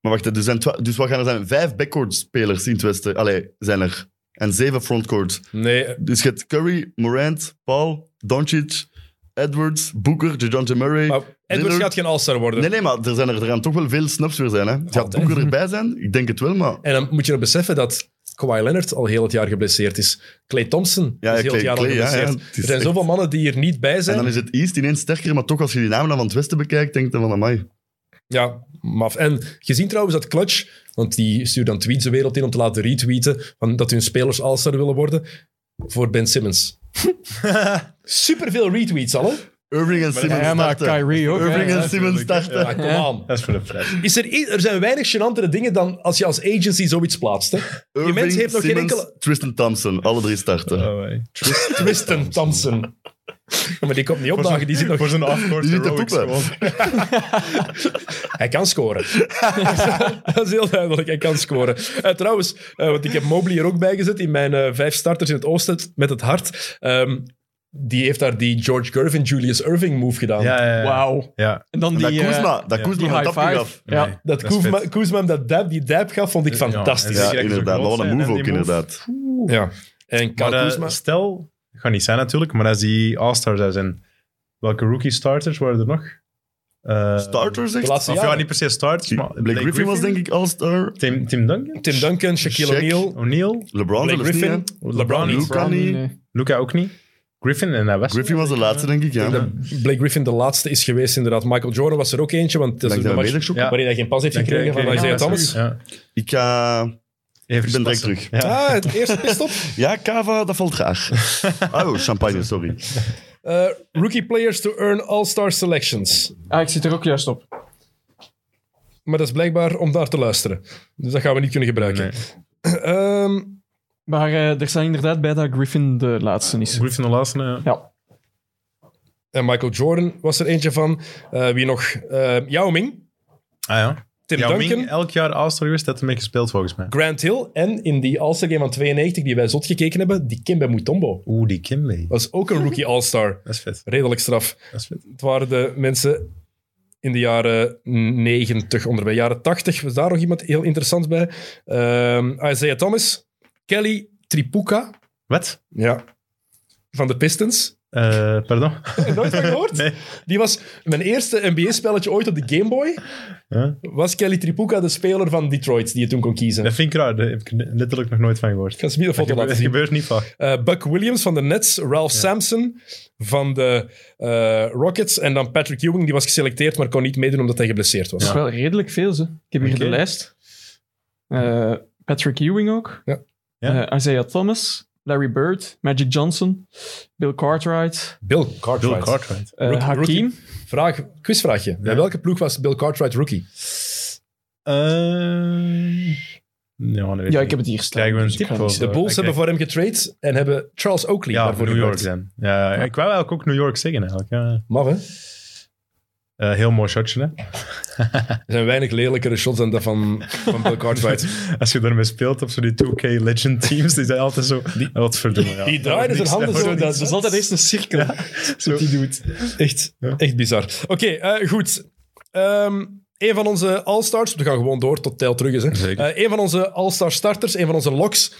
[SPEAKER 2] Maar wacht, er zijn twa- dus wat gaan er zijn? Vijf backcourt-spelers in het Westen. Allee, zijn er. En zeven frontcourt.
[SPEAKER 1] Nee, eh,
[SPEAKER 2] Dus je hebt Curry, Morant, Paul, Doncic, Edwards, Booker, DeJounte Murray.
[SPEAKER 4] Oh,
[SPEAKER 1] maar Edwards
[SPEAKER 2] Lillard-
[SPEAKER 1] gaat geen All-Star worden.
[SPEAKER 2] Nee, nee, maar er, zijn er, er gaan toch wel veel snaps weer zijn. Hè? Gaat
[SPEAKER 1] Altijd.
[SPEAKER 2] Booker erbij zijn? Ik denk het wel, maar...
[SPEAKER 1] En dan moet je nog beseffen dat Kawhi Leonard al heel het jaar geblesseerd is. Clay Thompson
[SPEAKER 2] Ja,
[SPEAKER 1] is heel
[SPEAKER 2] ja, Klay-
[SPEAKER 1] het jaar al
[SPEAKER 2] Klay, ja,
[SPEAKER 1] geblesseerd.
[SPEAKER 2] ja, het is
[SPEAKER 1] er zijn
[SPEAKER 2] echt-
[SPEAKER 1] zoveel mannen die er niet bij
[SPEAKER 2] En
[SPEAKER 1] zijn.
[SPEAKER 2] dan is het East ineens sterker, maar toch als je die namen dan van het Westen bekijkt, denk je van, amai.
[SPEAKER 1] Ja, maf. En gezien trouwens dat Clutch, want die stuurt dan tweets de wereld in om te laten retweeten van dat hun spelers all-star willen worden, voor Ben Simmons. Superveel retweets al, hè?
[SPEAKER 2] Irving en Simmons
[SPEAKER 4] Ja, maar
[SPEAKER 2] starten.
[SPEAKER 4] Kyrie ook.
[SPEAKER 2] Irving
[SPEAKER 4] hè.
[SPEAKER 2] en Simmons
[SPEAKER 3] natuurlijk.
[SPEAKER 2] starten.
[SPEAKER 1] Ja, Ah, come on.
[SPEAKER 3] Dat is voor de fles.
[SPEAKER 1] Is er, i- er zijn weinig gênantere dingen dan als je als agency zoiets plaatst, hè? Die
[SPEAKER 2] Irving,
[SPEAKER 1] mens heeft nog geen
[SPEAKER 2] Simmons,
[SPEAKER 1] enkele...
[SPEAKER 2] Tristan Thompson, alle drie starten.
[SPEAKER 3] Oh,
[SPEAKER 1] Tristan Thompson. Ja, maar die komt niet opdagen, die zit nog...
[SPEAKER 3] Voor zijn afkort
[SPEAKER 2] Die zit te
[SPEAKER 3] heroics
[SPEAKER 2] poepen.
[SPEAKER 3] gewoon.
[SPEAKER 1] Hij kan scoren. dat is heel duidelijk, hij kan scoren. Eh, trouwens, eh, want ik heb Mobley er ook bij gezet in mijn eh, vijf starters in het oosten met het hart. Ehm, die heeft daar die George Gervin, Julius Irving move gedaan.
[SPEAKER 3] Ja, ja, ja.
[SPEAKER 4] Wauw.
[SPEAKER 3] Ja.
[SPEAKER 4] En dan
[SPEAKER 2] Dat
[SPEAKER 4] die, eh,
[SPEAKER 2] Kuzma, dat
[SPEAKER 3] ja.
[SPEAKER 2] Kuzma
[SPEAKER 4] die
[SPEAKER 2] van
[SPEAKER 4] high
[SPEAKER 2] het tapje
[SPEAKER 4] five.
[SPEAKER 2] gaf.
[SPEAKER 4] Ja.
[SPEAKER 3] Nee.
[SPEAKER 1] Dat
[SPEAKER 3] Dat is
[SPEAKER 1] Kuzma,
[SPEAKER 3] vet.
[SPEAKER 1] Kuzma hem dat dab, die dab gaf, vond ik
[SPEAKER 3] Ja,
[SPEAKER 1] fantastisch. Ja,
[SPEAKER 3] en
[SPEAKER 2] Ja,
[SPEAKER 3] die direct zo
[SPEAKER 2] inderdaad. Maar
[SPEAKER 3] groot
[SPEAKER 2] wat een
[SPEAKER 3] zijn
[SPEAKER 2] move
[SPEAKER 3] en
[SPEAKER 2] ook,
[SPEAKER 3] die move.
[SPEAKER 2] inderdaad.
[SPEAKER 1] en Kyle
[SPEAKER 3] Maar eh,
[SPEAKER 1] Kuzma.
[SPEAKER 3] stel, dat gaat niet zijn natuurlijk, maar als die All-Star zou zijn, welke rookie starters waren er nog? Eh,
[SPEAKER 2] Starters,
[SPEAKER 1] De
[SPEAKER 2] echt?
[SPEAKER 1] laatste
[SPEAKER 3] Of ja,
[SPEAKER 1] jaren.
[SPEAKER 3] niet per se starters, maar
[SPEAKER 2] Blake, Griffin, was denk ik all-star.
[SPEAKER 3] Tim, Tim Duncan?
[SPEAKER 1] Tim Duncan, Shaquille
[SPEAKER 2] Shaq,
[SPEAKER 1] O'Neal,
[SPEAKER 3] O'Neal?
[SPEAKER 2] LeBron
[SPEAKER 1] Blake
[SPEAKER 2] zelfs niet,
[SPEAKER 1] Griffin,
[SPEAKER 2] hè?
[SPEAKER 1] LeBron niet.
[SPEAKER 2] Luka niet.
[SPEAKER 4] nee.
[SPEAKER 3] Luca ook niet? Griffin en hij was
[SPEAKER 2] Griffin was de laatste, denk ik, ja.
[SPEAKER 1] Dat Blake Griffin de laatste is geweest, inderdaad. Michael Jordan was er ook eentje, want dat is
[SPEAKER 2] Dank
[SPEAKER 1] een
[SPEAKER 2] dat we
[SPEAKER 1] match
[SPEAKER 2] bezig zoeken.
[SPEAKER 3] Ja.
[SPEAKER 1] waarin hij geen pas heeft
[SPEAKER 3] Dan
[SPEAKER 1] gekregen
[SPEAKER 3] krijg
[SPEAKER 1] van
[SPEAKER 3] je-
[SPEAKER 1] Isaiah
[SPEAKER 3] ja,
[SPEAKER 1] Thomas.
[SPEAKER 3] sorry. Ja.
[SPEAKER 2] Ik, ga-
[SPEAKER 3] Even
[SPEAKER 2] ik ben direct
[SPEAKER 3] passen.
[SPEAKER 2] terug.
[SPEAKER 3] Ja.
[SPEAKER 1] Ah, het eerste pistop.
[SPEAKER 2] Ja, Kava, dat valt graag. Oh, champagne, sorry.
[SPEAKER 1] Eh, rookie players to earn all-star selections.
[SPEAKER 4] Ah, ik zit er ook juist op.
[SPEAKER 1] Maar dat is blijkbaar om daar te luisteren. Dus dat gaan we niet kunnen gebruiken. Ehm,
[SPEAKER 4] Maar eh, er staan inderdaad bij dat Griffin de laatste is.
[SPEAKER 3] Griffin de laatste, eh. ja.
[SPEAKER 4] Ja.
[SPEAKER 1] en Michael Jordan was er eentje van. Eh, wie nog? Eh Yao Ming,
[SPEAKER 3] Ah ja.
[SPEAKER 1] Tim
[SPEAKER 3] Yao
[SPEAKER 1] Duncan,
[SPEAKER 3] Ming, elk jaar All-Star geweest, dat ermee gespeeld volgens mij.
[SPEAKER 1] Grant Hill en in die All-Star Game van 92 die wij zot gekeken hebben, die Kimbe Mutombo.
[SPEAKER 3] Oeh, die Kimbe.
[SPEAKER 1] Was ook een rookie all-star.
[SPEAKER 3] Dat is vet.
[SPEAKER 1] Redelijk straf.
[SPEAKER 3] Dat is vet.
[SPEAKER 1] Het waren de mensen in de jaren 90 onderbij. Jaren 80 was daar nog iemand heel interessant bij. Ehm, Isaiah Thomas, Kelly Tripuka.
[SPEAKER 3] Wat?
[SPEAKER 1] Ja. Van de Pistons.
[SPEAKER 3] Eh, pardon?
[SPEAKER 1] Nooit van gehoord?
[SPEAKER 3] Nee.
[SPEAKER 1] Die was mijn eerste NBA-spelletje ooit op de Game Boy.
[SPEAKER 3] Ja.
[SPEAKER 1] Was Kelly Tripuka de speler van Detroit die je toen kon kiezen?
[SPEAKER 3] Dat
[SPEAKER 1] Ik
[SPEAKER 3] vind ik raar, daar heb ik letterlijk nog nooit van gehoord.
[SPEAKER 1] ga ze niet een
[SPEAKER 3] Dat
[SPEAKER 1] foto
[SPEAKER 3] gebeurt,
[SPEAKER 1] laten
[SPEAKER 3] dat
[SPEAKER 1] zien.
[SPEAKER 3] gebeurt niet vaak.
[SPEAKER 1] Eh, Buck Williams van de Nets, Ralph Sampson van de eh, Rockets en dan Patrick Ewing, die was geselecteerd, maar kon niet meedoen omdat hij geblesseerd was.
[SPEAKER 4] Dat is wel redelijk veel, ze. Ik heb hier
[SPEAKER 3] Oké.
[SPEAKER 4] de lijst. Eh, Patrick Ewing ook.
[SPEAKER 1] Ja.
[SPEAKER 3] Ja.
[SPEAKER 4] Eh, Isaiah Thomas, Larry Bird, Magic Johnson, Bill Cartwright,
[SPEAKER 1] Bill
[SPEAKER 3] Bill
[SPEAKER 1] Cartwright.
[SPEAKER 3] Cartwright.
[SPEAKER 4] eh,
[SPEAKER 1] Rookie-
[SPEAKER 4] Hakim.
[SPEAKER 1] Vraag, quizvraagje. Bij welke ploeg was Bill Cartwright rookie?
[SPEAKER 3] Eh, ja, dat weet
[SPEAKER 4] Ja, ik heb het hier staan.
[SPEAKER 3] Krijgen we een
[SPEAKER 1] dus
[SPEAKER 4] Ik heb het
[SPEAKER 3] gevoel.
[SPEAKER 4] niet.
[SPEAKER 1] De Bulls
[SPEAKER 3] Oké.
[SPEAKER 1] hebben voor hem getrade en hebben Charles Oakley
[SPEAKER 3] Ja, voor
[SPEAKER 1] daarvoor
[SPEAKER 3] New York
[SPEAKER 1] gebruikt.
[SPEAKER 3] zijn. Ja, ja, Ik wou eigenlijk ook New York zeggen eigenlijk. Ja.
[SPEAKER 1] Mag, hè?
[SPEAKER 3] Eh, heel mooi shotje, hè?
[SPEAKER 1] Er zijn weinig lelijkere shots dan dat van, van Bill Cartwright.
[SPEAKER 3] Als je daarmee speelt op zo die 2K Legend teams, die zijn altijd zo... wat verdomme, ja.
[SPEAKER 1] Die draaien zijn handen zo.
[SPEAKER 4] Dus
[SPEAKER 1] Dat is altijd eerst een cirkel.
[SPEAKER 3] Zo.
[SPEAKER 1] die doet. Echt,
[SPEAKER 3] Ja.
[SPEAKER 1] echt bizar. Oké, eh, goed. Ehm een van onze All-Stars, we gaan gewoon door tot Tel terug is. Hè.
[SPEAKER 3] Zeker.
[SPEAKER 1] Eh, een van onze All-Star starters, een van onze locks,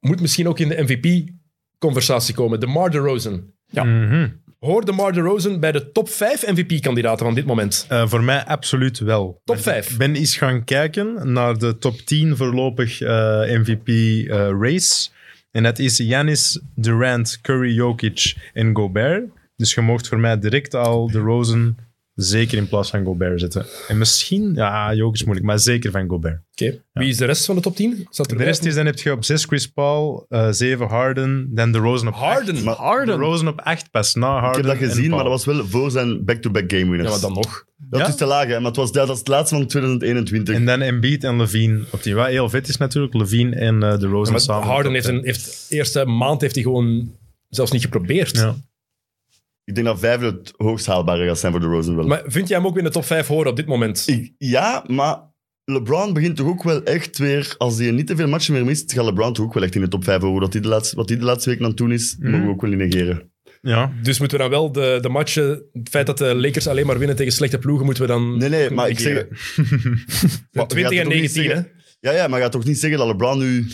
[SPEAKER 1] moet misschien ook in de MVP-conversatie komen. De Mar DeRozan.
[SPEAKER 3] Mhm.
[SPEAKER 1] Hoor de Mar DeRozan bij de top 5 MVP-kandidaten van dit moment.
[SPEAKER 3] Eh, voor mij absoluut wel.
[SPEAKER 1] Top
[SPEAKER 3] Ik
[SPEAKER 1] vijf.
[SPEAKER 3] ben eens gaan kijken naar de top 10 voorlopig eh, MVP-race. eh, en dat is Giannis, Durant, Curry, Jokic en Gobert. Dus je mocht voor mij direct al de Rosen zeker in plaats van Gobert zetten. En misschien, ja, Jokic moeilijk, maar zeker van Gobert.
[SPEAKER 1] Oké. Wie is de rest van de top 10? Zat er
[SPEAKER 3] De rest is, dan heb je op 6 Chris Paul, 7 Harden, dan de Rosen op
[SPEAKER 1] Harden.
[SPEAKER 2] Maar-
[SPEAKER 3] De
[SPEAKER 4] Harden.
[SPEAKER 3] Rosen op 8 pas, na
[SPEAKER 2] Ik
[SPEAKER 3] Harden
[SPEAKER 2] heb dat
[SPEAKER 3] en
[SPEAKER 2] gezien,
[SPEAKER 3] Paul.
[SPEAKER 2] maar dat was wel voor zijn back-to-back game winners.
[SPEAKER 1] Ja, maar dan nog.
[SPEAKER 2] Dat
[SPEAKER 3] Ja?
[SPEAKER 2] is te laag, hè, maar het was, dat was het laatste van 2021.
[SPEAKER 3] En dan Embiid en Levine op die. Wat heel vet is natuurlijk, Levine en eh, de Rosen
[SPEAKER 1] Maar
[SPEAKER 3] samen.
[SPEAKER 1] Harden heeft, een, heeft de eerste maand heeft hij gewoon zelfs niet geprobeerd.
[SPEAKER 3] Ja.
[SPEAKER 2] Ik denk dat vijf het hoogst haalbare gaat zijn voor de Rosen wel.
[SPEAKER 1] Maar vind jij hem ook in de top 5 horen op dit moment?
[SPEAKER 2] Ik- ja, maar LeBron begint toch ook wel echt weer... Als hij niet te veel matchen meer mist, gaat LeBron toch ook wel echt in de top 5 horen. Dat die de laatste, wat hij de laatste week aan het doen is,
[SPEAKER 1] Mhm.
[SPEAKER 2] mogen we ook wel niet negeren.
[SPEAKER 3] ja.
[SPEAKER 1] Dus moeten we dan wel de, de matchen, het feit dat de Lakers alleen maar winnen tegen slechte ploegen, moeten we dan...
[SPEAKER 2] Nee, nee, maar ik zeg...
[SPEAKER 1] negeren?
[SPEAKER 2] Maar je gaat
[SPEAKER 1] 20 en
[SPEAKER 2] toch niet
[SPEAKER 1] 19, hè?
[SPEAKER 2] zeggen- Ja, ja, maar je gaat toch niet zeggen dat LeBron nu...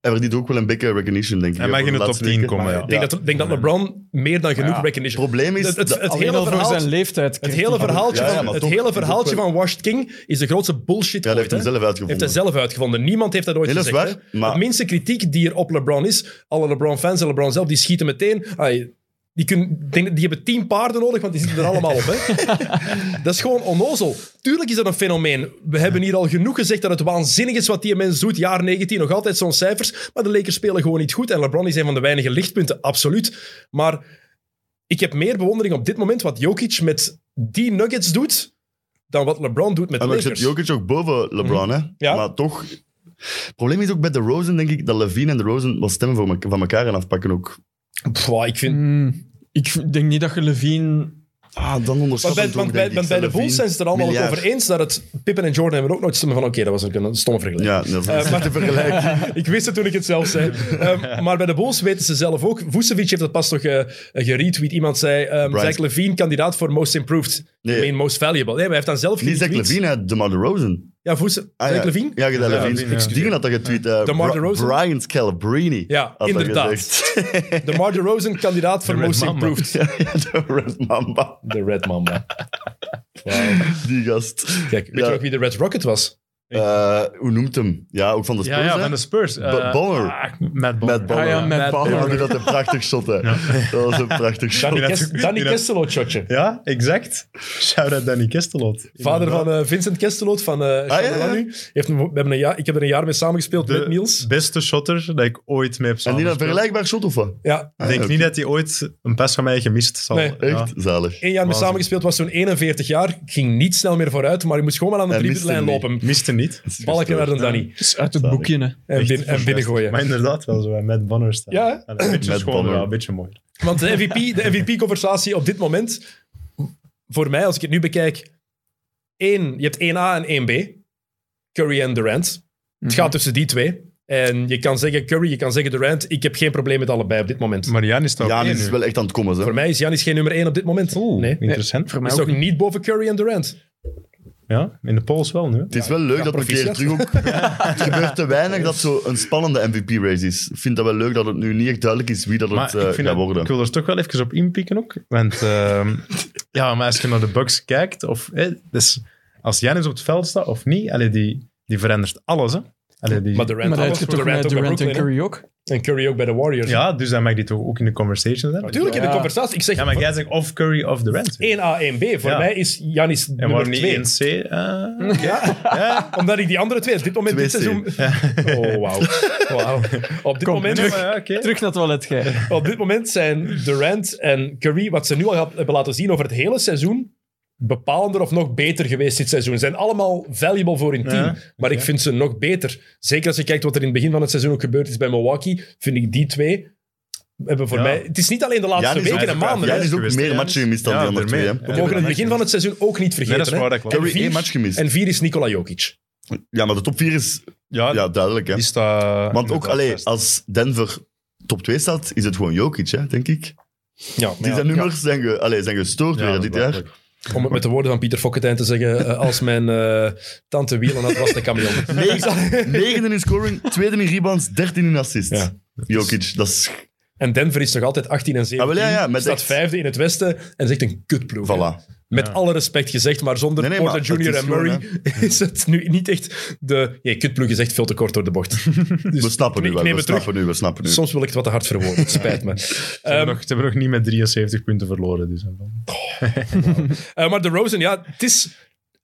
[SPEAKER 2] Hij verdient ook wel een beetje recognition, denk ik.
[SPEAKER 3] Hij
[SPEAKER 2] hè,
[SPEAKER 3] mag
[SPEAKER 2] voor
[SPEAKER 3] in de top
[SPEAKER 2] laatste
[SPEAKER 3] 10
[SPEAKER 2] weken.
[SPEAKER 3] komen,
[SPEAKER 2] Maar
[SPEAKER 3] ja.
[SPEAKER 1] Ik denk, dat, ik denk dat LeBron meer dan genoeg
[SPEAKER 3] Ja.
[SPEAKER 2] Het
[SPEAKER 1] recognition...
[SPEAKER 2] probleem is...
[SPEAKER 1] Het, het,
[SPEAKER 2] dat-
[SPEAKER 1] het
[SPEAKER 4] Alleen
[SPEAKER 1] hele
[SPEAKER 4] al voor
[SPEAKER 1] verhaal...
[SPEAKER 4] zijn leeftijd.
[SPEAKER 1] Het hele verhaaltje,
[SPEAKER 2] Ja, ja,
[SPEAKER 1] van,
[SPEAKER 2] maar
[SPEAKER 1] het
[SPEAKER 2] toch-
[SPEAKER 1] hele
[SPEAKER 2] toch
[SPEAKER 1] verhaaltje
[SPEAKER 2] wel-
[SPEAKER 1] van Washed King is de grootste bullshit
[SPEAKER 2] ja, dat
[SPEAKER 1] ooit.
[SPEAKER 2] heeft hem
[SPEAKER 1] hè?
[SPEAKER 2] zelf
[SPEAKER 1] heeft
[SPEAKER 2] uitgevonden.
[SPEAKER 1] hij zelf uitgevonden. Niemand heeft dat ooit
[SPEAKER 2] Nee, dat is
[SPEAKER 1] gezegd.
[SPEAKER 2] waar,
[SPEAKER 1] hè?
[SPEAKER 2] maar-
[SPEAKER 1] De minste kritiek die er op LeBron is, alle LeBron-fans en LeBron zelf, die schieten meteen... ai, die, kunnen, ik denk dat die hebben tien paarden nodig, want die zitten er allemaal op. Hè? dat is gewoon onnozel. Tuurlijk is dat een fenomeen. We hebben hier al genoeg gezegd dat het waanzinnig is wat die mens doet. Jaar 19, nog altijd zo'n cijfers. Maar de Lakers spelen gewoon niet goed. En LeBron is een van de weinige lichtpunten, absoluut. Maar ik heb meer bewondering op dit moment wat Jokic met die Nuggets doet, dan wat LeBron doet met de
[SPEAKER 2] En maar ik zet
[SPEAKER 1] Lakers.
[SPEAKER 2] Jokic ook boven LeBron, hè?
[SPEAKER 1] Mhm. Ja.
[SPEAKER 2] Maar toch... Het probleem is ook bij de Rosen, denk ik, dat Levine en de Rosen wel stemmen voor me- van elkaar gaan afpakken ook.
[SPEAKER 1] Pff, ik vind...
[SPEAKER 4] Mm, ik denk niet dat je Levine...
[SPEAKER 2] Ah, dan
[SPEAKER 1] Want
[SPEAKER 2] onderschat
[SPEAKER 1] bij,
[SPEAKER 2] hem toch,
[SPEAKER 1] want bij,
[SPEAKER 2] denk ik,
[SPEAKER 1] want bij de
[SPEAKER 2] Levine.
[SPEAKER 1] Bulls zijn ze het er allemaal ook
[SPEAKER 2] miljard.
[SPEAKER 1] over eens dat het... Pippen en Jordan hebben er ook nooit stemmen van... Oké, dat was ook een, een stomme vergelijking.
[SPEAKER 2] Ja, dat is
[SPEAKER 1] Eh, maar-
[SPEAKER 2] te vergelijken.
[SPEAKER 1] ik wist het toen ik het zelf zei. Ehm, maar bij de Bulls weten ze zelf ook. Vucevic heeft dat pas toch eh, eh, geretweet. Iemand zei... ehm
[SPEAKER 2] Bryant.
[SPEAKER 1] Zach Levine, kandidaat voor Most Improved.
[SPEAKER 2] Nee.
[SPEAKER 1] I mean, Most Valuable. Nee, maar hij heeft dan zelf
[SPEAKER 2] Niet Zach
[SPEAKER 1] geretweet.
[SPEAKER 2] Levine, hè, DeMar DeRozan.
[SPEAKER 1] Ja, Vuce,
[SPEAKER 2] Ah,
[SPEAKER 1] Zach
[SPEAKER 2] ja.
[SPEAKER 1] Levine?
[SPEAKER 2] Ja, je dat
[SPEAKER 3] Ja,
[SPEAKER 2] Levine.
[SPEAKER 3] Levine,
[SPEAKER 2] Ik
[SPEAKER 3] ja.
[SPEAKER 2] dingen had dat getweet. eh,
[SPEAKER 1] DeMar
[SPEAKER 2] Bra-
[SPEAKER 1] DeRozan?
[SPEAKER 2] Brian Scalabrine.
[SPEAKER 1] Ja,
[SPEAKER 2] had dat
[SPEAKER 1] inderdaad.
[SPEAKER 2] gezegd.
[SPEAKER 1] De Mar DeRozan, kandidaat voor
[SPEAKER 3] De Red
[SPEAKER 1] Most
[SPEAKER 3] Mamba.
[SPEAKER 1] Improved.
[SPEAKER 2] ja, ja, de Red Mamba.
[SPEAKER 1] De Red Mamba.
[SPEAKER 2] Die gast.
[SPEAKER 1] Kijk, weet
[SPEAKER 2] Ja.
[SPEAKER 1] je ook wie de Red Rocket was?
[SPEAKER 2] Eh, hoe noemt hem? Ja, ook van de Spurs,
[SPEAKER 3] Ja, ja,
[SPEAKER 2] hè?
[SPEAKER 3] van de Spurs. eh,
[SPEAKER 2] Bo- Bonner.
[SPEAKER 3] ah, Matt Bonner.
[SPEAKER 2] Matt Bonner.
[SPEAKER 4] Ah ja,
[SPEAKER 2] Ja,
[SPEAKER 4] met
[SPEAKER 3] Matt
[SPEAKER 4] Ballard.
[SPEAKER 2] maar die had een prachtig shot, hè. Dat was een prachtig
[SPEAKER 1] Danny,
[SPEAKER 2] shot.
[SPEAKER 3] dat-
[SPEAKER 1] Kes-
[SPEAKER 3] die
[SPEAKER 1] Danny
[SPEAKER 3] dat-
[SPEAKER 1] Kestelot-shotje.
[SPEAKER 3] Ja, exact. Shout-out Danny Kestelot.
[SPEAKER 1] Vader van eh, Vincent Kesteloot van eh
[SPEAKER 2] ja, ja.
[SPEAKER 1] Chabalala nu. Heeft een- we hebben een jaar, ik heb er een jaar mee samengespeeld
[SPEAKER 3] De
[SPEAKER 1] met Niels.
[SPEAKER 3] beste shotter dat ik ooit mee heb
[SPEAKER 2] En die had een
[SPEAKER 3] samengespeeld.
[SPEAKER 2] vergelijkbaar shot, of wat?
[SPEAKER 1] Ah, Ja,
[SPEAKER 3] Ik denk niet dat hij ooit een pas van mij gemist zal.
[SPEAKER 1] Nee.
[SPEAKER 3] Ja.
[SPEAKER 2] Echt
[SPEAKER 1] één
[SPEAKER 2] zalig.
[SPEAKER 1] jaar mee
[SPEAKER 3] Waanzin.
[SPEAKER 1] samengespeeld, was zo'n 41 jaar. Ik ging niet snel meer vooruit, maar je moest gewoon maar aan de
[SPEAKER 2] Hij miste
[SPEAKER 1] driepuntlijn
[SPEAKER 2] hem
[SPEAKER 1] lopen.
[SPEAKER 3] Miste niet.
[SPEAKER 1] Balken naar de Danny.
[SPEAKER 4] Het is uit het boekje, hè.
[SPEAKER 1] En,
[SPEAKER 3] Echt
[SPEAKER 1] bin, en binnengooien.
[SPEAKER 3] Maar inderdaad wel zo, hè, Matt Bonner staan.
[SPEAKER 1] Ja, hè?
[SPEAKER 3] En Een beetje
[SPEAKER 2] Matt
[SPEAKER 3] schoon,
[SPEAKER 2] Bonner.
[SPEAKER 3] ja, een beetje mooi.
[SPEAKER 1] Want de MVP, de MVP-conversatie op dit moment, voor mij, als ik het nu bekijk, één, je hebt 1A en 1B. Curry en Durant. Het gaat tussen die twee. En je kan zeggen Curry, je kan zeggen Durant. Ik heb geen probleem met allebei op dit moment.
[SPEAKER 3] Marianne is toch
[SPEAKER 2] Ja, die
[SPEAKER 3] één
[SPEAKER 2] is
[SPEAKER 3] nu?
[SPEAKER 2] wel echt aan het komen, hè.
[SPEAKER 1] voor mij is Janis geen nummer 1 op dit moment. nee.
[SPEAKER 3] Interessant.
[SPEAKER 4] Voor mij
[SPEAKER 1] Is
[SPEAKER 4] ook
[SPEAKER 1] ook
[SPEAKER 4] niet.
[SPEAKER 1] niet boven Curry en Durant.
[SPEAKER 3] Ja, in de polls wel nu. hè.
[SPEAKER 2] Het is wel leuk
[SPEAKER 1] ja,
[SPEAKER 2] dat een keer
[SPEAKER 1] proficiat.
[SPEAKER 2] terug ook... Het gebeurt te weinig dat zo een spannende MVP-race is. Ik vind dat wel leuk dat het nu niet echt duidelijk is wie dat
[SPEAKER 3] Maar
[SPEAKER 2] het eh,
[SPEAKER 3] ik, vind
[SPEAKER 2] gaat
[SPEAKER 3] dat-
[SPEAKER 2] worden.
[SPEAKER 3] ik wil er toch wel even op inpikken ook. Want ehm, ja, maar als je naar de Bucks kijkt, of, eh, dus als Janis op het veld staat of niet, allee, die, die verandert alles. Hè. Allee, die,
[SPEAKER 1] Maar Durant,
[SPEAKER 4] maar dat heb
[SPEAKER 1] alles,
[SPEAKER 4] je toch met
[SPEAKER 1] ook bij
[SPEAKER 4] Durant en
[SPEAKER 1] Brooklyn, hè?
[SPEAKER 4] Curry ook.
[SPEAKER 1] En Curry ook bij de Warriors.
[SPEAKER 3] ja, dus dan mag die toch ook in de conversation zijn.
[SPEAKER 1] Natuurlijk, in de
[SPEAKER 4] Ja.
[SPEAKER 1] conversatie. Ik zeg
[SPEAKER 3] Ja, maar jij zegt of Curry of Durant.
[SPEAKER 1] 1A, 1B. Voor
[SPEAKER 3] Ja.
[SPEAKER 1] mij is Janis
[SPEAKER 3] En waarom
[SPEAKER 1] nummer
[SPEAKER 3] niet
[SPEAKER 1] 2.
[SPEAKER 3] 1C? eh?
[SPEAKER 1] Ja,
[SPEAKER 3] ja,
[SPEAKER 1] omdat ik die andere twee op dit moment dit
[SPEAKER 2] 2C.
[SPEAKER 1] seizoen... Oh, wauw. Wauw. Op, dit moment-
[SPEAKER 3] Ja, maar ja, oké.
[SPEAKER 4] Terug naar het toilet, gij.
[SPEAKER 1] op dit moment zijn Durant en Curry, wat ze nu al hebben laten zien over het hele seizoen, bepalender of nog beter geweest dit seizoen. Ze zijn allemaal valuable voor hun team,
[SPEAKER 3] Ja.
[SPEAKER 1] maar ik vind ze nog beter. Zeker als je kijkt wat er in het begin van het seizoen ook gebeurd is bij Milwaukee, vind ik die twee... Hebben voor
[SPEAKER 3] Ja.
[SPEAKER 1] mij, het is niet alleen de laatste
[SPEAKER 2] Giannis
[SPEAKER 1] weken
[SPEAKER 2] ook-
[SPEAKER 1] en maanden.
[SPEAKER 2] Giannis
[SPEAKER 1] hè.
[SPEAKER 2] is ook
[SPEAKER 3] geweest,
[SPEAKER 2] meer
[SPEAKER 3] hè,
[SPEAKER 2] matchen gemist dan
[SPEAKER 3] Ja,
[SPEAKER 2] die andere
[SPEAKER 3] ermee,
[SPEAKER 2] twee. hè.
[SPEAKER 3] hè.
[SPEAKER 1] We
[SPEAKER 3] Ja,
[SPEAKER 1] mogen
[SPEAKER 3] dat
[SPEAKER 1] het
[SPEAKER 3] maakt
[SPEAKER 1] begin van het seizoen ook niet
[SPEAKER 3] Nee, dat is
[SPEAKER 1] vergeten.
[SPEAKER 3] waar,
[SPEAKER 1] hè.
[SPEAKER 3] dat klopt.
[SPEAKER 2] Curry
[SPEAKER 1] vier-
[SPEAKER 2] één match gemist.
[SPEAKER 1] En vier is Nikola Jokic.
[SPEAKER 2] Ja, maar de top 4 is
[SPEAKER 1] Ah,
[SPEAKER 3] Ja,
[SPEAKER 2] ja, duidelijk. Hè.
[SPEAKER 3] die staat...
[SPEAKER 2] Want ook
[SPEAKER 3] inderdaad
[SPEAKER 2] allee,
[SPEAKER 3] vast.
[SPEAKER 2] als Denver top 2 staat, is het gewoon Jokic, hè, denk ik.
[SPEAKER 1] Ja,
[SPEAKER 2] Die zijn nummers zijn, ge, allee, zijn gestoord
[SPEAKER 3] Ja,
[SPEAKER 2] weer
[SPEAKER 3] dat
[SPEAKER 2] dit
[SPEAKER 3] is
[SPEAKER 2] jaar.
[SPEAKER 3] belachelijk.
[SPEAKER 1] Om het met de woorden van Pieter Fokketijn te zeggen, eh, als mijn eh, tante wielen had, was de kameel.
[SPEAKER 2] Negen- Negende in scoring, tweede in rebounds, dertiende in assists.
[SPEAKER 1] Ja.
[SPEAKER 2] Jokic, dat is...
[SPEAKER 1] En Denver is toch altijd 18 en 17.
[SPEAKER 2] Ah, wel, ja, ja, met
[SPEAKER 1] staat
[SPEAKER 2] echt-
[SPEAKER 1] vijfde in het westen en zegt een kutploeg. hè.
[SPEAKER 2] Voilà.
[SPEAKER 1] Met
[SPEAKER 3] Ja.
[SPEAKER 1] alle respect gezegd, maar zonder
[SPEAKER 2] Nee, nee, maar
[SPEAKER 1] Porter Jr.
[SPEAKER 2] het is
[SPEAKER 1] en Murray
[SPEAKER 2] gewoon,
[SPEAKER 1] is het nu niet echt de... Nee, kutploeg is echt veel te kort door de bocht. Dus
[SPEAKER 2] We snappen nu
[SPEAKER 1] ik
[SPEAKER 2] wel,
[SPEAKER 1] neem
[SPEAKER 2] we
[SPEAKER 1] het terug.
[SPEAKER 2] snappen nu, we snappen nu.
[SPEAKER 1] Soms wil ik het wat te hard verwoorden, het spijt me.
[SPEAKER 3] Ze hebben
[SPEAKER 1] Ehm,
[SPEAKER 3] nog- ze hebben nog niet met 73 punten verloren. Dus.
[SPEAKER 1] eh, maar de Rosen, ja, het is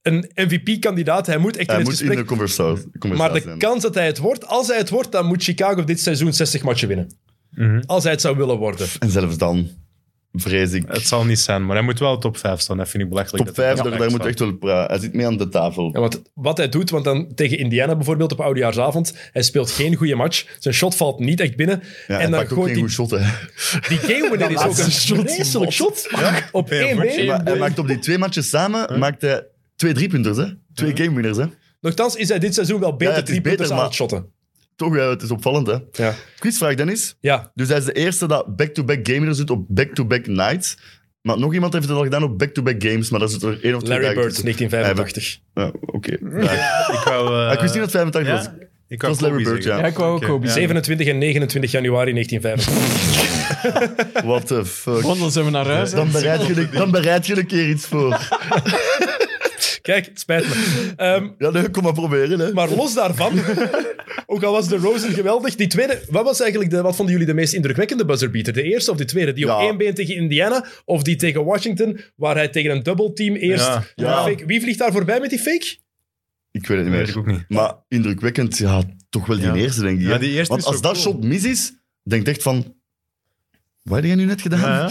[SPEAKER 1] een MVP-kandidaat. Hij moet echt
[SPEAKER 2] Hij
[SPEAKER 1] in het
[SPEAKER 2] moet in
[SPEAKER 1] gesprek
[SPEAKER 2] de conversatie
[SPEAKER 1] Maar
[SPEAKER 2] conversatie
[SPEAKER 1] de
[SPEAKER 2] zijn.
[SPEAKER 1] kans dat hij het wordt, als hij het wordt, dan moet Chicago dit seizoen 60 matchen winnen.
[SPEAKER 3] Mhm.
[SPEAKER 1] Als hij het zou willen worden.
[SPEAKER 2] En zelfs dan, vrees ik,
[SPEAKER 3] Het zal niet zijn, maar hij moet wel top 5 staan. Dat vind ik belachelijk.
[SPEAKER 2] top
[SPEAKER 3] dat hij
[SPEAKER 2] 5,
[SPEAKER 3] niet
[SPEAKER 2] daar, daar moet
[SPEAKER 3] staat.
[SPEAKER 2] echt wel praten. Hij zit mee aan de tafel.
[SPEAKER 1] En wat, wat hij doet, want dan tegen Indiana bijvoorbeeld op oudejaarsavond, hij speelt geen goede match, zijn shot valt niet echt binnen.
[SPEAKER 2] Ja,
[SPEAKER 1] en
[SPEAKER 2] hij
[SPEAKER 1] dan
[SPEAKER 2] pakt ook
[SPEAKER 1] gooit
[SPEAKER 2] geen
[SPEAKER 1] die,
[SPEAKER 2] goed shot, hè.
[SPEAKER 1] die game winner is ook een vreselijk shot. Op één been.
[SPEAKER 2] Maar hij maakt op die twee matches samen maakt hij twee driepunters, hè. Twee gamewinners, hè.
[SPEAKER 1] Nogthans is hij dit seizoen wel beter
[SPEAKER 2] Ja, het is
[SPEAKER 1] drie punten
[SPEAKER 2] beter,
[SPEAKER 1] aan
[SPEAKER 2] maar-
[SPEAKER 1] het shotten.
[SPEAKER 2] Toch, ja, het is opvallend, hè.
[SPEAKER 1] Ja.
[SPEAKER 2] Quizvraag, Dennis.
[SPEAKER 1] Ja.
[SPEAKER 2] Dus hij is de eerste dat back-to-back gamer zit op back-to-back nights. Maar nog iemand heeft het al gedaan op back-to-back games, maar dat is er één of twee
[SPEAKER 1] Larry
[SPEAKER 2] dagen
[SPEAKER 1] Bird,
[SPEAKER 2] tussen.
[SPEAKER 1] 1985.
[SPEAKER 2] Ja, Oké. Ja.
[SPEAKER 3] Ik wou... eh,
[SPEAKER 2] ik wist niet dat 85
[SPEAKER 3] ja,
[SPEAKER 2] was.
[SPEAKER 3] Ik
[SPEAKER 2] was Larry Bird, ja.
[SPEAKER 4] Ja, ik wou ook
[SPEAKER 3] Oké,
[SPEAKER 4] Kobe
[SPEAKER 3] ja.
[SPEAKER 1] 27 en 29 januari 1985.
[SPEAKER 2] What the fuck.
[SPEAKER 4] Wandel zijn we naar huis. hè.
[SPEAKER 2] Dan bereid, je, de- dan bereid je een keer iets voor.
[SPEAKER 1] Kijk, het spijt me. Ehm,
[SPEAKER 2] Ja, leuk, kom maar proberen. Hè.
[SPEAKER 1] Maar los daarvan, ook al was de Rosen geweldig, die tweede, wat, was eigenlijk de, wat vonden jullie de meest indrukwekkende buzzerbeater? De eerste of die tweede? Die op
[SPEAKER 2] Ja.
[SPEAKER 1] één been tegen Indiana of die tegen Washington, waar hij tegen een dubbelteam eerst...
[SPEAKER 3] Ja.
[SPEAKER 2] Ja.
[SPEAKER 1] Fake- Wie vliegt daar voorbij met die fake?
[SPEAKER 2] Ik weet het niet
[SPEAKER 3] Weet ik
[SPEAKER 2] meer.
[SPEAKER 3] ook niet.
[SPEAKER 2] Maar indrukwekkend, ja, toch wel die
[SPEAKER 3] Ja.
[SPEAKER 2] eerste, denk ik.
[SPEAKER 3] Ja,
[SPEAKER 2] hè.
[SPEAKER 3] die eerste
[SPEAKER 2] Want
[SPEAKER 3] is
[SPEAKER 2] als
[SPEAKER 3] zo
[SPEAKER 2] dat
[SPEAKER 3] cool.
[SPEAKER 2] shot mis is, denk ik echt van... Wat heb jij nu net gedaan?
[SPEAKER 3] Ja, ja.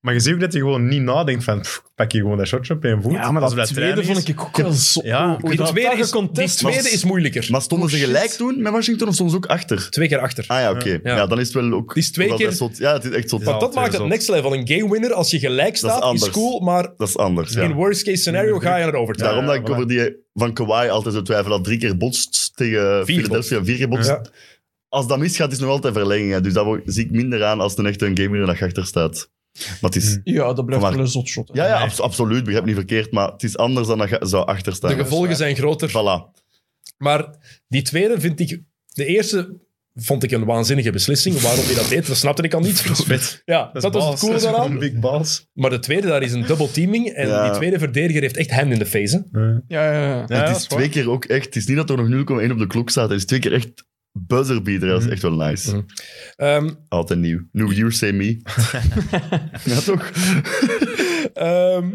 [SPEAKER 3] Maar je ziet ook dat je gewoon niet nadenkt van... pff, pak je gewoon dat shotje op één voet.
[SPEAKER 4] Ja, maar dat
[SPEAKER 3] Als
[SPEAKER 4] tweede
[SPEAKER 3] trainen
[SPEAKER 4] vond
[SPEAKER 3] is-
[SPEAKER 4] ik ook wel zo...
[SPEAKER 3] Ja.
[SPEAKER 4] hoe- hoe
[SPEAKER 1] Die
[SPEAKER 4] dat
[SPEAKER 1] tweede,
[SPEAKER 4] daar
[SPEAKER 1] is, die
[SPEAKER 4] gecontest was.
[SPEAKER 1] tweede is moeilijker.
[SPEAKER 2] Maar stonden ze
[SPEAKER 4] Oh, shit.
[SPEAKER 2] gelijk toen met Washington of stonden ze ook achter?
[SPEAKER 1] Twee keer achter.
[SPEAKER 2] Ah ja, oké.
[SPEAKER 1] Ja.
[SPEAKER 2] Ja. dan is het wel ook...
[SPEAKER 1] Het is twee
[SPEAKER 2] wel
[SPEAKER 1] keer-
[SPEAKER 2] best zot. Ja, het is echt zot.
[SPEAKER 3] Ja.
[SPEAKER 1] Want dat
[SPEAKER 3] twee
[SPEAKER 1] maakt het
[SPEAKER 3] zot.
[SPEAKER 1] next level. Een game winner, als je gelijk
[SPEAKER 2] is
[SPEAKER 1] staat, is,
[SPEAKER 2] anders.
[SPEAKER 1] cool, maar
[SPEAKER 2] Dat is anders, ja.
[SPEAKER 1] in worst case scenario ga je naar de overtime.
[SPEAKER 2] Daarom
[SPEAKER 3] Ja,
[SPEAKER 2] dat ik
[SPEAKER 3] voilà.
[SPEAKER 2] over die van Kawhi altijd zo twijfel. Dat drie keer botst tegen Philadelphia, vier keer botst.
[SPEAKER 1] Ja.
[SPEAKER 2] Als dat misgaat, is het nog altijd verlenging. hè. Dus daar wo- zie ik minder aan als een echte een gamer dat je achter staat. Maar het is...
[SPEAKER 4] Ja, dat blijft
[SPEAKER 2] Maar-
[SPEAKER 4] wel een zot shot. hè.
[SPEAKER 2] Ja, ja, abso- absoluut. Begrijp niet verkeerd. Maar het is anders dan dat je zou
[SPEAKER 1] De
[SPEAKER 2] achterstaan.
[SPEAKER 1] gevolgen zijn groter.
[SPEAKER 2] Voilà.
[SPEAKER 1] Maar die tweede vind ik... De eerste vond ik een waanzinnige beslissing. Waarom hij dat deed, dat snapte ik al niet.
[SPEAKER 3] Dat is vet.
[SPEAKER 1] Ja, dat, was
[SPEAKER 3] is
[SPEAKER 1] het
[SPEAKER 3] balls.
[SPEAKER 1] coole
[SPEAKER 3] Dat is gewoon
[SPEAKER 1] daaraan.
[SPEAKER 3] big balls.
[SPEAKER 1] Maar de tweede, daar is een double teaming. En
[SPEAKER 2] Ja.
[SPEAKER 1] die tweede verdediger heeft echt hem in de face. hè.
[SPEAKER 3] Ja,
[SPEAKER 4] Ja, ja, ja.
[SPEAKER 3] Ja,
[SPEAKER 2] het
[SPEAKER 3] dat
[SPEAKER 2] is
[SPEAKER 3] is waar.
[SPEAKER 2] twee keer ook echt... Het is niet dat er nog 0,1 op de klok staat. Het is twee keer echt buzzerbeater. Dat is echt wel nice.
[SPEAKER 1] Mhm. Ehm,
[SPEAKER 2] Altijd nieuw. New year, say me. ja, toch?
[SPEAKER 1] ehm,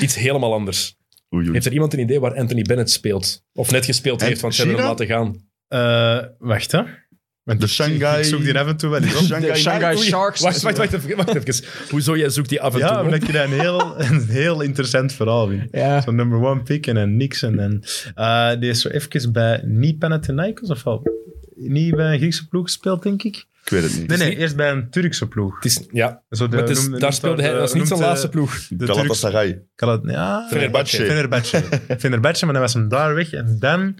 [SPEAKER 1] iets helemaal anders.
[SPEAKER 2] Oei, oei.
[SPEAKER 1] Heeft er iemand een idee waar Anthony Bennett speelt? Of net gespeeld
[SPEAKER 2] En
[SPEAKER 1] heeft, want ze hebben hem
[SPEAKER 2] China?
[SPEAKER 1] laten gaan.
[SPEAKER 3] Eh, wacht, hè. Want
[SPEAKER 2] De
[SPEAKER 3] ik-
[SPEAKER 2] Shanghai-
[SPEAKER 3] Ik zoek die af en toe wel eens op.
[SPEAKER 4] De Shanghai
[SPEAKER 2] Oei.
[SPEAKER 4] Sharks.
[SPEAKER 1] Wacht, wacht, wacht, even, wacht even. Hoezo jij zoekt die af en
[SPEAKER 3] Ja,
[SPEAKER 1] toe? op?
[SPEAKER 3] omdat je dat een heel, een heel interessant verhaal vindt.
[SPEAKER 4] Ja.
[SPEAKER 3] Zo'n number one pick en dan niks. En dan, eh, die is zo even bij, niet Panathinaikos of wel? Niet bij een Griekse ploeg gespeeld, denk ik.
[SPEAKER 2] Ik weet het niet.
[SPEAKER 3] Nee, nee, eerst bij een Turkse ploeg.
[SPEAKER 1] Het is, ja,
[SPEAKER 3] Zo de-
[SPEAKER 1] maar het is-
[SPEAKER 3] noem-
[SPEAKER 1] daar
[SPEAKER 3] noemt
[SPEAKER 1] speelde hij...
[SPEAKER 3] de-
[SPEAKER 1] Dat is niet zijn
[SPEAKER 3] noemt eh, de-
[SPEAKER 1] laatste ploeg.
[SPEAKER 3] De Turkse...
[SPEAKER 2] Galatasaray.
[SPEAKER 3] Kalat, ja,
[SPEAKER 1] Fenerbahce.
[SPEAKER 3] Fenerbahce. Fenerbahce, maar dan was hem daar weg. En dan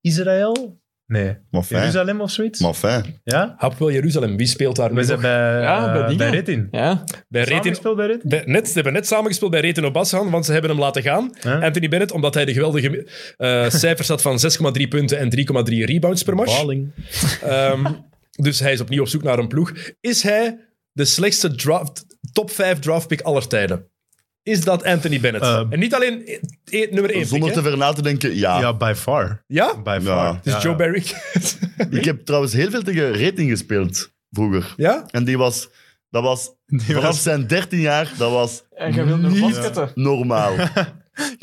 [SPEAKER 3] Israël? Nee.
[SPEAKER 2] Maar fijn.
[SPEAKER 3] Jeruzalem of zoiets?
[SPEAKER 2] Maar fijn.
[SPEAKER 3] Ja?
[SPEAKER 1] Hapoel Jeruzalem, wie speelt daar nu
[SPEAKER 3] We zijn
[SPEAKER 1] nog?
[SPEAKER 3] bij,
[SPEAKER 4] Ja,
[SPEAKER 3] eh,
[SPEAKER 4] bij
[SPEAKER 3] bij,
[SPEAKER 4] dingen.
[SPEAKER 3] Retin.
[SPEAKER 4] Ja.
[SPEAKER 1] Bij
[SPEAKER 3] Samen
[SPEAKER 1] Retin,
[SPEAKER 3] gespeeld bij Retin?
[SPEAKER 1] bij- net, ze hebben net samengespeeld bij Reten Obassan, want ze hebben hem laten gaan.
[SPEAKER 3] Ja.
[SPEAKER 1] Anthony Bennett, omdat hij de geweldige eh, cijfers had van 6,3 punten en 3,3 rebounds per match.
[SPEAKER 3] Baling.
[SPEAKER 1] Ehm, dus hij is opnieuw op zoek naar een ploeg. Is hij de slechtste draft, top 5 draftpick aller tijden? Is dat Anthony Bennett?
[SPEAKER 3] Eh,
[SPEAKER 1] en niet alleen e- e- nummer 1 pick,
[SPEAKER 2] Zonder
[SPEAKER 1] hè?
[SPEAKER 2] te ver na te denken, ja.
[SPEAKER 3] Ja, by far.
[SPEAKER 1] Ja?
[SPEAKER 3] By
[SPEAKER 2] Ah. Ja.
[SPEAKER 3] far.
[SPEAKER 1] Dus
[SPEAKER 3] Ja,
[SPEAKER 1] Joe
[SPEAKER 3] ja.
[SPEAKER 1] Barry.
[SPEAKER 2] Ik heb trouwens heel veel tegen Rating gespeeld vroeger.
[SPEAKER 1] ja?
[SPEAKER 2] En die was, dat was, vanaf
[SPEAKER 3] was-
[SPEAKER 2] zijn 13 jaar, dat was
[SPEAKER 4] En jij wilt nog basketten.
[SPEAKER 2] normaal. dat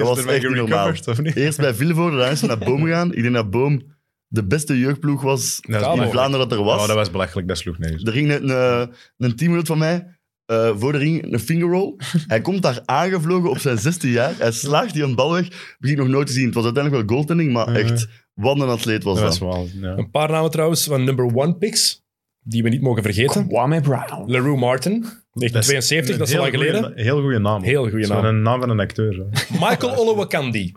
[SPEAKER 2] was
[SPEAKER 3] er bij
[SPEAKER 2] echt niet normaal.
[SPEAKER 3] gerecoverd, of niet?
[SPEAKER 2] Eerst bij Vilvoorde, dan is ze naar Boom gegaan. Ik denk dat Boom de beste jeugdploeg was
[SPEAKER 3] Dat is
[SPEAKER 1] Ja,
[SPEAKER 2] in
[SPEAKER 1] man.
[SPEAKER 3] belachelijk.
[SPEAKER 2] Vlaanderen dat er was.
[SPEAKER 3] Oh, dat was belachelijk. Dat sloeg nergens.
[SPEAKER 2] Er ging een, een, een teamgenoot van mij eh, voor de ring een finger roll. Hij komt daar aangevlogen op zijn 16 jaar. Hij slaagt die een bal weg. Begint nog nooit te zien. Het was uiteindelijk wel goaltending, maar
[SPEAKER 3] Ja.
[SPEAKER 2] echt, wat een atleet was
[SPEAKER 3] Dat
[SPEAKER 2] dat.
[SPEAKER 3] was wel... Ja.
[SPEAKER 1] Een paar namen trouwens van number 1 picks, die we niet mogen vergeten.
[SPEAKER 4] Kwame Brown.
[SPEAKER 1] LaRue Martin, 1972, dat is al lang geleden.
[SPEAKER 3] heel goede naam.
[SPEAKER 1] Heel goede
[SPEAKER 3] Zo'n
[SPEAKER 1] naam.
[SPEAKER 3] Een naam van een acteur. hè.
[SPEAKER 1] Michael Olowokandi.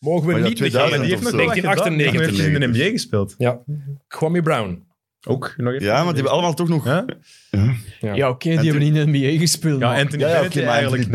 [SPEAKER 1] Mogen we
[SPEAKER 2] Maar ja,
[SPEAKER 1] niet
[SPEAKER 2] 2000
[SPEAKER 1] negeren.
[SPEAKER 2] of
[SPEAKER 1] Die heeft nog
[SPEAKER 2] zo.
[SPEAKER 1] 1998.
[SPEAKER 3] heeft in de NBA gespeeld.
[SPEAKER 1] Ja. Kwame Brown.
[SPEAKER 3] Ook. Nog even.
[SPEAKER 2] Ja, maar die hebben allemaal toch nog... Ja,
[SPEAKER 3] Ja,
[SPEAKER 4] Ja, oké, die hebben niet in de NBA gespeeld.
[SPEAKER 3] ja
[SPEAKER 4] man.
[SPEAKER 3] Anthony
[SPEAKER 2] ja,
[SPEAKER 3] Bennett
[SPEAKER 2] oké,
[SPEAKER 3] die
[SPEAKER 2] maar
[SPEAKER 3] eigenlijk
[SPEAKER 2] eigenlijk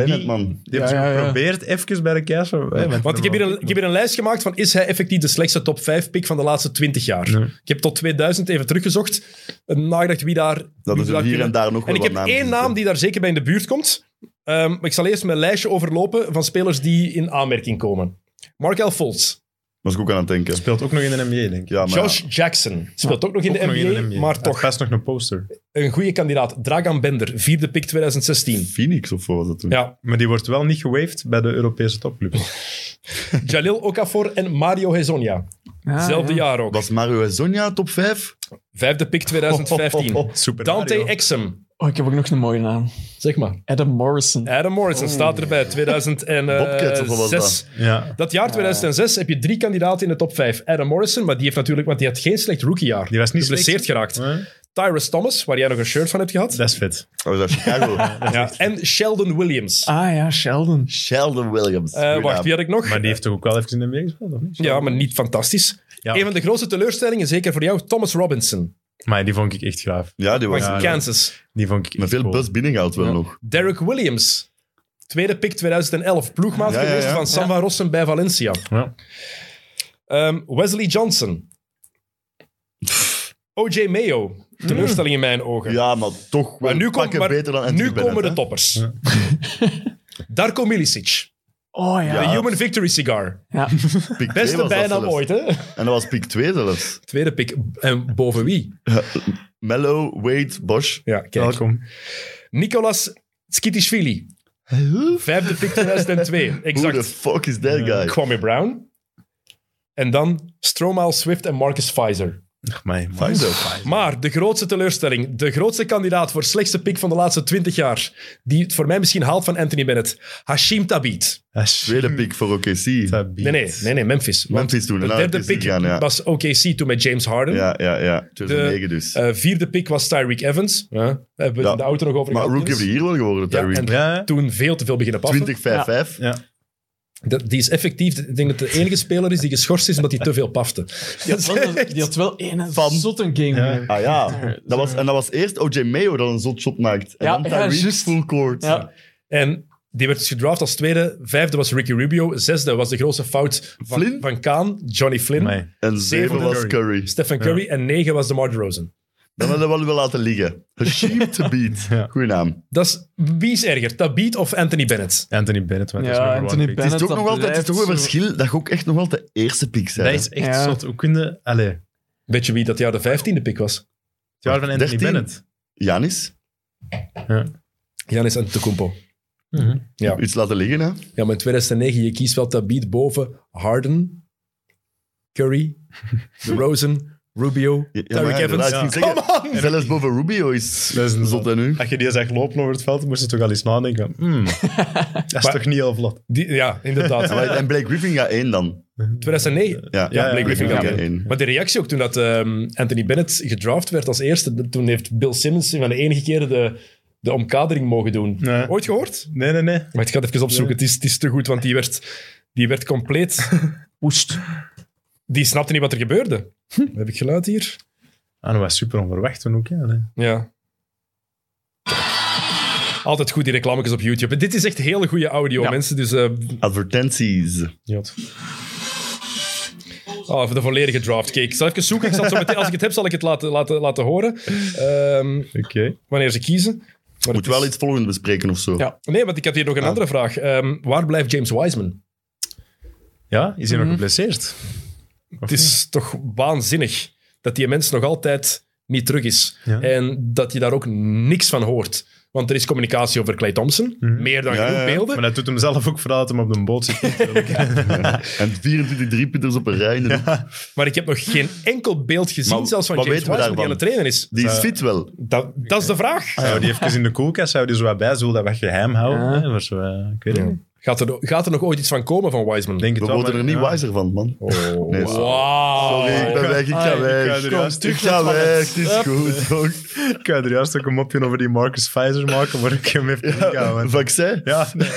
[SPEAKER 3] niet...
[SPEAKER 2] Bennett, man.
[SPEAKER 3] Die hebben
[SPEAKER 4] Ja,
[SPEAKER 3] ze
[SPEAKER 4] ja, ja.
[SPEAKER 3] geprobeerd even bij de Cavs. hè,
[SPEAKER 1] Want ik heb, hier een, ik heb hier een lijst gemaakt van is hij effectief de slechtste top 5 pick van de laatste 20 jaar.
[SPEAKER 3] Nee.
[SPEAKER 1] Ik heb tot 2000 even teruggezocht en nagedacht wie daar...
[SPEAKER 2] Dat
[SPEAKER 1] wie
[SPEAKER 2] is
[SPEAKER 1] daar
[SPEAKER 2] hier en
[SPEAKER 1] kunnen-
[SPEAKER 2] daar nog wel
[SPEAKER 1] En ik
[SPEAKER 2] wat
[SPEAKER 1] heb
[SPEAKER 2] namen
[SPEAKER 1] één
[SPEAKER 2] zitten.
[SPEAKER 1] naam die daar zeker bij in de buurt komt. Ehm, maar ik zal eerst mijn lijstje overlopen van spelers die in aanmerking komen. Markel Fultz,
[SPEAKER 2] Was ik ook aan het denken.
[SPEAKER 3] Speelt ook nog in de NBA, denk ik.
[SPEAKER 2] Ja, maar
[SPEAKER 1] Josh Jackson, speelt ook nog in de NBA, maar toch
[SPEAKER 3] Best nog een poster.
[SPEAKER 1] een goede kandidaat. Dragan Bender, vierde pick 2016.
[SPEAKER 2] Phoenix of wat was dat toen?
[SPEAKER 1] Ja,
[SPEAKER 3] Maar die wordt wel niet gewaved bij de Europese topclubs.
[SPEAKER 1] Jalil Okafor en Mario Hezonja.
[SPEAKER 4] Ah,
[SPEAKER 1] Zelfde
[SPEAKER 4] ja.
[SPEAKER 1] jaar ook.
[SPEAKER 2] Was Mario en Sonja top 5?
[SPEAKER 1] Vijfde pick 2015.
[SPEAKER 3] Super
[SPEAKER 1] Dante
[SPEAKER 3] Mario.
[SPEAKER 1] Exum.
[SPEAKER 4] Oh, ik heb ook nog een mooie naam.
[SPEAKER 1] Zeg maar.
[SPEAKER 4] Adam Morrison.
[SPEAKER 1] Adam Morrison staat erbij.
[SPEAKER 2] Bobcat, of wat was
[SPEAKER 1] 2006.
[SPEAKER 2] dat?
[SPEAKER 3] Ja.
[SPEAKER 1] Dat jaar 2006 heb je drie kandidaten in de top 5. Adam Morrison, maar die heeft natuurlijk, want die had geen slecht rookiejaar.
[SPEAKER 3] Die was niet
[SPEAKER 1] geblesseerd geraakt.
[SPEAKER 3] Huh?
[SPEAKER 1] Tyrus Thomas, waar jij nog een shirt van hebt gehad.
[SPEAKER 3] Dat is vet.
[SPEAKER 2] Oh, dat is Chicago.
[SPEAKER 1] Ja. En Sheldon Williams.
[SPEAKER 4] Ah ja, Sheldon.
[SPEAKER 2] Sheldon Williams.
[SPEAKER 1] Eh,
[SPEAKER 2] Goeie
[SPEAKER 1] wacht,
[SPEAKER 2] naam.
[SPEAKER 1] wie had ik nog?
[SPEAKER 3] Maar die heeft toch ook wel even in de NBA gespeeld, of niet?
[SPEAKER 1] Ja, maar niet fantastisch.
[SPEAKER 3] Ja.
[SPEAKER 1] Een van de grootste teleurstellingen, zeker voor jou, Thomas Robinson
[SPEAKER 3] Maar die vond ik echt graaf.
[SPEAKER 2] Ja, die
[SPEAKER 1] van
[SPEAKER 2] was...
[SPEAKER 3] ja.
[SPEAKER 1] Kansas.
[SPEAKER 3] Die vond ik echt
[SPEAKER 2] Met veel
[SPEAKER 3] cool.
[SPEAKER 2] bus binnengehaald wel nog.
[SPEAKER 1] Derek Williams. Tweede pick 2011. Ploegmaat
[SPEAKER 2] Ja, ja, ja.
[SPEAKER 1] geweest van Sam van Rossum bij Valencia.
[SPEAKER 3] Ja.
[SPEAKER 1] Ehm, Wesley Johnson. O.J. Mayo. Teleurstelling in mijn ogen.
[SPEAKER 2] Ja, maar toch wel
[SPEAKER 1] maar nu, komt
[SPEAKER 2] pakken
[SPEAKER 1] maar
[SPEAKER 2] beter dan Anthony
[SPEAKER 1] nu
[SPEAKER 2] Bennett,
[SPEAKER 1] komen de
[SPEAKER 2] hè?
[SPEAKER 1] toppers. Darko Milicic.
[SPEAKER 4] Oh ja.
[SPEAKER 1] De
[SPEAKER 2] Ja.
[SPEAKER 1] Human Victory Cigar.
[SPEAKER 4] ja.
[SPEAKER 2] Pick twee
[SPEAKER 1] Beste
[SPEAKER 2] was dat
[SPEAKER 1] bijnaam
[SPEAKER 2] zelfs.
[SPEAKER 1] ooit, hè?
[SPEAKER 2] En dat was pick 2 zelfs.
[SPEAKER 1] Tweede pick. En boven wie?
[SPEAKER 2] Mello, Wade, Bosch.
[SPEAKER 1] Ja, kijk.
[SPEAKER 3] Welkom.
[SPEAKER 1] Nicolas Skitishvili. Vijfde pick 2002.
[SPEAKER 2] Who the
[SPEAKER 1] Exact.
[SPEAKER 2] fuck is that guy?
[SPEAKER 1] Kwame Brown. En dan Stromaal Swift en Marcus Pfizer.
[SPEAKER 3] Ach, mij.
[SPEAKER 2] Fijn zo.
[SPEAKER 1] Maar de grootste teleurstelling, de grootste kandidaat voor slechtste pick van de laatste 20 jaar, die het voor mij misschien haalt van Anthony Bennett, Hashim Tabit.
[SPEAKER 3] Ah,
[SPEAKER 2] Tweede pick voor OKC.
[SPEAKER 1] Nee, nee, nee, nee Memphis. Want
[SPEAKER 2] Memphis toen.
[SPEAKER 1] de
[SPEAKER 2] hè? Nou,
[SPEAKER 1] derde
[SPEAKER 2] dat is
[SPEAKER 1] pick
[SPEAKER 2] gegaan, ja.
[SPEAKER 1] was OKC toen met James Harden.
[SPEAKER 2] Ja, ja, ja. 2009 dus.
[SPEAKER 1] Eh, vierde pick was Tyreek Evans. Ja, daar hebben we het
[SPEAKER 2] Ja.
[SPEAKER 1] in de auto nog over
[SPEAKER 2] maar
[SPEAKER 1] gehad.
[SPEAKER 2] Rookie of
[SPEAKER 1] Niels.
[SPEAKER 2] the Year wel geworden,
[SPEAKER 1] Ja,
[SPEAKER 2] Tyreek.
[SPEAKER 1] en
[SPEAKER 3] Ja,
[SPEAKER 1] Toen veel te veel beginnen passen.
[SPEAKER 2] 20-5-5.
[SPEAKER 3] ja.
[SPEAKER 1] Dat- Die is effectief, ik denk dat de enige speler is die geschorst is omdat hij te veel pafte.
[SPEAKER 4] Die, had wel, die had wel één
[SPEAKER 2] Van-
[SPEAKER 4] zotte game.
[SPEAKER 3] Ja.
[SPEAKER 2] Ah ja, dat was, en dat was eerst OJ Mayo dat een zot shot maakt. En
[SPEAKER 4] Ja,
[SPEAKER 2] dan
[SPEAKER 4] ja,
[SPEAKER 2] Tyreek
[SPEAKER 4] juist.
[SPEAKER 2] full court.
[SPEAKER 4] Ja.
[SPEAKER 1] En die werd dus gedraft als tweede. Vijfde was Ricky Rubio. Zesde was de grootste fout van,
[SPEAKER 2] Flynn?
[SPEAKER 1] van Kaan, Johnny Flynn.
[SPEAKER 3] Amai.
[SPEAKER 2] En zeven
[SPEAKER 1] Zevende
[SPEAKER 2] was Curry.
[SPEAKER 1] Stephen Curry. En negen was DeMar DeRozan.
[SPEAKER 2] Dan hadden we wel weer laten liggen. Hashim to
[SPEAKER 3] Ja.
[SPEAKER 2] beat. Goeie naam.
[SPEAKER 1] Dat is, wie is erger, Tabit of Anthony Bennett?
[SPEAKER 3] Anthony Bennett. want
[SPEAKER 4] Ja,
[SPEAKER 3] dat is number one
[SPEAKER 4] Anthony
[SPEAKER 3] pick.
[SPEAKER 2] Het is
[SPEAKER 4] Bennett,
[SPEAKER 2] toch nog
[SPEAKER 4] dat
[SPEAKER 2] altijd het is toch een
[SPEAKER 4] blijft zo.
[SPEAKER 2] verschil dat je ook echt nog wel de eerste pick
[SPEAKER 3] Dat
[SPEAKER 2] bent.
[SPEAKER 3] is echt
[SPEAKER 4] Ja.
[SPEAKER 3] zot. Hoe kunnen... Allee. Het
[SPEAKER 1] Weet je wie dat jaar de vijftiende pick was?
[SPEAKER 3] jaar van Anthony
[SPEAKER 2] 13?
[SPEAKER 3] Bennett.
[SPEAKER 2] Janis,
[SPEAKER 1] Janis Antetokounmpo. Ja.
[SPEAKER 2] iets laten liggen, hè?
[SPEAKER 1] Ja, maar in 2009, je kiest wel Tabit boven Harden, Curry, DeRozan, Rubio,
[SPEAKER 2] Ja,
[SPEAKER 1] Tyreek
[SPEAKER 2] maar
[SPEAKER 1] Evans.
[SPEAKER 2] inderdaad, ik ging zeggen, Zelfs boven Rubio is
[SPEAKER 3] Dat is een
[SPEAKER 2] zot en nu.
[SPEAKER 3] Als je die zag lopen over het veld, moest je toch al eens nadenken. hmm, dat is toch niet heel vlot.
[SPEAKER 1] Die- ja, inderdaad.
[SPEAKER 2] Maar- En Blake Griffin gaat één dan.
[SPEAKER 1] 2009.
[SPEAKER 2] Ja,
[SPEAKER 1] Ja, Blake Griffin
[SPEAKER 2] gaat
[SPEAKER 1] gaat
[SPEAKER 2] één.
[SPEAKER 1] Maar de reactie ook toen dat ehm, Anthony Bennett gedraft werd als eerste, toen heeft Bill Simmons van de enige keren de, de omkadering mogen doen.
[SPEAKER 3] Nee.
[SPEAKER 1] Ooit gehoord?
[SPEAKER 3] Nee, nee, nee.
[SPEAKER 1] Maar ik ga het even opzoeken, het, is, het is te goed, want die werd, die werd compleet...
[SPEAKER 4] Woest.
[SPEAKER 1] Die snapte niet wat er gebeurde. Heb ik geluid hier?
[SPEAKER 3] Ah, dat was super onverwacht toen ook. Ja, nee.
[SPEAKER 1] Ja. Altijd goed die reclametjes op YouTube. Dit is echt hele goede audio,
[SPEAKER 2] Ja.
[SPEAKER 1] mensen. Dus eh,
[SPEAKER 2] Advertenties.
[SPEAKER 3] Jot.
[SPEAKER 1] Oh, even de volledige draft cake. Ik zal even zoeken. Ik zal het zo meteen, als ik het heb, zal ik het laten, laten, laten horen. Ehm,
[SPEAKER 3] Oké.
[SPEAKER 1] wanneer ze kiezen. Maar het
[SPEAKER 2] Moet
[SPEAKER 1] is-
[SPEAKER 2] wel iets volgend bespreken of zo.
[SPEAKER 4] Ja.
[SPEAKER 1] Nee, want ik had hier nog een
[SPEAKER 2] Ah.
[SPEAKER 1] andere vraag. Ehm, waar blijft James Wiseman?
[SPEAKER 3] Ja, is hij nog
[SPEAKER 4] Mhm.
[SPEAKER 3] geblesseerd?
[SPEAKER 1] Het is toch waanzinnig dat die mens nog altijd niet terug is.
[SPEAKER 3] Ja.
[SPEAKER 1] En dat je daar ook niks van hoort. Want er is communicatie over Clay Thompson.
[SPEAKER 3] Mhm.
[SPEAKER 1] Meer dan
[SPEAKER 2] Ja,
[SPEAKER 1] genoeg
[SPEAKER 2] ja, ja.
[SPEAKER 1] beelden.
[SPEAKER 3] Maar dat doet hem zelf ook vooral dat hem op de boot zit. natuurlijk.
[SPEAKER 2] En 24 driepunters op een rij. in de hoek.
[SPEAKER 1] Maar ik heb nog geen enkel beeld gezien,
[SPEAKER 2] Maar
[SPEAKER 1] zelfs van
[SPEAKER 2] wat
[SPEAKER 1] James
[SPEAKER 2] weten we
[SPEAKER 1] Wiseman die aan
[SPEAKER 2] daarvan?
[SPEAKER 1] het trainen is.
[SPEAKER 2] Die is fit wel.
[SPEAKER 1] Dat, dat is de vraag.
[SPEAKER 3] Zou die even in de koelkast, zou die zo wat bij, zullen dat we geheim houden?
[SPEAKER 4] Ja.
[SPEAKER 3] hè? Maar zo, eh, ik weet het niet.
[SPEAKER 1] Gaat er, gaat er nog ooit iets van komen van Wiseman?
[SPEAKER 3] Ik Denk het
[SPEAKER 2] We
[SPEAKER 3] wel,
[SPEAKER 2] worden
[SPEAKER 3] maar-
[SPEAKER 2] er niet
[SPEAKER 3] ja.
[SPEAKER 2] wijzer van, man.
[SPEAKER 1] Oh,
[SPEAKER 2] Nee, sorry.
[SPEAKER 1] wow.
[SPEAKER 2] Sorry, ik ben weg, ik
[SPEAKER 4] Ah,
[SPEAKER 2] ga
[SPEAKER 4] ik
[SPEAKER 2] weg.
[SPEAKER 3] ga er juist terug
[SPEAKER 2] Ik ga
[SPEAKER 3] naar het
[SPEAKER 2] weg, het is goed. jong.
[SPEAKER 3] Ik ga er juist ook een mopje over die Marcus Pfizer maken, maar ik heb hem even niet gehouden.
[SPEAKER 2] Vaccin?
[SPEAKER 3] Ja, nee,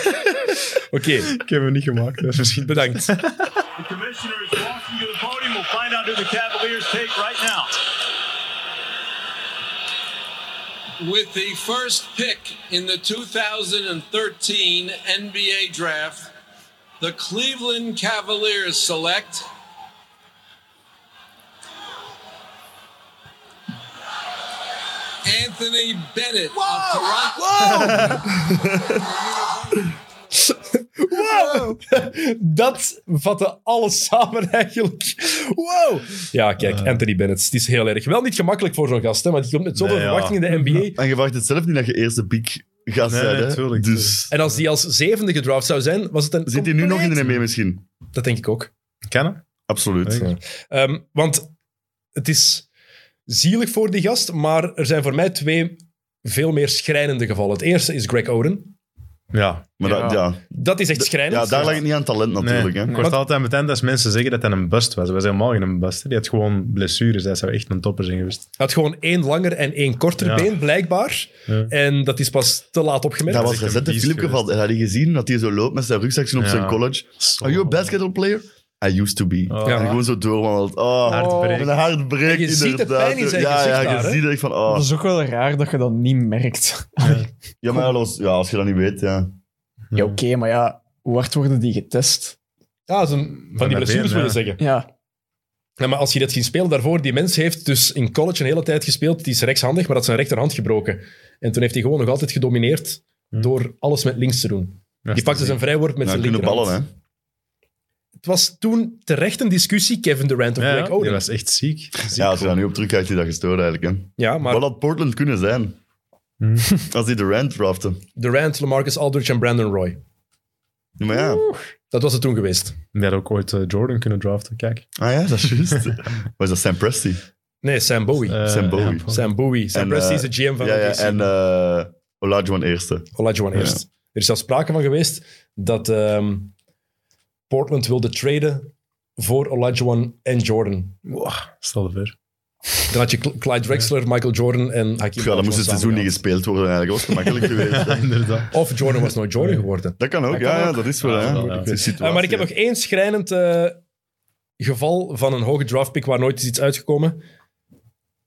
[SPEAKER 1] Oké,
[SPEAKER 3] ik heb hem niet gemaakt. Dat is misschien
[SPEAKER 1] bedankt.
[SPEAKER 5] The commissioner is walking to the podium. We'll find out who the Cavaliers take right now.
[SPEAKER 6] With the first pick in the 2013 NBA draft, the Cleveland Cavaliers select Anthony Bennett of Toronto.
[SPEAKER 1] Wow! Dat vatte alles samen eigenlijk. Wow! Ja, kijk,
[SPEAKER 2] Eh.
[SPEAKER 1] Anthony Bennett. Het is heel erg. Wel niet gemakkelijk voor zo'n gast, hè, want die komt met zoveel
[SPEAKER 3] Nee, ja.
[SPEAKER 1] verwachtingen in de NBA.
[SPEAKER 2] En je verwacht het zelf niet dat je eerste piek gaat
[SPEAKER 3] Nee,
[SPEAKER 2] zijn. hè?
[SPEAKER 3] tuurlijk,
[SPEAKER 2] dus
[SPEAKER 1] En als die als zevende gedraft zou zijn, was het een...
[SPEAKER 2] zit hij nu nog in de
[SPEAKER 1] compleet-
[SPEAKER 2] NBA misschien?
[SPEAKER 1] Dat denk ik ook.
[SPEAKER 3] Kan hem?
[SPEAKER 2] Absoluut.
[SPEAKER 3] Ja.
[SPEAKER 1] Ehm, want het is zielig voor die gast, maar er zijn voor mij twee veel meer schrijnende gevallen. Het eerste is Greg Oden.
[SPEAKER 3] Ja.
[SPEAKER 2] Maar dat- ja.
[SPEAKER 1] Dat is echt schrijnend.
[SPEAKER 2] Ja, daar lag het niet aan talent natuurlijk.
[SPEAKER 3] Nee,
[SPEAKER 2] Hè.
[SPEAKER 3] Ik word
[SPEAKER 1] Want-
[SPEAKER 3] altijd meteen als mensen zeggen dat hij een bust was. Hij was helemaal geen bust. hè. Die had gewoon blessures. Hij zou echt een topper zijn geweest.
[SPEAKER 1] Hij had gewoon één langer en één korter
[SPEAKER 3] Ja.
[SPEAKER 1] been, blijkbaar.
[SPEAKER 3] Ja.
[SPEAKER 1] En dat is pas te laat opgemerkt.
[SPEAKER 2] Dat was
[SPEAKER 3] echt een
[SPEAKER 2] recent een
[SPEAKER 3] beest
[SPEAKER 2] filmpje
[SPEAKER 3] geweest.
[SPEAKER 2] van. En had je gezien dat hij zo loopt met zijn rugzakje op
[SPEAKER 3] Ja.
[SPEAKER 2] zijn college? Are
[SPEAKER 1] Oh.
[SPEAKER 2] you a basketball player? I used to be.
[SPEAKER 3] Oh.
[SPEAKER 2] En gewoon zo doorwandelt. Oh,
[SPEAKER 3] Hartbreek.
[SPEAKER 2] Met een hartbreek,
[SPEAKER 1] En je ziet de
[SPEAKER 2] inderdaad.
[SPEAKER 1] pijn in zijn
[SPEAKER 2] ja,
[SPEAKER 1] gezicht
[SPEAKER 2] Ja,
[SPEAKER 1] daar,
[SPEAKER 2] je
[SPEAKER 1] hè?
[SPEAKER 2] ziet echt van... Oh.
[SPEAKER 4] Dat is ook wel raar dat je dat niet merkt.
[SPEAKER 2] Ja, maar als, ja, als je dat niet weet, ja.
[SPEAKER 4] Ja, oké, maar ja, hoe hard worden die getest?
[SPEAKER 1] Ja, zo'n- van, die
[SPEAKER 3] Van dat
[SPEAKER 1] blessures
[SPEAKER 3] been,
[SPEAKER 1] wil je
[SPEAKER 3] ja.
[SPEAKER 1] zeggen.
[SPEAKER 4] Ja,
[SPEAKER 1] Ja, maar als je dat ging spelen daarvoor, die mens heeft dus in college een hele tijd gespeeld. Die is rechtshandig, maar dat zijn rechterhand gebroken. En toen heeft hij gewoon nog altijd gedomineerd door alles met links te doen. Die pakte zijn vrijwoord met
[SPEAKER 2] Hm. ja
[SPEAKER 1] zijn
[SPEAKER 2] kunnen
[SPEAKER 1] linkerhand.
[SPEAKER 2] ballen, hè.
[SPEAKER 1] Het was toen terecht een discussie, Kevin Durant of
[SPEAKER 3] Ja,
[SPEAKER 1] Greg
[SPEAKER 3] ja, die
[SPEAKER 1] Oden.
[SPEAKER 3] was echt ziek. Ziek.
[SPEAKER 2] Ja, als je daar nu op terugkijkt, is dat gestoord eigenlijk. Hè.
[SPEAKER 1] Ja, maar
[SPEAKER 2] Wat had Portland kunnen zijn?
[SPEAKER 3] Hmm.
[SPEAKER 2] Als die Durant drafte.
[SPEAKER 1] Durant, LaMarcus Aldridge en Brandon Roy.
[SPEAKER 2] Ja, Maar ja.
[SPEAKER 1] Dat was het toen geweest.
[SPEAKER 3] Die had ook ooit eh, Jordan kunnen draften. Kijk.
[SPEAKER 2] Ah ja, dat is juist. Was dat Sam Presti?
[SPEAKER 1] Nee, Sam Bowie.
[SPEAKER 3] Eh,
[SPEAKER 2] Sam Bowie.
[SPEAKER 3] ja,
[SPEAKER 1] Sam Bowie. Sam
[SPEAKER 2] En,
[SPEAKER 1] Presti
[SPEAKER 2] eh,
[SPEAKER 1] is de GM van
[SPEAKER 2] ja, ja,
[SPEAKER 1] OKC.
[SPEAKER 2] en eh Olajuwon eerste.
[SPEAKER 1] Olajuwon
[SPEAKER 2] Ja.
[SPEAKER 1] eerst. Er is zelfs sprake van geweest dat ehm, Portland wilde traden voor Olajuwon en Jordan.
[SPEAKER 3] Stel je voor.
[SPEAKER 1] Dan had je Cl- Clyde Drexler, Michael Jordan en Hakim
[SPEAKER 2] Ja, dan moest
[SPEAKER 1] Olajuwon
[SPEAKER 2] het seizoen niet
[SPEAKER 1] samen
[SPEAKER 2] gespeeld worden eigenlijk. Dat was gemakkelijk geweest. hè.
[SPEAKER 3] Inderdaad.
[SPEAKER 1] gehad. Of Jordan was nooit Jordan geworden.
[SPEAKER 2] Dat kan ook,
[SPEAKER 1] Dat
[SPEAKER 2] ja,
[SPEAKER 1] kan
[SPEAKER 2] ja,
[SPEAKER 1] ook.
[SPEAKER 2] dat is wel.
[SPEAKER 3] Ja,
[SPEAKER 2] hè.
[SPEAKER 3] dat wel, ja.
[SPEAKER 2] Het is situatie,
[SPEAKER 1] Eh, maar ik heb
[SPEAKER 2] hè.
[SPEAKER 1] nog één schrijnend eh, geval van een hoge draftpick waar nooit is iets uitgekomen.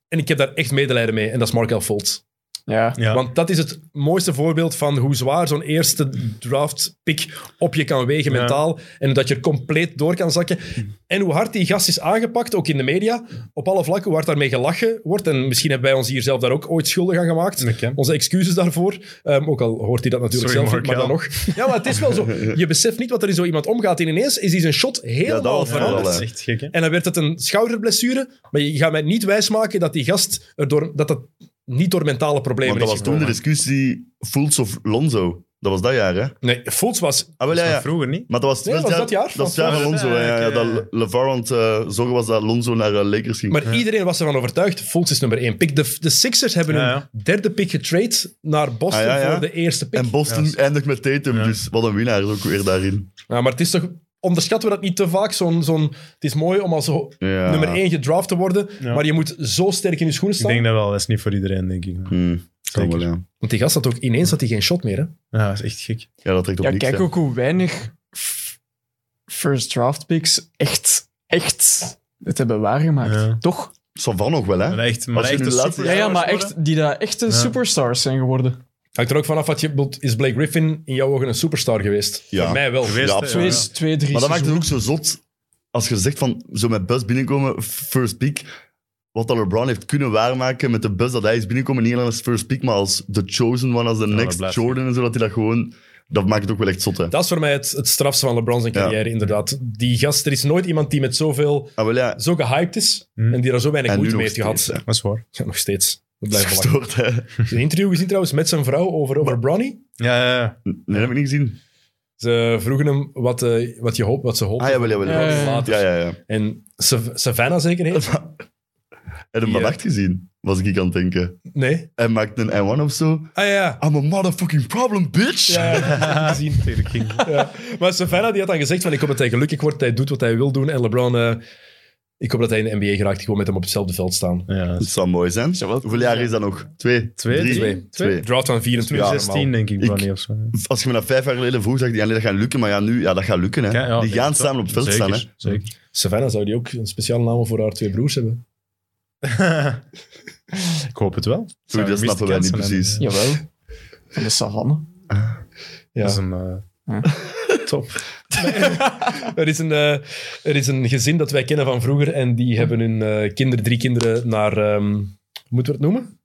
[SPEAKER 1] En ik heb daar echt medelijden mee. En dat is Markel Fultz.
[SPEAKER 4] ja.
[SPEAKER 3] Ja.
[SPEAKER 1] Want dat is het mooiste voorbeeld van hoe zwaar zo'n eerste draftpick op je kan wegen
[SPEAKER 3] Ja.
[SPEAKER 1] mentaal. En dat je er compleet door kan zakken. En hoe hard die gast is aangepakt, ook in de media. Op alle vlakken waar daarmee gelachen wordt. En misschien hebben wij ons hier zelf daar ook ooit schuldig aan gemaakt.
[SPEAKER 3] Oké.
[SPEAKER 1] Onze excuses daarvoor. Ehm, ook al hoort hij dat natuurlijk
[SPEAKER 3] Sorry,
[SPEAKER 1] zelf niet, maar dan nog. Ja, maar het is wel zo. Je beseft niet wat er in zo iemand omgaat. En ineens is die zijn shot helemaal
[SPEAKER 2] was
[SPEAKER 1] veranderd.
[SPEAKER 2] wel,
[SPEAKER 3] dat
[SPEAKER 2] hè.
[SPEAKER 3] is echt gek, hè?
[SPEAKER 1] En dan werd het een schouderblessure. Maar je gaat mij niet wijsmaken dat die gast er door, dat dat niet door mentale problemen
[SPEAKER 2] Want dat
[SPEAKER 1] is
[SPEAKER 2] was toen de
[SPEAKER 1] gekomen.
[SPEAKER 2] discussie Fultz of Lonzo. Dat was dat jaar, hè?
[SPEAKER 1] Nee, Fultz was...
[SPEAKER 2] Ah, wel, ja, ja.
[SPEAKER 3] Vroeger niet.
[SPEAKER 2] Maar dat was,
[SPEAKER 1] Nee,
[SPEAKER 2] het
[SPEAKER 1] was dat jaar
[SPEAKER 2] Dat was
[SPEAKER 1] van
[SPEAKER 2] het jaar van
[SPEAKER 3] Fultz?
[SPEAKER 2] Lonzo, hè, ja, ja,
[SPEAKER 3] Ja, ja, ja.
[SPEAKER 2] Dat LeVar aan het eh, zorgen was dat Lonzo naar eh, Lakers ging.
[SPEAKER 1] Maar iedereen was ervan overtuigd, Fultz is nummer één pick. De, de Sixers hebben
[SPEAKER 3] Ja,
[SPEAKER 1] hun
[SPEAKER 3] ja.
[SPEAKER 1] derde pick getrade naar Boston
[SPEAKER 2] Ah, ja, ja.
[SPEAKER 1] voor de eerste pick.
[SPEAKER 2] en Boston
[SPEAKER 3] Ja.
[SPEAKER 2] eindigt met Tatum, dus wat een winnaar ook weer daarin.
[SPEAKER 1] ja, maar het is toch... Onderschatten we dat niet te vaak? Zo'n, zo'n, het is mooi om als ho-
[SPEAKER 2] Ja.
[SPEAKER 1] nummer één gedraft te worden,
[SPEAKER 3] Ja.
[SPEAKER 1] maar je moet zo sterk in je schoenen
[SPEAKER 3] Ik
[SPEAKER 1] staan.
[SPEAKER 3] denk dat wel. Dat is niet voor iedereen, denk ik.
[SPEAKER 2] Hmm, kan wel, ja.
[SPEAKER 1] Want die gast had ook ineens had hij geen shot meer. Hè?
[SPEAKER 3] Ja, dat is echt gek.
[SPEAKER 2] ja, dat trekt op
[SPEAKER 4] ja
[SPEAKER 2] niks.
[SPEAKER 4] kijk
[SPEAKER 2] hè.
[SPEAKER 4] ook hoe weinig f- first draft picks echt, echt het hebben waargemaakt.
[SPEAKER 3] Ja.
[SPEAKER 4] Toch?
[SPEAKER 2] Savan nog wel,
[SPEAKER 3] Maar
[SPEAKER 2] hè?
[SPEAKER 3] echt, maar
[SPEAKER 2] Als je
[SPEAKER 3] echt
[SPEAKER 2] nu
[SPEAKER 3] een
[SPEAKER 2] laat-
[SPEAKER 3] super-
[SPEAKER 4] Ja, ja maar
[SPEAKER 3] worden?
[SPEAKER 4] echt, die dat echte superstars zijn geworden.
[SPEAKER 1] Hangt er ook vanaf wat je bedoelt. Is Blake Griffin in jouw ogen een superstar geweest?
[SPEAKER 2] Ja.
[SPEAKER 1] Voor mij wel.
[SPEAKER 3] Geweest, eh,
[SPEAKER 2] Ja,
[SPEAKER 3] hè,
[SPEAKER 4] Twee, twee drie
[SPEAKER 2] Maar dat maakt het
[SPEAKER 4] seizoenen.
[SPEAKER 2] ook zo zot als je zegt van zo met bus binnenkomen, first pick. Wat dat LeBron heeft kunnen waarmaken met de bus dat hij is binnenkomen, niet alleen als first pick, maar als the chosen one, als de
[SPEAKER 3] dat
[SPEAKER 2] next
[SPEAKER 3] blijft
[SPEAKER 2] Jordan en zo, dat hij dat gewoon... Dat maakt het ook wel echt zot, hè.
[SPEAKER 1] Dat is voor mij het, het strafste van LeBron zijn
[SPEAKER 2] Ja.
[SPEAKER 1] carrière, inderdaad. Die gast, er is nooit iemand die met zoveel,
[SPEAKER 2] Ah, wel ja.
[SPEAKER 1] zo gehyped is
[SPEAKER 3] Hmm.
[SPEAKER 1] en die daar zo weinig
[SPEAKER 2] Hm. En nu
[SPEAKER 1] moeite mee
[SPEAKER 2] nog
[SPEAKER 1] heeft gehad.
[SPEAKER 2] steeds, hè.
[SPEAKER 3] Dat is waar.
[SPEAKER 1] Ja, nog steeds. Dat
[SPEAKER 2] Dat is
[SPEAKER 1] blijft belangrijk.
[SPEAKER 2] gestoord, hè.
[SPEAKER 1] Ik heb Een interview gezien trouwens met zijn vrouw over, over Bronny.
[SPEAKER 3] Ja, ja, ja.
[SPEAKER 2] Nee, dat heb ik niet gezien.
[SPEAKER 1] Ze vroegen hem wat, eh, wat, je hoopt, wat ze hoopt.
[SPEAKER 2] Ah, ja, wel ja, wel ja.
[SPEAKER 4] Eh.
[SPEAKER 1] later.
[SPEAKER 2] Ja, ja, ja.
[SPEAKER 1] En Sav- Savannah zeker heet?
[SPEAKER 2] Heb je hem
[SPEAKER 1] Die,
[SPEAKER 2] vannacht gezien? Was ik aan het denken.
[SPEAKER 1] Nee.
[SPEAKER 2] Hij maakt een N1 of zo.
[SPEAKER 1] Ah ja, ja.
[SPEAKER 2] I'm a motherfucking problem, bitch!
[SPEAKER 1] Ja, ja.
[SPEAKER 3] Gezien tegen King.
[SPEAKER 1] Ja. Maar Savannah die had dan gezegd van ik hoop dat hij gelukkig wordt, dat hij doet wat hij wil doen. En LeBron, eh, ik hoop dat hij in de NBA geraakt, gewoon met hem op hetzelfde veld staan.
[SPEAKER 3] Ja,
[SPEAKER 2] Dat zou mooi zijn. Hoeveel jaar is dat nog? Twee?
[SPEAKER 3] Twee,
[SPEAKER 2] Drie?
[SPEAKER 3] drie.
[SPEAKER 2] Twee.
[SPEAKER 1] Draft van 24. normaal.
[SPEAKER 3] 2016 denk ik,
[SPEAKER 2] Ik-
[SPEAKER 3] Bronny of zo.
[SPEAKER 2] Als je me dat vijf jaar geleden vroeg, dacht ik, ja, nee, dat gaat lukken. Maar ja, nu, ja, dat gaat lukken. Hè.
[SPEAKER 3] Ja, ja,
[SPEAKER 2] die
[SPEAKER 3] denk
[SPEAKER 2] gaan
[SPEAKER 3] ik
[SPEAKER 2] samen
[SPEAKER 3] toch.
[SPEAKER 2] op het veld
[SPEAKER 3] Zeker,
[SPEAKER 2] staan. Hè.
[SPEAKER 3] Zeker.
[SPEAKER 1] Savannah zou die ook een speciale naam voor haar twee broers hebben.
[SPEAKER 3] ik hoop het wel.
[SPEAKER 2] Sorry, dat snappen wij niet precies.
[SPEAKER 3] Ja.
[SPEAKER 4] Jawel. Van de savanne.
[SPEAKER 3] Dat is een... eh, Top.
[SPEAKER 1] Er is, een, eh, er is een gezin dat wij kennen van vroeger en die hebben hun eh, kinderen, drie kinderen, naar... ehm, moeten we het noemen?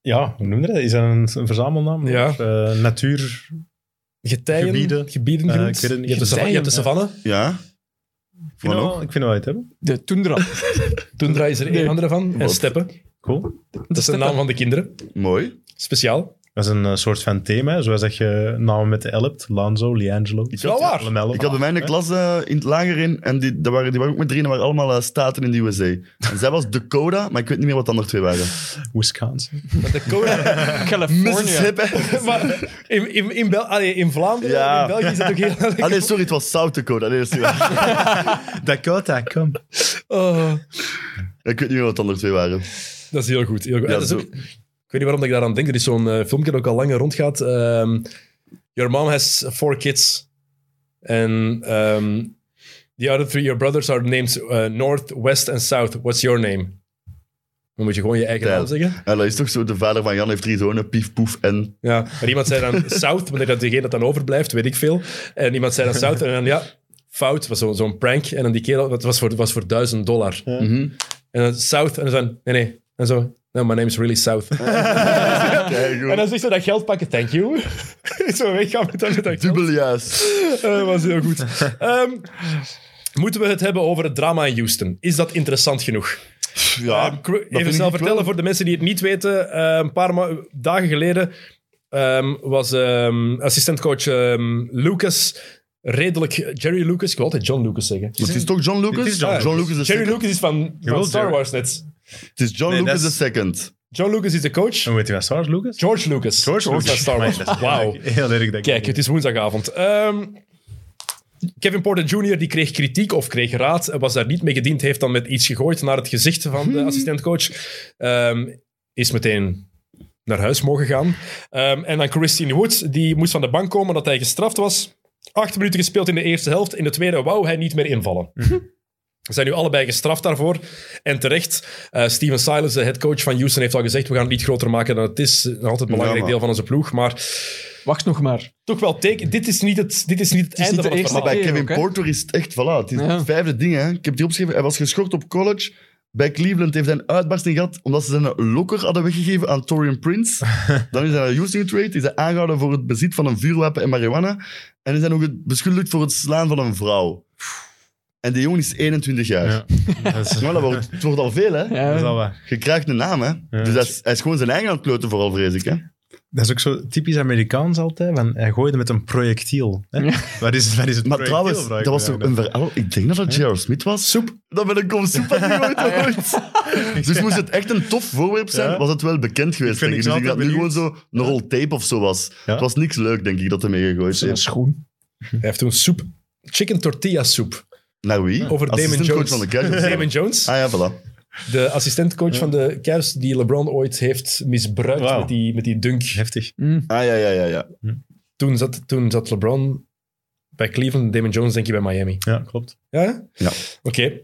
[SPEAKER 3] Ja, hoe noem je dat? Is dat een, een verzamelnaam?
[SPEAKER 1] Ja.
[SPEAKER 3] Of, eh, natuur...
[SPEAKER 1] Getijen?
[SPEAKER 3] Gebieden.
[SPEAKER 1] Gebieden
[SPEAKER 3] Eh,
[SPEAKER 1] genoemd.
[SPEAKER 3] ik weet het niet.
[SPEAKER 1] Je hebt de savanne. Je hebt de savanne.
[SPEAKER 2] Ja?
[SPEAKER 3] Ik vind,
[SPEAKER 2] Wat
[SPEAKER 3] wel, ik vind wel het hebben.
[SPEAKER 4] De Tundra.
[SPEAKER 1] Tundra is er een
[SPEAKER 4] Nee.
[SPEAKER 1] andere van. En
[SPEAKER 2] Wat?
[SPEAKER 1] steppen.
[SPEAKER 3] Cool.
[SPEAKER 1] Dat is de naam van de kinderen.
[SPEAKER 2] Mooi.
[SPEAKER 1] Speciaal.
[SPEAKER 3] Dat is een eh, soort van thema, hè, zoals dat je namen met de L hebt. Lanzo, Liangelo.
[SPEAKER 2] Ik
[SPEAKER 1] Is wel
[SPEAKER 2] had,
[SPEAKER 1] waar.
[SPEAKER 3] Lamello.
[SPEAKER 2] ik had bij mij in de klas eh, in het lager in. En die, daar waren, die waren ook met drie. En dat waren allemaal eh, staten in de USA. En zij was Dakota, maar ik weet niet meer wat de andere twee waren.
[SPEAKER 3] Wisconsin.
[SPEAKER 1] Want de code...
[SPEAKER 4] California.
[SPEAKER 2] Mississippi.
[SPEAKER 1] maar in, in, in, Bel allee, in Vlaanderen,
[SPEAKER 2] Ja.
[SPEAKER 1] in België is dat ook heel...
[SPEAKER 2] Ah, nee, sorry, het was South Dakota. Nee, dat is niet waar.
[SPEAKER 3] Dakota, kom.
[SPEAKER 1] Oh,
[SPEAKER 2] ik weet niet meer wat de andere twee waren.
[SPEAKER 1] dat is heel goed. Heel goed.
[SPEAKER 2] Ja,
[SPEAKER 1] En dat is
[SPEAKER 2] zo.
[SPEAKER 1] ook- ik weet niet waarom ik daaraan denk. Er is zo'n eh, filmpje dat ook al langer rondgaat. Ehm your mom has four kids. And ehm, the other three, your brothers, are named eh, North, West and South. What's your name? Dan moet je gewoon je eigen
[SPEAKER 2] Ja.
[SPEAKER 1] naam zeggen.
[SPEAKER 2] En dat is toch zo, de vader van Jan heeft drie zonen, Pief, Poef en...
[SPEAKER 1] Ja, maar iemand zei dan South, want ik dat degene dat dan overblijft, weet ik veel. En iemand zei dan South, en dan ja, fout, was zo- zo'n prank. En dan die kerel, dat was voor, was voor 1000 dollar.
[SPEAKER 2] Mhm.
[SPEAKER 1] En dan South, en dan zo, nee, nee. En zo, no, my name is really South.
[SPEAKER 2] Keigoed.
[SPEAKER 1] en dan zegt ze dat geld pakken, thank you. zo weggaan met dat, met dat geld.
[SPEAKER 2] Dubbel juist.
[SPEAKER 1] Eh, Dat was heel goed. Ehm, moeten we het hebben over het drama in Houston? Is dat interessant genoeg?
[SPEAKER 2] Ja,
[SPEAKER 1] Ehm, Cru-
[SPEAKER 2] vind
[SPEAKER 1] even
[SPEAKER 2] ik
[SPEAKER 1] snel
[SPEAKER 2] wel.
[SPEAKER 1] vertellen voor de mensen die het niet weten. Eh, een paar ma- dagen geleden ehm, was ehm, assistentcoach ehm, Lucas redelijk... Jerry Lucas, ik wil altijd John Lucas zeggen.
[SPEAKER 2] Maar het is toch John Lucas?
[SPEAKER 3] Het is John
[SPEAKER 2] Lucas. de
[SPEAKER 1] Jerry
[SPEAKER 2] second.
[SPEAKER 1] Lucas is van, van
[SPEAKER 3] Jawel,
[SPEAKER 1] Star
[SPEAKER 3] Jerry.
[SPEAKER 1] Wars net.
[SPEAKER 2] Het is John
[SPEAKER 3] Nee,
[SPEAKER 2] Lucas
[SPEAKER 3] dat
[SPEAKER 2] the
[SPEAKER 3] is-
[SPEAKER 2] second.
[SPEAKER 1] John Lucas is de coach.
[SPEAKER 3] En weet je wat Star Wars, Lucas?
[SPEAKER 1] George Lucas.
[SPEAKER 3] Lucas.
[SPEAKER 1] van Star
[SPEAKER 3] Mijn,
[SPEAKER 1] Wars.
[SPEAKER 3] dat is heel
[SPEAKER 1] Wauw.
[SPEAKER 3] erg- Heel erg, denk ik.
[SPEAKER 1] Kijk, het is woensdagavond. Ehm, Kevin Porter Jr. die kreeg kritiek of kreeg raad, eh, was daar niet mee gediend, heeft dan met iets gegooid naar het gezicht van de assistentcoach. Ehm, is meteen naar huis mogen gaan. Ehm, en dan Christine Woods, die moest van de bank komen dat hij gestraft was. Acht minuten gespeeld in de eerste helft. In de tweede wou hij niet meer invallen. Hm. Ze zijn nu allebei gestraft daarvoor. En terecht. Eh, Steven Silas, de headcoach van Houston, heeft al gezegd... we gaan het niet groter maken dan het is. Nog altijd een belangrijk
[SPEAKER 2] maar-
[SPEAKER 1] deel van onze ploeg. Maar
[SPEAKER 4] Wacht nog maar.
[SPEAKER 1] toch wel teken. Dit is niet het, dit is niet het,
[SPEAKER 4] is
[SPEAKER 1] einde
[SPEAKER 4] niet de
[SPEAKER 1] van het
[SPEAKER 4] eerste
[SPEAKER 1] verhaal.
[SPEAKER 2] Maar bij
[SPEAKER 4] Oké,
[SPEAKER 2] Kevin
[SPEAKER 4] ook, hè?
[SPEAKER 2] Porter is het echt, voilà. Het is
[SPEAKER 4] Ja.
[SPEAKER 2] het vijfde ding, hè. Ik heb die opgeschreven. Hij was geschorst op college. Bij Cleveland heeft hij een uitbarsting gehad omdat ze zijn lokker hadden weggegeven aan Torian Prince. Dan is hij naar Houston getraind, is hij aangehouden voor het bezit van een vuurwapen en marihuana. En is hij nog beschuldigd voor het slaan van een vrouw. En die jongen is 21 jaar.
[SPEAKER 3] Ja. Dat is,
[SPEAKER 2] Maar dat wordt, het wordt al veel, hè.
[SPEAKER 4] Ja.
[SPEAKER 3] dat is al wat.
[SPEAKER 2] Je krijgt een naam, hè. Dus hij is, hij is gewoon zijn eigen aan het kloten vooral, vrees ik, hè.
[SPEAKER 3] Dat is ook zo typisch Amerikaans altijd. Van, hij gooide met een projectiel. Hè? Waar, is, waar is het
[SPEAKER 2] Maar
[SPEAKER 3] projectiel?
[SPEAKER 2] trouwens,
[SPEAKER 3] vraag ik
[SPEAKER 2] dat was
[SPEAKER 3] me
[SPEAKER 2] toch
[SPEAKER 3] dan
[SPEAKER 2] een verhaal... Ik denk dat dat J.R. Smith was. Soep. Dat ben ik kom soep had hij ooit gegooid. Dus moest het echt een tof voorwerp zijn,
[SPEAKER 3] Ja.
[SPEAKER 2] was het wel bekend geweest.
[SPEAKER 3] vind
[SPEAKER 2] denk ik.
[SPEAKER 3] ik
[SPEAKER 2] Dus ik
[SPEAKER 3] altijd
[SPEAKER 2] dat nu gewoon
[SPEAKER 3] benieuwd.
[SPEAKER 2] zo een rol tape of zo was.
[SPEAKER 3] Ja.
[SPEAKER 2] Het was niks leuk, denk ik, dat hij meegegooid
[SPEAKER 4] Een
[SPEAKER 2] heeft.
[SPEAKER 4] schoen.
[SPEAKER 1] Hij heeft toen soep. Chicken tortilla soep.
[SPEAKER 2] Naar Nou, wie?
[SPEAKER 1] Over Damon
[SPEAKER 2] Assistentcoach
[SPEAKER 1] Jones.
[SPEAKER 2] van de Cavs.
[SPEAKER 1] Damon Jones,
[SPEAKER 2] Ah ja, voilà.
[SPEAKER 1] de assistentcoach van de Cavs, die LeBron ooit heeft misbruikt
[SPEAKER 3] Wauw.
[SPEAKER 1] met, die, met die dunk.
[SPEAKER 3] Heftig.
[SPEAKER 2] Ah ja, ja, ja. ja.
[SPEAKER 1] Toen zat, toen zat LeBron bij Cleveland, Damon Jones denk je bij Miami.
[SPEAKER 3] Ja, klopt.
[SPEAKER 1] Ja?
[SPEAKER 2] Ja.
[SPEAKER 1] Oké.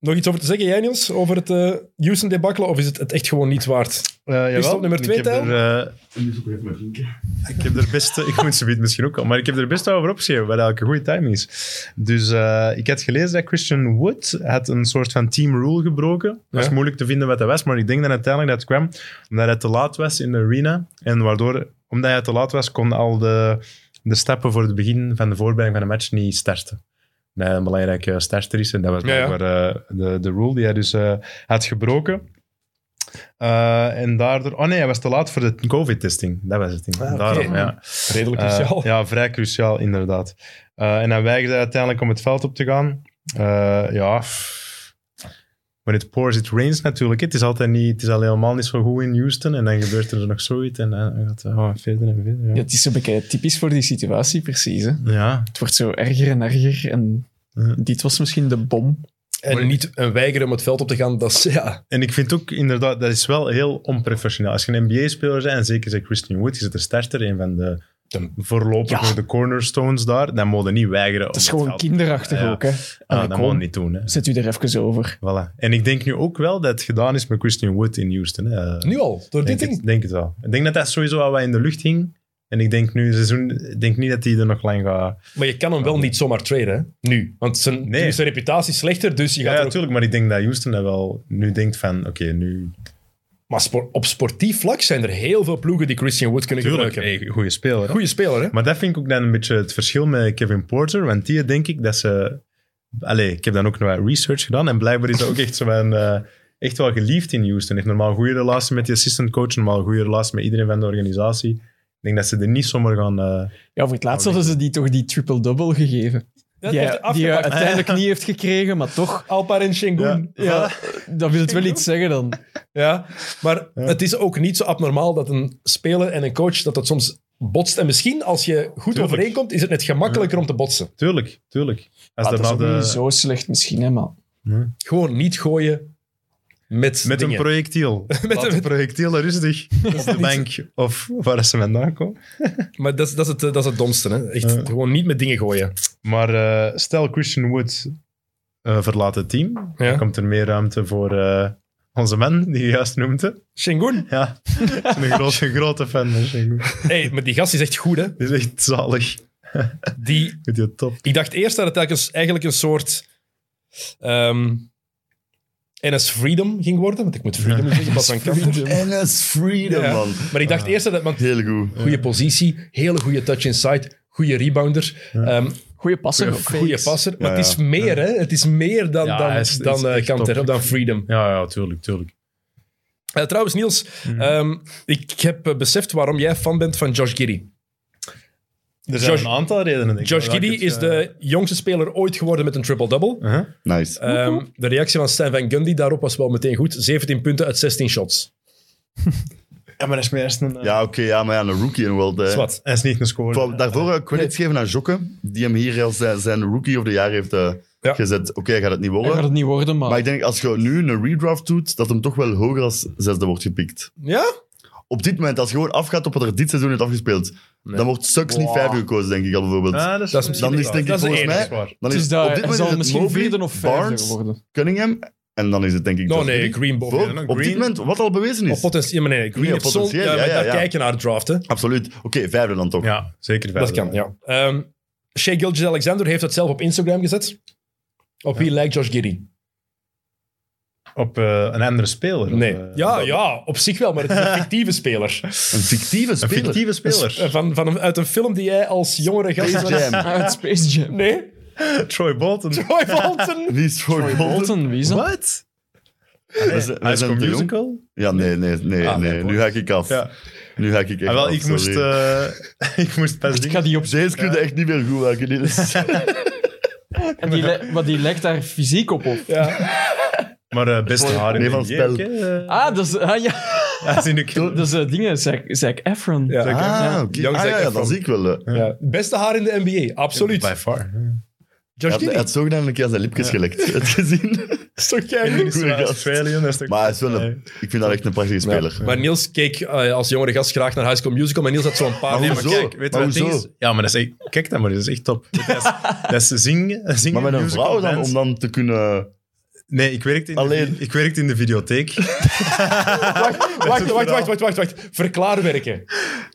[SPEAKER 1] Nog iets over te zeggen, jij Niels, over het eh Houston debakkelen? Of is het het echt gewoon niet waard?
[SPEAKER 3] Uh,
[SPEAKER 1] op nummer twee,
[SPEAKER 3] ik heb,
[SPEAKER 1] Tijl?
[SPEAKER 3] er, eh, ik heb er best... ik moet ze misschien ook al, maar ik heb er best wel over opgeschreven, wat eigenlijk een goede timing is. Dus eh, ik had gelezen dat Christian Wood had een soort van team rule gebroken. Het was
[SPEAKER 1] Ja.
[SPEAKER 3] moeilijk te vinden wat dat was, maar ik denk dat uiteindelijk dat het kwam omdat hij te laat was in de arena. En waardoor, omdat hij te laat was, kon al de, de stappen voor het begin van de voorbereiding van de match niet starten. Dat hij een belangrijke starter is en dat was
[SPEAKER 1] Ja, ja.
[SPEAKER 3] blijkbaar eh, de, de rule die hij dus eh, had gebroken. Eh, en daardoor... Oh nee, hij was te laat voor de COVID-testing. Dat was het ding.
[SPEAKER 1] Ah, oké. dus
[SPEAKER 3] Daarom, ja.
[SPEAKER 1] Redelijk
[SPEAKER 3] Eh,
[SPEAKER 1] cruciaal.
[SPEAKER 3] ja, vrij cruciaal, inderdaad. Eh, en hij weigerde uiteindelijk om het veld op te gaan. Eh, ja... When it pours, it rains natuurlijk. Het is altijd niet... Het is al helemaal niet zo goed in Houston. En dan gebeurt er nog zoiets. En dan gaat het oh, verder en verder.
[SPEAKER 4] Ja,
[SPEAKER 3] Ja.
[SPEAKER 4] het is zo beetje typisch voor die situatie, precies. Hè.
[SPEAKER 3] ja.
[SPEAKER 4] Het wordt zo erger en erger. En
[SPEAKER 3] Ja.
[SPEAKER 4] dit was misschien de bom.
[SPEAKER 1] En niet een weigeren om het veld op te gaan, dat is... Ja,
[SPEAKER 3] En ik vind ook inderdaad... Dat is wel heel onprofessioneel. Als je een NBA-speler bent, en zeker zijn Christian Wood, is het de starter, een van de...
[SPEAKER 1] De-
[SPEAKER 3] Voorlopig
[SPEAKER 4] Ja.
[SPEAKER 3] de cornerstones daar, dan mogen niet weigeren.
[SPEAKER 4] Het is gewoon kinderachtig
[SPEAKER 3] Ja.
[SPEAKER 4] ook. Hè.
[SPEAKER 3] Ah,
[SPEAKER 4] Allee,
[SPEAKER 3] dat
[SPEAKER 4] kom,
[SPEAKER 3] moet niet doen. Hè.
[SPEAKER 4] Zet u er even over.
[SPEAKER 3] Voilà. En ik denk nu ook wel dat het gedaan is met Christian Wood in Houston. Hè.
[SPEAKER 1] nu al, door dit
[SPEAKER 3] denk,
[SPEAKER 1] ding.
[SPEAKER 3] het, denk het wel. Ik denk dat dat sowieso al wat in de lucht hing. En ik denk nu, seizoen, ik denk niet dat hij er nog lang gaat.
[SPEAKER 1] Maar je kan hem wel niet zomaar traden, hè? Nu. Want zijn,
[SPEAKER 3] Oh, Nee.
[SPEAKER 1] nu is zijn reputatie slechter, dus je
[SPEAKER 3] Ja,
[SPEAKER 1] gaat er ook...
[SPEAKER 3] natuurlijk. Maar ik denk dat Houston dat wel nu denkt van, oké, nu...
[SPEAKER 1] Maar spor- op sportief vlak zijn er heel veel ploegen die Christian Wood kunnen gebruiken.
[SPEAKER 3] hey, goede speler. hè.
[SPEAKER 1] Goeie speler, hè?
[SPEAKER 3] Maar dat vind ik ook dan een beetje het verschil met Kevin Porter. Want die denk ik dat ze... Allee, ik heb dan ook nog wat research gedaan. En blijkbaar is dat ook echt zo van... eh, echt wel geliefd in Houston. Heeft normaal een goede relatie met die assistant coach. Normaal een goede relatie met iedereen van de organisatie. Ik denk dat ze er niet zomaar gaan... eh,
[SPEAKER 4] Ja, voor het laatst hadden ze die toch die triple-double gegeven. die hij- die eh, hij uiteindelijk niet heeft gekregen, maar toch.
[SPEAKER 1] Alpar en Shengun. Ja.
[SPEAKER 4] Ja, dat wil het wel iets zeggen dan.
[SPEAKER 1] Maar het is ook niet zo abnormaal dat een speler en een coach dat dat soms botst. En misschien als je goed overeenkomt, is het net gemakkelijker om te botsen.
[SPEAKER 3] Tuurlijk, tuurlijk. Als
[SPEAKER 4] Ah,
[SPEAKER 3] dat
[SPEAKER 4] dat is
[SPEAKER 3] nou
[SPEAKER 4] ook
[SPEAKER 3] de-
[SPEAKER 4] niet zo slecht misschien, hè, maar...
[SPEAKER 1] Gewoon niet gooien met
[SPEAKER 3] Met een
[SPEAKER 1] dingen.
[SPEAKER 3] projectiel. met
[SPEAKER 1] een-
[SPEAKER 3] een projectiel rustig op de bank of waar ze vandaan komen.
[SPEAKER 1] Maar dat, is- dat, is het, eh, dat is het domste, hè? Echt,
[SPEAKER 3] Ja.
[SPEAKER 1] Gewoon niet met dingen gooien.
[SPEAKER 3] Maar eh, stel Christian Wood eh, verlaat het team, dan komt er meer ruimte voor eh, onze man die je juist noemde.
[SPEAKER 1] Shengun.
[SPEAKER 3] Ja, ik ben een grote, grote fan van Shengun.
[SPEAKER 1] hey, maar die gast is echt goed, hè?
[SPEAKER 3] Die is echt zalig.
[SPEAKER 1] Die,
[SPEAKER 3] Vind je top?
[SPEAKER 1] Ik dacht eerst dat het telkens eigenlijk een soort ehm, NS Freedom ging worden. Want ik moet Freedom zeggen, in plaats van Kampen.
[SPEAKER 2] NS Freedom,
[SPEAKER 1] Ja.
[SPEAKER 2] man.
[SPEAKER 1] Maar ik dacht eerst dat het... Want
[SPEAKER 2] Heel goed.
[SPEAKER 1] goede positie, hele goede touch inside, goede rebounder, ehm
[SPEAKER 4] Goeie passer. ook.
[SPEAKER 1] goede passer. Maar
[SPEAKER 2] Ja,
[SPEAKER 1] het is meer, hè. Het is meer dan,
[SPEAKER 3] Ja,
[SPEAKER 1] dan,
[SPEAKER 3] hij is-
[SPEAKER 1] dan
[SPEAKER 3] is
[SPEAKER 1] eh,
[SPEAKER 3] echt
[SPEAKER 1] Kanter,
[SPEAKER 3] top.
[SPEAKER 1] of dan Freedom.
[SPEAKER 3] Ja, ja, tuurlijk, tuurlijk.
[SPEAKER 1] Eh, trouwens, Niels,
[SPEAKER 3] Mhm.
[SPEAKER 1] ehm, ik heb eh, beseft waarom jij fan bent van Josh Giddy.
[SPEAKER 3] Er zijn
[SPEAKER 1] Josh-
[SPEAKER 3] een aantal redenen. denk ik.
[SPEAKER 1] Josh
[SPEAKER 3] Maar ik
[SPEAKER 1] Giddy
[SPEAKER 3] heb,
[SPEAKER 1] is
[SPEAKER 3] eh,
[SPEAKER 1] de jongste speler ooit geworden met een triple-double.
[SPEAKER 3] Uh-huh.
[SPEAKER 2] Nice.
[SPEAKER 1] Ehm, de reactie van Stan Van Gundy daarop was wel meteen goed. 17 punten uit 16 shots.
[SPEAKER 3] Ja, maar dat is meer eerst een... eh,
[SPEAKER 2] ja, oké, ja, maar ja, een rookie in World.
[SPEAKER 1] Is
[SPEAKER 2] eh.
[SPEAKER 1] wat.
[SPEAKER 3] Hij is niet een
[SPEAKER 2] Ik
[SPEAKER 3] scorer.
[SPEAKER 2] wou daarvoor uh, credits geven aan Jokke, die hem hier als zijn, zijn rookie of the jaar heeft eh,
[SPEAKER 1] Ja.
[SPEAKER 2] gezet. Oké, hij gaat het niet
[SPEAKER 4] Hij gaat
[SPEAKER 2] worden.
[SPEAKER 4] het niet worden,
[SPEAKER 3] Oh.
[SPEAKER 4] maar...
[SPEAKER 2] Maar ik denk, als je nu een redraft doet, dat hem toch wel hoger als zesde wordt gepikt.
[SPEAKER 1] Ja?
[SPEAKER 2] Op dit moment, als je gewoon afgaat op wat er dit seizoen heeft afgespeeld, dan wordt Sucks niet vijfde gekozen, denk ik al bijvoorbeeld.
[SPEAKER 3] Ah, dat
[SPEAKER 1] Dat is
[SPEAKER 2] dan is
[SPEAKER 1] waar.
[SPEAKER 2] denk ik
[SPEAKER 1] Dat is de
[SPEAKER 2] volgens
[SPEAKER 1] enige.
[SPEAKER 2] mij...
[SPEAKER 3] Dat is waar.
[SPEAKER 2] Dan
[SPEAKER 4] het
[SPEAKER 2] is,
[SPEAKER 4] is dat,
[SPEAKER 2] op dit
[SPEAKER 4] hij
[SPEAKER 2] moment
[SPEAKER 4] zal
[SPEAKER 2] is het
[SPEAKER 4] misschien
[SPEAKER 2] Mobley,
[SPEAKER 4] vierde of vijfde
[SPEAKER 2] Barnes,
[SPEAKER 4] worden.
[SPEAKER 2] Cunningham, en dan is het denk ik...
[SPEAKER 1] No,
[SPEAKER 2] Josh
[SPEAKER 1] nee,
[SPEAKER 2] Giddey.
[SPEAKER 1] Green Bob.
[SPEAKER 2] Voor-
[SPEAKER 1] Ja, dan
[SPEAKER 2] op dit
[SPEAKER 3] Green.
[SPEAKER 2] moment, wat al bewezen
[SPEAKER 1] Op
[SPEAKER 2] is.
[SPEAKER 1] potentieel, maar nee, Green
[SPEAKER 2] Ja,
[SPEAKER 1] heeft zo'n-
[SPEAKER 2] potentieel,
[SPEAKER 1] ja,
[SPEAKER 2] ja,
[SPEAKER 1] maar
[SPEAKER 2] ja,
[SPEAKER 1] daar
[SPEAKER 2] ja.
[SPEAKER 1] kijken naar de draft, hè.
[SPEAKER 2] Absoluut. Oké, vijfde dan toch.
[SPEAKER 3] Ja, zeker
[SPEAKER 1] Dat kan,
[SPEAKER 3] vijfde.
[SPEAKER 1] ja. Ehm Shea Gilgis-Alexander heeft dat zelf op Instagram gezet. Op wie lijkt Josh Giddy?
[SPEAKER 3] Op eh, een andere speler?
[SPEAKER 1] Nee.
[SPEAKER 3] Of, eh,
[SPEAKER 1] ja, ja, op zich wel, maar het is een fictieve speler.
[SPEAKER 2] Een fictieve
[SPEAKER 3] Een
[SPEAKER 2] speler.
[SPEAKER 3] fictieve
[SPEAKER 1] Eh,
[SPEAKER 3] speler.
[SPEAKER 1] Van, van, een- uit een film die jij als jongere gast...
[SPEAKER 2] Space Jam.
[SPEAKER 4] Uit Space Jam.
[SPEAKER 1] Nee?
[SPEAKER 3] Troy Bolton.
[SPEAKER 1] Roy Bolton?
[SPEAKER 2] Wie is Troy Bolton?
[SPEAKER 4] Bolton, wie is dat?
[SPEAKER 3] Wat?
[SPEAKER 2] We zijn- we
[SPEAKER 3] High School
[SPEAKER 2] zijn te jong.
[SPEAKER 3] Musical?
[SPEAKER 2] Ja, nee, nee, nee.
[SPEAKER 3] Ah,
[SPEAKER 2] nee.
[SPEAKER 3] nee,
[SPEAKER 2] nu ga ik af.
[SPEAKER 3] Ja.
[SPEAKER 2] Nu ga ik echt
[SPEAKER 3] Ah, wel,
[SPEAKER 2] af,
[SPEAKER 3] ik, moest,
[SPEAKER 2] sorry.
[SPEAKER 3] eh, ik moest pas
[SPEAKER 4] Ik ga die op...
[SPEAKER 2] Deze kun je echt niet meer goed maken. dit is-
[SPEAKER 4] En die li- maar die lijkt daar fysiek op, of?
[SPEAKER 3] Maar eh beste haar in
[SPEAKER 2] Nee, van
[SPEAKER 3] de
[SPEAKER 2] spel.
[SPEAKER 3] jeuk, hè. Eh,
[SPEAKER 4] Ah, dat is... Ah, ja.
[SPEAKER 3] Hij is in de kill.
[SPEAKER 4] Dat is eh, dingen, Zac, Zac Efron.
[SPEAKER 1] Ja.
[SPEAKER 2] Ah,
[SPEAKER 1] Ja.
[SPEAKER 2] oké.
[SPEAKER 1] Young
[SPEAKER 2] Ah,
[SPEAKER 1] Zac
[SPEAKER 2] ja, ja,
[SPEAKER 1] Efron.
[SPEAKER 2] dat zie ik wel. eh.
[SPEAKER 1] Ja. Beste haar in de NBA, absoluut.
[SPEAKER 3] By far.
[SPEAKER 2] Hij
[SPEAKER 1] Josh
[SPEAKER 2] had, hij
[SPEAKER 1] Giddy.
[SPEAKER 2] had zogenaamd een keer zijn lipjes gelekt. Het gezien.
[SPEAKER 1] is toch geinig?
[SPEAKER 2] Goeie
[SPEAKER 3] Ja,
[SPEAKER 2] gast.
[SPEAKER 3] Australian, dat is toch-
[SPEAKER 2] Maar hij is wel een, ik vind dat echt een prachtige speler.
[SPEAKER 1] Maar Niels keek eh, als jongere gast graag naar High School Musical, maar Niels had zo'n paar...
[SPEAKER 2] Maar
[SPEAKER 3] Nee,
[SPEAKER 1] dingen-
[SPEAKER 3] Ah, maar
[SPEAKER 2] hoezo?
[SPEAKER 3] kijk, weet je
[SPEAKER 2] Maar
[SPEAKER 3] wat het ding
[SPEAKER 2] hoezo?
[SPEAKER 3] is? Ja, maar dat is echt... Kijk dan maar, dat is echt top. Dat is, dat is zingen, zingen
[SPEAKER 2] Maar met een
[SPEAKER 3] musical
[SPEAKER 2] vrouw dan,
[SPEAKER 3] dance.
[SPEAKER 2] om dan te kunnen...
[SPEAKER 3] Nee, ik werkte in,
[SPEAKER 2] Alleen.
[SPEAKER 3] De, ik werkte in de videotheek.
[SPEAKER 1] Wacht, wacht, wacht, wacht, wacht, wacht, wacht. Verklaarwerken.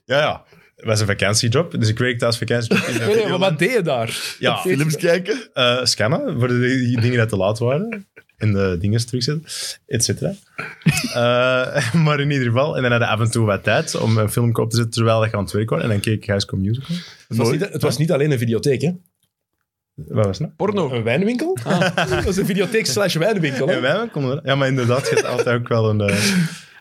[SPEAKER 3] ja, ja. Het was een vakantiejob, dus ik werkte als vakantiejob in de
[SPEAKER 1] Nee, nee, maar
[SPEAKER 3] videoland.
[SPEAKER 1] wat deed je daar?
[SPEAKER 3] Ja.
[SPEAKER 1] Wat deed je
[SPEAKER 2] Films kijken.
[SPEAKER 3] Eh, scannen voor de di- dingen die te laat waren. En de dingen terugzetten, et cetera. Eh, maar in ieder geval, en dan hadden we af en toe wat tijd om een film op te zetten terwijl ik aan het werk was. En dan keek ik High School Musical.
[SPEAKER 1] Het was, niet, het was niet alleen een videotheek, hè?
[SPEAKER 3] Wat was het nou?
[SPEAKER 4] Porno.
[SPEAKER 1] Een wijnwinkel?
[SPEAKER 3] Ah.
[SPEAKER 1] Dat was een videotheek slash wijnwinkel. hè?
[SPEAKER 3] Ja, wij konden wel- ja, maar inderdaad, je hebt altijd ook wel een... eh,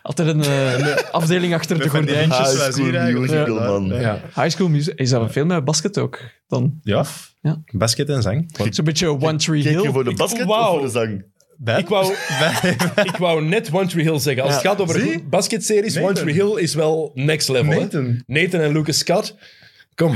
[SPEAKER 4] Altijd een eh, een afdeling achter de
[SPEAKER 3] van die
[SPEAKER 4] gordijntjes.
[SPEAKER 3] eindjes
[SPEAKER 2] High
[SPEAKER 3] zoals
[SPEAKER 2] School
[SPEAKER 3] hier eigenlijk.
[SPEAKER 2] Musical,
[SPEAKER 3] Ja.
[SPEAKER 2] man.
[SPEAKER 3] Ja.
[SPEAKER 4] High School Music. Is dat een film met basket ook? Dan
[SPEAKER 3] Ja.
[SPEAKER 4] Ja.
[SPEAKER 3] basket en zang.
[SPEAKER 4] zo'n beetje One Tree
[SPEAKER 2] Kijk je
[SPEAKER 4] Hill.
[SPEAKER 2] voor de basket
[SPEAKER 1] wauw.
[SPEAKER 2] of voor de zang?
[SPEAKER 3] Bij-
[SPEAKER 1] Ik wou,
[SPEAKER 3] bij-
[SPEAKER 1] ik wou net One Tree Hill zeggen. Als het
[SPEAKER 4] Ja.
[SPEAKER 1] gaat over
[SPEAKER 3] Zie?
[SPEAKER 1] goed basketseries, One
[SPEAKER 3] Nathan.
[SPEAKER 1] Tree Hill is wel next level. hè?
[SPEAKER 3] Nathan.
[SPEAKER 1] Nathan en Lucas Scott. Kom.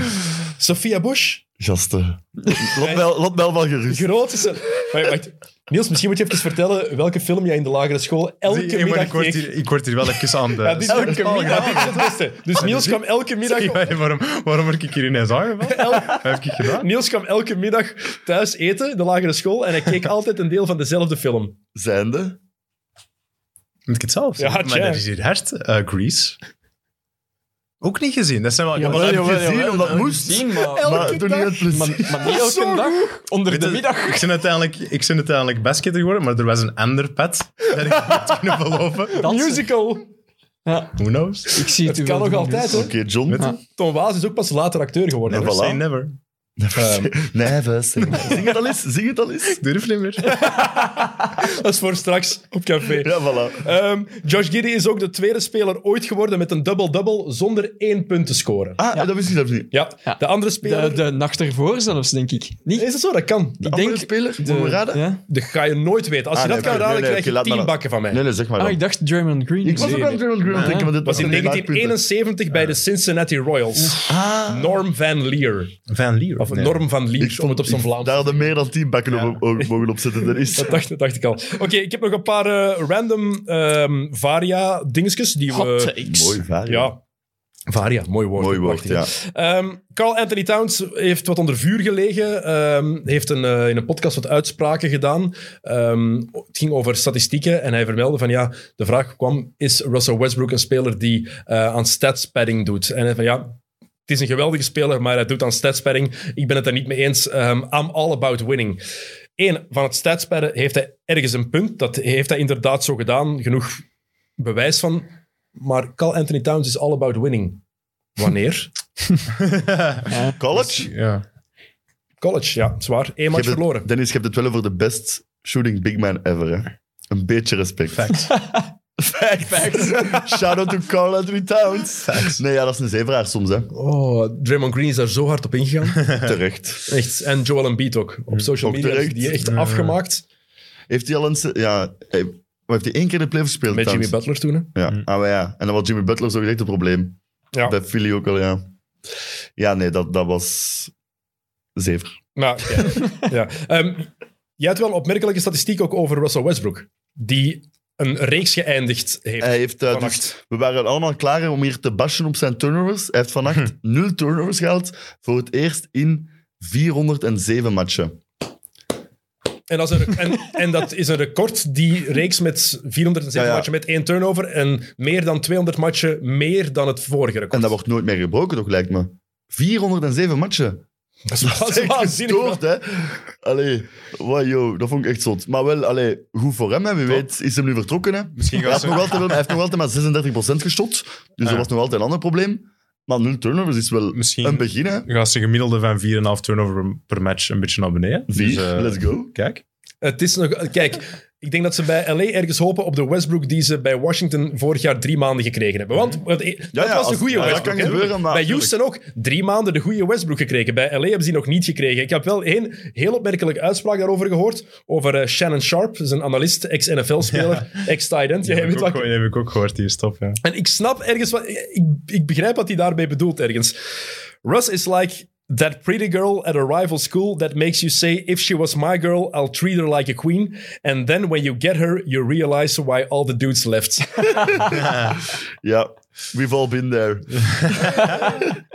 [SPEAKER 1] Sophia Bush.
[SPEAKER 2] Gasten. Lot mij- Lot mij wel gerust.
[SPEAKER 1] Groot is er. Wacht, wacht. Niels, misschien moet je even vertellen welke film jij in de lagere school elke
[SPEAKER 3] Zie, maar
[SPEAKER 1] middag
[SPEAKER 3] ik, word
[SPEAKER 1] keek.
[SPEAKER 3] hier, ik word hier wel even aan de...
[SPEAKER 1] Ja, dit-
[SPEAKER 4] elke
[SPEAKER 1] ja,
[SPEAKER 4] middag.
[SPEAKER 1] dit is het beste. Dus Niels kwam elke middag...
[SPEAKER 3] Ja, waarom, waarom word ik hier ineens aangevallen?
[SPEAKER 1] el-
[SPEAKER 3] Wat heb ik gedaan?
[SPEAKER 1] Niels kwam elke middag thuis eten in de lagere school en hij keek altijd een deel van dezelfde film.
[SPEAKER 2] Zijnde.
[SPEAKER 3] Moet ik het zelf
[SPEAKER 1] Ja,
[SPEAKER 3] zeggen?
[SPEAKER 1] tja.
[SPEAKER 3] maar dat is hier hard. Eh, Grease. Ook niet gezien. Dat zijn wel...
[SPEAKER 2] maar dat heb je gezien, omdat het moest.
[SPEAKER 4] maar,
[SPEAKER 2] Maar toen niet het plezier.
[SPEAKER 4] maar niet elke dag. Onder
[SPEAKER 3] Weet
[SPEAKER 4] de
[SPEAKER 3] je,
[SPEAKER 4] middag.
[SPEAKER 3] Ik ben, uiteindelijk, ik ben uiteindelijk basketter geworden, maar er was een ander pad dat ik had kunnen beloven.
[SPEAKER 4] Dansen.
[SPEAKER 1] Musical.
[SPEAKER 3] Who knows?
[SPEAKER 4] Ik zie het,
[SPEAKER 1] Het
[SPEAKER 4] u
[SPEAKER 1] kan
[SPEAKER 4] wel
[SPEAKER 1] nog
[SPEAKER 4] doen,
[SPEAKER 1] altijd,
[SPEAKER 4] dus.
[SPEAKER 1] hè?
[SPEAKER 2] Oké, John.
[SPEAKER 3] Met-
[SPEAKER 1] Tom Waas is ook pas later acteur geworden.
[SPEAKER 2] Nee,
[SPEAKER 1] hè?
[SPEAKER 2] voilà.
[SPEAKER 3] Say never. Ehm,
[SPEAKER 2] Never say never. Zing het al eens. Zing het al eens.
[SPEAKER 3] durf niet meer.
[SPEAKER 1] Dat is voor straks op café.
[SPEAKER 2] Ja, voilà.
[SPEAKER 1] Ehm, Josh Giddy is ook de tweede speler ooit geworden met een double-double zonder één punt te scoren.
[SPEAKER 2] Ah, dat wist ik zelfs niet.
[SPEAKER 1] Ja,
[SPEAKER 4] Ja.
[SPEAKER 1] de andere
[SPEAKER 4] De,
[SPEAKER 1] speler...
[SPEAKER 4] de nacht ervoor zelfs, denk ik. Niet?
[SPEAKER 1] Is dat zo? Dat kan.
[SPEAKER 2] De
[SPEAKER 4] ik
[SPEAKER 2] andere
[SPEAKER 4] denk
[SPEAKER 2] speler,
[SPEAKER 4] de-
[SPEAKER 2] moeten we raden?
[SPEAKER 4] ja.
[SPEAKER 1] Dat ga je nooit weten. Als je
[SPEAKER 2] Ah,
[SPEAKER 1] dat
[SPEAKER 2] nee,
[SPEAKER 1] kan
[SPEAKER 2] oké,
[SPEAKER 1] raden,
[SPEAKER 2] nee, nee,
[SPEAKER 1] krijg je
[SPEAKER 2] oké, laat
[SPEAKER 1] tien
[SPEAKER 2] maar.
[SPEAKER 1] bakken van mij.
[SPEAKER 2] Nee, nee, zeg maar
[SPEAKER 4] Ah,
[SPEAKER 2] dan.
[SPEAKER 4] ik dacht Draymond Green.
[SPEAKER 2] Ik was
[SPEAKER 1] Nee,
[SPEAKER 2] ook
[SPEAKER 1] nee.
[SPEAKER 2] aan Draymond Green aan het denken, want dit
[SPEAKER 1] was in
[SPEAKER 2] een laagpunt.
[SPEAKER 1] 1971 bij de Cincinnati Royals.
[SPEAKER 2] Ah.
[SPEAKER 1] Norm Van Leer.
[SPEAKER 3] Van Leer.
[SPEAKER 1] Of Norm Van Leer, om het op zijn
[SPEAKER 2] Ik-
[SPEAKER 1] Vlaams.
[SPEAKER 2] Daar hadden meer dan tien bakken op, op- mogen opzetten. Er is.
[SPEAKER 1] Dat dacht, dat dacht ik al. Oké, ik heb nog een paar eh, random ehm, varia dingetjes die we...
[SPEAKER 4] Hot takes.
[SPEAKER 2] Mooi vaar.
[SPEAKER 1] Ja. Varia, mooi woord.
[SPEAKER 2] Mooi woord,
[SPEAKER 1] Prachtig, hè?
[SPEAKER 2] ja.
[SPEAKER 1] Ehm, Carl Anthony Towns heeft wat onder vuur gelegen. ehm, heeft een, eh, in een podcast wat uitspraken gedaan. Ehm, het ging over statistieken. En hij vermeldde van ja, de vraag kwam: is Russell Westbrook een speler die eh, aan stats padding doet? En hij van ja. Het is een geweldige speler, maar hij doet aan statspadding. Ik ben het daar niet mee eens. Ehm I'm all about winning. Eén, van het statspadden heeft hij ergens een punt. Dat heeft hij inderdaad zo gedaan. Genoeg bewijs van. Maar Carl Anthony Towns is all about winning. Wanneer?
[SPEAKER 2] College?
[SPEAKER 3] Ja.
[SPEAKER 1] College, ja, zwaar. Eén match
[SPEAKER 2] Je hebt het-
[SPEAKER 1] verloren.
[SPEAKER 2] Dennis, je hebt het wel over de best shooting big man ever. Hè? Een beetje respect.
[SPEAKER 3] Facts.
[SPEAKER 2] Facts. Shout out to Carl Anthony Towns. Nee, ja, dat is een zeevraag soms, hè.
[SPEAKER 1] Oh, Draymond Green is daar zo hard op ingegaan.
[SPEAKER 2] Terecht.
[SPEAKER 1] Echt. En Joel Embiid ook. Op social
[SPEAKER 2] Ook
[SPEAKER 1] media is
[SPEAKER 2] terecht.
[SPEAKER 1] die echt afgemaakt.
[SPEAKER 2] Heeft hij al eens... Ja, hij, maar heeft hij één keer de playoffs gespeeld,
[SPEAKER 1] Met Jimmy
[SPEAKER 2] Towns?
[SPEAKER 1] Butler toen. hè.
[SPEAKER 2] Ja, ah, maar ja. En dan was Jimmy Butler zo direct het probleem.
[SPEAKER 1] Mm. Ja.
[SPEAKER 2] Bij Philly ook al, ja. Ja, nee, dat, dat was... Zever.
[SPEAKER 1] Nou, oké. ja. Ehm, jij hebt wel een opmerkelijke statistiek ook over Russell Westbrook. Die een reeks geëindigd heeft.
[SPEAKER 2] Hij heeft... eh, dus-
[SPEAKER 1] vannacht.
[SPEAKER 2] we waren allemaal klaar om hier te bashen op zijn turnovers. Hij heeft vannacht
[SPEAKER 1] Hm.
[SPEAKER 2] nul turnovers gehaald. Voor het eerst in 407 matchen.
[SPEAKER 1] En, dat is een, en, en dat is een record. Die reeks met 407
[SPEAKER 2] Ja, ja.
[SPEAKER 1] matchen met één turnover. En meer dan 200 matchen meer dan het vorige record.
[SPEAKER 2] En dat wordt nooit meer gebroken, toch, lijkt me. 407 matchen.
[SPEAKER 1] Dat is wa-
[SPEAKER 2] Dat is echt
[SPEAKER 1] waanzinnig.
[SPEAKER 2] gestoord, hè. Allee, wow, yo, dat vond ik echt zot. Maar wel, allee, goed voor hem, hè. Wie weet is hem nu vertrokken, hè.
[SPEAKER 3] Misschien
[SPEAKER 2] Hij,
[SPEAKER 3] gaat
[SPEAKER 2] had
[SPEAKER 3] ze...
[SPEAKER 2] nog altijd, wel- hij heeft nog altijd maar 36% geshot, dus dat was nog altijd een ander probleem. Maar nul turnovers is wel
[SPEAKER 3] Misschien-
[SPEAKER 2] een begin, hè.
[SPEAKER 3] gaat zijn gemiddelde van 4,5 turnover per- per match een beetje naar beneden.
[SPEAKER 2] Vier,
[SPEAKER 3] Dus, eh,
[SPEAKER 2] let's go.
[SPEAKER 3] Kijk.
[SPEAKER 1] Het is nog... Kijk, ik denk dat ze bij LA ergens hopen op de Westbrook die ze bij Washington vorig jaar drie maanden gekregen hebben. Want want, eh, dat
[SPEAKER 2] Mhm. ja,
[SPEAKER 1] was de
[SPEAKER 2] als-
[SPEAKER 1] goede
[SPEAKER 2] ja, dat
[SPEAKER 1] Westbrook.
[SPEAKER 2] kan
[SPEAKER 1] hè.
[SPEAKER 2] gebeuren, maar
[SPEAKER 1] bij Houston ook drie maanden de goede Westbrook gekregen. Bij LA hebben ze die nog niet gekregen. Ik heb wel één heel opmerkelijke uitspraak daarover gehoord. Over eh, Shannon Sharp, dat is een analist, ex-NFL-speler, ex-tight end. Jij
[SPEAKER 3] heb,
[SPEAKER 1] weet
[SPEAKER 3] ik
[SPEAKER 1] wat
[SPEAKER 3] ook,
[SPEAKER 1] ik-
[SPEAKER 3] heb ik ook gehoord, die stop. Ja.
[SPEAKER 1] en ik snap ergens wat... Ik, ik begrijp wat hij daarbij bedoelt ergens. Russ is like that pretty girl at a rival school that makes you say, if she was my girl, I'll treat her like a queen. And then when you get her, you realize why all the dudes left.
[SPEAKER 2] Ja, we've all been there.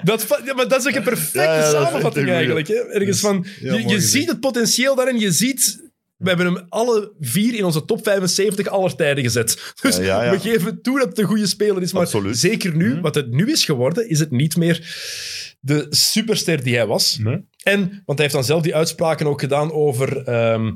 [SPEAKER 1] dat, va- ja, maar dat is ook een perfecte
[SPEAKER 2] Ja, ja, dat is echt een
[SPEAKER 1] samenvatting
[SPEAKER 2] goeie.
[SPEAKER 1] eigenlijk. Hè? Ergens van,
[SPEAKER 3] ja,
[SPEAKER 1] je,
[SPEAKER 3] mooi
[SPEAKER 1] je
[SPEAKER 3] gezegd.
[SPEAKER 1] ziet het potentieel daarin, je ziet... We hebben hem alle vier in onze top 75 aller tijden gezet. Dus
[SPEAKER 2] Ja, ja, ja.
[SPEAKER 1] we geven toe dat het een goede speler is. Maar
[SPEAKER 2] Absoluut. Mhm.
[SPEAKER 1] zeker nu, wat het nu is geworden, is het niet meer de superster die hij was.
[SPEAKER 3] Nee.
[SPEAKER 1] En, want hij heeft dan zelf die uitspraken ook gedaan over... ehm,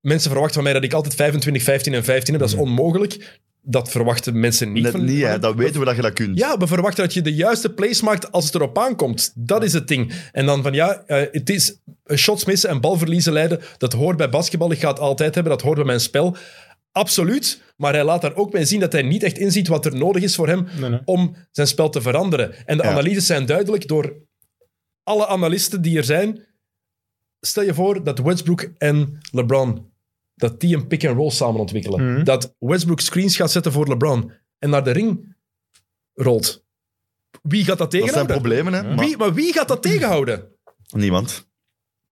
[SPEAKER 1] mensen verwachten van mij dat ik altijd 25, 15 en 15 heb. Dat is onmogelijk. Dat verwachten mensen niet
[SPEAKER 2] Mhm. Net
[SPEAKER 1] van
[SPEAKER 2] niet,
[SPEAKER 1] van
[SPEAKER 2] hè.
[SPEAKER 1] hem.
[SPEAKER 2] Dat weten we dat je dat kunt.
[SPEAKER 1] Ja, we verwachten dat je de juiste plays maakt als het erop aankomt. Dat is het ding. En dan van ja, eh, het is shots missen en balverliezen leiden. Dat hoort bij basketbal. Ik ga het altijd hebben. Dat hoort bij mijn spel. Absoluut. Maar hij laat daar ook bij zien dat hij niet echt inziet wat er nodig is voor hem
[SPEAKER 3] Nee, nee.
[SPEAKER 1] om zijn spel te veranderen. En de
[SPEAKER 2] Ja.
[SPEAKER 1] analyses zijn duidelijk door alle analisten die er zijn. Stel je voor dat Westbrook en LeBron dat die een pick-and-roll samen ontwikkelen.
[SPEAKER 2] Mhm.
[SPEAKER 1] Dat Westbrook screens gaat zetten voor LeBron en naar de ring rolt. Wie gaat dat
[SPEAKER 2] Dat zijn
[SPEAKER 1] tegenhouden?
[SPEAKER 2] problemen, hè. Maar
[SPEAKER 1] wie, maar wie gaat dat tegenhouden?
[SPEAKER 2] niemand.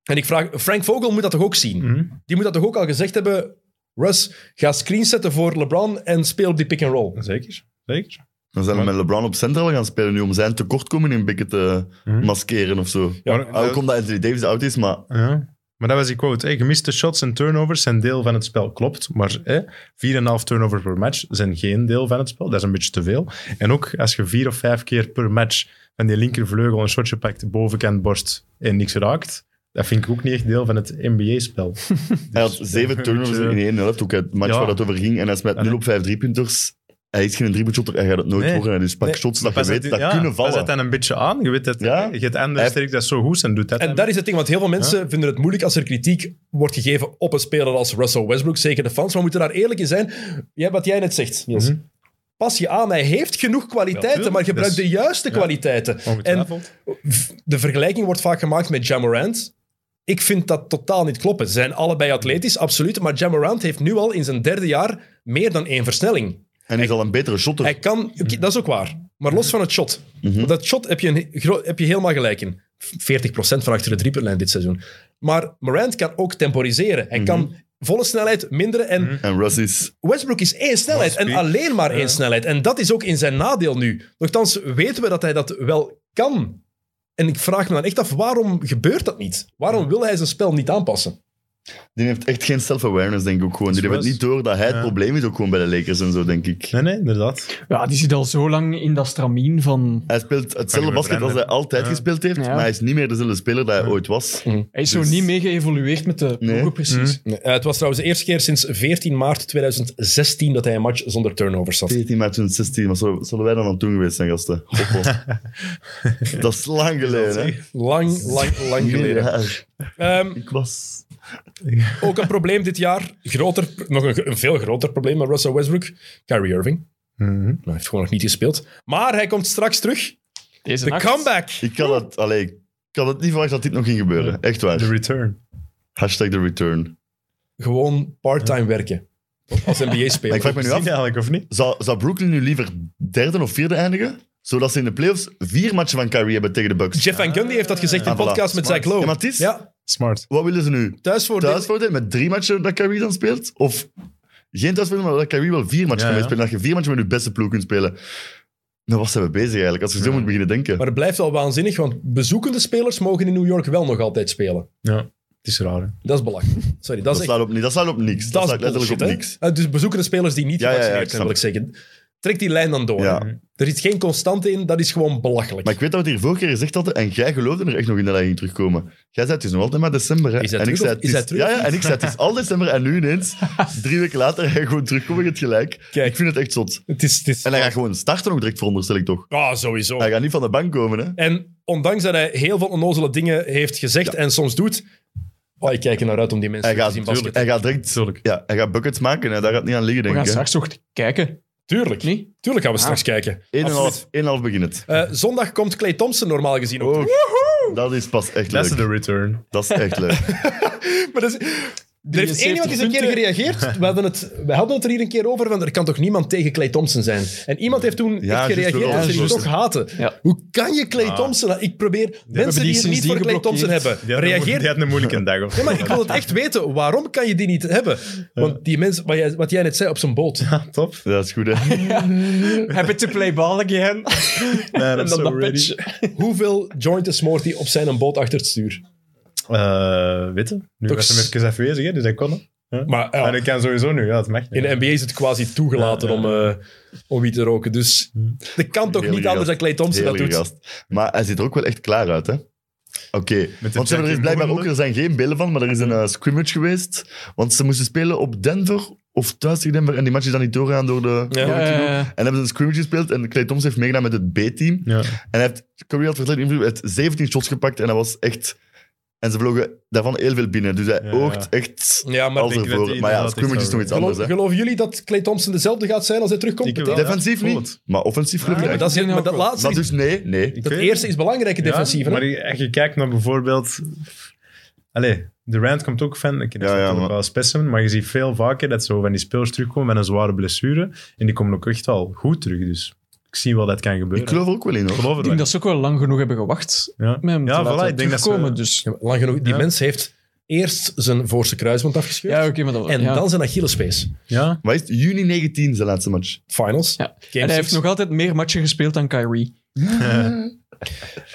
[SPEAKER 1] En ik vraag, Frank Vogel moet dat toch ook zien?
[SPEAKER 2] Mhm.
[SPEAKER 1] Die moet dat toch ook al gezegd hebben? Russ, ga screens zetten voor LeBron en speel op die pick-and-roll.
[SPEAKER 3] Zeker, zeker.
[SPEAKER 2] Dan zijn we met LeBron op centraal gaan spelen nu om zijn tekortkoming in Bikken te maskeren of zo.
[SPEAKER 3] Maar-
[SPEAKER 2] Ook omdat Anthony Davis oud is, maar
[SPEAKER 3] Ja. Maar dat was die quote. Hè. Gemiste shots en turnovers zijn deel van het spel, klopt. Maar hè, 4,5 turnovers per match zijn geen deel van het spel. Dat is een beetje te veel. En ook als je vier of vijf keer per match van die linkervleugel een shotje pakt, bovenkant borst en niks raakt, dat vind ik ook niet echt deel van het NBA-spel.
[SPEAKER 2] hij had zeven turnovers in één helft. Ook het match
[SPEAKER 3] eh. Ja.
[SPEAKER 2] waar dat over ging. En hij is met 0 op 5 driepunters. Hij is geen driepuntshotter, hij gaat het nooit
[SPEAKER 3] Nee.
[SPEAKER 2] horen. Dus pak
[SPEAKER 1] Nee.
[SPEAKER 2] shots dat je
[SPEAKER 3] Pas
[SPEAKER 2] weet,
[SPEAKER 3] het-
[SPEAKER 2] dat
[SPEAKER 3] ja,
[SPEAKER 2] kunnen
[SPEAKER 3] Pas
[SPEAKER 2] vallen.
[SPEAKER 3] het dan een beetje aan. Je weet dat
[SPEAKER 2] Ja.
[SPEAKER 3] je het andere
[SPEAKER 2] Hij-
[SPEAKER 3] sterk dat zo goed is en doet dat.
[SPEAKER 1] En
[SPEAKER 3] dan.
[SPEAKER 1] dat is het ding, want heel veel mensen vinden het moeilijk als er kritiek wordt gegeven op een speler als Russell Westbrook, zeker de fans. Maar we moeten daar eerlijk in zijn. Ja, wat jij net zegt, Niels.
[SPEAKER 3] Mhm.
[SPEAKER 1] Pas je aan, hij heeft genoeg kwaliteiten,
[SPEAKER 3] tuurlijk.
[SPEAKER 1] maar gebruik
[SPEAKER 3] Dus-
[SPEAKER 1] de juiste kwaliteiten. En
[SPEAKER 3] Ongetwijfeld.
[SPEAKER 1] v- de vergelijking wordt vaak gemaakt met Jamorant. Ik vind dat totaal niet kloppen. Ze zijn allebei atletisch, absoluut. Maar Jamorant heeft nu al in zijn derde jaar meer dan één versnelling.
[SPEAKER 2] En hij is al een betere shotter.
[SPEAKER 1] Hij kan, oké, dat is ook waar. Maar los van het shot. Want dat shot heb je, een, gro- heb je helemaal gelijk in. 40% van achter de driepuntlijn dit seizoen. Maar Morant kan ook temporiseren. Hij kan volle snelheid minderen. En
[SPEAKER 2] En Russ is...
[SPEAKER 1] Westbrook is één snelheid. En alleen maar één snelheid. En dat is ook in zijn nadeel nu. Nochtans weten we dat hij dat wel kan. En ik vraag me dan echt af, waarom gebeurt dat niet? Waarom wil hij zijn spel niet aanpassen?
[SPEAKER 2] Die heeft echt geen self-awareness, denk ik ook gewoon. Die heeft
[SPEAKER 3] Russ.
[SPEAKER 2] het niet door dat hij het probleem is ook gewoon bij de Lakers en zo, denk ik.
[SPEAKER 3] Nee, nee, inderdaad.
[SPEAKER 4] Ja, die zit al zo lang in dat stramien van...
[SPEAKER 2] Hij speelt hetzelfde
[SPEAKER 3] Kan je
[SPEAKER 2] basket als hij
[SPEAKER 3] veranderen.
[SPEAKER 2] altijd
[SPEAKER 3] Ja.
[SPEAKER 2] gespeeld heeft,
[SPEAKER 4] Ja.
[SPEAKER 2] maar hij is niet meer dezelfde speler dat hij ooit was.
[SPEAKER 4] Hij
[SPEAKER 2] Dus-
[SPEAKER 4] is zo niet mee geëvolueerd met de ploegen,
[SPEAKER 2] Nee. Mhm.
[SPEAKER 4] precies.
[SPEAKER 1] Nee, eh, het was trouwens de eerste keer sinds 14 maart 2016 dat hij een match zonder turnovers had.
[SPEAKER 2] 14 maart 2016, maar zullen, zullen wij dan aan toen geweest zijn, gasten? Hoppa. dat is lang geleden, hè?
[SPEAKER 1] Lang, lang, lang geleden.
[SPEAKER 2] Ja,
[SPEAKER 1] Ehm,
[SPEAKER 2] ik was...
[SPEAKER 1] ook een probleem dit jaar. Groter, nog een, een veel groter probleem met Russell Westbrook. Kyrie Irving. Nou,
[SPEAKER 3] Mhm.
[SPEAKER 1] Hij heeft gewoon nog niet gespeeld. Maar hij komt straks terug.
[SPEAKER 4] Deze
[SPEAKER 1] De
[SPEAKER 4] nacht.
[SPEAKER 1] comeback.
[SPEAKER 2] Ik had het, allee, ik had het niet verwacht dat dit nog ging gebeuren. Echt
[SPEAKER 3] The
[SPEAKER 2] waar.
[SPEAKER 3] return.
[SPEAKER 2] Hashtag the return.
[SPEAKER 1] Gewoon part-time werken. Als
[SPEAKER 2] Maar ik vraag
[SPEAKER 1] NBA-speler.
[SPEAKER 2] me nu
[SPEAKER 3] Zie
[SPEAKER 2] af,
[SPEAKER 3] je eigenlijk, of niet?
[SPEAKER 2] zou, zou Brooklyn nu liever derde of vierde eindigen? Zodat ze in de playoffs vier matchen van Kyrie hebben tegen de Bucks.
[SPEAKER 1] Jeff Van Gundy heeft dat gezegd in
[SPEAKER 2] Ah,
[SPEAKER 1] een
[SPEAKER 2] voilà.
[SPEAKER 1] podcast met
[SPEAKER 2] Smart.
[SPEAKER 1] Zach Lowe.
[SPEAKER 2] Ja, maar het is-
[SPEAKER 1] Ja,
[SPEAKER 3] Smart.
[SPEAKER 2] Wat willen ze nu?
[SPEAKER 1] thuisvoordeel.
[SPEAKER 2] Thuisvoordeel met drie matchen dat Kyrie dan speelt? Of geen thuisvoordeel, maar dat Kyrie wel vier matchen
[SPEAKER 3] Ja,
[SPEAKER 2] kan
[SPEAKER 3] ja.
[SPEAKER 2] spelen. Dat je vier matchen met je beste ploeg kunt spelen. Nou, wat zijn we bezig eigenlijk? Als we zo moeten beginnen denken.
[SPEAKER 1] Maar het blijft wel waanzinnig, want bezoekende spelers mogen in New York wel nog altijd spelen.
[SPEAKER 3] Ja, het is raar. hè.
[SPEAKER 1] Dat is belachelijk. Sorry, dat,
[SPEAKER 2] dat,
[SPEAKER 1] is echt...
[SPEAKER 2] slaat op, ni- dat slaat op niks. Dus Dat,
[SPEAKER 1] Dat is
[SPEAKER 2] slaat letterlijk
[SPEAKER 1] bullshit,
[SPEAKER 2] op
[SPEAKER 1] hè?
[SPEAKER 2] niks.
[SPEAKER 1] Eh, Dus bezoekende spelers die niet
[SPEAKER 2] Ja, ja, ja,
[SPEAKER 1] gevaccineerd
[SPEAKER 2] ik
[SPEAKER 1] zijn, wil ik zeggen. Trek die lijn dan door.
[SPEAKER 2] Ja.
[SPEAKER 1] Er zit geen constante in, dat is gewoon belachelijk.
[SPEAKER 2] Maar ik weet dat we het hier vorige keer gezegd hadden en jij geloofde er echt nog in dat hij ging terugkomen. Jij zei het is nog altijd maar december. Hè?
[SPEAKER 1] Is hij
[SPEAKER 2] en ik
[SPEAKER 1] terug
[SPEAKER 2] zei,
[SPEAKER 1] of-
[SPEAKER 2] het
[SPEAKER 1] is hij terug
[SPEAKER 2] ja,
[SPEAKER 1] of
[SPEAKER 2] ja, en ik zei het is al december en nu ineens, drie weken later, hij gewoon terugkomen, je hebt gelijk.
[SPEAKER 1] Kijk.
[SPEAKER 2] Ik vind het echt zot.
[SPEAKER 1] Het is... Het is...
[SPEAKER 2] En hij gaat gewoon starten ook direct, veronderstel ik toch.
[SPEAKER 1] Ah, sowieso.
[SPEAKER 2] Hij gaat niet van de bank komen, hè.
[SPEAKER 1] En ondanks dat hij heel veel onnozele dingen heeft gezegd en soms doet... Oh, ik kijk er naar uit om die mensen
[SPEAKER 2] Hij
[SPEAKER 1] te
[SPEAKER 2] gaat,
[SPEAKER 1] zien basketten.
[SPEAKER 2] hij gaat direct...
[SPEAKER 3] Tuurlijk.
[SPEAKER 2] Ja, hij gaat buckets maken en daar gaat niet aan liggen,
[SPEAKER 4] We
[SPEAKER 2] denk
[SPEAKER 4] gaan
[SPEAKER 2] ik. hè.
[SPEAKER 4] straks toch kijken,
[SPEAKER 1] Tuurlijk.
[SPEAKER 4] niet?
[SPEAKER 1] Tuurlijk gaan we straks kijken.
[SPEAKER 2] Eén en een
[SPEAKER 1] Absoluut.
[SPEAKER 2] half- één en een half begin het.
[SPEAKER 1] Eh, zondag komt Clay Thompson normaal gezien op.
[SPEAKER 2] Oh, dat is pas echt
[SPEAKER 3] Dat is
[SPEAKER 2] leuk.
[SPEAKER 3] de return.
[SPEAKER 2] Dat is echt leuk.
[SPEAKER 1] Maar dat is- er heeft één iemand eens een keer
[SPEAKER 4] 73
[SPEAKER 1] gereageerd. We hadden, het, we hadden het er hier een keer over, van er kan toch niemand tegen Clay Thompson zijn? En iemand heeft toen
[SPEAKER 2] Ja,
[SPEAKER 1] echt gereageerd
[SPEAKER 2] juist,
[SPEAKER 1] dat ze die
[SPEAKER 2] juist.
[SPEAKER 1] toch haten.
[SPEAKER 4] Ja.
[SPEAKER 1] Hoe kan je Clay Thompson... Ik probeer mensen die het niet
[SPEAKER 4] sindsdien
[SPEAKER 1] voor Clay Thompson
[SPEAKER 4] geblokkeerd.
[SPEAKER 1] hebben,
[SPEAKER 3] Die had een moe-
[SPEAKER 1] reageer
[SPEAKER 3] Die had een moeilijke dag. Of
[SPEAKER 1] Ja, maar ik wil het echt weten. Waarom kan je die niet hebben? Want die mensen, wat jij, wat jij net zei, op zijn boot.
[SPEAKER 3] Ja, top.
[SPEAKER 2] Dat is goed, hè.
[SPEAKER 4] Happy to play ball again.
[SPEAKER 3] Man, I'm
[SPEAKER 4] dan
[SPEAKER 3] so
[SPEAKER 4] dat
[SPEAKER 3] ready.
[SPEAKER 4] pitch.
[SPEAKER 1] Hoeveel jointen smoort hij op zijn boot achter het stuur?
[SPEAKER 3] eh witte. Nu
[SPEAKER 1] Toch
[SPEAKER 3] was hem even afwezig, hè, dus dat kon. hè.
[SPEAKER 1] Maar
[SPEAKER 4] Ah.
[SPEAKER 1] ja,
[SPEAKER 3] En ik kan sowieso nu, ja, dat mag niet.
[SPEAKER 1] in de NBA is het quasi toegelaten
[SPEAKER 3] Ja, ja.
[SPEAKER 1] Om, eh, om wiet te roken. Dus dat kan toch
[SPEAKER 2] Heerlijke
[SPEAKER 1] niet anders
[SPEAKER 2] gast.
[SPEAKER 1] dan Clay Thompson dat
[SPEAKER 2] Heerlijke
[SPEAKER 1] doet.
[SPEAKER 2] gast. Maar hij ziet er ook wel echt klaar uit, hè? Oké, want ze hebben er
[SPEAKER 3] Jackie
[SPEAKER 2] is blijkbaar ook,
[SPEAKER 3] Moore,
[SPEAKER 2] er zijn geen beelden van, maar er is een eh, scrimmage geweest. Want ze moesten spelen op Denver of thuis tegen Denver en die match is dan niet doorgaan door de...
[SPEAKER 1] Ja.
[SPEAKER 2] door het gedoe.
[SPEAKER 4] Eh,
[SPEAKER 2] En hebben ze een scrimmage gespeeld en Clay Thompson heeft meegedaan met het B-team.
[SPEAKER 3] Ja.
[SPEAKER 2] En hij heeft, Curry had verteld in het interview, hij heeft 17 shots gepakt en dat was echt... En ze vlogen daarvan heel veel binnen, dus hij
[SPEAKER 3] Ja.
[SPEAKER 2] oogt echt
[SPEAKER 1] Ja, maar
[SPEAKER 2] als
[SPEAKER 3] denk dat
[SPEAKER 2] ervoor.
[SPEAKER 3] die
[SPEAKER 2] Maar ja,
[SPEAKER 3] inderdaad
[SPEAKER 2] scrimmage
[SPEAKER 3] echt
[SPEAKER 2] is nog iets
[SPEAKER 3] zou
[SPEAKER 1] geloof-
[SPEAKER 2] anders, hè.
[SPEAKER 1] geloven jullie dat Clay Thompson dezelfde gaat zijn als hij terugkomt?
[SPEAKER 3] Ik
[SPEAKER 1] meteen?
[SPEAKER 3] wel.
[SPEAKER 2] Defensief
[SPEAKER 3] Ja,
[SPEAKER 2] niet, maar offensief geloof ik
[SPEAKER 1] Maar
[SPEAKER 2] echt.
[SPEAKER 1] dat, is,
[SPEAKER 4] Ik denk
[SPEAKER 1] maar dat
[SPEAKER 4] ook wel.
[SPEAKER 1] laatste
[SPEAKER 2] Maar
[SPEAKER 1] is,
[SPEAKER 2] dus nee, nee.
[SPEAKER 3] Ik
[SPEAKER 1] dat
[SPEAKER 3] weet-
[SPEAKER 1] eerste is belangrijk in
[SPEAKER 3] Ja,
[SPEAKER 1] defensief. hè?
[SPEAKER 3] Maar je- als je kijkt naar bijvoorbeeld... Allee, Durant komt ook van... Ik
[SPEAKER 2] Ja, ja,
[SPEAKER 3] ja,
[SPEAKER 2] maar-
[SPEAKER 3] wel specimen, maar je ziet veel vaker dat zo van die spelers terugkomen met een zware blessure. En die komen ook echt al goed terug, dus ik zie wel dat kan gebeuren.
[SPEAKER 2] Ik geloof er ook wel in, hoor.
[SPEAKER 3] Ik geloof het
[SPEAKER 4] ik denk
[SPEAKER 3] wel.
[SPEAKER 4] dat ze ook wel lang genoeg hebben gewacht
[SPEAKER 3] Ja,
[SPEAKER 4] met hem
[SPEAKER 3] ja
[SPEAKER 4] te laten
[SPEAKER 3] voilà, ik denk dat ze...
[SPEAKER 4] terugkomen, Dus.
[SPEAKER 1] Ja, maar lang genoeg. Die
[SPEAKER 3] Ja.
[SPEAKER 1] mens heeft eerst zijn voorste kruisband afgescheurd.
[SPEAKER 4] Ja, oké, maar dat
[SPEAKER 1] En
[SPEAKER 4] ja.
[SPEAKER 1] dan zijn Achillespees.
[SPEAKER 3] Ja,
[SPEAKER 2] Maar is het? juni 19 is de laatste match.
[SPEAKER 1] Finals.
[SPEAKER 4] Ja.
[SPEAKER 1] Game
[SPEAKER 4] En hij
[SPEAKER 1] six.
[SPEAKER 4] heeft nog altijd meer matchen gespeeld dan Kyrie.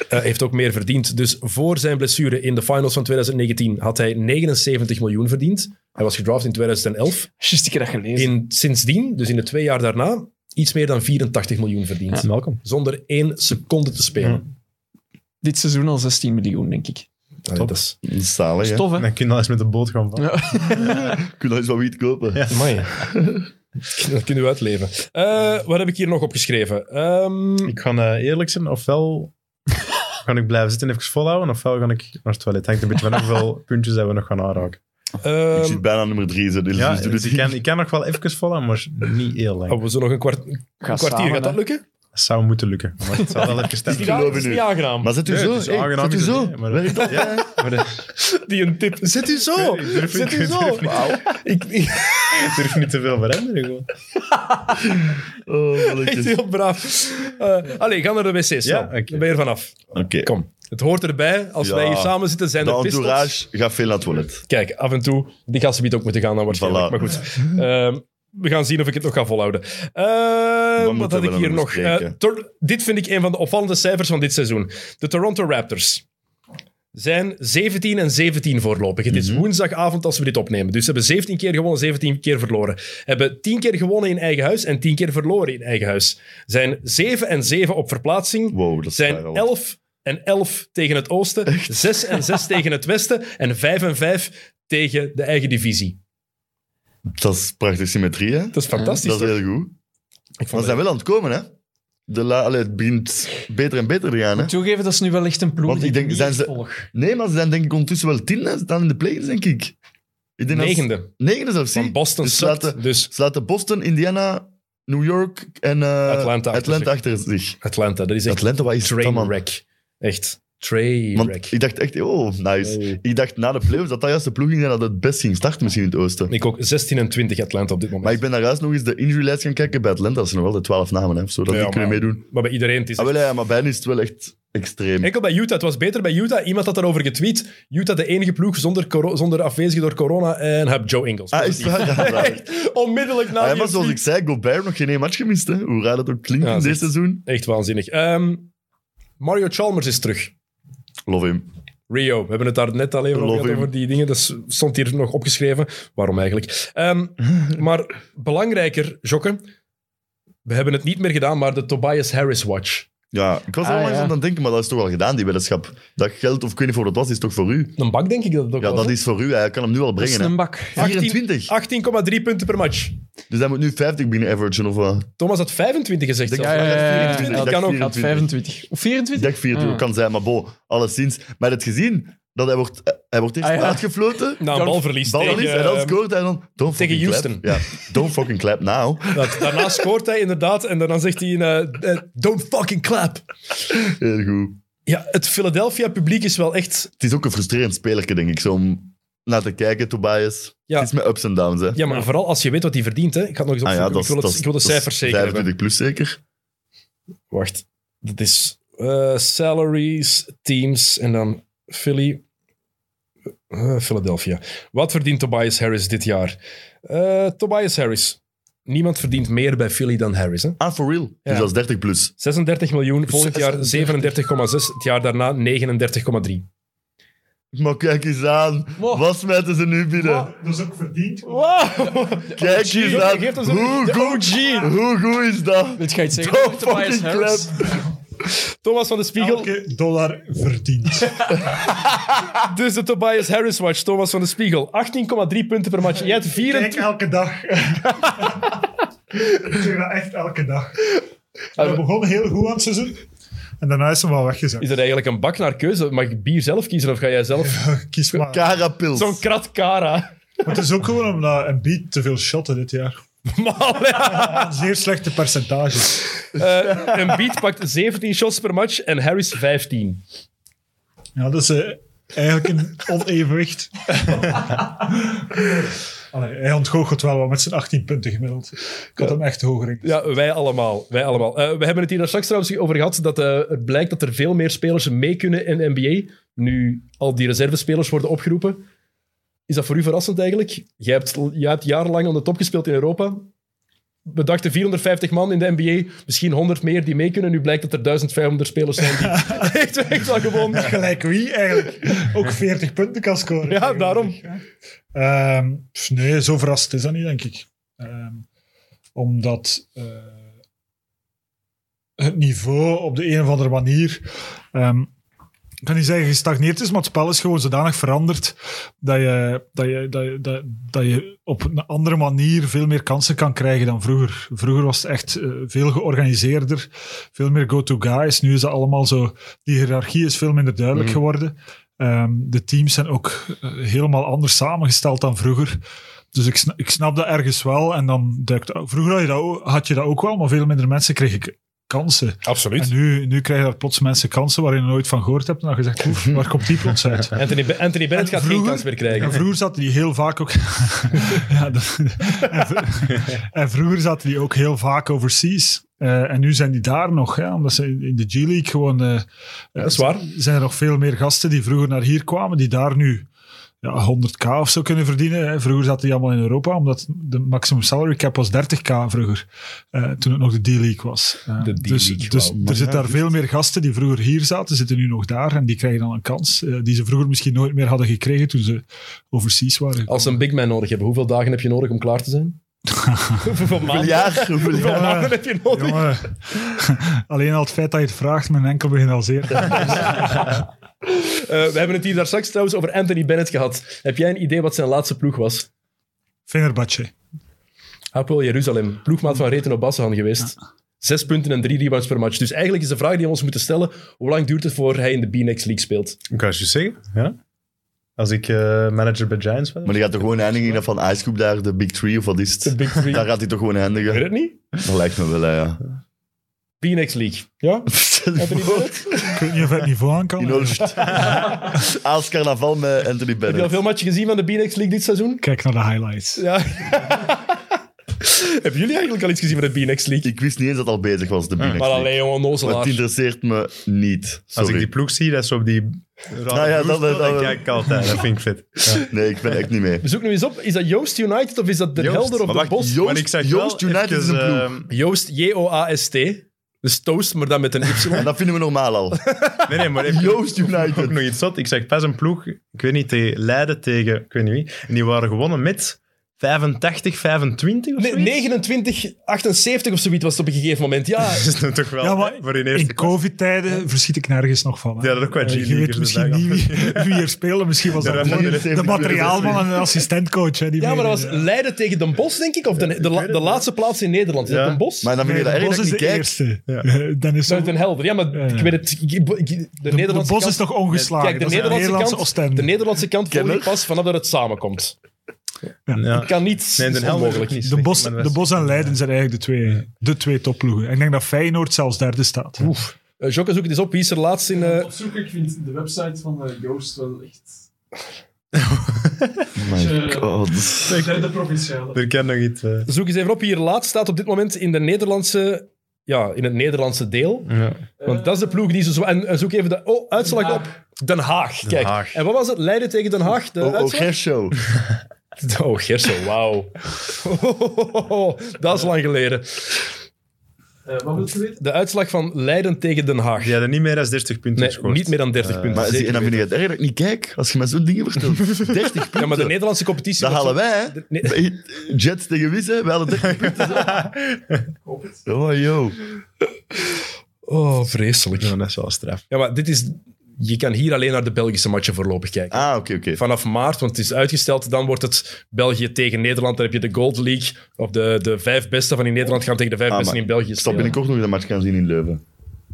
[SPEAKER 1] Eh, heeft ook meer verdiend. Dus voor zijn blessure in de finals van 2019 had hij 79 miljoen verdiend. Hij was gedraft in 2011.
[SPEAKER 4] Just, ik heb dat gelezen.
[SPEAKER 1] In, sindsdien, dus in de twee jaar daarna, iets meer dan 84 miljoen verdiend.
[SPEAKER 3] welkom.
[SPEAKER 1] Zonder één seconde te spelen.
[SPEAKER 3] Ja.
[SPEAKER 4] Dit seizoen al 16 miljoen, denk ik.
[SPEAKER 1] Allee, dat is...
[SPEAKER 2] Dat is Zalig, hè.
[SPEAKER 4] Stof, hè?
[SPEAKER 3] Dan kun je al eens met de boot gaan vallen.
[SPEAKER 4] Ja.
[SPEAKER 2] Kun je eens wat wiet kopen? Ja.
[SPEAKER 1] Amai. dat kunnen we uitleven. Eh, wat heb ik hier nog opgeschreven? Ehm,
[SPEAKER 3] Ik ga eh, eerlijk zijn, ofwel ga ik blijven zitten en even volhouden, ofwel ga ik naar het toilet. Het hangt een beetje van hoeveel puntjes dat we nog gaan aanraken.
[SPEAKER 1] ehm,
[SPEAKER 2] Ik zit bijna nummer drie, zo. Dus
[SPEAKER 3] Ja,
[SPEAKER 2] dus doe
[SPEAKER 3] dus
[SPEAKER 2] het
[SPEAKER 3] ik kan,
[SPEAKER 2] niet.
[SPEAKER 3] ik kan nog wel even volhouden, maar niet heel lang.
[SPEAKER 1] oh, we zullen nog een, kwart- een kwartier.
[SPEAKER 4] samen,
[SPEAKER 1] Gaat dat
[SPEAKER 4] hè.
[SPEAKER 1] lukken?
[SPEAKER 3] Dat zou moeten lukken, maar het zal wel even
[SPEAKER 1] Dat
[SPEAKER 3] stemmen.
[SPEAKER 2] geloof
[SPEAKER 1] dat
[SPEAKER 2] in
[SPEAKER 1] is
[SPEAKER 2] u.
[SPEAKER 1] niet aangenaam.
[SPEAKER 2] Maar zit u
[SPEAKER 3] Nee,
[SPEAKER 2] zo?
[SPEAKER 3] het is
[SPEAKER 2] Hey,
[SPEAKER 3] aangenaam
[SPEAKER 2] zit u
[SPEAKER 3] is het
[SPEAKER 2] zo?
[SPEAKER 3] niet, maar-
[SPEAKER 2] Werkt dat?
[SPEAKER 3] Ja, maar dat
[SPEAKER 1] Die een tip. Zit u zo?
[SPEAKER 3] Ik durf
[SPEAKER 1] Zit
[SPEAKER 3] niet,
[SPEAKER 1] u
[SPEAKER 3] ik durf
[SPEAKER 1] zo?
[SPEAKER 3] niet.
[SPEAKER 1] Wauw. Ik,
[SPEAKER 3] ik durf niet te veel veranderen. Gewoon.
[SPEAKER 2] Oh,
[SPEAKER 1] Echt
[SPEAKER 2] mannetjes.
[SPEAKER 1] heel braaf. Eh allee, ga naar de wc's.
[SPEAKER 3] Ja,
[SPEAKER 1] Ja,
[SPEAKER 3] oké.
[SPEAKER 1] Dan ben je er vanaf.
[SPEAKER 2] Oké.
[SPEAKER 1] Kom. Het hoort erbij. Als
[SPEAKER 2] Ja.
[SPEAKER 1] wij hier samen zitten, zijn
[SPEAKER 2] De
[SPEAKER 1] er pistols.
[SPEAKER 2] entourage gaat veel naar het toilet.
[SPEAKER 1] Kijk, af en toe. Die gasten biedt ook moeten gaan dan waarschijnlijk.
[SPEAKER 2] Voilà.
[SPEAKER 1] Maar goed. Ehm, we gaan zien of ik het nog ga volhouden. Ehm,
[SPEAKER 2] moeten
[SPEAKER 1] wat had
[SPEAKER 2] we
[SPEAKER 1] ik
[SPEAKER 2] dan
[SPEAKER 1] hier
[SPEAKER 2] nog
[SPEAKER 1] nog?
[SPEAKER 2] bespreken?
[SPEAKER 1] Eh, Tor- dit vind ik een van de opvallende cijfers van dit seizoen. De Toronto Raptors zijn 17 en 17 voorlopig. Het
[SPEAKER 2] Mhm.
[SPEAKER 1] is woensdagavond als we dit opnemen. Dus ze hebben 17 keer gewonnen, 17 keer verloren. Hebben 10 keer gewonnen in eigen huis en 10 keer verloren in eigen huis. Zijn 7 en 7 op verplaatsing.
[SPEAKER 2] Wow, dat is
[SPEAKER 1] zijn
[SPEAKER 2] waar, al.
[SPEAKER 1] 11 en 11 tegen het oosten. 6 en 6 tegen het westen. En 5 en 5 tegen de eigen divisie.
[SPEAKER 2] Dat is prachtig symmetrie, hè?
[SPEAKER 1] Dat is fantastisch.
[SPEAKER 2] Dat is
[SPEAKER 1] toch?
[SPEAKER 2] heel goed.
[SPEAKER 1] Ik
[SPEAKER 2] Maar
[SPEAKER 1] vond
[SPEAKER 2] ze zijn wel aan het komen, hè? De la, allee, het begint beter en beter te gaan, hè?
[SPEAKER 4] Toegeven, dat is nu wel echt een ploeg
[SPEAKER 2] Want
[SPEAKER 4] die
[SPEAKER 2] ik denk,
[SPEAKER 4] niet
[SPEAKER 2] zijn
[SPEAKER 4] echt
[SPEAKER 2] ze-
[SPEAKER 4] volg.
[SPEAKER 2] Nee, maar ze zijn denk ik ondertussen wel tien hè? Ze staan in de play denk ik. ik denk dat ze-
[SPEAKER 1] negende.
[SPEAKER 2] Negende zelfs, zie.
[SPEAKER 1] Van Boston
[SPEAKER 2] dus ze
[SPEAKER 1] sukt,
[SPEAKER 2] laten,
[SPEAKER 1] dus
[SPEAKER 2] ze laten Boston, Indiana, New York en eh,
[SPEAKER 1] Atlanta achter zich.
[SPEAKER 2] achter zich.
[SPEAKER 1] Atlanta. Dat is echt
[SPEAKER 2] Atlanta, wat is dat, man?
[SPEAKER 1] trainwreck. Echt trainwreck.
[SPEAKER 2] Want ik dacht echt, oh, nice. Ik dacht na de playoffs dat dat juist de ploeg ging zijn dat het best ging starten misschien in het oosten.
[SPEAKER 1] Ik ook 16 en 20 Atlanta op dit moment.
[SPEAKER 2] Maar ik ben daar juist nog eens de injury-lijst gaan kijken. Bij Atlanta zijn er wel de twaalf namen, hè, of zo, dat
[SPEAKER 1] Ja,
[SPEAKER 2] die kunnen
[SPEAKER 1] maar-
[SPEAKER 2] meedoen.
[SPEAKER 1] Maar bij iedereen het is
[SPEAKER 2] Ah, wel, ja, maar bij hen is het wel echt extreem.
[SPEAKER 1] Enkel bij Utah. Het was beter bij Utah. Iemand had daarover getweet. Utah de enige ploeg zonder, coro- zonder afwezige door corona en heb Joe Ingles. Dus
[SPEAKER 2] Ah, is het waar? Ja, waar.
[SPEAKER 1] Echt onmiddellijk na
[SPEAKER 2] Ah, ja,
[SPEAKER 1] die
[SPEAKER 2] maar zoals ik
[SPEAKER 1] tweet.
[SPEAKER 2] zei, Gobert nog geen één match gemist. Hè. Hoe raar dat ook klinkt
[SPEAKER 1] Ja,
[SPEAKER 2] in
[SPEAKER 1] dat
[SPEAKER 2] dit
[SPEAKER 1] is-
[SPEAKER 2] seizoen.
[SPEAKER 1] Echt waanzinnig. Ehm, Mario Chalmers is terug.
[SPEAKER 2] Love him.
[SPEAKER 1] Rio, we hebben het daar net al even over
[SPEAKER 2] Love
[SPEAKER 1] gehad,
[SPEAKER 2] him.
[SPEAKER 1] over die dingen. Dat s- stond hier nog opgeschreven. Waarom eigenlijk? Ehm, maar belangrijker, Jokke, we hebben het niet meer gedaan, maar de Tobias Harris Watch.
[SPEAKER 2] Ja, ik was er
[SPEAKER 4] Ah,
[SPEAKER 2] onlangs
[SPEAKER 4] ja.
[SPEAKER 2] aan het denken, maar dat is toch wel gedaan, die weddenschap. Dat geld, of ik weet niet voor wat dat was, is toch voor u?
[SPEAKER 1] Een bak denk ik dat het ook
[SPEAKER 2] Ja,
[SPEAKER 1] was,
[SPEAKER 2] dat
[SPEAKER 1] hè?
[SPEAKER 2] is voor u. Hij kan hem nu al
[SPEAKER 4] Dat is
[SPEAKER 2] brengen. Hè.
[SPEAKER 4] een bak.
[SPEAKER 2] 24.
[SPEAKER 1] 18,3 punten per match.
[SPEAKER 2] Dus hij moet nu 50 binnen averagen. Of, eh,
[SPEAKER 1] Thomas had 25 gezegd.
[SPEAKER 2] Denk
[SPEAKER 1] zelfs.
[SPEAKER 2] ik.
[SPEAKER 1] Maar hij had
[SPEAKER 4] Ja, ja, ja, ja.
[SPEAKER 1] 24,
[SPEAKER 2] Ik
[SPEAKER 1] dat kan
[SPEAKER 2] dacht
[SPEAKER 1] ook.
[SPEAKER 4] Hij had 24. Of 24?
[SPEAKER 2] ik dacht 24
[SPEAKER 4] Ah.
[SPEAKER 2] kan zijn, maar bo, alleszins. Maar heb je het gezien? Dat hij wordt, eh, hij wordt eerst
[SPEAKER 4] Ah, ja.
[SPEAKER 2] uitgefloten.
[SPEAKER 1] Na een balverlies.
[SPEAKER 2] Bal is,
[SPEAKER 1] Nou, tegen,
[SPEAKER 2] en dan
[SPEAKER 1] ehm,
[SPEAKER 2] scoort hij dan.
[SPEAKER 1] tegen
[SPEAKER 2] Don't fucking
[SPEAKER 1] Houston.
[SPEAKER 2] Clap. Ja, don't fucking clap now.
[SPEAKER 1] dat- daarna scoort hij inderdaad. En daarna zegt hij: eh, eh, Don't fucking clap.
[SPEAKER 2] Heel goed.
[SPEAKER 1] Ja, het Philadelphia publiek is wel echt.
[SPEAKER 2] Het is ook een frustrerend spelerke, denk ik, zo om naar te kijken, Tobias.
[SPEAKER 1] Ja.
[SPEAKER 2] Het is met ups en downs, hè.
[SPEAKER 1] Ja, maar vooral als je weet wat hij verdient. Hè. Ik ga het nog eens
[SPEAKER 2] Ah
[SPEAKER 1] opzoeken.
[SPEAKER 2] ja,
[SPEAKER 1] ik
[SPEAKER 2] dat is-
[SPEAKER 1] wil, het-
[SPEAKER 2] dat is-
[SPEAKER 1] ik wil de
[SPEAKER 2] dat is
[SPEAKER 1] cijfers zeker hebben.
[SPEAKER 2] 25 plus zeker.
[SPEAKER 1] Wacht, dat is eh, salaries, teams en dan Philly. eh, Philadelphia. Wat verdient Tobias Harris dit jaar? Eh, Tobias Harris. Niemand verdient meer bij Philly dan Harris. Hè?
[SPEAKER 2] Ah, for real?
[SPEAKER 1] Ja.
[SPEAKER 2] Dus dat is 30 plus.
[SPEAKER 1] Dus 36 miljoen, volgend jaar 37,6,
[SPEAKER 2] 36,6,
[SPEAKER 1] het jaar daarna 39,3.
[SPEAKER 2] Maar kijk eens aan.
[SPEAKER 4] Wow.
[SPEAKER 2] Wat smijten ze nu binnen?
[SPEAKER 5] Dat is ook verdiend.
[SPEAKER 2] Kijk eens
[SPEAKER 1] Geeft-
[SPEAKER 2] aan.
[SPEAKER 1] geeft hem zo'n-
[SPEAKER 2] Hoe
[SPEAKER 1] de
[SPEAKER 2] goed, hoe goed is dat?
[SPEAKER 4] Dit ga je iets zeggen
[SPEAKER 2] Dat
[SPEAKER 4] over Tobias
[SPEAKER 2] fucking
[SPEAKER 4] Harris.
[SPEAKER 1] Thomas van de Spiegel.
[SPEAKER 5] Elke dollar verdiend.
[SPEAKER 1] Dus de Tobias Harris watch, Thomas van de Spiegel. 18,3 punten per match. Jij hebt
[SPEAKER 5] Kijk
[SPEAKER 1] 24...
[SPEAKER 5] elke dag. Ik zeg dat echt elke dag. We begonnen heel goed aan het seizoen. En daarna is ze wel
[SPEAKER 1] Is
[SPEAKER 5] weggezet.
[SPEAKER 1] dat eigenlijk een bak naar keuze? Mag ik bier zelf kiezen of ga jij zelf...
[SPEAKER 5] Kies maar.
[SPEAKER 2] Carapils.
[SPEAKER 1] Zo'n krat Cara.
[SPEAKER 5] Maar het is ook gewoon omdat een beat te veel shotte dit jaar.
[SPEAKER 1] Maar allee.
[SPEAKER 5] Aan zeer slechte percentages.
[SPEAKER 1] Eh, een beat pakt 17 shots per match en Harris 15.
[SPEAKER 5] Ja, dat is eh, eigenlijk een onevenwicht. Allee, hij ontgoochelt wel wat met zijn 18 punten gemiddeld. Ik had hem echt hoger. in.
[SPEAKER 1] Ja, wij allemaal. Wij allemaal. Eh, we hebben het hier daar straks trouwens over gehad, dat eh, het blijkt dat er veel meer spelers mee kunnen in de NBA, nu al die reservespelers worden opgeroepen. Is dat voor u verrassend eigenlijk? Jij hebt, jij hebt jarenlang aan de top gespeeld in Europa. We dachten 450 man in de NBA, misschien 100 meer die mee kunnen. Nu blijkt dat er 1500 spelers zijn die echt, echt wel gewoon...
[SPEAKER 5] Gelijk wie eigenlijk ook 40 punten kan scoren.
[SPEAKER 1] Ja, daarom.
[SPEAKER 5] Ehm, pff, nee, zo verrast is dat niet, denk ik. Ehm, omdat eh, het niveau op de een of andere manier. ehm, ik kan niet zeggen gestagneerd is, maar het spel is gewoon zodanig veranderd dat je, dat je, dat je, dat, dat je op een andere manier veel meer kansen kan krijgen dan vroeger. Vroeger was het echt eh, veel georganiseerder, veel meer go-to-guys. Nu is dat allemaal zo. Die hiërarchie is veel minder duidelijk geworden. Ehm, de teams zijn ook eh, helemaal anders samengesteld dan vroeger. Dus ik, sna- ik snap dat ergens wel. En dan duikt, vroeger had je, dat, ook- had je dat ook wel, maar veel minder mensen kregen k- kansen.
[SPEAKER 1] Absoluut.
[SPEAKER 5] En nu, nu krijgen daar plots mensen kansen waar je nog nooit van gehoord hebt. En dan heb je zegt, oef, waar komt die plots uit?
[SPEAKER 1] Anthony, Be- Anthony Bennett gaat geen
[SPEAKER 5] Vroeger-
[SPEAKER 1] kans meer krijgen.
[SPEAKER 5] En vroeger zaten die heel vaak ook. ja, dat- en, vro- en vroeger zaten die ook heel vaak overseas. Eh, en nu zijn die daar nog, hè, omdat ze in- in de G-League gewoon. eh,
[SPEAKER 1] Dat is waar.
[SPEAKER 5] zijn er nog veel meer gasten die vroeger naar hier kwamen, die daar nu ja, 100k of zo kunnen verdienen. Hè. Vroeger zaten die allemaal in Europa, omdat de maximum salary cap was 30k vroeger, eh, toen het nog de D-League was. Eh,
[SPEAKER 1] De
[SPEAKER 5] dus
[SPEAKER 1] D-League,
[SPEAKER 5] dus
[SPEAKER 1] wauw,
[SPEAKER 5] er zitten daar veel meer gasten die vroeger hier zaten, zitten nu nog daar en die krijgen dan een kans eh, die ze vroeger misschien nooit meer hadden gekregen toen ze overseas waren.
[SPEAKER 1] Als ze een big man nodig hebben, hoeveel dagen heb je nodig om klaar te zijn? hoeveel
[SPEAKER 2] Hoeveel
[SPEAKER 1] maanden,
[SPEAKER 2] jaar? Hoeveel
[SPEAKER 1] hoeveel
[SPEAKER 2] jaar?
[SPEAKER 1] maanden heb je nodig?
[SPEAKER 5] Jongen, alleen al het feit dat je het vraagt, mijn enkel begint al zeer. te-
[SPEAKER 1] Eh, we hebben het hier daar straks trouwens over Anthony Bennett gehad. Heb jij een idee wat zijn laatste ploeg was?
[SPEAKER 5] Fenerbahce.
[SPEAKER 1] Hapoel Jeruzalem, ploegmaat van Reten op Bassehan geweest. Zes punten en drie rebounds per match. Dus eigenlijk is de vraag die we ons moeten stellen, hoe lang duurt het voor hij in de B-Next League speelt?
[SPEAKER 3] Ik kan het je zeggen, ja. Als ik eh, manager bij Giants was.
[SPEAKER 2] Maar die gaat toch gewoon eindigen in dat van Ice Cube daar, de Big Three of wat is
[SPEAKER 1] De
[SPEAKER 2] het?
[SPEAKER 1] Big Three.
[SPEAKER 2] Daar gaat hij toch gewoon
[SPEAKER 1] Ik weet
[SPEAKER 2] eindigen?
[SPEAKER 1] het niet.
[SPEAKER 2] Dat lijkt me wel, hè, ja.
[SPEAKER 1] B-Next League. Ja?
[SPEAKER 2] Stel je
[SPEAKER 1] Anthony
[SPEAKER 2] voor,
[SPEAKER 1] Bennett?
[SPEAKER 5] Ik weet niet of het niveau aan kan.
[SPEAKER 2] In Olst. Als carnaval met Anthony
[SPEAKER 1] Heb je al
[SPEAKER 2] Bennett.
[SPEAKER 1] veel matchen gezien van de B-Next League dit seizoen?
[SPEAKER 5] Kijk naar de highlights.
[SPEAKER 1] Ja. Hebben jullie eigenlijk al iets gezien van de B-Next League?
[SPEAKER 2] Ik wist niet eens dat het al bezig was, de Binex
[SPEAKER 1] Maar
[SPEAKER 2] League.
[SPEAKER 1] alleen jongen,
[SPEAKER 2] Maar
[SPEAKER 1] nozelaar.
[SPEAKER 2] het interesseert me niet.
[SPEAKER 3] Als ik die
[SPEAKER 2] Sorry.
[SPEAKER 3] ploeg zie, dat ze op die
[SPEAKER 2] Nou
[SPEAKER 3] rare
[SPEAKER 2] ja,
[SPEAKER 3] ploeg
[SPEAKER 2] dat-
[SPEAKER 3] speelt,
[SPEAKER 2] dat-
[SPEAKER 3] dan kijk ik altijd. Dat vind ik vet. Ja.
[SPEAKER 2] Nee, ik ben echt niet mee.
[SPEAKER 1] Zoek nu eens op, is dat Joost United of is dat Den
[SPEAKER 3] Joost.
[SPEAKER 1] Helder of
[SPEAKER 3] Maar
[SPEAKER 1] de
[SPEAKER 3] wacht,
[SPEAKER 1] Bos?
[SPEAKER 2] Joost-
[SPEAKER 3] maar ik zeg
[SPEAKER 2] Joost
[SPEAKER 3] wel
[SPEAKER 2] United is een
[SPEAKER 3] even,
[SPEAKER 2] ploeg.
[SPEAKER 3] ehm,
[SPEAKER 1] Joost, J-O-A-S-T. Dus toast, maar dan met een Y.
[SPEAKER 2] En dat vinden we normaal al.
[SPEAKER 3] nee, nee, maar even,
[SPEAKER 2] Joost
[SPEAKER 3] ook
[SPEAKER 2] United.
[SPEAKER 3] nog iets zot. Ik zeg pas een ploeg, ik weet niet, tegen Leiden tegen, ik weet niet wie. En die waren gewonnen met 85, 25 of
[SPEAKER 1] Nee,
[SPEAKER 3] zoiets.
[SPEAKER 1] 29, 78 of zoiets was het op een gegeven moment. Ja,
[SPEAKER 3] Dat is nou toch wel
[SPEAKER 5] Ja, maar
[SPEAKER 3] voor hun
[SPEAKER 5] In
[SPEAKER 3] eerste
[SPEAKER 5] COVID-tijden verschiet ik nergens nog van. hè.
[SPEAKER 3] Ja, dat ook wel
[SPEAKER 5] Eh, Je
[SPEAKER 3] G-leaguers
[SPEAKER 5] weet misschien
[SPEAKER 3] vandaag
[SPEAKER 5] niet wie, wie er speelde. Misschien was
[SPEAKER 3] Ja,
[SPEAKER 5] dat
[SPEAKER 3] dat
[SPEAKER 5] gewoon
[SPEAKER 3] was-
[SPEAKER 5] de materiaalman en een assistentcoach. Hè, die
[SPEAKER 1] ja maar dat was
[SPEAKER 5] meedeed,
[SPEAKER 1] Leiden tegen Den Bosch, denk ik. Of de, de, la- de laatste plaats in Nederland. Is
[SPEAKER 3] Ja.
[SPEAKER 1] dat Den Bosch?
[SPEAKER 2] Maar dan
[SPEAKER 5] ja.
[SPEAKER 2] vind je
[SPEAKER 5] Nee,
[SPEAKER 2] dat
[SPEAKER 5] de
[SPEAKER 2] erg
[SPEAKER 5] Bos
[SPEAKER 2] dat
[SPEAKER 5] is
[SPEAKER 2] je
[SPEAKER 5] de
[SPEAKER 2] kijkt.
[SPEAKER 5] eerste.
[SPEAKER 3] Ja.
[SPEAKER 5] Eh, Dan is
[SPEAKER 1] Zuid en Helder. Ja, maar
[SPEAKER 5] Ja.
[SPEAKER 1] ik weet het. ik- ik- de,
[SPEAKER 5] de
[SPEAKER 1] Nederlandse
[SPEAKER 5] Bos is
[SPEAKER 1] kant-
[SPEAKER 5] toch ongeslagen?
[SPEAKER 1] Kijk, de
[SPEAKER 5] Dat is
[SPEAKER 1] Nederlandse,
[SPEAKER 5] Oostende.
[SPEAKER 1] kant, de Nederlandse kant volg ik
[SPEAKER 2] Kenner.
[SPEAKER 1] pas vanaf dat het samenkomt.
[SPEAKER 3] Ja.
[SPEAKER 1] Ik kan niet. dat
[SPEAKER 3] Nee, Den
[SPEAKER 1] is
[SPEAKER 3] Helder
[SPEAKER 1] onmogelijk.
[SPEAKER 3] ook niet.
[SPEAKER 5] de, Bos,
[SPEAKER 3] Maar dat
[SPEAKER 5] de
[SPEAKER 3] is-
[SPEAKER 5] Bos en Leiden zijn eigenlijk de twee, de twee topploegen. Ik denk dat Feyenoord zelfs derde staat.
[SPEAKER 1] Eh, Jocke, zoek het eens op. Wie is er laatst in... eh,
[SPEAKER 4] Opzoeken, ik vind de website van eh, Ghost wel echt...
[SPEAKER 1] Eh,
[SPEAKER 2] My god.
[SPEAKER 4] Ik de provinciale.
[SPEAKER 3] Er kan nog iets... eh,
[SPEAKER 1] zoek eens even op. Wie er laatst staat op dit moment in de Nederlandse... Ja, in het Nederlandse deel.
[SPEAKER 3] ja.
[SPEAKER 1] Want dat is de ploeg die ze zo... En, en zoek even de oh, uitslag
[SPEAKER 4] Den
[SPEAKER 1] op. Den Haag. Kijk.
[SPEAKER 3] Haag.
[SPEAKER 1] En wat was het? Leiden tegen Den Haag? De
[SPEAKER 2] Oh, oh,
[SPEAKER 1] uitslag?
[SPEAKER 2] Gershow.
[SPEAKER 1] Oh, Gersel, wauw. dat is lang geleden.
[SPEAKER 4] Eh, wat wil je weten?
[SPEAKER 1] De uitslag van Leiden tegen Den Haag.
[SPEAKER 3] Die hadden niet meer dan 30 punten
[SPEAKER 1] nee,
[SPEAKER 3] gescoord.
[SPEAKER 1] niet meer dan 30 punten.
[SPEAKER 2] Maar,
[SPEAKER 1] Zeker
[SPEAKER 2] en dan vind
[SPEAKER 1] weten.
[SPEAKER 2] je het erg dat ik niet kijk als je met zo'n dingen vertelt. 30 punten.
[SPEAKER 1] ja, maar de Nederlandse competitie...
[SPEAKER 2] dat
[SPEAKER 1] wordt
[SPEAKER 2] halen
[SPEAKER 1] zo-
[SPEAKER 2] wij, hè?
[SPEAKER 1] Nee.
[SPEAKER 2] Bij Jets tegen Wies, hè? Wij hadden 30 punten. Zo. Oh, yo.
[SPEAKER 1] Oh, vreselijk.
[SPEAKER 3] Ja, dat is wel straf.
[SPEAKER 1] Ja, maar dit is... Je kan hier alleen naar de Belgische matchen voorlopig kijken.
[SPEAKER 2] Ah, oké, oké.
[SPEAKER 1] vanaf maart, want het is uitgesteld. Dan wordt het België tegen Nederland. Dan heb je de Gold League. Of de, de vijf beste van in Nederland gaan tegen de vijf
[SPEAKER 2] Ah,
[SPEAKER 1] besten
[SPEAKER 2] maar
[SPEAKER 1] in België.
[SPEAKER 2] Ik zal
[SPEAKER 1] spelen.
[SPEAKER 2] binnenkort nog eens een match gaan zien in Leuven.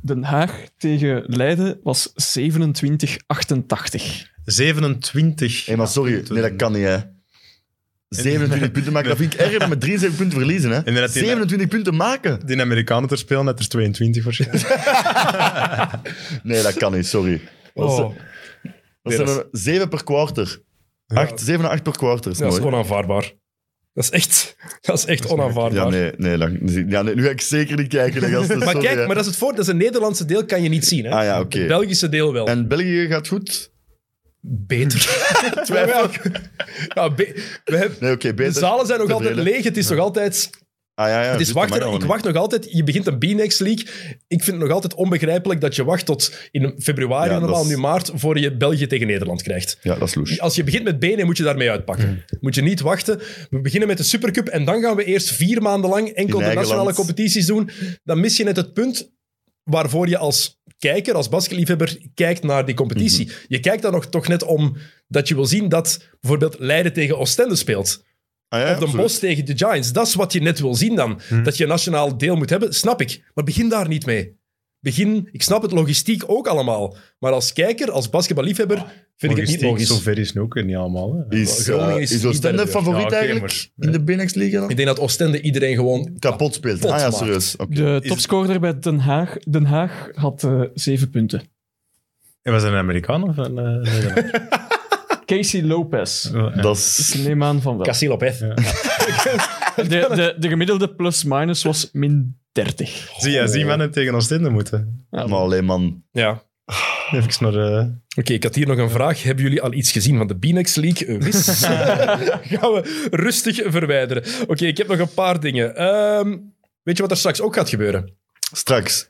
[SPEAKER 4] Den Haag tegen Leiden was 27-88.
[SPEAKER 3] 27.
[SPEAKER 2] Hé, maar sorry, nee, dat kan niet, hè. 27 punten maken, dat vind ik erg om met 73 punten verliezen,
[SPEAKER 3] En
[SPEAKER 2] hè.
[SPEAKER 3] dat die-
[SPEAKER 2] 27 punten maken?
[SPEAKER 3] Die Amerikanen ter spelen, dat er 22 voor zitten.
[SPEAKER 2] Nee, dat kan niet, sorry. Dat, is-
[SPEAKER 1] Oh,
[SPEAKER 2] dat zijn er 7 per kwarter. 8, 7 à 8 per kwarter, is
[SPEAKER 1] dat is
[SPEAKER 2] mooi.
[SPEAKER 1] onaanvaarbaar. Dat is echt, dat is echt onaanvaarbaar.
[SPEAKER 2] Ja, nee, nee, dat- ja, nee, nu ga ik zeker niet kijken. hè, gasten,
[SPEAKER 1] Maar
[SPEAKER 2] sorry,
[SPEAKER 1] kijk,
[SPEAKER 2] hè.
[SPEAKER 1] maar dat is het voordeel. Dat is een Nederlandse deel kan je niet zien. Hè?
[SPEAKER 2] Ah ja, oké.
[SPEAKER 1] Het Belgische deel wel.
[SPEAKER 2] En België gaat goed?
[SPEAKER 1] Beter. Twijfel. Ja, be- we hebben-
[SPEAKER 2] Nee, oké,
[SPEAKER 1] de
[SPEAKER 2] beter.
[SPEAKER 1] zalen zijn nog altijd
[SPEAKER 2] Tevreden.
[SPEAKER 1] leeg. Het is nog altijd
[SPEAKER 2] Ah, ja, ja,
[SPEAKER 1] Het is
[SPEAKER 2] juist, dat
[SPEAKER 1] wachten.
[SPEAKER 2] mag
[SPEAKER 1] Ik
[SPEAKER 2] allemaal
[SPEAKER 1] wacht nog altijd. Je begint een B-Next League. Ik vind het nog altijd onbegrijpelijk dat je wacht tot in februari,
[SPEAKER 2] Ja, dat
[SPEAKER 1] normaal
[SPEAKER 2] is-
[SPEAKER 1] nu maart, voor je België tegen Nederland krijgt.
[SPEAKER 2] niet. Ja, Mm. dat is loes.
[SPEAKER 1] Als je begint met benen, moet je daarmee uitpakken. Moet je niet wachten. We beginnen met de Supercup en dan gaan we eerst vier maanden lang enkel
[SPEAKER 2] In
[SPEAKER 1] de
[SPEAKER 2] eigen
[SPEAKER 1] nationale
[SPEAKER 2] land.
[SPEAKER 1] competities doen. Dan mis je net het punt waarvoor je als kijker, als basketliefhebber, kijkt naar die competitie.
[SPEAKER 2] Mhm.
[SPEAKER 1] Je kijkt daar nog toch net om dat je wil zien dat bijvoorbeeld Leiden tegen Oostende speelt.
[SPEAKER 2] Ah, ja,
[SPEAKER 1] Of de
[SPEAKER 2] absoluut.
[SPEAKER 1] Bos tegen de Giants. Dat is wat je net wil zien dan. Dat je een nationaal deel moet hebben, snap ik. Maar begin daar niet mee. Begin, ik snap het logistiek ook allemaal. Maar als kijker, als basketballiefhebber, vind ik het niet logisch.
[SPEAKER 3] Zo ver is het nu ook weer niet allemaal. Hè.
[SPEAKER 2] Is, eh,
[SPEAKER 1] Groningen is
[SPEAKER 2] is, Oostende
[SPEAKER 1] iedere-
[SPEAKER 2] favoriet
[SPEAKER 3] Ja, oké,
[SPEAKER 2] eigenlijk?
[SPEAKER 3] maar-
[SPEAKER 2] In de Binex League dan?
[SPEAKER 1] Ik denk dat Oostende iedereen gewoon...
[SPEAKER 2] Kapot speelt.
[SPEAKER 1] Kapot
[SPEAKER 2] ah ja,
[SPEAKER 1] maakt.
[SPEAKER 2] serieus. Oké.
[SPEAKER 4] De topscorer bij Den Haag, Den Haag had eh 7 punten.
[SPEAKER 3] En was dat een Amerikaan of een eh, Nederlander? eh.
[SPEAKER 4] Casey Lopez.
[SPEAKER 2] Dat
[SPEAKER 4] Dus
[SPEAKER 2] is...
[SPEAKER 4] neem aan van wel.
[SPEAKER 1] Cassie Lopez.
[SPEAKER 4] De, de, de gemiddelde plus-minus was min 30.
[SPEAKER 3] Zie je, zie mannen tegen Oostende moeten.
[SPEAKER 2] Maar alleen man.
[SPEAKER 1] Ja. Oké,
[SPEAKER 3] Even naar... eh,
[SPEAKER 1] ik had hier nog een vraag. Hebben jullie al iets gezien van de Binex League? Eh, Wis. Gaan we rustig verwijderen. Oké, ik heb nog een paar dingen. Ehm, weet je wat er straks ook gaat gebeuren?
[SPEAKER 2] Straks.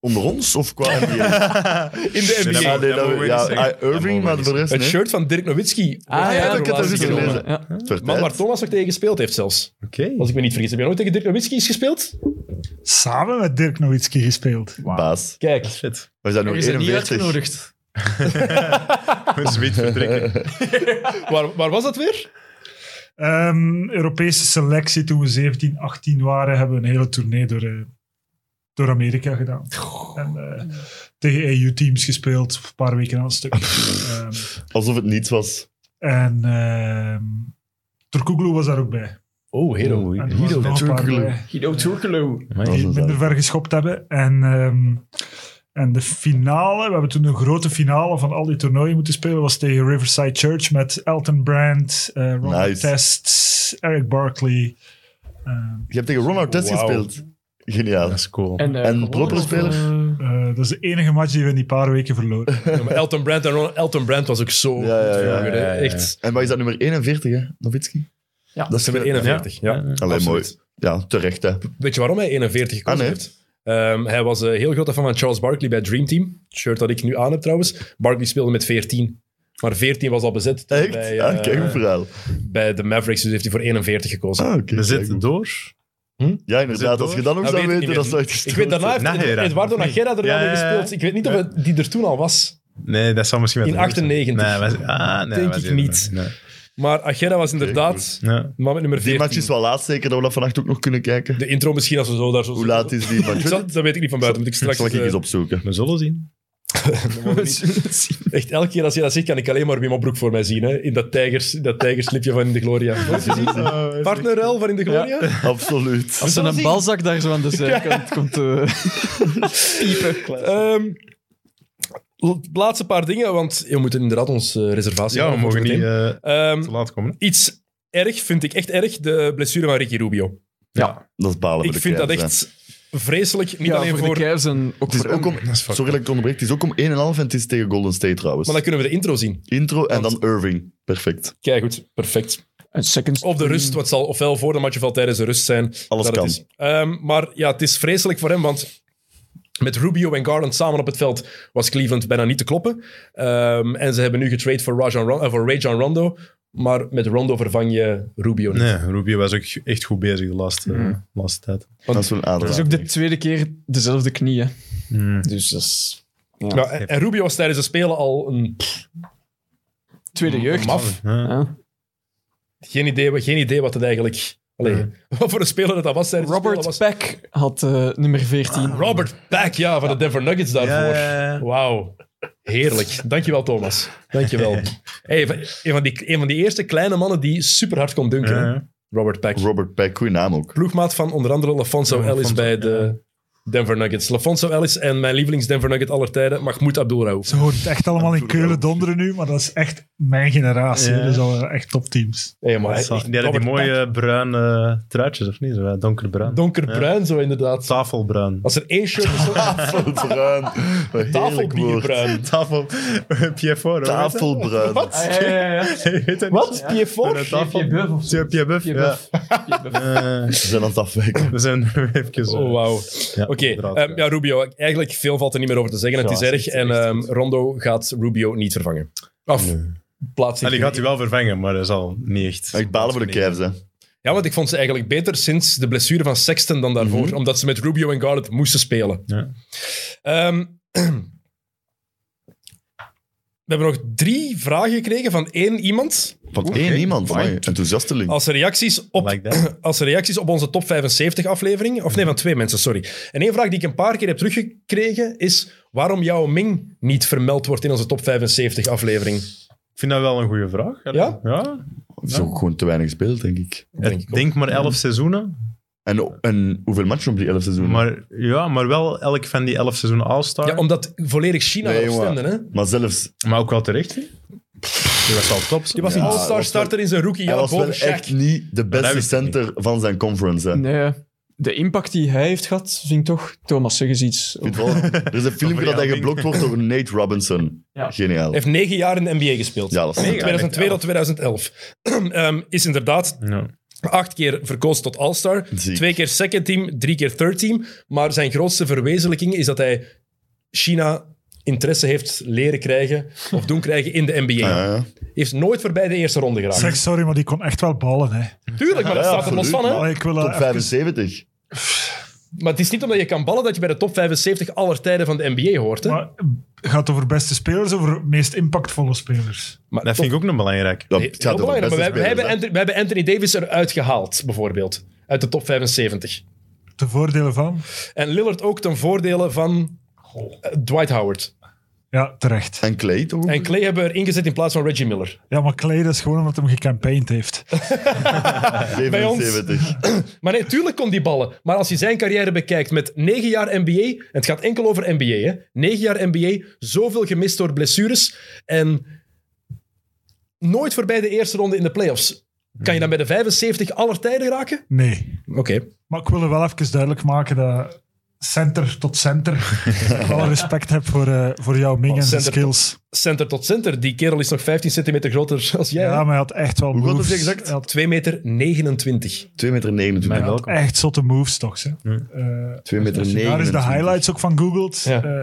[SPEAKER 2] Onder ons of qua NBA?
[SPEAKER 1] In de
[SPEAKER 3] Nee,
[SPEAKER 1] NBA.
[SPEAKER 3] dat
[SPEAKER 2] ja, nee,
[SPEAKER 3] mogen we
[SPEAKER 2] dat,
[SPEAKER 3] niet
[SPEAKER 2] ja,
[SPEAKER 3] zeggen.
[SPEAKER 2] I- Irving, maar voor de rest
[SPEAKER 1] Het
[SPEAKER 2] nee.
[SPEAKER 1] shirt van Dirk Nowitzki.
[SPEAKER 4] Ah ja,
[SPEAKER 2] ik heb dat
[SPEAKER 4] is
[SPEAKER 2] juist gelezen.
[SPEAKER 4] Ja.
[SPEAKER 2] Het werd
[SPEAKER 1] Man
[SPEAKER 2] tijd.
[SPEAKER 1] waar Thomas nog tegen gespeeld heeft zelfs.
[SPEAKER 3] Oké.
[SPEAKER 1] Als ik me niet vergis. Heb je nooit tegen Dirk Nowitzki eens gespeeld?
[SPEAKER 5] Samen met Dirk Nowitzki gespeeld.
[SPEAKER 2] Baas.
[SPEAKER 1] Kijk.
[SPEAKER 3] Shit.
[SPEAKER 2] We zijn nog
[SPEAKER 4] Er is er niet
[SPEAKER 2] 41.
[SPEAKER 4] uitgenodigd.
[SPEAKER 3] Moet wit vertrekken.
[SPEAKER 1] Waar, waar was dat weer?
[SPEAKER 5] Ehm, Europese selectie, toen we 17, 18 waren, hebben we een hele tournee door, eh, door Amerika gedaan. En, eh, tegen EU-teams gespeeld, een paar weken aan een stuk. Ehm,
[SPEAKER 2] Alsof het niets was.
[SPEAKER 5] en ehm Turkoglu was daar ook bij.
[SPEAKER 1] Oh, hero.
[SPEAKER 5] En er waren er nog een paar
[SPEAKER 2] Turkoglu.
[SPEAKER 5] bij
[SPEAKER 4] Guido Turkelo.
[SPEAKER 2] Dat was
[SPEAKER 5] die
[SPEAKER 2] een
[SPEAKER 5] minder
[SPEAKER 2] zaak.
[SPEAKER 5] ver geschopt hebben. En, ehm, en de finale, we hebben toen een grote finale van al die toernooien moeten spelen, was tegen Riverside Church met Elton Brand, eh Ronald
[SPEAKER 2] Nice.
[SPEAKER 5] Test, Eric Barkley. Ehm,
[SPEAKER 2] Je hebt tegen Ron Artest
[SPEAKER 1] Wauw.
[SPEAKER 2] gespeeld. Geniaal.
[SPEAKER 3] Dat is cool.
[SPEAKER 4] En, eh,
[SPEAKER 2] En
[SPEAKER 4] gewonnen
[SPEAKER 2] proper
[SPEAKER 4] of,
[SPEAKER 2] speler?
[SPEAKER 4] eh,
[SPEAKER 5] Eh, dat is de enige match die we in die paar weken verloren.
[SPEAKER 1] Ja, maar Elton Brand en Ron- Elton Brand was ook zo
[SPEAKER 2] Ja, ja,
[SPEAKER 1] goed
[SPEAKER 2] ja,
[SPEAKER 1] vroeger, hè.
[SPEAKER 3] ja, ja, ja.
[SPEAKER 1] Echt.
[SPEAKER 2] En wat is dat, nummer 41, hè? Novitski?
[SPEAKER 4] Ja.
[SPEAKER 2] dat is
[SPEAKER 1] Ze hebben 41. Ja.
[SPEAKER 2] Alleen mooi.
[SPEAKER 1] Absoluut.
[SPEAKER 2] Ja, terecht, hè.
[SPEAKER 1] Weet je waarom hij 41 gekozen
[SPEAKER 2] Ah, nee.
[SPEAKER 1] heeft? Ehm, hij was eh, heel groot fan van Charles Barkley bij Dream Team. Het shirt dat ik nu aan heb trouwens. Barkley speelde met 14. Maar 14 was al bezet toen
[SPEAKER 2] Echt?
[SPEAKER 1] bij,
[SPEAKER 2] ah,
[SPEAKER 1] eh,
[SPEAKER 2] kijk, een verhaal.
[SPEAKER 1] bij de Mavericks. Dus heeft hij voor 41 gekozen.
[SPEAKER 2] Ah, oké.
[SPEAKER 3] We
[SPEAKER 2] kijk,
[SPEAKER 3] zitten
[SPEAKER 2] goed.
[SPEAKER 3] door.
[SPEAKER 2] Ja, inderdaad.
[SPEAKER 3] zitten
[SPEAKER 2] Als je dat nog
[SPEAKER 1] Dat
[SPEAKER 2] zou
[SPEAKER 1] weet ik
[SPEAKER 2] weten,
[SPEAKER 1] niet
[SPEAKER 2] dat
[SPEAKER 1] meer.
[SPEAKER 2] zou echt gestoord
[SPEAKER 1] Ik weet, daarna
[SPEAKER 2] zijn.
[SPEAKER 1] heeft
[SPEAKER 3] Najera,
[SPEAKER 1] Eduardo
[SPEAKER 3] of niet?
[SPEAKER 1] Nagera er wel
[SPEAKER 3] Ja,
[SPEAKER 1] mee
[SPEAKER 3] ja, ja.
[SPEAKER 1] gespeeld. Ik weet niet of het- die er toen al was.
[SPEAKER 3] Nee, dat zal misschien wel...
[SPEAKER 1] In 98.
[SPEAKER 3] Nee, was, ah, nee,
[SPEAKER 1] Denk
[SPEAKER 3] was
[SPEAKER 1] ik
[SPEAKER 3] eerder.
[SPEAKER 1] niet.
[SPEAKER 3] Nee.
[SPEAKER 1] Maar Agera was inderdaad
[SPEAKER 3] Ja.
[SPEAKER 1] man met nummer 14.
[SPEAKER 2] Die match is wel laat, zeker, dat we dat vannacht ook nog kunnen kijken.
[SPEAKER 1] De intro misschien als we zo daar zo...
[SPEAKER 2] Hoe laat is die match?
[SPEAKER 1] Ik zal- dat weet ik niet van buiten, moet ik straks...
[SPEAKER 2] Zal ik
[SPEAKER 1] eh,
[SPEAKER 2] eens opzoeken.
[SPEAKER 3] We zullen zien.
[SPEAKER 1] Echt, elke keer als je dat zegt, kan ik alleen maar Wim Broek voor mij zien. Hè? In dat tijgers, in dat tijgerslipje van In de Gloria. Ah, Nooit gezien? Partnerruil van In de Gloria?
[SPEAKER 2] Absoluut.
[SPEAKER 4] Als er
[SPEAKER 1] dat
[SPEAKER 4] een
[SPEAKER 1] zien?
[SPEAKER 4] balzak daar zo aan de zijkant komt eh, piepen.
[SPEAKER 1] Ehm, het laatste paar dingen, want we moeten inderdaad onze reservatie
[SPEAKER 3] Ja, we
[SPEAKER 1] maken
[SPEAKER 3] mogen
[SPEAKER 1] voor
[SPEAKER 3] niet
[SPEAKER 1] zometeen.
[SPEAKER 3] eh,
[SPEAKER 1] Ehm,
[SPEAKER 3] te laat komen.
[SPEAKER 1] iets erg, vind ik echt erg, de blessure van Ricky Rubio.
[SPEAKER 2] Dat is balen voor
[SPEAKER 1] Ik
[SPEAKER 2] de
[SPEAKER 1] vind dat
[SPEAKER 2] Cavs, hè.
[SPEAKER 1] echt vredelijk. Niet
[SPEAKER 4] Ja, eh,
[SPEAKER 1] alleen
[SPEAKER 4] voor, de Cavs en ook
[SPEAKER 2] Het is
[SPEAKER 4] voor
[SPEAKER 2] ook
[SPEAKER 4] hem.
[SPEAKER 2] om, sorry dat ik het onderbreek. Het is ook om 1,5 en het is tegen Golden State trouwens.
[SPEAKER 1] Maar dan kunnen we de intro zien.
[SPEAKER 2] Intro en dan Irving. Perfect.
[SPEAKER 1] Kijk, goed, perfect.
[SPEAKER 4] Een second
[SPEAKER 1] Of de rust, wat zal ofwel voor de match ofwel tijdens de rust zijn.
[SPEAKER 2] Hmm. Alles
[SPEAKER 1] Dat het
[SPEAKER 2] kan.
[SPEAKER 1] is. Ehm, maar ja, het is vreselijk voor hem, want met Rubio en Garland samen op het veld was Cleveland bijna niet te kloppen. Ehm, en ze hebben nu getrade voor, Rajon Ron- eh, voor Rajon Rondo. Maar met Rondo vervang je Rubio niet.
[SPEAKER 3] Nee, Rubio was ook echt goed bezig de laatste,
[SPEAKER 1] Mm.
[SPEAKER 3] laatste tijd.
[SPEAKER 2] Dat is wel
[SPEAKER 4] Het is
[SPEAKER 2] aardig.
[SPEAKER 4] ook de tweede keer dezelfde knie, hè.
[SPEAKER 2] Hmm.
[SPEAKER 4] Dus dat is... Ja.
[SPEAKER 1] Nou, en, en Rubio was tijdens de Spelen al een...
[SPEAKER 4] Tweede jeugd.
[SPEAKER 1] Maf.
[SPEAKER 3] Ja.
[SPEAKER 4] Ja.
[SPEAKER 1] Geen idee, wat- geen idee wat het eigenlijk... Allee, wat voor een speler dat dat was tijdens de Spelen
[SPEAKER 4] Robert
[SPEAKER 1] was.
[SPEAKER 4] Peck had eh, nummer 14.
[SPEAKER 1] Robert Pack, ja, van de Denver Nuggets daarvoor.
[SPEAKER 3] Ja, ja, ja.
[SPEAKER 1] Wauw. Heerlijk. Dankjewel, Thomas. Dankjewel. hey, een, van- een van die, een van die eerste kleine mannen die super hard kon dunken. hè?
[SPEAKER 3] Ja.
[SPEAKER 1] Robert Pack.
[SPEAKER 2] Robert Peck, goeie naam ook.
[SPEAKER 1] Ploegmaat van onder andere LaFonso
[SPEAKER 3] Ja,
[SPEAKER 1] Ellis
[SPEAKER 3] Lafonso,
[SPEAKER 1] bij de Denver Nuggets. LaFonso Ellis en mijn lievelings Denver Nugget aller tijden, Mahmoud Abdul-Raouf.
[SPEAKER 5] Ze hoort echt allemaal in Keulen donderen nu, maar dat is echt mijn generatie.
[SPEAKER 3] Ja.
[SPEAKER 5] Dat is al eh, echt topteams.
[SPEAKER 1] Hey, maar,
[SPEAKER 3] Die
[SPEAKER 1] echt,
[SPEAKER 3] hadden die
[SPEAKER 1] Robert Peck.
[SPEAKER 3] mooie bruine truitjes, of niet? Zo, hè? Donkerbruin.
[SPEAKER 1] Donkerbruin, zo inderdaad.
[SPEAKER 3] Tafelbruin.
[SPEAKER 1] Als er één shirt is,
[SPEAKER 2] Tafelbruin. Wat een heerlijk woord.
[SPEAKER 1] tafelbierbruin.
[SPEAKER 3] Tafel... Pierre
[SPEAKER 2] Tafelbruin.
[SPEAKER 1] Wat?
[SPEAKER 4] Ja, ja, ja, ja.
[SPEAKER 1] Wat? Pied-Fort?
[SPEAKER 4] Pierre Buff of zo.
[SPEAKER 3] Pierre Buff,
[SPEAKER 4] Pierre
[SPEAKER 3] ja.
[SPEAKER 4] Buff.
[SPEAKER 3] Eh,
[SPEAKER 2] Ze zijn aan het afwijken.
[SPEAKER 3] We zijn er even...
[SPEAKER 1] Oh, wauw.
[SPEAKER 3] Ja,
[SPEAKER 1] Oké,
[SPEAKER 3] inderdaad,
[SPEAKER 1] ehm, ja, Rubio. Eigenlijk veel valt er niet meer over te zeggen. Het
[SPEAKER 3] Ja,
[SPEAKER 1] is
[SPEAKER 3] het
[SPEAKER 1] erg.
[SPEAKER 3] is
[SPEAKER 1] En
[SPEAKER 3] echt
[SPEAKER 1] ehm, Rondo gaat Rubio niet vervangen. Of plaats
[SPEAKER 3] En
[SPEAKER 1] niet.
[SPEAKER 3] die gaat hij wel vervangen, maar dat is al niet echt.
[SPEAKER 2] Ik balen voor de Cavs, hè.
[SPEAKER 1] Ja, want ik vond ze eigenlijk beter sinds de blessure van Sexton dan daarvoor.
[SPEAKER 2] Mhm.
[SPEAKER 1] Omdat ze met Rubio en Garland moesten spelen.
[SPEAKER 3] Ja.
[SPEAKER 1] Ehm, we hebben nog drie vragen gekregen van één iemand.
[SPEAKER 2] Wat één iemand. amai. Enthousiasteling.
[SPEAKER 1] Als reacties op
[SPEAKER 3] Like that.
[SPEAKER 1] als reacties op onze top 75 aflevering. Of nee, van twee mensen, sorry. En één vraag die ik een paar keer heb teruggekregen is waarom jouw Ming niet vermeld wordt in onze top 75 aflevering.
[SPEAKER 3] Ik vind dat wel een goede vraag.
[SPEAKER 1] Ja?
[SPEAKER 3] ja?
[SPEAKER 2] Het is ook gewoon te weinig gespeeld, denk ik.
[SPEAKER 1] Denk ik
[SPEAKER 3] Denk,
[SPEAKER 1] ook.
[SPEAKER 3] maar elf seizoenen.
[SPEAKER 2] En, en hoeveel matchen op die elf seizoen?
[SPEAKER 3] Maar, ja, maar wel elk van die elf seizoenen All-Star.
[SPEAKER 1] Ja, omdat volledig China
[SPEAKER 2] Nee,
[SPEAKER 1] erop
[SPEAKER 2] jongen.
[SPEAKER 1] stemde, hè?
[SPEAKER 2] Maar zelfs...
[SPEAKER 3] Maar ook wel terecht. hè? Die was al top.
[SPEAKER 1] Die was
[SPEAKER 2] Ja,
[SPEAKER 1] een
[SPEAKER 2] dat
[SPEAKER 1] all-star
[SPEAKER 2] was wel-
[SPEAKER 1] starter in zijn
[SPEAKER 2] hij
[SPEAKER 1] rookiejaar
[SPEAKER 2] was wel
[SPEAKER 1] boven Shaq.
[SPEAKER 2] echt niet de
[SPEAKER 3] dat
[SPEAKER 2] beste
[SPEAKER 3] wist ik
[SPEAKER 2] center van zijn conference, hè.
[SPEAKER 4] Nee, de impact die hij heeft gehad, vind ik toch... Thomas, zeg eens iets.
[SPEAKER 2] Ik vind het wel- Er is een filmpje dat hij
[SPEAKER 3] Verjaarding.
[SPEAKER 2] geblokt wordt door Nate Robinson.
[SPEAKER 4] Ja.
[SPEAKER 2] Geniaal.
[SPEAKER 1] Heeft negen jaar in de NBA gespeeld.
[SPEAKER 2] Ja, dat is
[SPEAKER 1] Van
[SPEAKER 2] mega.
[SPEAKER 1] 2002 tot 2011. Ehm, is inderdaad
[SPEAKER 3] Ja.
[SPEAKER 1] acht keer verkozen tot All-Star.
[SPEAKER 2] Ziek.
[SPEAKER 1] Twee keer second team, drie keer third team. Maar zijn grootste verwezenlijking is dat hij China interesse heeft leren krijgen of doen krijgen in de NBA.
[SPEAKER 2] Ja, ja.
[SPEAKER 1] Heeft nooit voorbij de eerste ronde geraakt.
[SPEAKER 5] Zeg sorry, maar die kon echt wel ballen. Hè.
[SPEAKER 1] Tuurlijk, maar dat
[SPEAKER 2] Ja,
[SPEAKER 1] staat er los van.
[SPEAKER 2] absoluut,
[SPEAKER 1] Hè?
[SPEAKER 5] Maar Nou, ik wil dat
[SPEAKER 2] Top
[SPEAKER 5] even-
[SPEAKER 2] 75.
[SPEAKER 1] Maar het is niet omdat je kan ballen dat je bij de top 75 aller tijden van de NBA hoort. Hè? Maar,
[SPEAKER 5] Maar het gaat over beste spelers, over meest impactvolle spelers.
[SPEAKER 3] Dat vind ik ook nog belangrijk.
[SPEAKER 2] Dat
[SPEAKER 1] Nee,
[SPEAKER 2] het
[SPEAKER 1] heel
[SPEAKER 2] gaat over
[SPEAKER 1] belangrijk, maar
[SPEAKER 2] beste
[SPEAKER 1] wij, wij hebben
[SPEAKER 2] spelers, hè.
[SPEAKER 1] Anthony, wij hebben Anthony Davis eruit gehaald, bijvoorbeeld. Uit de top 75.
[SPEAKER 5] De voordelen van?
[SPEAKER 1] En Lillard ook ten voordele van eh, Dwight Howard.
[SPEAKER 5] Ja, terecht.
[SPEAKER 2] En Clay, toch?
[SPEAKER 1] En Clay hebben we erin gezet in plaats van Reggie Miller.
[SPEAKER 5] Ja, maar Clay, dat is gewoon omdat hij hem gecampaigned heeft.
[SPEAKER 2] 77.
[SPEAKER 1] Maar nee, tuurlijk kon die ballen. Maar als je zijn carrière bekijkt met 9 jaar NBA, en het gaat enkel over NBA, hè? 9 jaar NBA, zoveel gemist door blessures en nooit voorbij de eerste ronde in de playoffs. Kan je dan bij de 75 aller tijden raken?
[SPEAKER 5] Nee.
[SPEAKER 1] Oké.
[SPEAKER 5] Maar ik wil er wel even duidelijk maken dat center tot center alle respect heb voor, eh, voor jouw Ming
[SPEAKER 1] Maar
[SPEAKER 5] en zijn
[SPEAKER 1] center tot-
[SPEAKER 5] skills.
[SPEAKER 1] Center tot center. Die kerel is nog 15 centimeter groter als jij.
[SPEAKER 5] Ja,
[SPEAKER 1] hè?
[SPEAKER 5] maar hij had echt wel
[SPEAKER 2] Hoe groot
[SPEAKER 5] moves.
[SPEAKER 2] is hij exact?
[SPEAKER 5] Hij had
[SPEAKER 1] 2 meter 29.
[SPEAKER 2] 2 meter 29.
[SPEAKER 3] Ja.
[SPEAKER 5] had echt zotte moves, toch? Hè? Eh,
[SPEAKER 2] 2 meter
[SPEAKER 5] als je daar is de
[SPEAKER 2] 29.
[SPEAKER 5] highlights ook van googeld.
[SPEAKER 1] Ja.
[SPEAKER 5] eh,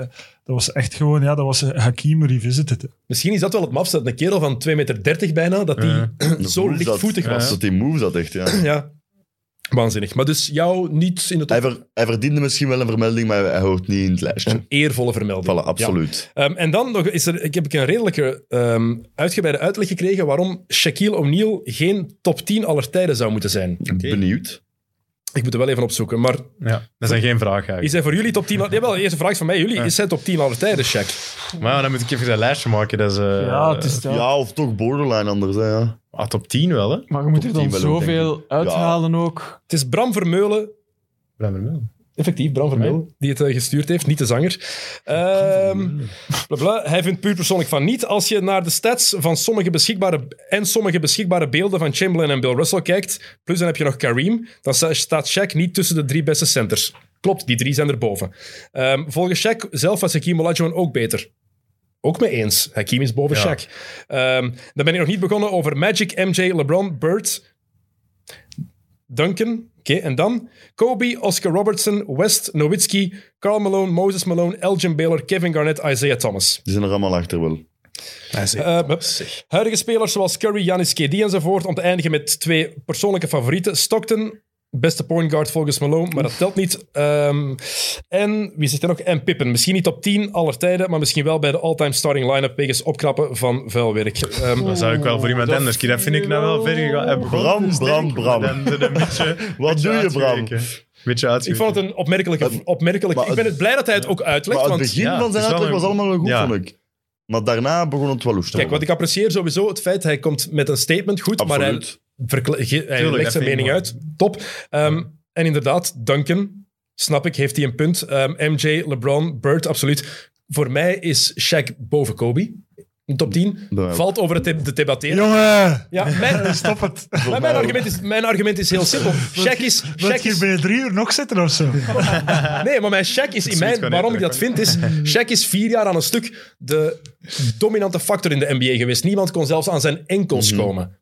[SPEAKER 5] dat was echt gewoon, ja, dat was eh, Hakim revisited. hè.
[SPEAKER 1] Misschien is dat wel het mafste. dat Een kerel van 2 meter 30 bijna, dat die
[SPEAKER 2] De
[SPEAKER 1] zo
[SPEAKER 2] moves
[SPEAKER 1] lichtvoetig
[SPEAKER 2] dat,
[SPEAKER 1] was.
[SPEAKER 2] Dat die moves had echt, ja.
[SPEAKER 1] Ja. Waanzinnig. Maar dus jou niet in de top...
[SPEAKER 2] Hij, ver- hij verdiende misschien wel een vermelding, maar hij hoort niet in het lijstje.
[SPEAKER 1] Een eervolle vermelding.
[SPEAKER 2] Voilà, absoluut.
[SPEAKER 1] Ja. Ehm, en dan nog is er, ik heb ik een redelijke ehm, uitgebreide uitleg gekregen waarom Shaquille O'Neal geen top 10 aller tijden zou moeten zijn.
[SPEAKER 2] Benieuwd.
[SPEAKER 1] Ik moet er wel even opzoeken. Maar
[SPEAKER 3] Ja, dat zijn geen vragen
[SPEAKER 1] is
[SPEAKER 3] eigenlijk.
[SPEAKER 1] hij voor jullie top 10... al- Jawel, de eerste vraag is van mij. Jullie, is hij top 10 aller tijden, Shaq?
[SPEAKER 3] Maar ja, dan moet ik even dat lijstje maken. Dat is, eh,
[SPEAKER 4] Ja, het is dat.
[SPEAKER 2] Ja, of toch borderline anders, hè, ja.
[SPEAKER 3] ah, top 10 wel, hè?
[SPEAKER 4] Maar je moet er
[SPEAKER 2] Top
[SPEAKER 4] dan
[SPEAKER 2] tien wel ook,
[SPEAKER 4] zoveel
[SPEAKER 2] denk ik.
[SPEAKER 4] uithalen ook.
[SPEAKER 1] Het is Bram Vermeulen
[SPEAKER 3] Blijf er wel.
[SPEAKER 1] Effectief, Bram Vermeulen, die het eh, gestuurd heeft, niet de zanger. Ehm, bla bla. Hij vindt puur persoonlijk van niet. Als je naar de stats van sommige beschikbare en sommige beschikbare beelden van Chamberlain en Bill Russell kijkt, plus dan heb je nog Kareem, dan sta- staat Shaq niet tussen de drie beste centers. Klopt, die drie zijn erboven. Ehm volgens Shaq zelf was Hakeem Olajuwon ook beter. ook mee eens. Hakim is boven Shaq. Ehm, dan ben ik nog niet begonnen over Magic, MJ, LeBron, Bird, Duncan. Oké, en dan Kobe, Oscar Robertson, West, Nowitzki, Carl Malone, Moses Malone, Elgin Baylor, Kevin Garnett, Isaiah Thomas.
[SPEAKER 2] Die zijn er allemaal achter wel.
[SPEAKER 1] Eh, hup. Huidige spelers zoals Curry, Giannis, KD enzovoort. Om te eindigen met twee persoonlijke favorieten. Stockton, beste point guard volgens Malone, maar dat telt niet. Ehm, en wie zit er nog? En Pippen. Misschien niet op 10 aller tijden, maar misschien wel bij de all-time starting line-up wegens opknappen van vuilwerk. Ehm,
[SPEAKER 3] Dat zou ik wel voor iemand anders kiezen. Dat vind ik nou wel ver gegaan. Hij begon
[SPEAKER 2] Bram,
[SPEAKER 3] dus
[SPEAKER 2] Bram,
[SPEAKER 3] denk ik,
[SPEAKER 2] Bram.
[SPEAKER 3] maar dan- dan Een beetje,
[SPEAKER 2] Wat
[SPEAKER 3] beetje
[SPEAKER 2] doe je, Bram?
[SPEAKER 3] uitgeweken. Beetje
[SPEAKER 1] ik vond het een opmerkelijke... opmerkelijke
[SPEAKER 2] maar
[SPEAKER 1] ik ben
[SPEAKER 2] het-
[SPEAKER 1] het blij dat hij het ook uitlegt,
[SPEAKER 2] Maar het
[SPEAKER 1] want...
[SPEAKER 2] begin
[SPEAKER 3] ja,
[SPEAKER 2] van
[SPEAKER 3] het
[SPEAKER 2] zijn
[SPEAKER 3] is wel
[SPEAKER 2] uitleg was
[SPEAKER 3] een-
[SPEAKER 2] allemaal wel goed,
[SPEAKER 3] ja.
[SPEAKER 2] vond ik. Maar daarna begon het wel loest.
[SPEAKER 1] Kijk, wat ik apprecieer sowieso het feit, hij komt met een statement goed, maar hij,
[SPEAKER 2] Absoluut.
[SPEAKER 1] verkle- ge- hij
[SPEAKER 3] Tuurlijk,
[SPEAKER 1] legt
[SPEAKER 3] dat
[SPEAKER 1] zijn
[SPEAKER 3] vind ik
[SPEAKER 1] mening
[SPEAKER 3] mooi.
[SPEAKER 1] uit. Top. Ehm, En inderdaad, Duncan, snap ik, heeft hij een punt. Ehm, MJ, LeBron, Bird, absoluut. Voor mij is Shaq boven Kobe. In Top 10.
[SPEAKER 2] Ja.
[SPEAKER 1] Valt over het te, te debatteren.
[SPEAKER 5] Jongen,
[SPEAKER 1] Ja, mijn,
[SPEAKER 5] stop het.
[SPEAKER 1] maar mijn, argument is, mijn argument is heel simpel. Shaq is...
[SPEAKER 5] Wilt
[SPEAKER 1] Shaq
[SPEAKER 5] je
[SPEAKER 1] is
[SPEAKER 5] binnen drie uur nog zitten of zo?
[SPEAKER 1] nee, maar mijn Shaq is in
[SPEAKER 3] Zoiets
[SPEAKER 1] mijn...
[SPEAKER 3] kan
[SPEAKER 1] Waarom ik
[SPEAKER 3] niet,
[SPEAKER 1] dat vind, is... Shaq is vier jaar aan een stuk de dominante factor in de NBA geweest. Niemand kon zelfs aan zijn enkels
[SPEAKER 3] Mhm.
[SPEAKER 1] komen.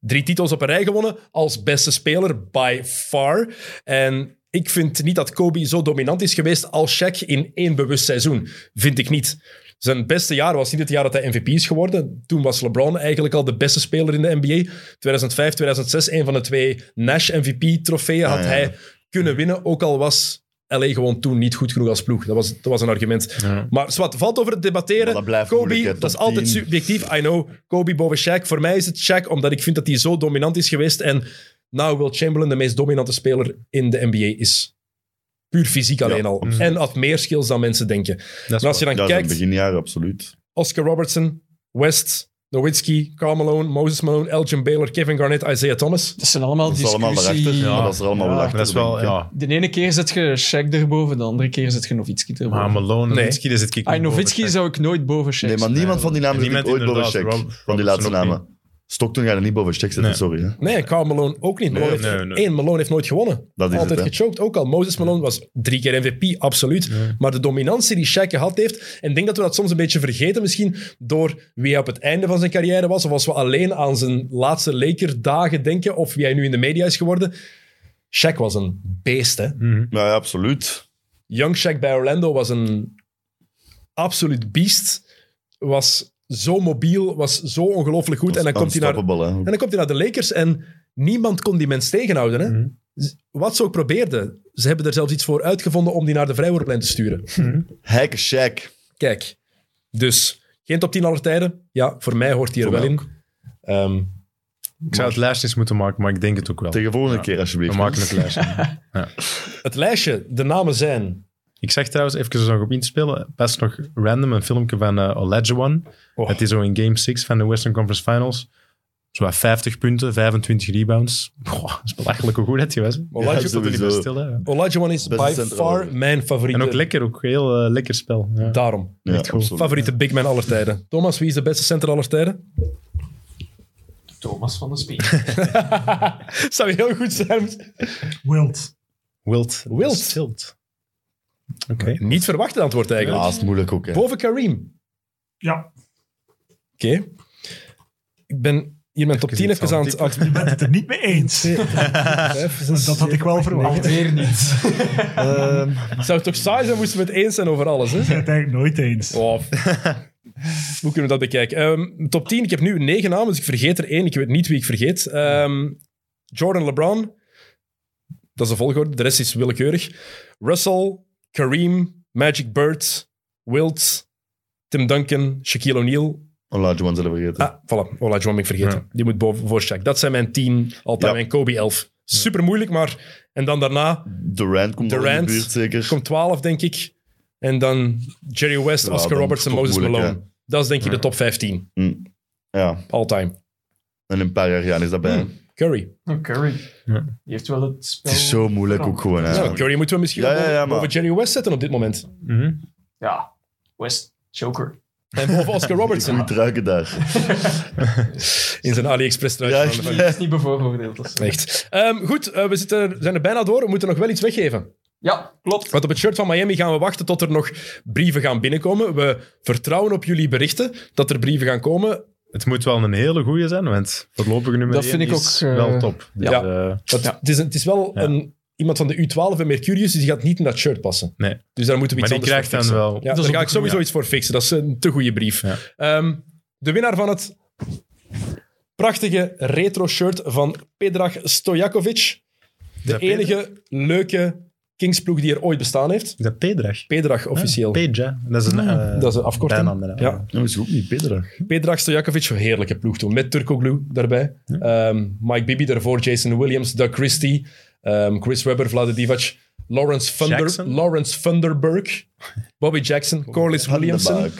[SPEAKER 1] Drie titels op een rij gewonnen als beste speler, by far. En ik vind niet dat Kobe zo dominant is geweest als Shaq in één bewust seizoen. Vind ik niet. Zijn beste jaar was niet het jaar dat hij MVP is geworden. Toen was LeBron eigenlijk al de beste speler in de NBA. 2005, 2006, een van de twee Nash-MVP-trofeeën had
[SPEAKER 2] Ah, ja.
[SPEAKER 1] hij kunnen winnen, ook al was LA gewoon toen niet goed genoeg als ploeg. Dat was, dat was een argument. Maar zwart, valt over het debatteren.
[SPEAKER 2] Maar dat blijft
[SPEAKER 1] Kobe,
[SPEAKER 2] moeilijk, hè,
[SPEAKER 1] dat is
[SPEAKER 2] top
[SPEAKER 1] altijd
[SPEAKER 2] 10.
[SPEAKER 1] subjectief. I know. Kobe boven Shaq. Voor mij is het Shaq, omdat ik vind dat hij zo dominant is geweest. En nou Will Chamberlain de meest dominante speler in de NBA is. Puur fysiek alleen al. En had meer skills dan mensen denken. En als je dan
[SPEAKER 2] Ja, zijn
[SPEAKER 1] kijkt,
[SPEAKER 2] beginjaren, absoluut.
[SPEAKER 1] Oscar Robertson, West, Nowitzki, Karl Malone, Moses Malone, Elgin Baylor, Kevin Garnett, Isaiah Thomas.
[SPEAKER 4] Dat zijn allemaal
[SPEAKER 2] Dat is allemaal
[SPEAKER 4] discussie...
[SPEAKER 2] daarachter. Ja, dat is er allemaal wel
[SPEAKER 3] Maar
[SPEAKER 2] achter.
[SPEAKER 3] Dat is wel,
[SPEAKER 2] denk ik, hè.
[SPEAKER 3] ja.
[SPEAKER 4] De ene keer zet je Shaq erboven, de andere keer zet je Novitski
[SPEAKER 3] Maar
[SPEAKER 4] erboven.
[SPEAKER 3] Malone,
[SPEAKER 1] Nee.
[SPEAKER 3] Nowitzki, Mm-hmm. daar zit ik
[SPEAKER 4] Ah,
[SPEAKER 3] niet boven,
[SPEAKER 4] Novitski
[SPEAKER 3] Shaq.
[SPEAKER 4] zou ik nooit boven Shaq
[SPEAKER 2] Ah, Nee, maar niemand van die namen zit
[SPEAKER 3] Niemand
[SPEAKER 2] ooit boven
[SPEAKER 3] inderdaad.
[SPEAKER 2] Shaq.
[SPEAKER 3] Rob-
[SPEAKER 2] Van die laatste
[SPEAKER 3] Robinson ook
[SPEAKER 2] namen. Stockton gaat er niet boven Shaq zitten,
[SPEAKER 3] Nee.
[SPEAKER 2] sorry. Hè.
[SPEAKER 1] Nee, Karl Malone ook niet. Malone
[SPEAKER 2] Nee,
[SPEAKER 1] heeft,
[SPEAKER 3] nee, nee.
[SPEAKER 1] één, Malone heeft nooit gewonnen.
[SPEAKER 2] Dat is
[SPEAKER 1] Altijd
[SPEAKER 2] het, hè.
[SPEAKER 1] gechoked, ook al. Moses Malone was drie keer MVP, absoluut. Maar de dominantie die Shaq gehad heeft, en ik denk dat we dat soms een beetje vergeten misschien, door wie hij op het einde van zijn carrière was, of als we alleen aan zijn laatste Laker-dagen denken, of wie hij nu in de media is geworden. Shaq was een beest, hè.
[SPEAKER 2] Nou ja, absoluut.
[SPEAKER 1] Young Shaq bij Orlando was een absoluut beest. Was zo mobiel, was zo ongelooflijk goed. En dan komt hij naar
[SPEAKER 2] Unstoppable, hè.
[SPEAKER 1] en dan komt hij naar de Lakers en niemand kon die mens tegenhouden. Hè?
[SPEAKER 2] Mhm.
[SPEAKER 1] Z- Wat ze ook probeerden. Ze hebben er zelfs iets voor uitgevonden om die naar de vrijworplijn te sturen.
[SPEAKER 2] Hack Shaq.
[SPEAKER 1] Kijk, dus geen top 10 aller tijden. Ja, voor mij hoort hij er
[SPEAKER 2] Voor
[SPEAKER 1] wel
[SPEAKER 2] mij
[SPEAKER 1] in. Ehm,
[SPEAKER 3] Ik zou het lijstjes moeten maken, maar ik denk het ook wel.
[SPEAKER 2] Tegen volgende keer,
[SPEAKER 3] We
[SPEAKER 2] alsjeblieft.
[SPEAKER 3] maken het lijstje.
[SPEAKER 1] het lijstje, de namen zijn...
[SPEAKER 3] Ik zeg trouwens, even er nog op inspelen, best nog random, een filmpje van eh Olajuwon.
[SPEAKER 1] Oh.
[SPEAKER 3] Het is zo in game 6 van de Western Conference Finals. Zowat 50 punten, 25 rebounds. Goh, dat is belachelijk hoe goed dat hij was.
[SPEAKER 1] Olaju-
[SPEAKER 2] Ja,
[SPEAKER 3] Dat is
[SPEAKER 2] sowieso.
[SPEAKER 3] wel stil, hè.
[SPEAKER 1] Olajuwon is
[SPEAKER 2] Beste
[SPEAKER 1] by
[SPEAKER 2] centrum.
[SPEAKER 1] far mijn favoriete.
[SPEAKER 3] En ook lekker, ook heel eh, lekker spel. Ja.
[SPEAKER 1] Daarom.
[SPEAKER 2] Ja,
[SPEAKER 3] Echt goed.
[SPEAKER 2] absoluut.
[SPEAKER 1] Favoriete big man aller tijden. Thomas, wie is de beste center aller tijden?
[SPEAKER 4] Thomas van de Spie.
[SPEAKER 1] Zou heel goed zijn.
[SPEAKER 5] Wilt.
[SPEAKER 3] Wild.
[SPEAKER 1] Wild.
[SPEAKER 3] Dat is Wild. Oké.
[SPEAKER 1] Niet verwacht het antwoord eigenlijk.
[SPEAKER 2] Naast moeilijk ook, hè.
[SPEAKER 1] Boven Kareem.
[SPEAKER 5] Ja,
[SPEAKER 1] Oké. Ik ben hier mijn top 10
[SPEAKER 3] iets
[SPEAKER 1] even aan het...
[SPEAKER 3] aan
[SPEAKER 5] je bent het er niet mee eens. Dat had ik wel verwacht.
[SPEAKER 4] Weer niet.
[SPEAKER 1] Zou het toch saai zijn moesten we het eens zijn over alles,
[SPEAKER 5] Ik
[SPEAKER 1] hè?
[SPEAKER 5] ben het eigenlijk nooit eens.
[SPEAKER 1] Wow. Hoe kunnen we dat bekijken? Ehm, top 10, ik heb nu negen namen, dus ik vergeet er één. Ik weet niet wie ik vergeet. Ehm, Jordan LeBron. Dat is de volgorde, de rest is willekeurig. Russell, Kareem, Magic Bird, Wilt, Tim Duncan, Shaquille O'Neal.
[SPEAKER 2] Olajuwon zullen we vergeten.
[SPEAKER 1] Ah, voilà. Ola John ben ik vergeten. Die moet boven voor Shaq. Dat zijn mijn 10 altijd
[SPEAKER 2] Ja.
[SPEAKER 1] en Kobe 11. Super moeilijk, maar... En dan daarna
[SPEAKER 2] Durant komt wel in
[SPEAKER 1] Durant
[SPEAKER 2] de buurt, zeker.
[SPEAKER 1] komt 12, denk ik. En dan Jerry West,
[SPEAKER 2] Ja,
[SPEAKER 1] Oscar
[SPEAKER 2] dan
[SPEAKER 1] Robertson,
[SPEAKER 2] toch
[SPEAKER 1] Moses
[SPEAKER 2] moeilijk, Mm.
[SPEAKER 1] Malone. Dat is denk ik de top 15.
[SPEAKER 2] Ja,
[SPEAKER 1] All time.
[SPEAKER 2] en een paar jaar ja, is dat bij.
[SPEAKER 1] Curry.
[SPEAKER 4] Oh, Curry. Die heeft wel het spel...
[SPEAKER 2] Het is zo moeilijk ook gewoon, hè.
[SPEAKER 1] Nou, Curry moeten we misschien
[SPEAKER 2] Ja,
[SPEAKER 1] wel
[SPEAKER 2] ja, ja,
[SPEAKER 1] boven
[SPEAKER 2] maar-
[SPEAKER 1] Jerry West zetten op dit moment.
[SPEAKER 3] Mhm.
[SPEAKER 4] Ja. West Joker.
[SPEAKER 1] En boven Oscar
[SPEAKER 2] Goed
[SPEAKER 1] Robertson.
[SPEAKER 2] ruiken daar.
[SPEAKER 1] in zijn AliExpress
[SPEAKER 2] Ja,
[SPEAKER 1] truitje.
[SPEAKER 2] echt.
[SPEAKER 4] Is niet bevooroordeeld.
[SPEAKER 1] Echt. Ehm, goed, eh, we zitten, zijn er bijna door. We moeten nog wel iets weggeven.
[SPEAKER 4] Ja, klopt.
[SPEAKER 1] Want op het shirt van Miami gaan we wachten tot er nog brieven gaan binnenkomen. We vertrouwen op jullie berichten dat er brieven gaan komen.
[SPEAKER 3] Het moet wel een hele goeie zijn, want voorlopig nummer
[SPEAKER 4] Dat
[SPEAKER 3] één
[SPEAKER 4] vind ik
[SPEAKER 3] is
[SPEAKER 4] ook, eh,
[SPEAKER 3] wel top. Dus,
[SPEAKER 1] ja.
[SPEAKER 3] eh,
[SPEAKER 1] Want
[SPEAKER 4] Ja.
[SPEAKER 1] het, is een- het is wel
[SPEAKER 3] Ja.
[SPEAKER 1] een, iemand van de U12 en Mercurius, dus die gaat niet in dat shirt passen.
[SPEAKER 3] nee.
[SPEAKER 1] Dus daar moeten we
[SPEAKER 3] Maar
[SPEAKER 1] iets
[SPEAKER 3] die
[SPEAKER 1] anders
[SPEAKER 3] krijgt
[SPEAKER 1] voor fixen.
[SPEAKER 3] dan wel...
[SPEAKER 1] Ja,
[SPEAKER 4] is
[SPEAKER 1] daar ga
[SPEAKER 4] ook
[SPEAKER 1] ik sowieso
[SPEAKER 3] ja.
[SPEAKER 1] iets voor fixen. Dat is een te goede brief.
[SPEAKER 3] Ja.
[SPEAKER 1] Ehm, de winnaar van het prachtige retro shirt van Pedrag Stojakovic. De
[SPEAKER 3] dat
[SPEAKER 1] enige leuke Kingsploeg die er ooit bestaan heeft.
[SPEAKER 3] Is dat Pedrag?
[SPEAKER 1] Pedrag officieel. Ah,
[SPEAKER 3] Peja. Dat is een, eh,
[SPEAKER 1] dat is een afkorting.
[SPEAKER 3] bijnaam,
[SPEAKER 1] Ja.
[SPEAKER 2] Dat is ook niet Pederag.
[SPEAKER 1] Pedrag Stojakovic, een heerlijke ploeg toen. Met Turkoglu daarbij. Ehm, Mike Bibby daarvoor, Jason Williams, Doug Christie, ehm, Chris Webber, Vlade Divac, Lawrence, Thunder,
[SPEAKER 3] Jackson.
[SPEAKER 1] Lawrence Thunderberg, Bobby Jackson, Corliss Williamson.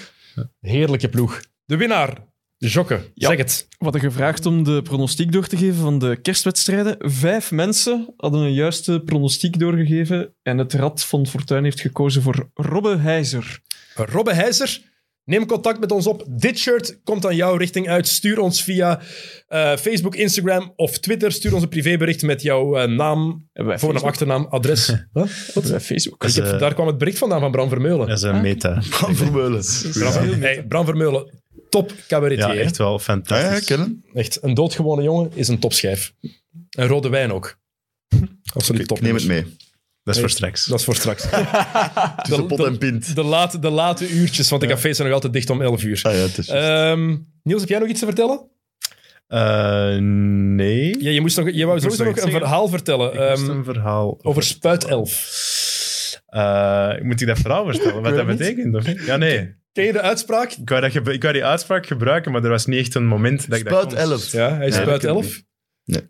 [SPEAKER 1] Heerlijke ploeg. De winnaar, Jokke,
[SPEAKER 4] Ja.
[SPEAKER 1] zeg het.
[SPEAKER 4] We hadden gevraagd om de pronostiek door te geven van de kerstwedstrijden. Vijf mensen hadden een juiste pronostiek doorgegeven. En het Rad van Fortuin heeft gekozen voor Robbe Heijzer.
[SPEAKER 1] Robbe Heijzer, neem contact met ons op. Dit shirt komt aan jouw richting uit. Stuur ons via eh, Facebook, Instagram of Twitter. Stuur ons een privébericht met jouw eh, naam,
[SPEAKER 4] Hebben
[SPEAKER 1] voornaam,
[SPEAKER 4] wij Facebook?
[SPEAKER 1] achternaam, adres. Huh? Wat?
[SPEAKER 4] Hebben wij Facebook?
[SPEAKER 1] Ik heb-
[SPEAKER 3] eh,
[SPEAKER 1] daar kwam het bericht vandaan van Bram Vermeulen.
[SPEAKER 3] Dat is een meta.
[SPEAKER 2] Van Vermeulen.
[SPEAKER 1] Bram,
[SPEAKER 2] Ja,
[SPEAKER 1] hey, Bram Vermeulen, top
[SPEAKER 3] Ja,
[SPEAKER 1] cabaretier. hè? echt.
[SPEAKER 3] echt wel
[SPEAKER 2] ja, Ah, ja,
[SPEAKER 3] fantastisch.
[SPEAKER 2] kennen.
[SPEAKER 1] een doodgewone jongen is een topschijf. En rode wijn ook. Absoluut top.
[SPEAKER 2] Neem het mee.
[SPEAKER 3] Dat is voor
[SPEAKER 1] Hey.
[SPEAKER 3] straks.
[SPEAKER 1] Dat is voor straks.
[SPEAKER 2] Tussen pot en pint.
[SPEAKER 1] De late, de late uurtjes, want de cafés zijn nog altijd dicht om 11 uur.
[SPEAKER 2] Ah ja, het is juist.
[SPEAKER 1] Ehm, Niels, heb jij nog iets te vertellen?
[SPEAKER 3] Eh, nee.
[SPEAKER 1] Ja, je, moest nog, je wou
[SPEAKER 3] Ik moest
[SPEAKER 1] sowieso
[SPEAKER 3] nog
[SPEAKER 1] nog
[SPEAKER 3] iets
[SPEAKER 1] een
[SPEAKER 3] zeggen.
[SPEAKER 1] verhaal vertellen
[SPEAKER 3] Ik moest
[SPEAKER 1] ehm,
[SPEAKER 3] een verhaal...
[SPEAKER 1] over Spuitelf.
[SPEAKER 3] Eh, moet ik dat verhaal vertellen? Wat
[SPEAKER 1] weet
[SPEAKER 3] dat
[SPEAKER 1] het niet.
[SPEAKER 3] betekent? Of? niet? Ja, nee.
[SPEAKER 1] Ken je de uitspraak?
[SPEAKER 3] Ik wou, dat gebru- ik wou die uitspraak gebruiken, maar er was niet echt een moment dat ik Eh, oh, dat
[SPEAKER 2] Spuit
[SPEAKER 3] kon.
[SPEAKER 2] 11.
[SPEAKER 1] Ja, hij is
[SPEAKER 2] Nee, dat ken ik
[SPEAKER 1] Spuitelf.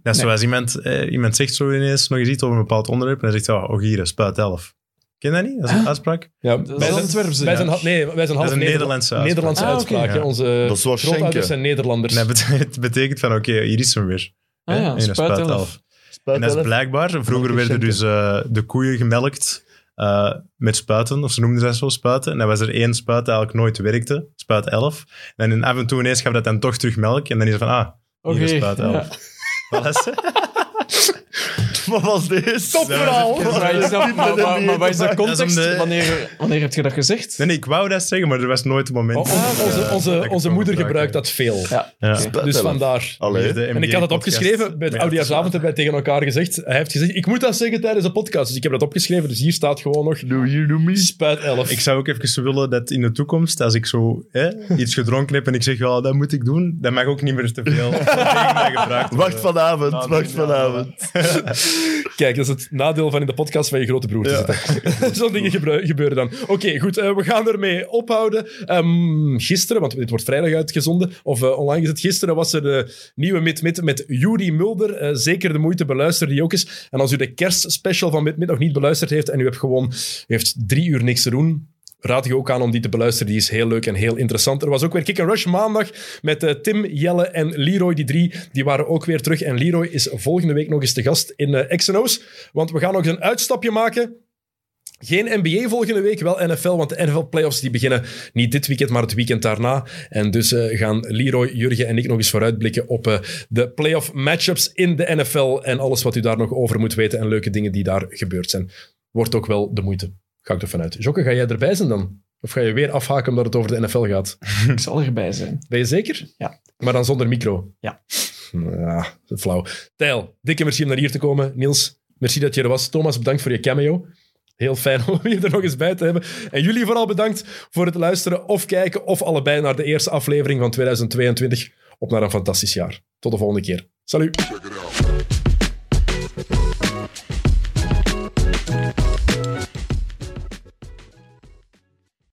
[SPEAKER 3] Dat is zoals iemand, eh, iemand zegt zo ineens nog eens iets over een bepaald onderwerp en dan zegt hij, oh, oh, hier, spuit 11. Ken je dat niet? Dat is
[SPEAKER 1] Ah.
[SPEAKER 3] een uitspraak.
[SPEAKER 1] Ja,
[SPEAKER 4] Dat
[SPEAKER 1] wij
[SPEAKER 4] is
[SPEAKER 1] zijn,
[SPEAKER 4] Antwerpse,
[SPEAKER 1] wij
[SPEAKER 4] ja.
[SPEAKER 1] zijn, ha- nee, wij zijn half
[SPEAKER 3] Dat is een
[SPEAKER 1] Nederla-
[SPEAKER 3] Nederlandse uitspraak.
[SPEAKER 1] Nederlandse
[SPEAKER 4] Ah, oké.
[SPEAKER 1] uitspraak. hè.
[SPEAKER 3] Ja.
[SPEAKER 1] Onze
[SPEAKER 2] Dat is wel
[SPEAKER 1] grootouders
[SPEAKER 2] schenken.
[SPEAKER 1] zijn Nederlanders.
[SPEAKER 3] Nee, bet- het betekent van, oké, hier is hem weer.
[SPEAKER 4] Ah
[SPEAKER 3] Hè?
[SPEAKER 4] ja,
[SPEAKER 3] En dan
[SPEAKER 4] spuit
[SPEAKER 3] spuit
[SPEAKER 4] 11.
[SPEAKER 3] 11.
[SPEAKER 2] Spuit
[SPEAKER 3] En dat is
[SPEAKER 2] 11.
[SPEAKER 3] blijkbaar. Vroeger werden dus eh, de koeien gemelkt eh, met spuiten, of ze noemden dat zo, spuiten. En dan was er één spuit dat eigenlijk nooit werkte, spuit 11. En dan af en toe ineens gaf dat dan toch terug melk. En dan is het van, ah,
[SPEAKER 4] Oké.
[SPEAKER 3] hier is spuit 11.
[SPEAKER 4] ja.
[SPEAKER 3] Voilà, ze.
[SPEAKER 2] Wat was dit?
[SPEAKER 1] Topverhaal!
[SPEAKER 4] Maar is dat- maar- maar- maar wat is de
[SPEAKER 3] Dat is om
[SPEAKER 4] context?
[SPEAKER 3] de-
[SPEAKER 4] Wanneer, wanneer heb je dat gezegd?
[SPEAKER 3] Nee, nee, ik wou dat zeggen, maar er was nooit een moment.
[SPEAKER 1] Oh, onze- onze,
[SPEAKER 3] dat
[SPEAKER 1] onze,
[SPEAKER 3] ik
[SPEAKER 1] onze
[SPEAKER 3] het
[SPEAKER 1] moeder
[SPEAKER 3] kon
[SPEAKER 1] gebruikt
[SPEAKER 3] gebruiken.
[SPEAKER 1] dat veel.
[SPEAKER 4] Ja.
[SPEAKER 3] Ja.
[SPEAKER 2] Spuit
[SPEAKER 1] Dus
[SPEAKER 2] 11.
[SPEAKER 1] vandaar.
[SPEAKER 2] Allee.
[SPEAKER 3] De
[SPEAKER 1] En ik had dat
[SPEAKER 3] NBA podcast.
[SPEAKER 1] opgeschreven. Bij het
[SPEAKER 3] Ja,
[SPEAKER 1] Oudjaarsavond hebben wij tegen elkaar gezegd. Hij heeft gezegd, ik moet dat zeggen tijdens de podcast. Dus ik heb dat opgeschreven. Dus hier staat gewoon nog
[SPEAKER 2] Do you do me?
[SPEAKER 1] spuit 11.
[SPEAKER 3] Ik zou ook even willen dat in de toekomst, als ik zo hè, iets gedronken heb en ik zeg, ja, dat moet ik doen, dat mag ook niet meer te veel tegen mij gebruikt worden.
[SPEAKER 2] Wacht vanavond,
[SPEAKER 3] Nou,
[SPEAKER 2] wacht vanavond.
[SPEAKER 1] Kijk, dat is het nadeel van in de podcast van je grote broer te zitten. Zo'n dingen gebru- gebeuren dan. Oké, goed. eh, we gaan ermee ophouden. Ehm, gisteren, want dit wordt vrijdag uitgezonden, of eh, online gezet. Gisteren was er de nieuwe Mid Mid met Juri Mulder. Eh, zeker de moeite, beluister die ook eens. En als u de kerstspecial van Mid Mid nog niet beluisterd heeft en u hebt gewoon u heeft drie uur niks te doen... Raad je ook aan om die te beluisteren. Die is heel leuk en heel interessant. Er was ook weer Kick and Rush maandag met eh, Tim, Jelle en Leroy. Die drie die waren ook weer terug. En Leroy is volgende week nog eens te gast in eh X&O's. Want we gaan nog eens een uitstapje maken. Geen NBA volgende week, wel NFL, want de NFL-playoffs die beginnen niet dit weekend, maar het weekend daarna. En dus eh, gaan Leroy, Jurgen en ik nog eens vooruitblikken op eh, de playoff matchups in de NFL en alles wat u daar nog over moet weten en leuke dingen die daar gebeurd zijn. Wordt ook wel de moeite, ga ik ervan uit. Jokke, ga jij erbij zijn dan? Of ga je weer afhaken omdat het over de NFL gaat?
[SPEAKER 4] Ik zal erbij zijn.
[SPEAKER 1] Ben je zeker?
[SPEAKER 4] Ja.
[SPEAKER 1] Maar dan zonder micro?
[SPEAKER 4] Ja.
[SPEAKER 1] Ja, flauw. Tijl, dikke merci om naar hier te komen. Niels, merci dat je er was. Thomas, bedankt voor je cameo. Heel fijn om je er nog eens bij te hebben. En jullie vooral bedankt voor het luisteren of kijken of allebei naar de eerste aflevering van 2022. Op naar een fantastisch jaar. Tot de volgende keer. Salut.
[SPEAKER 6] Check it out.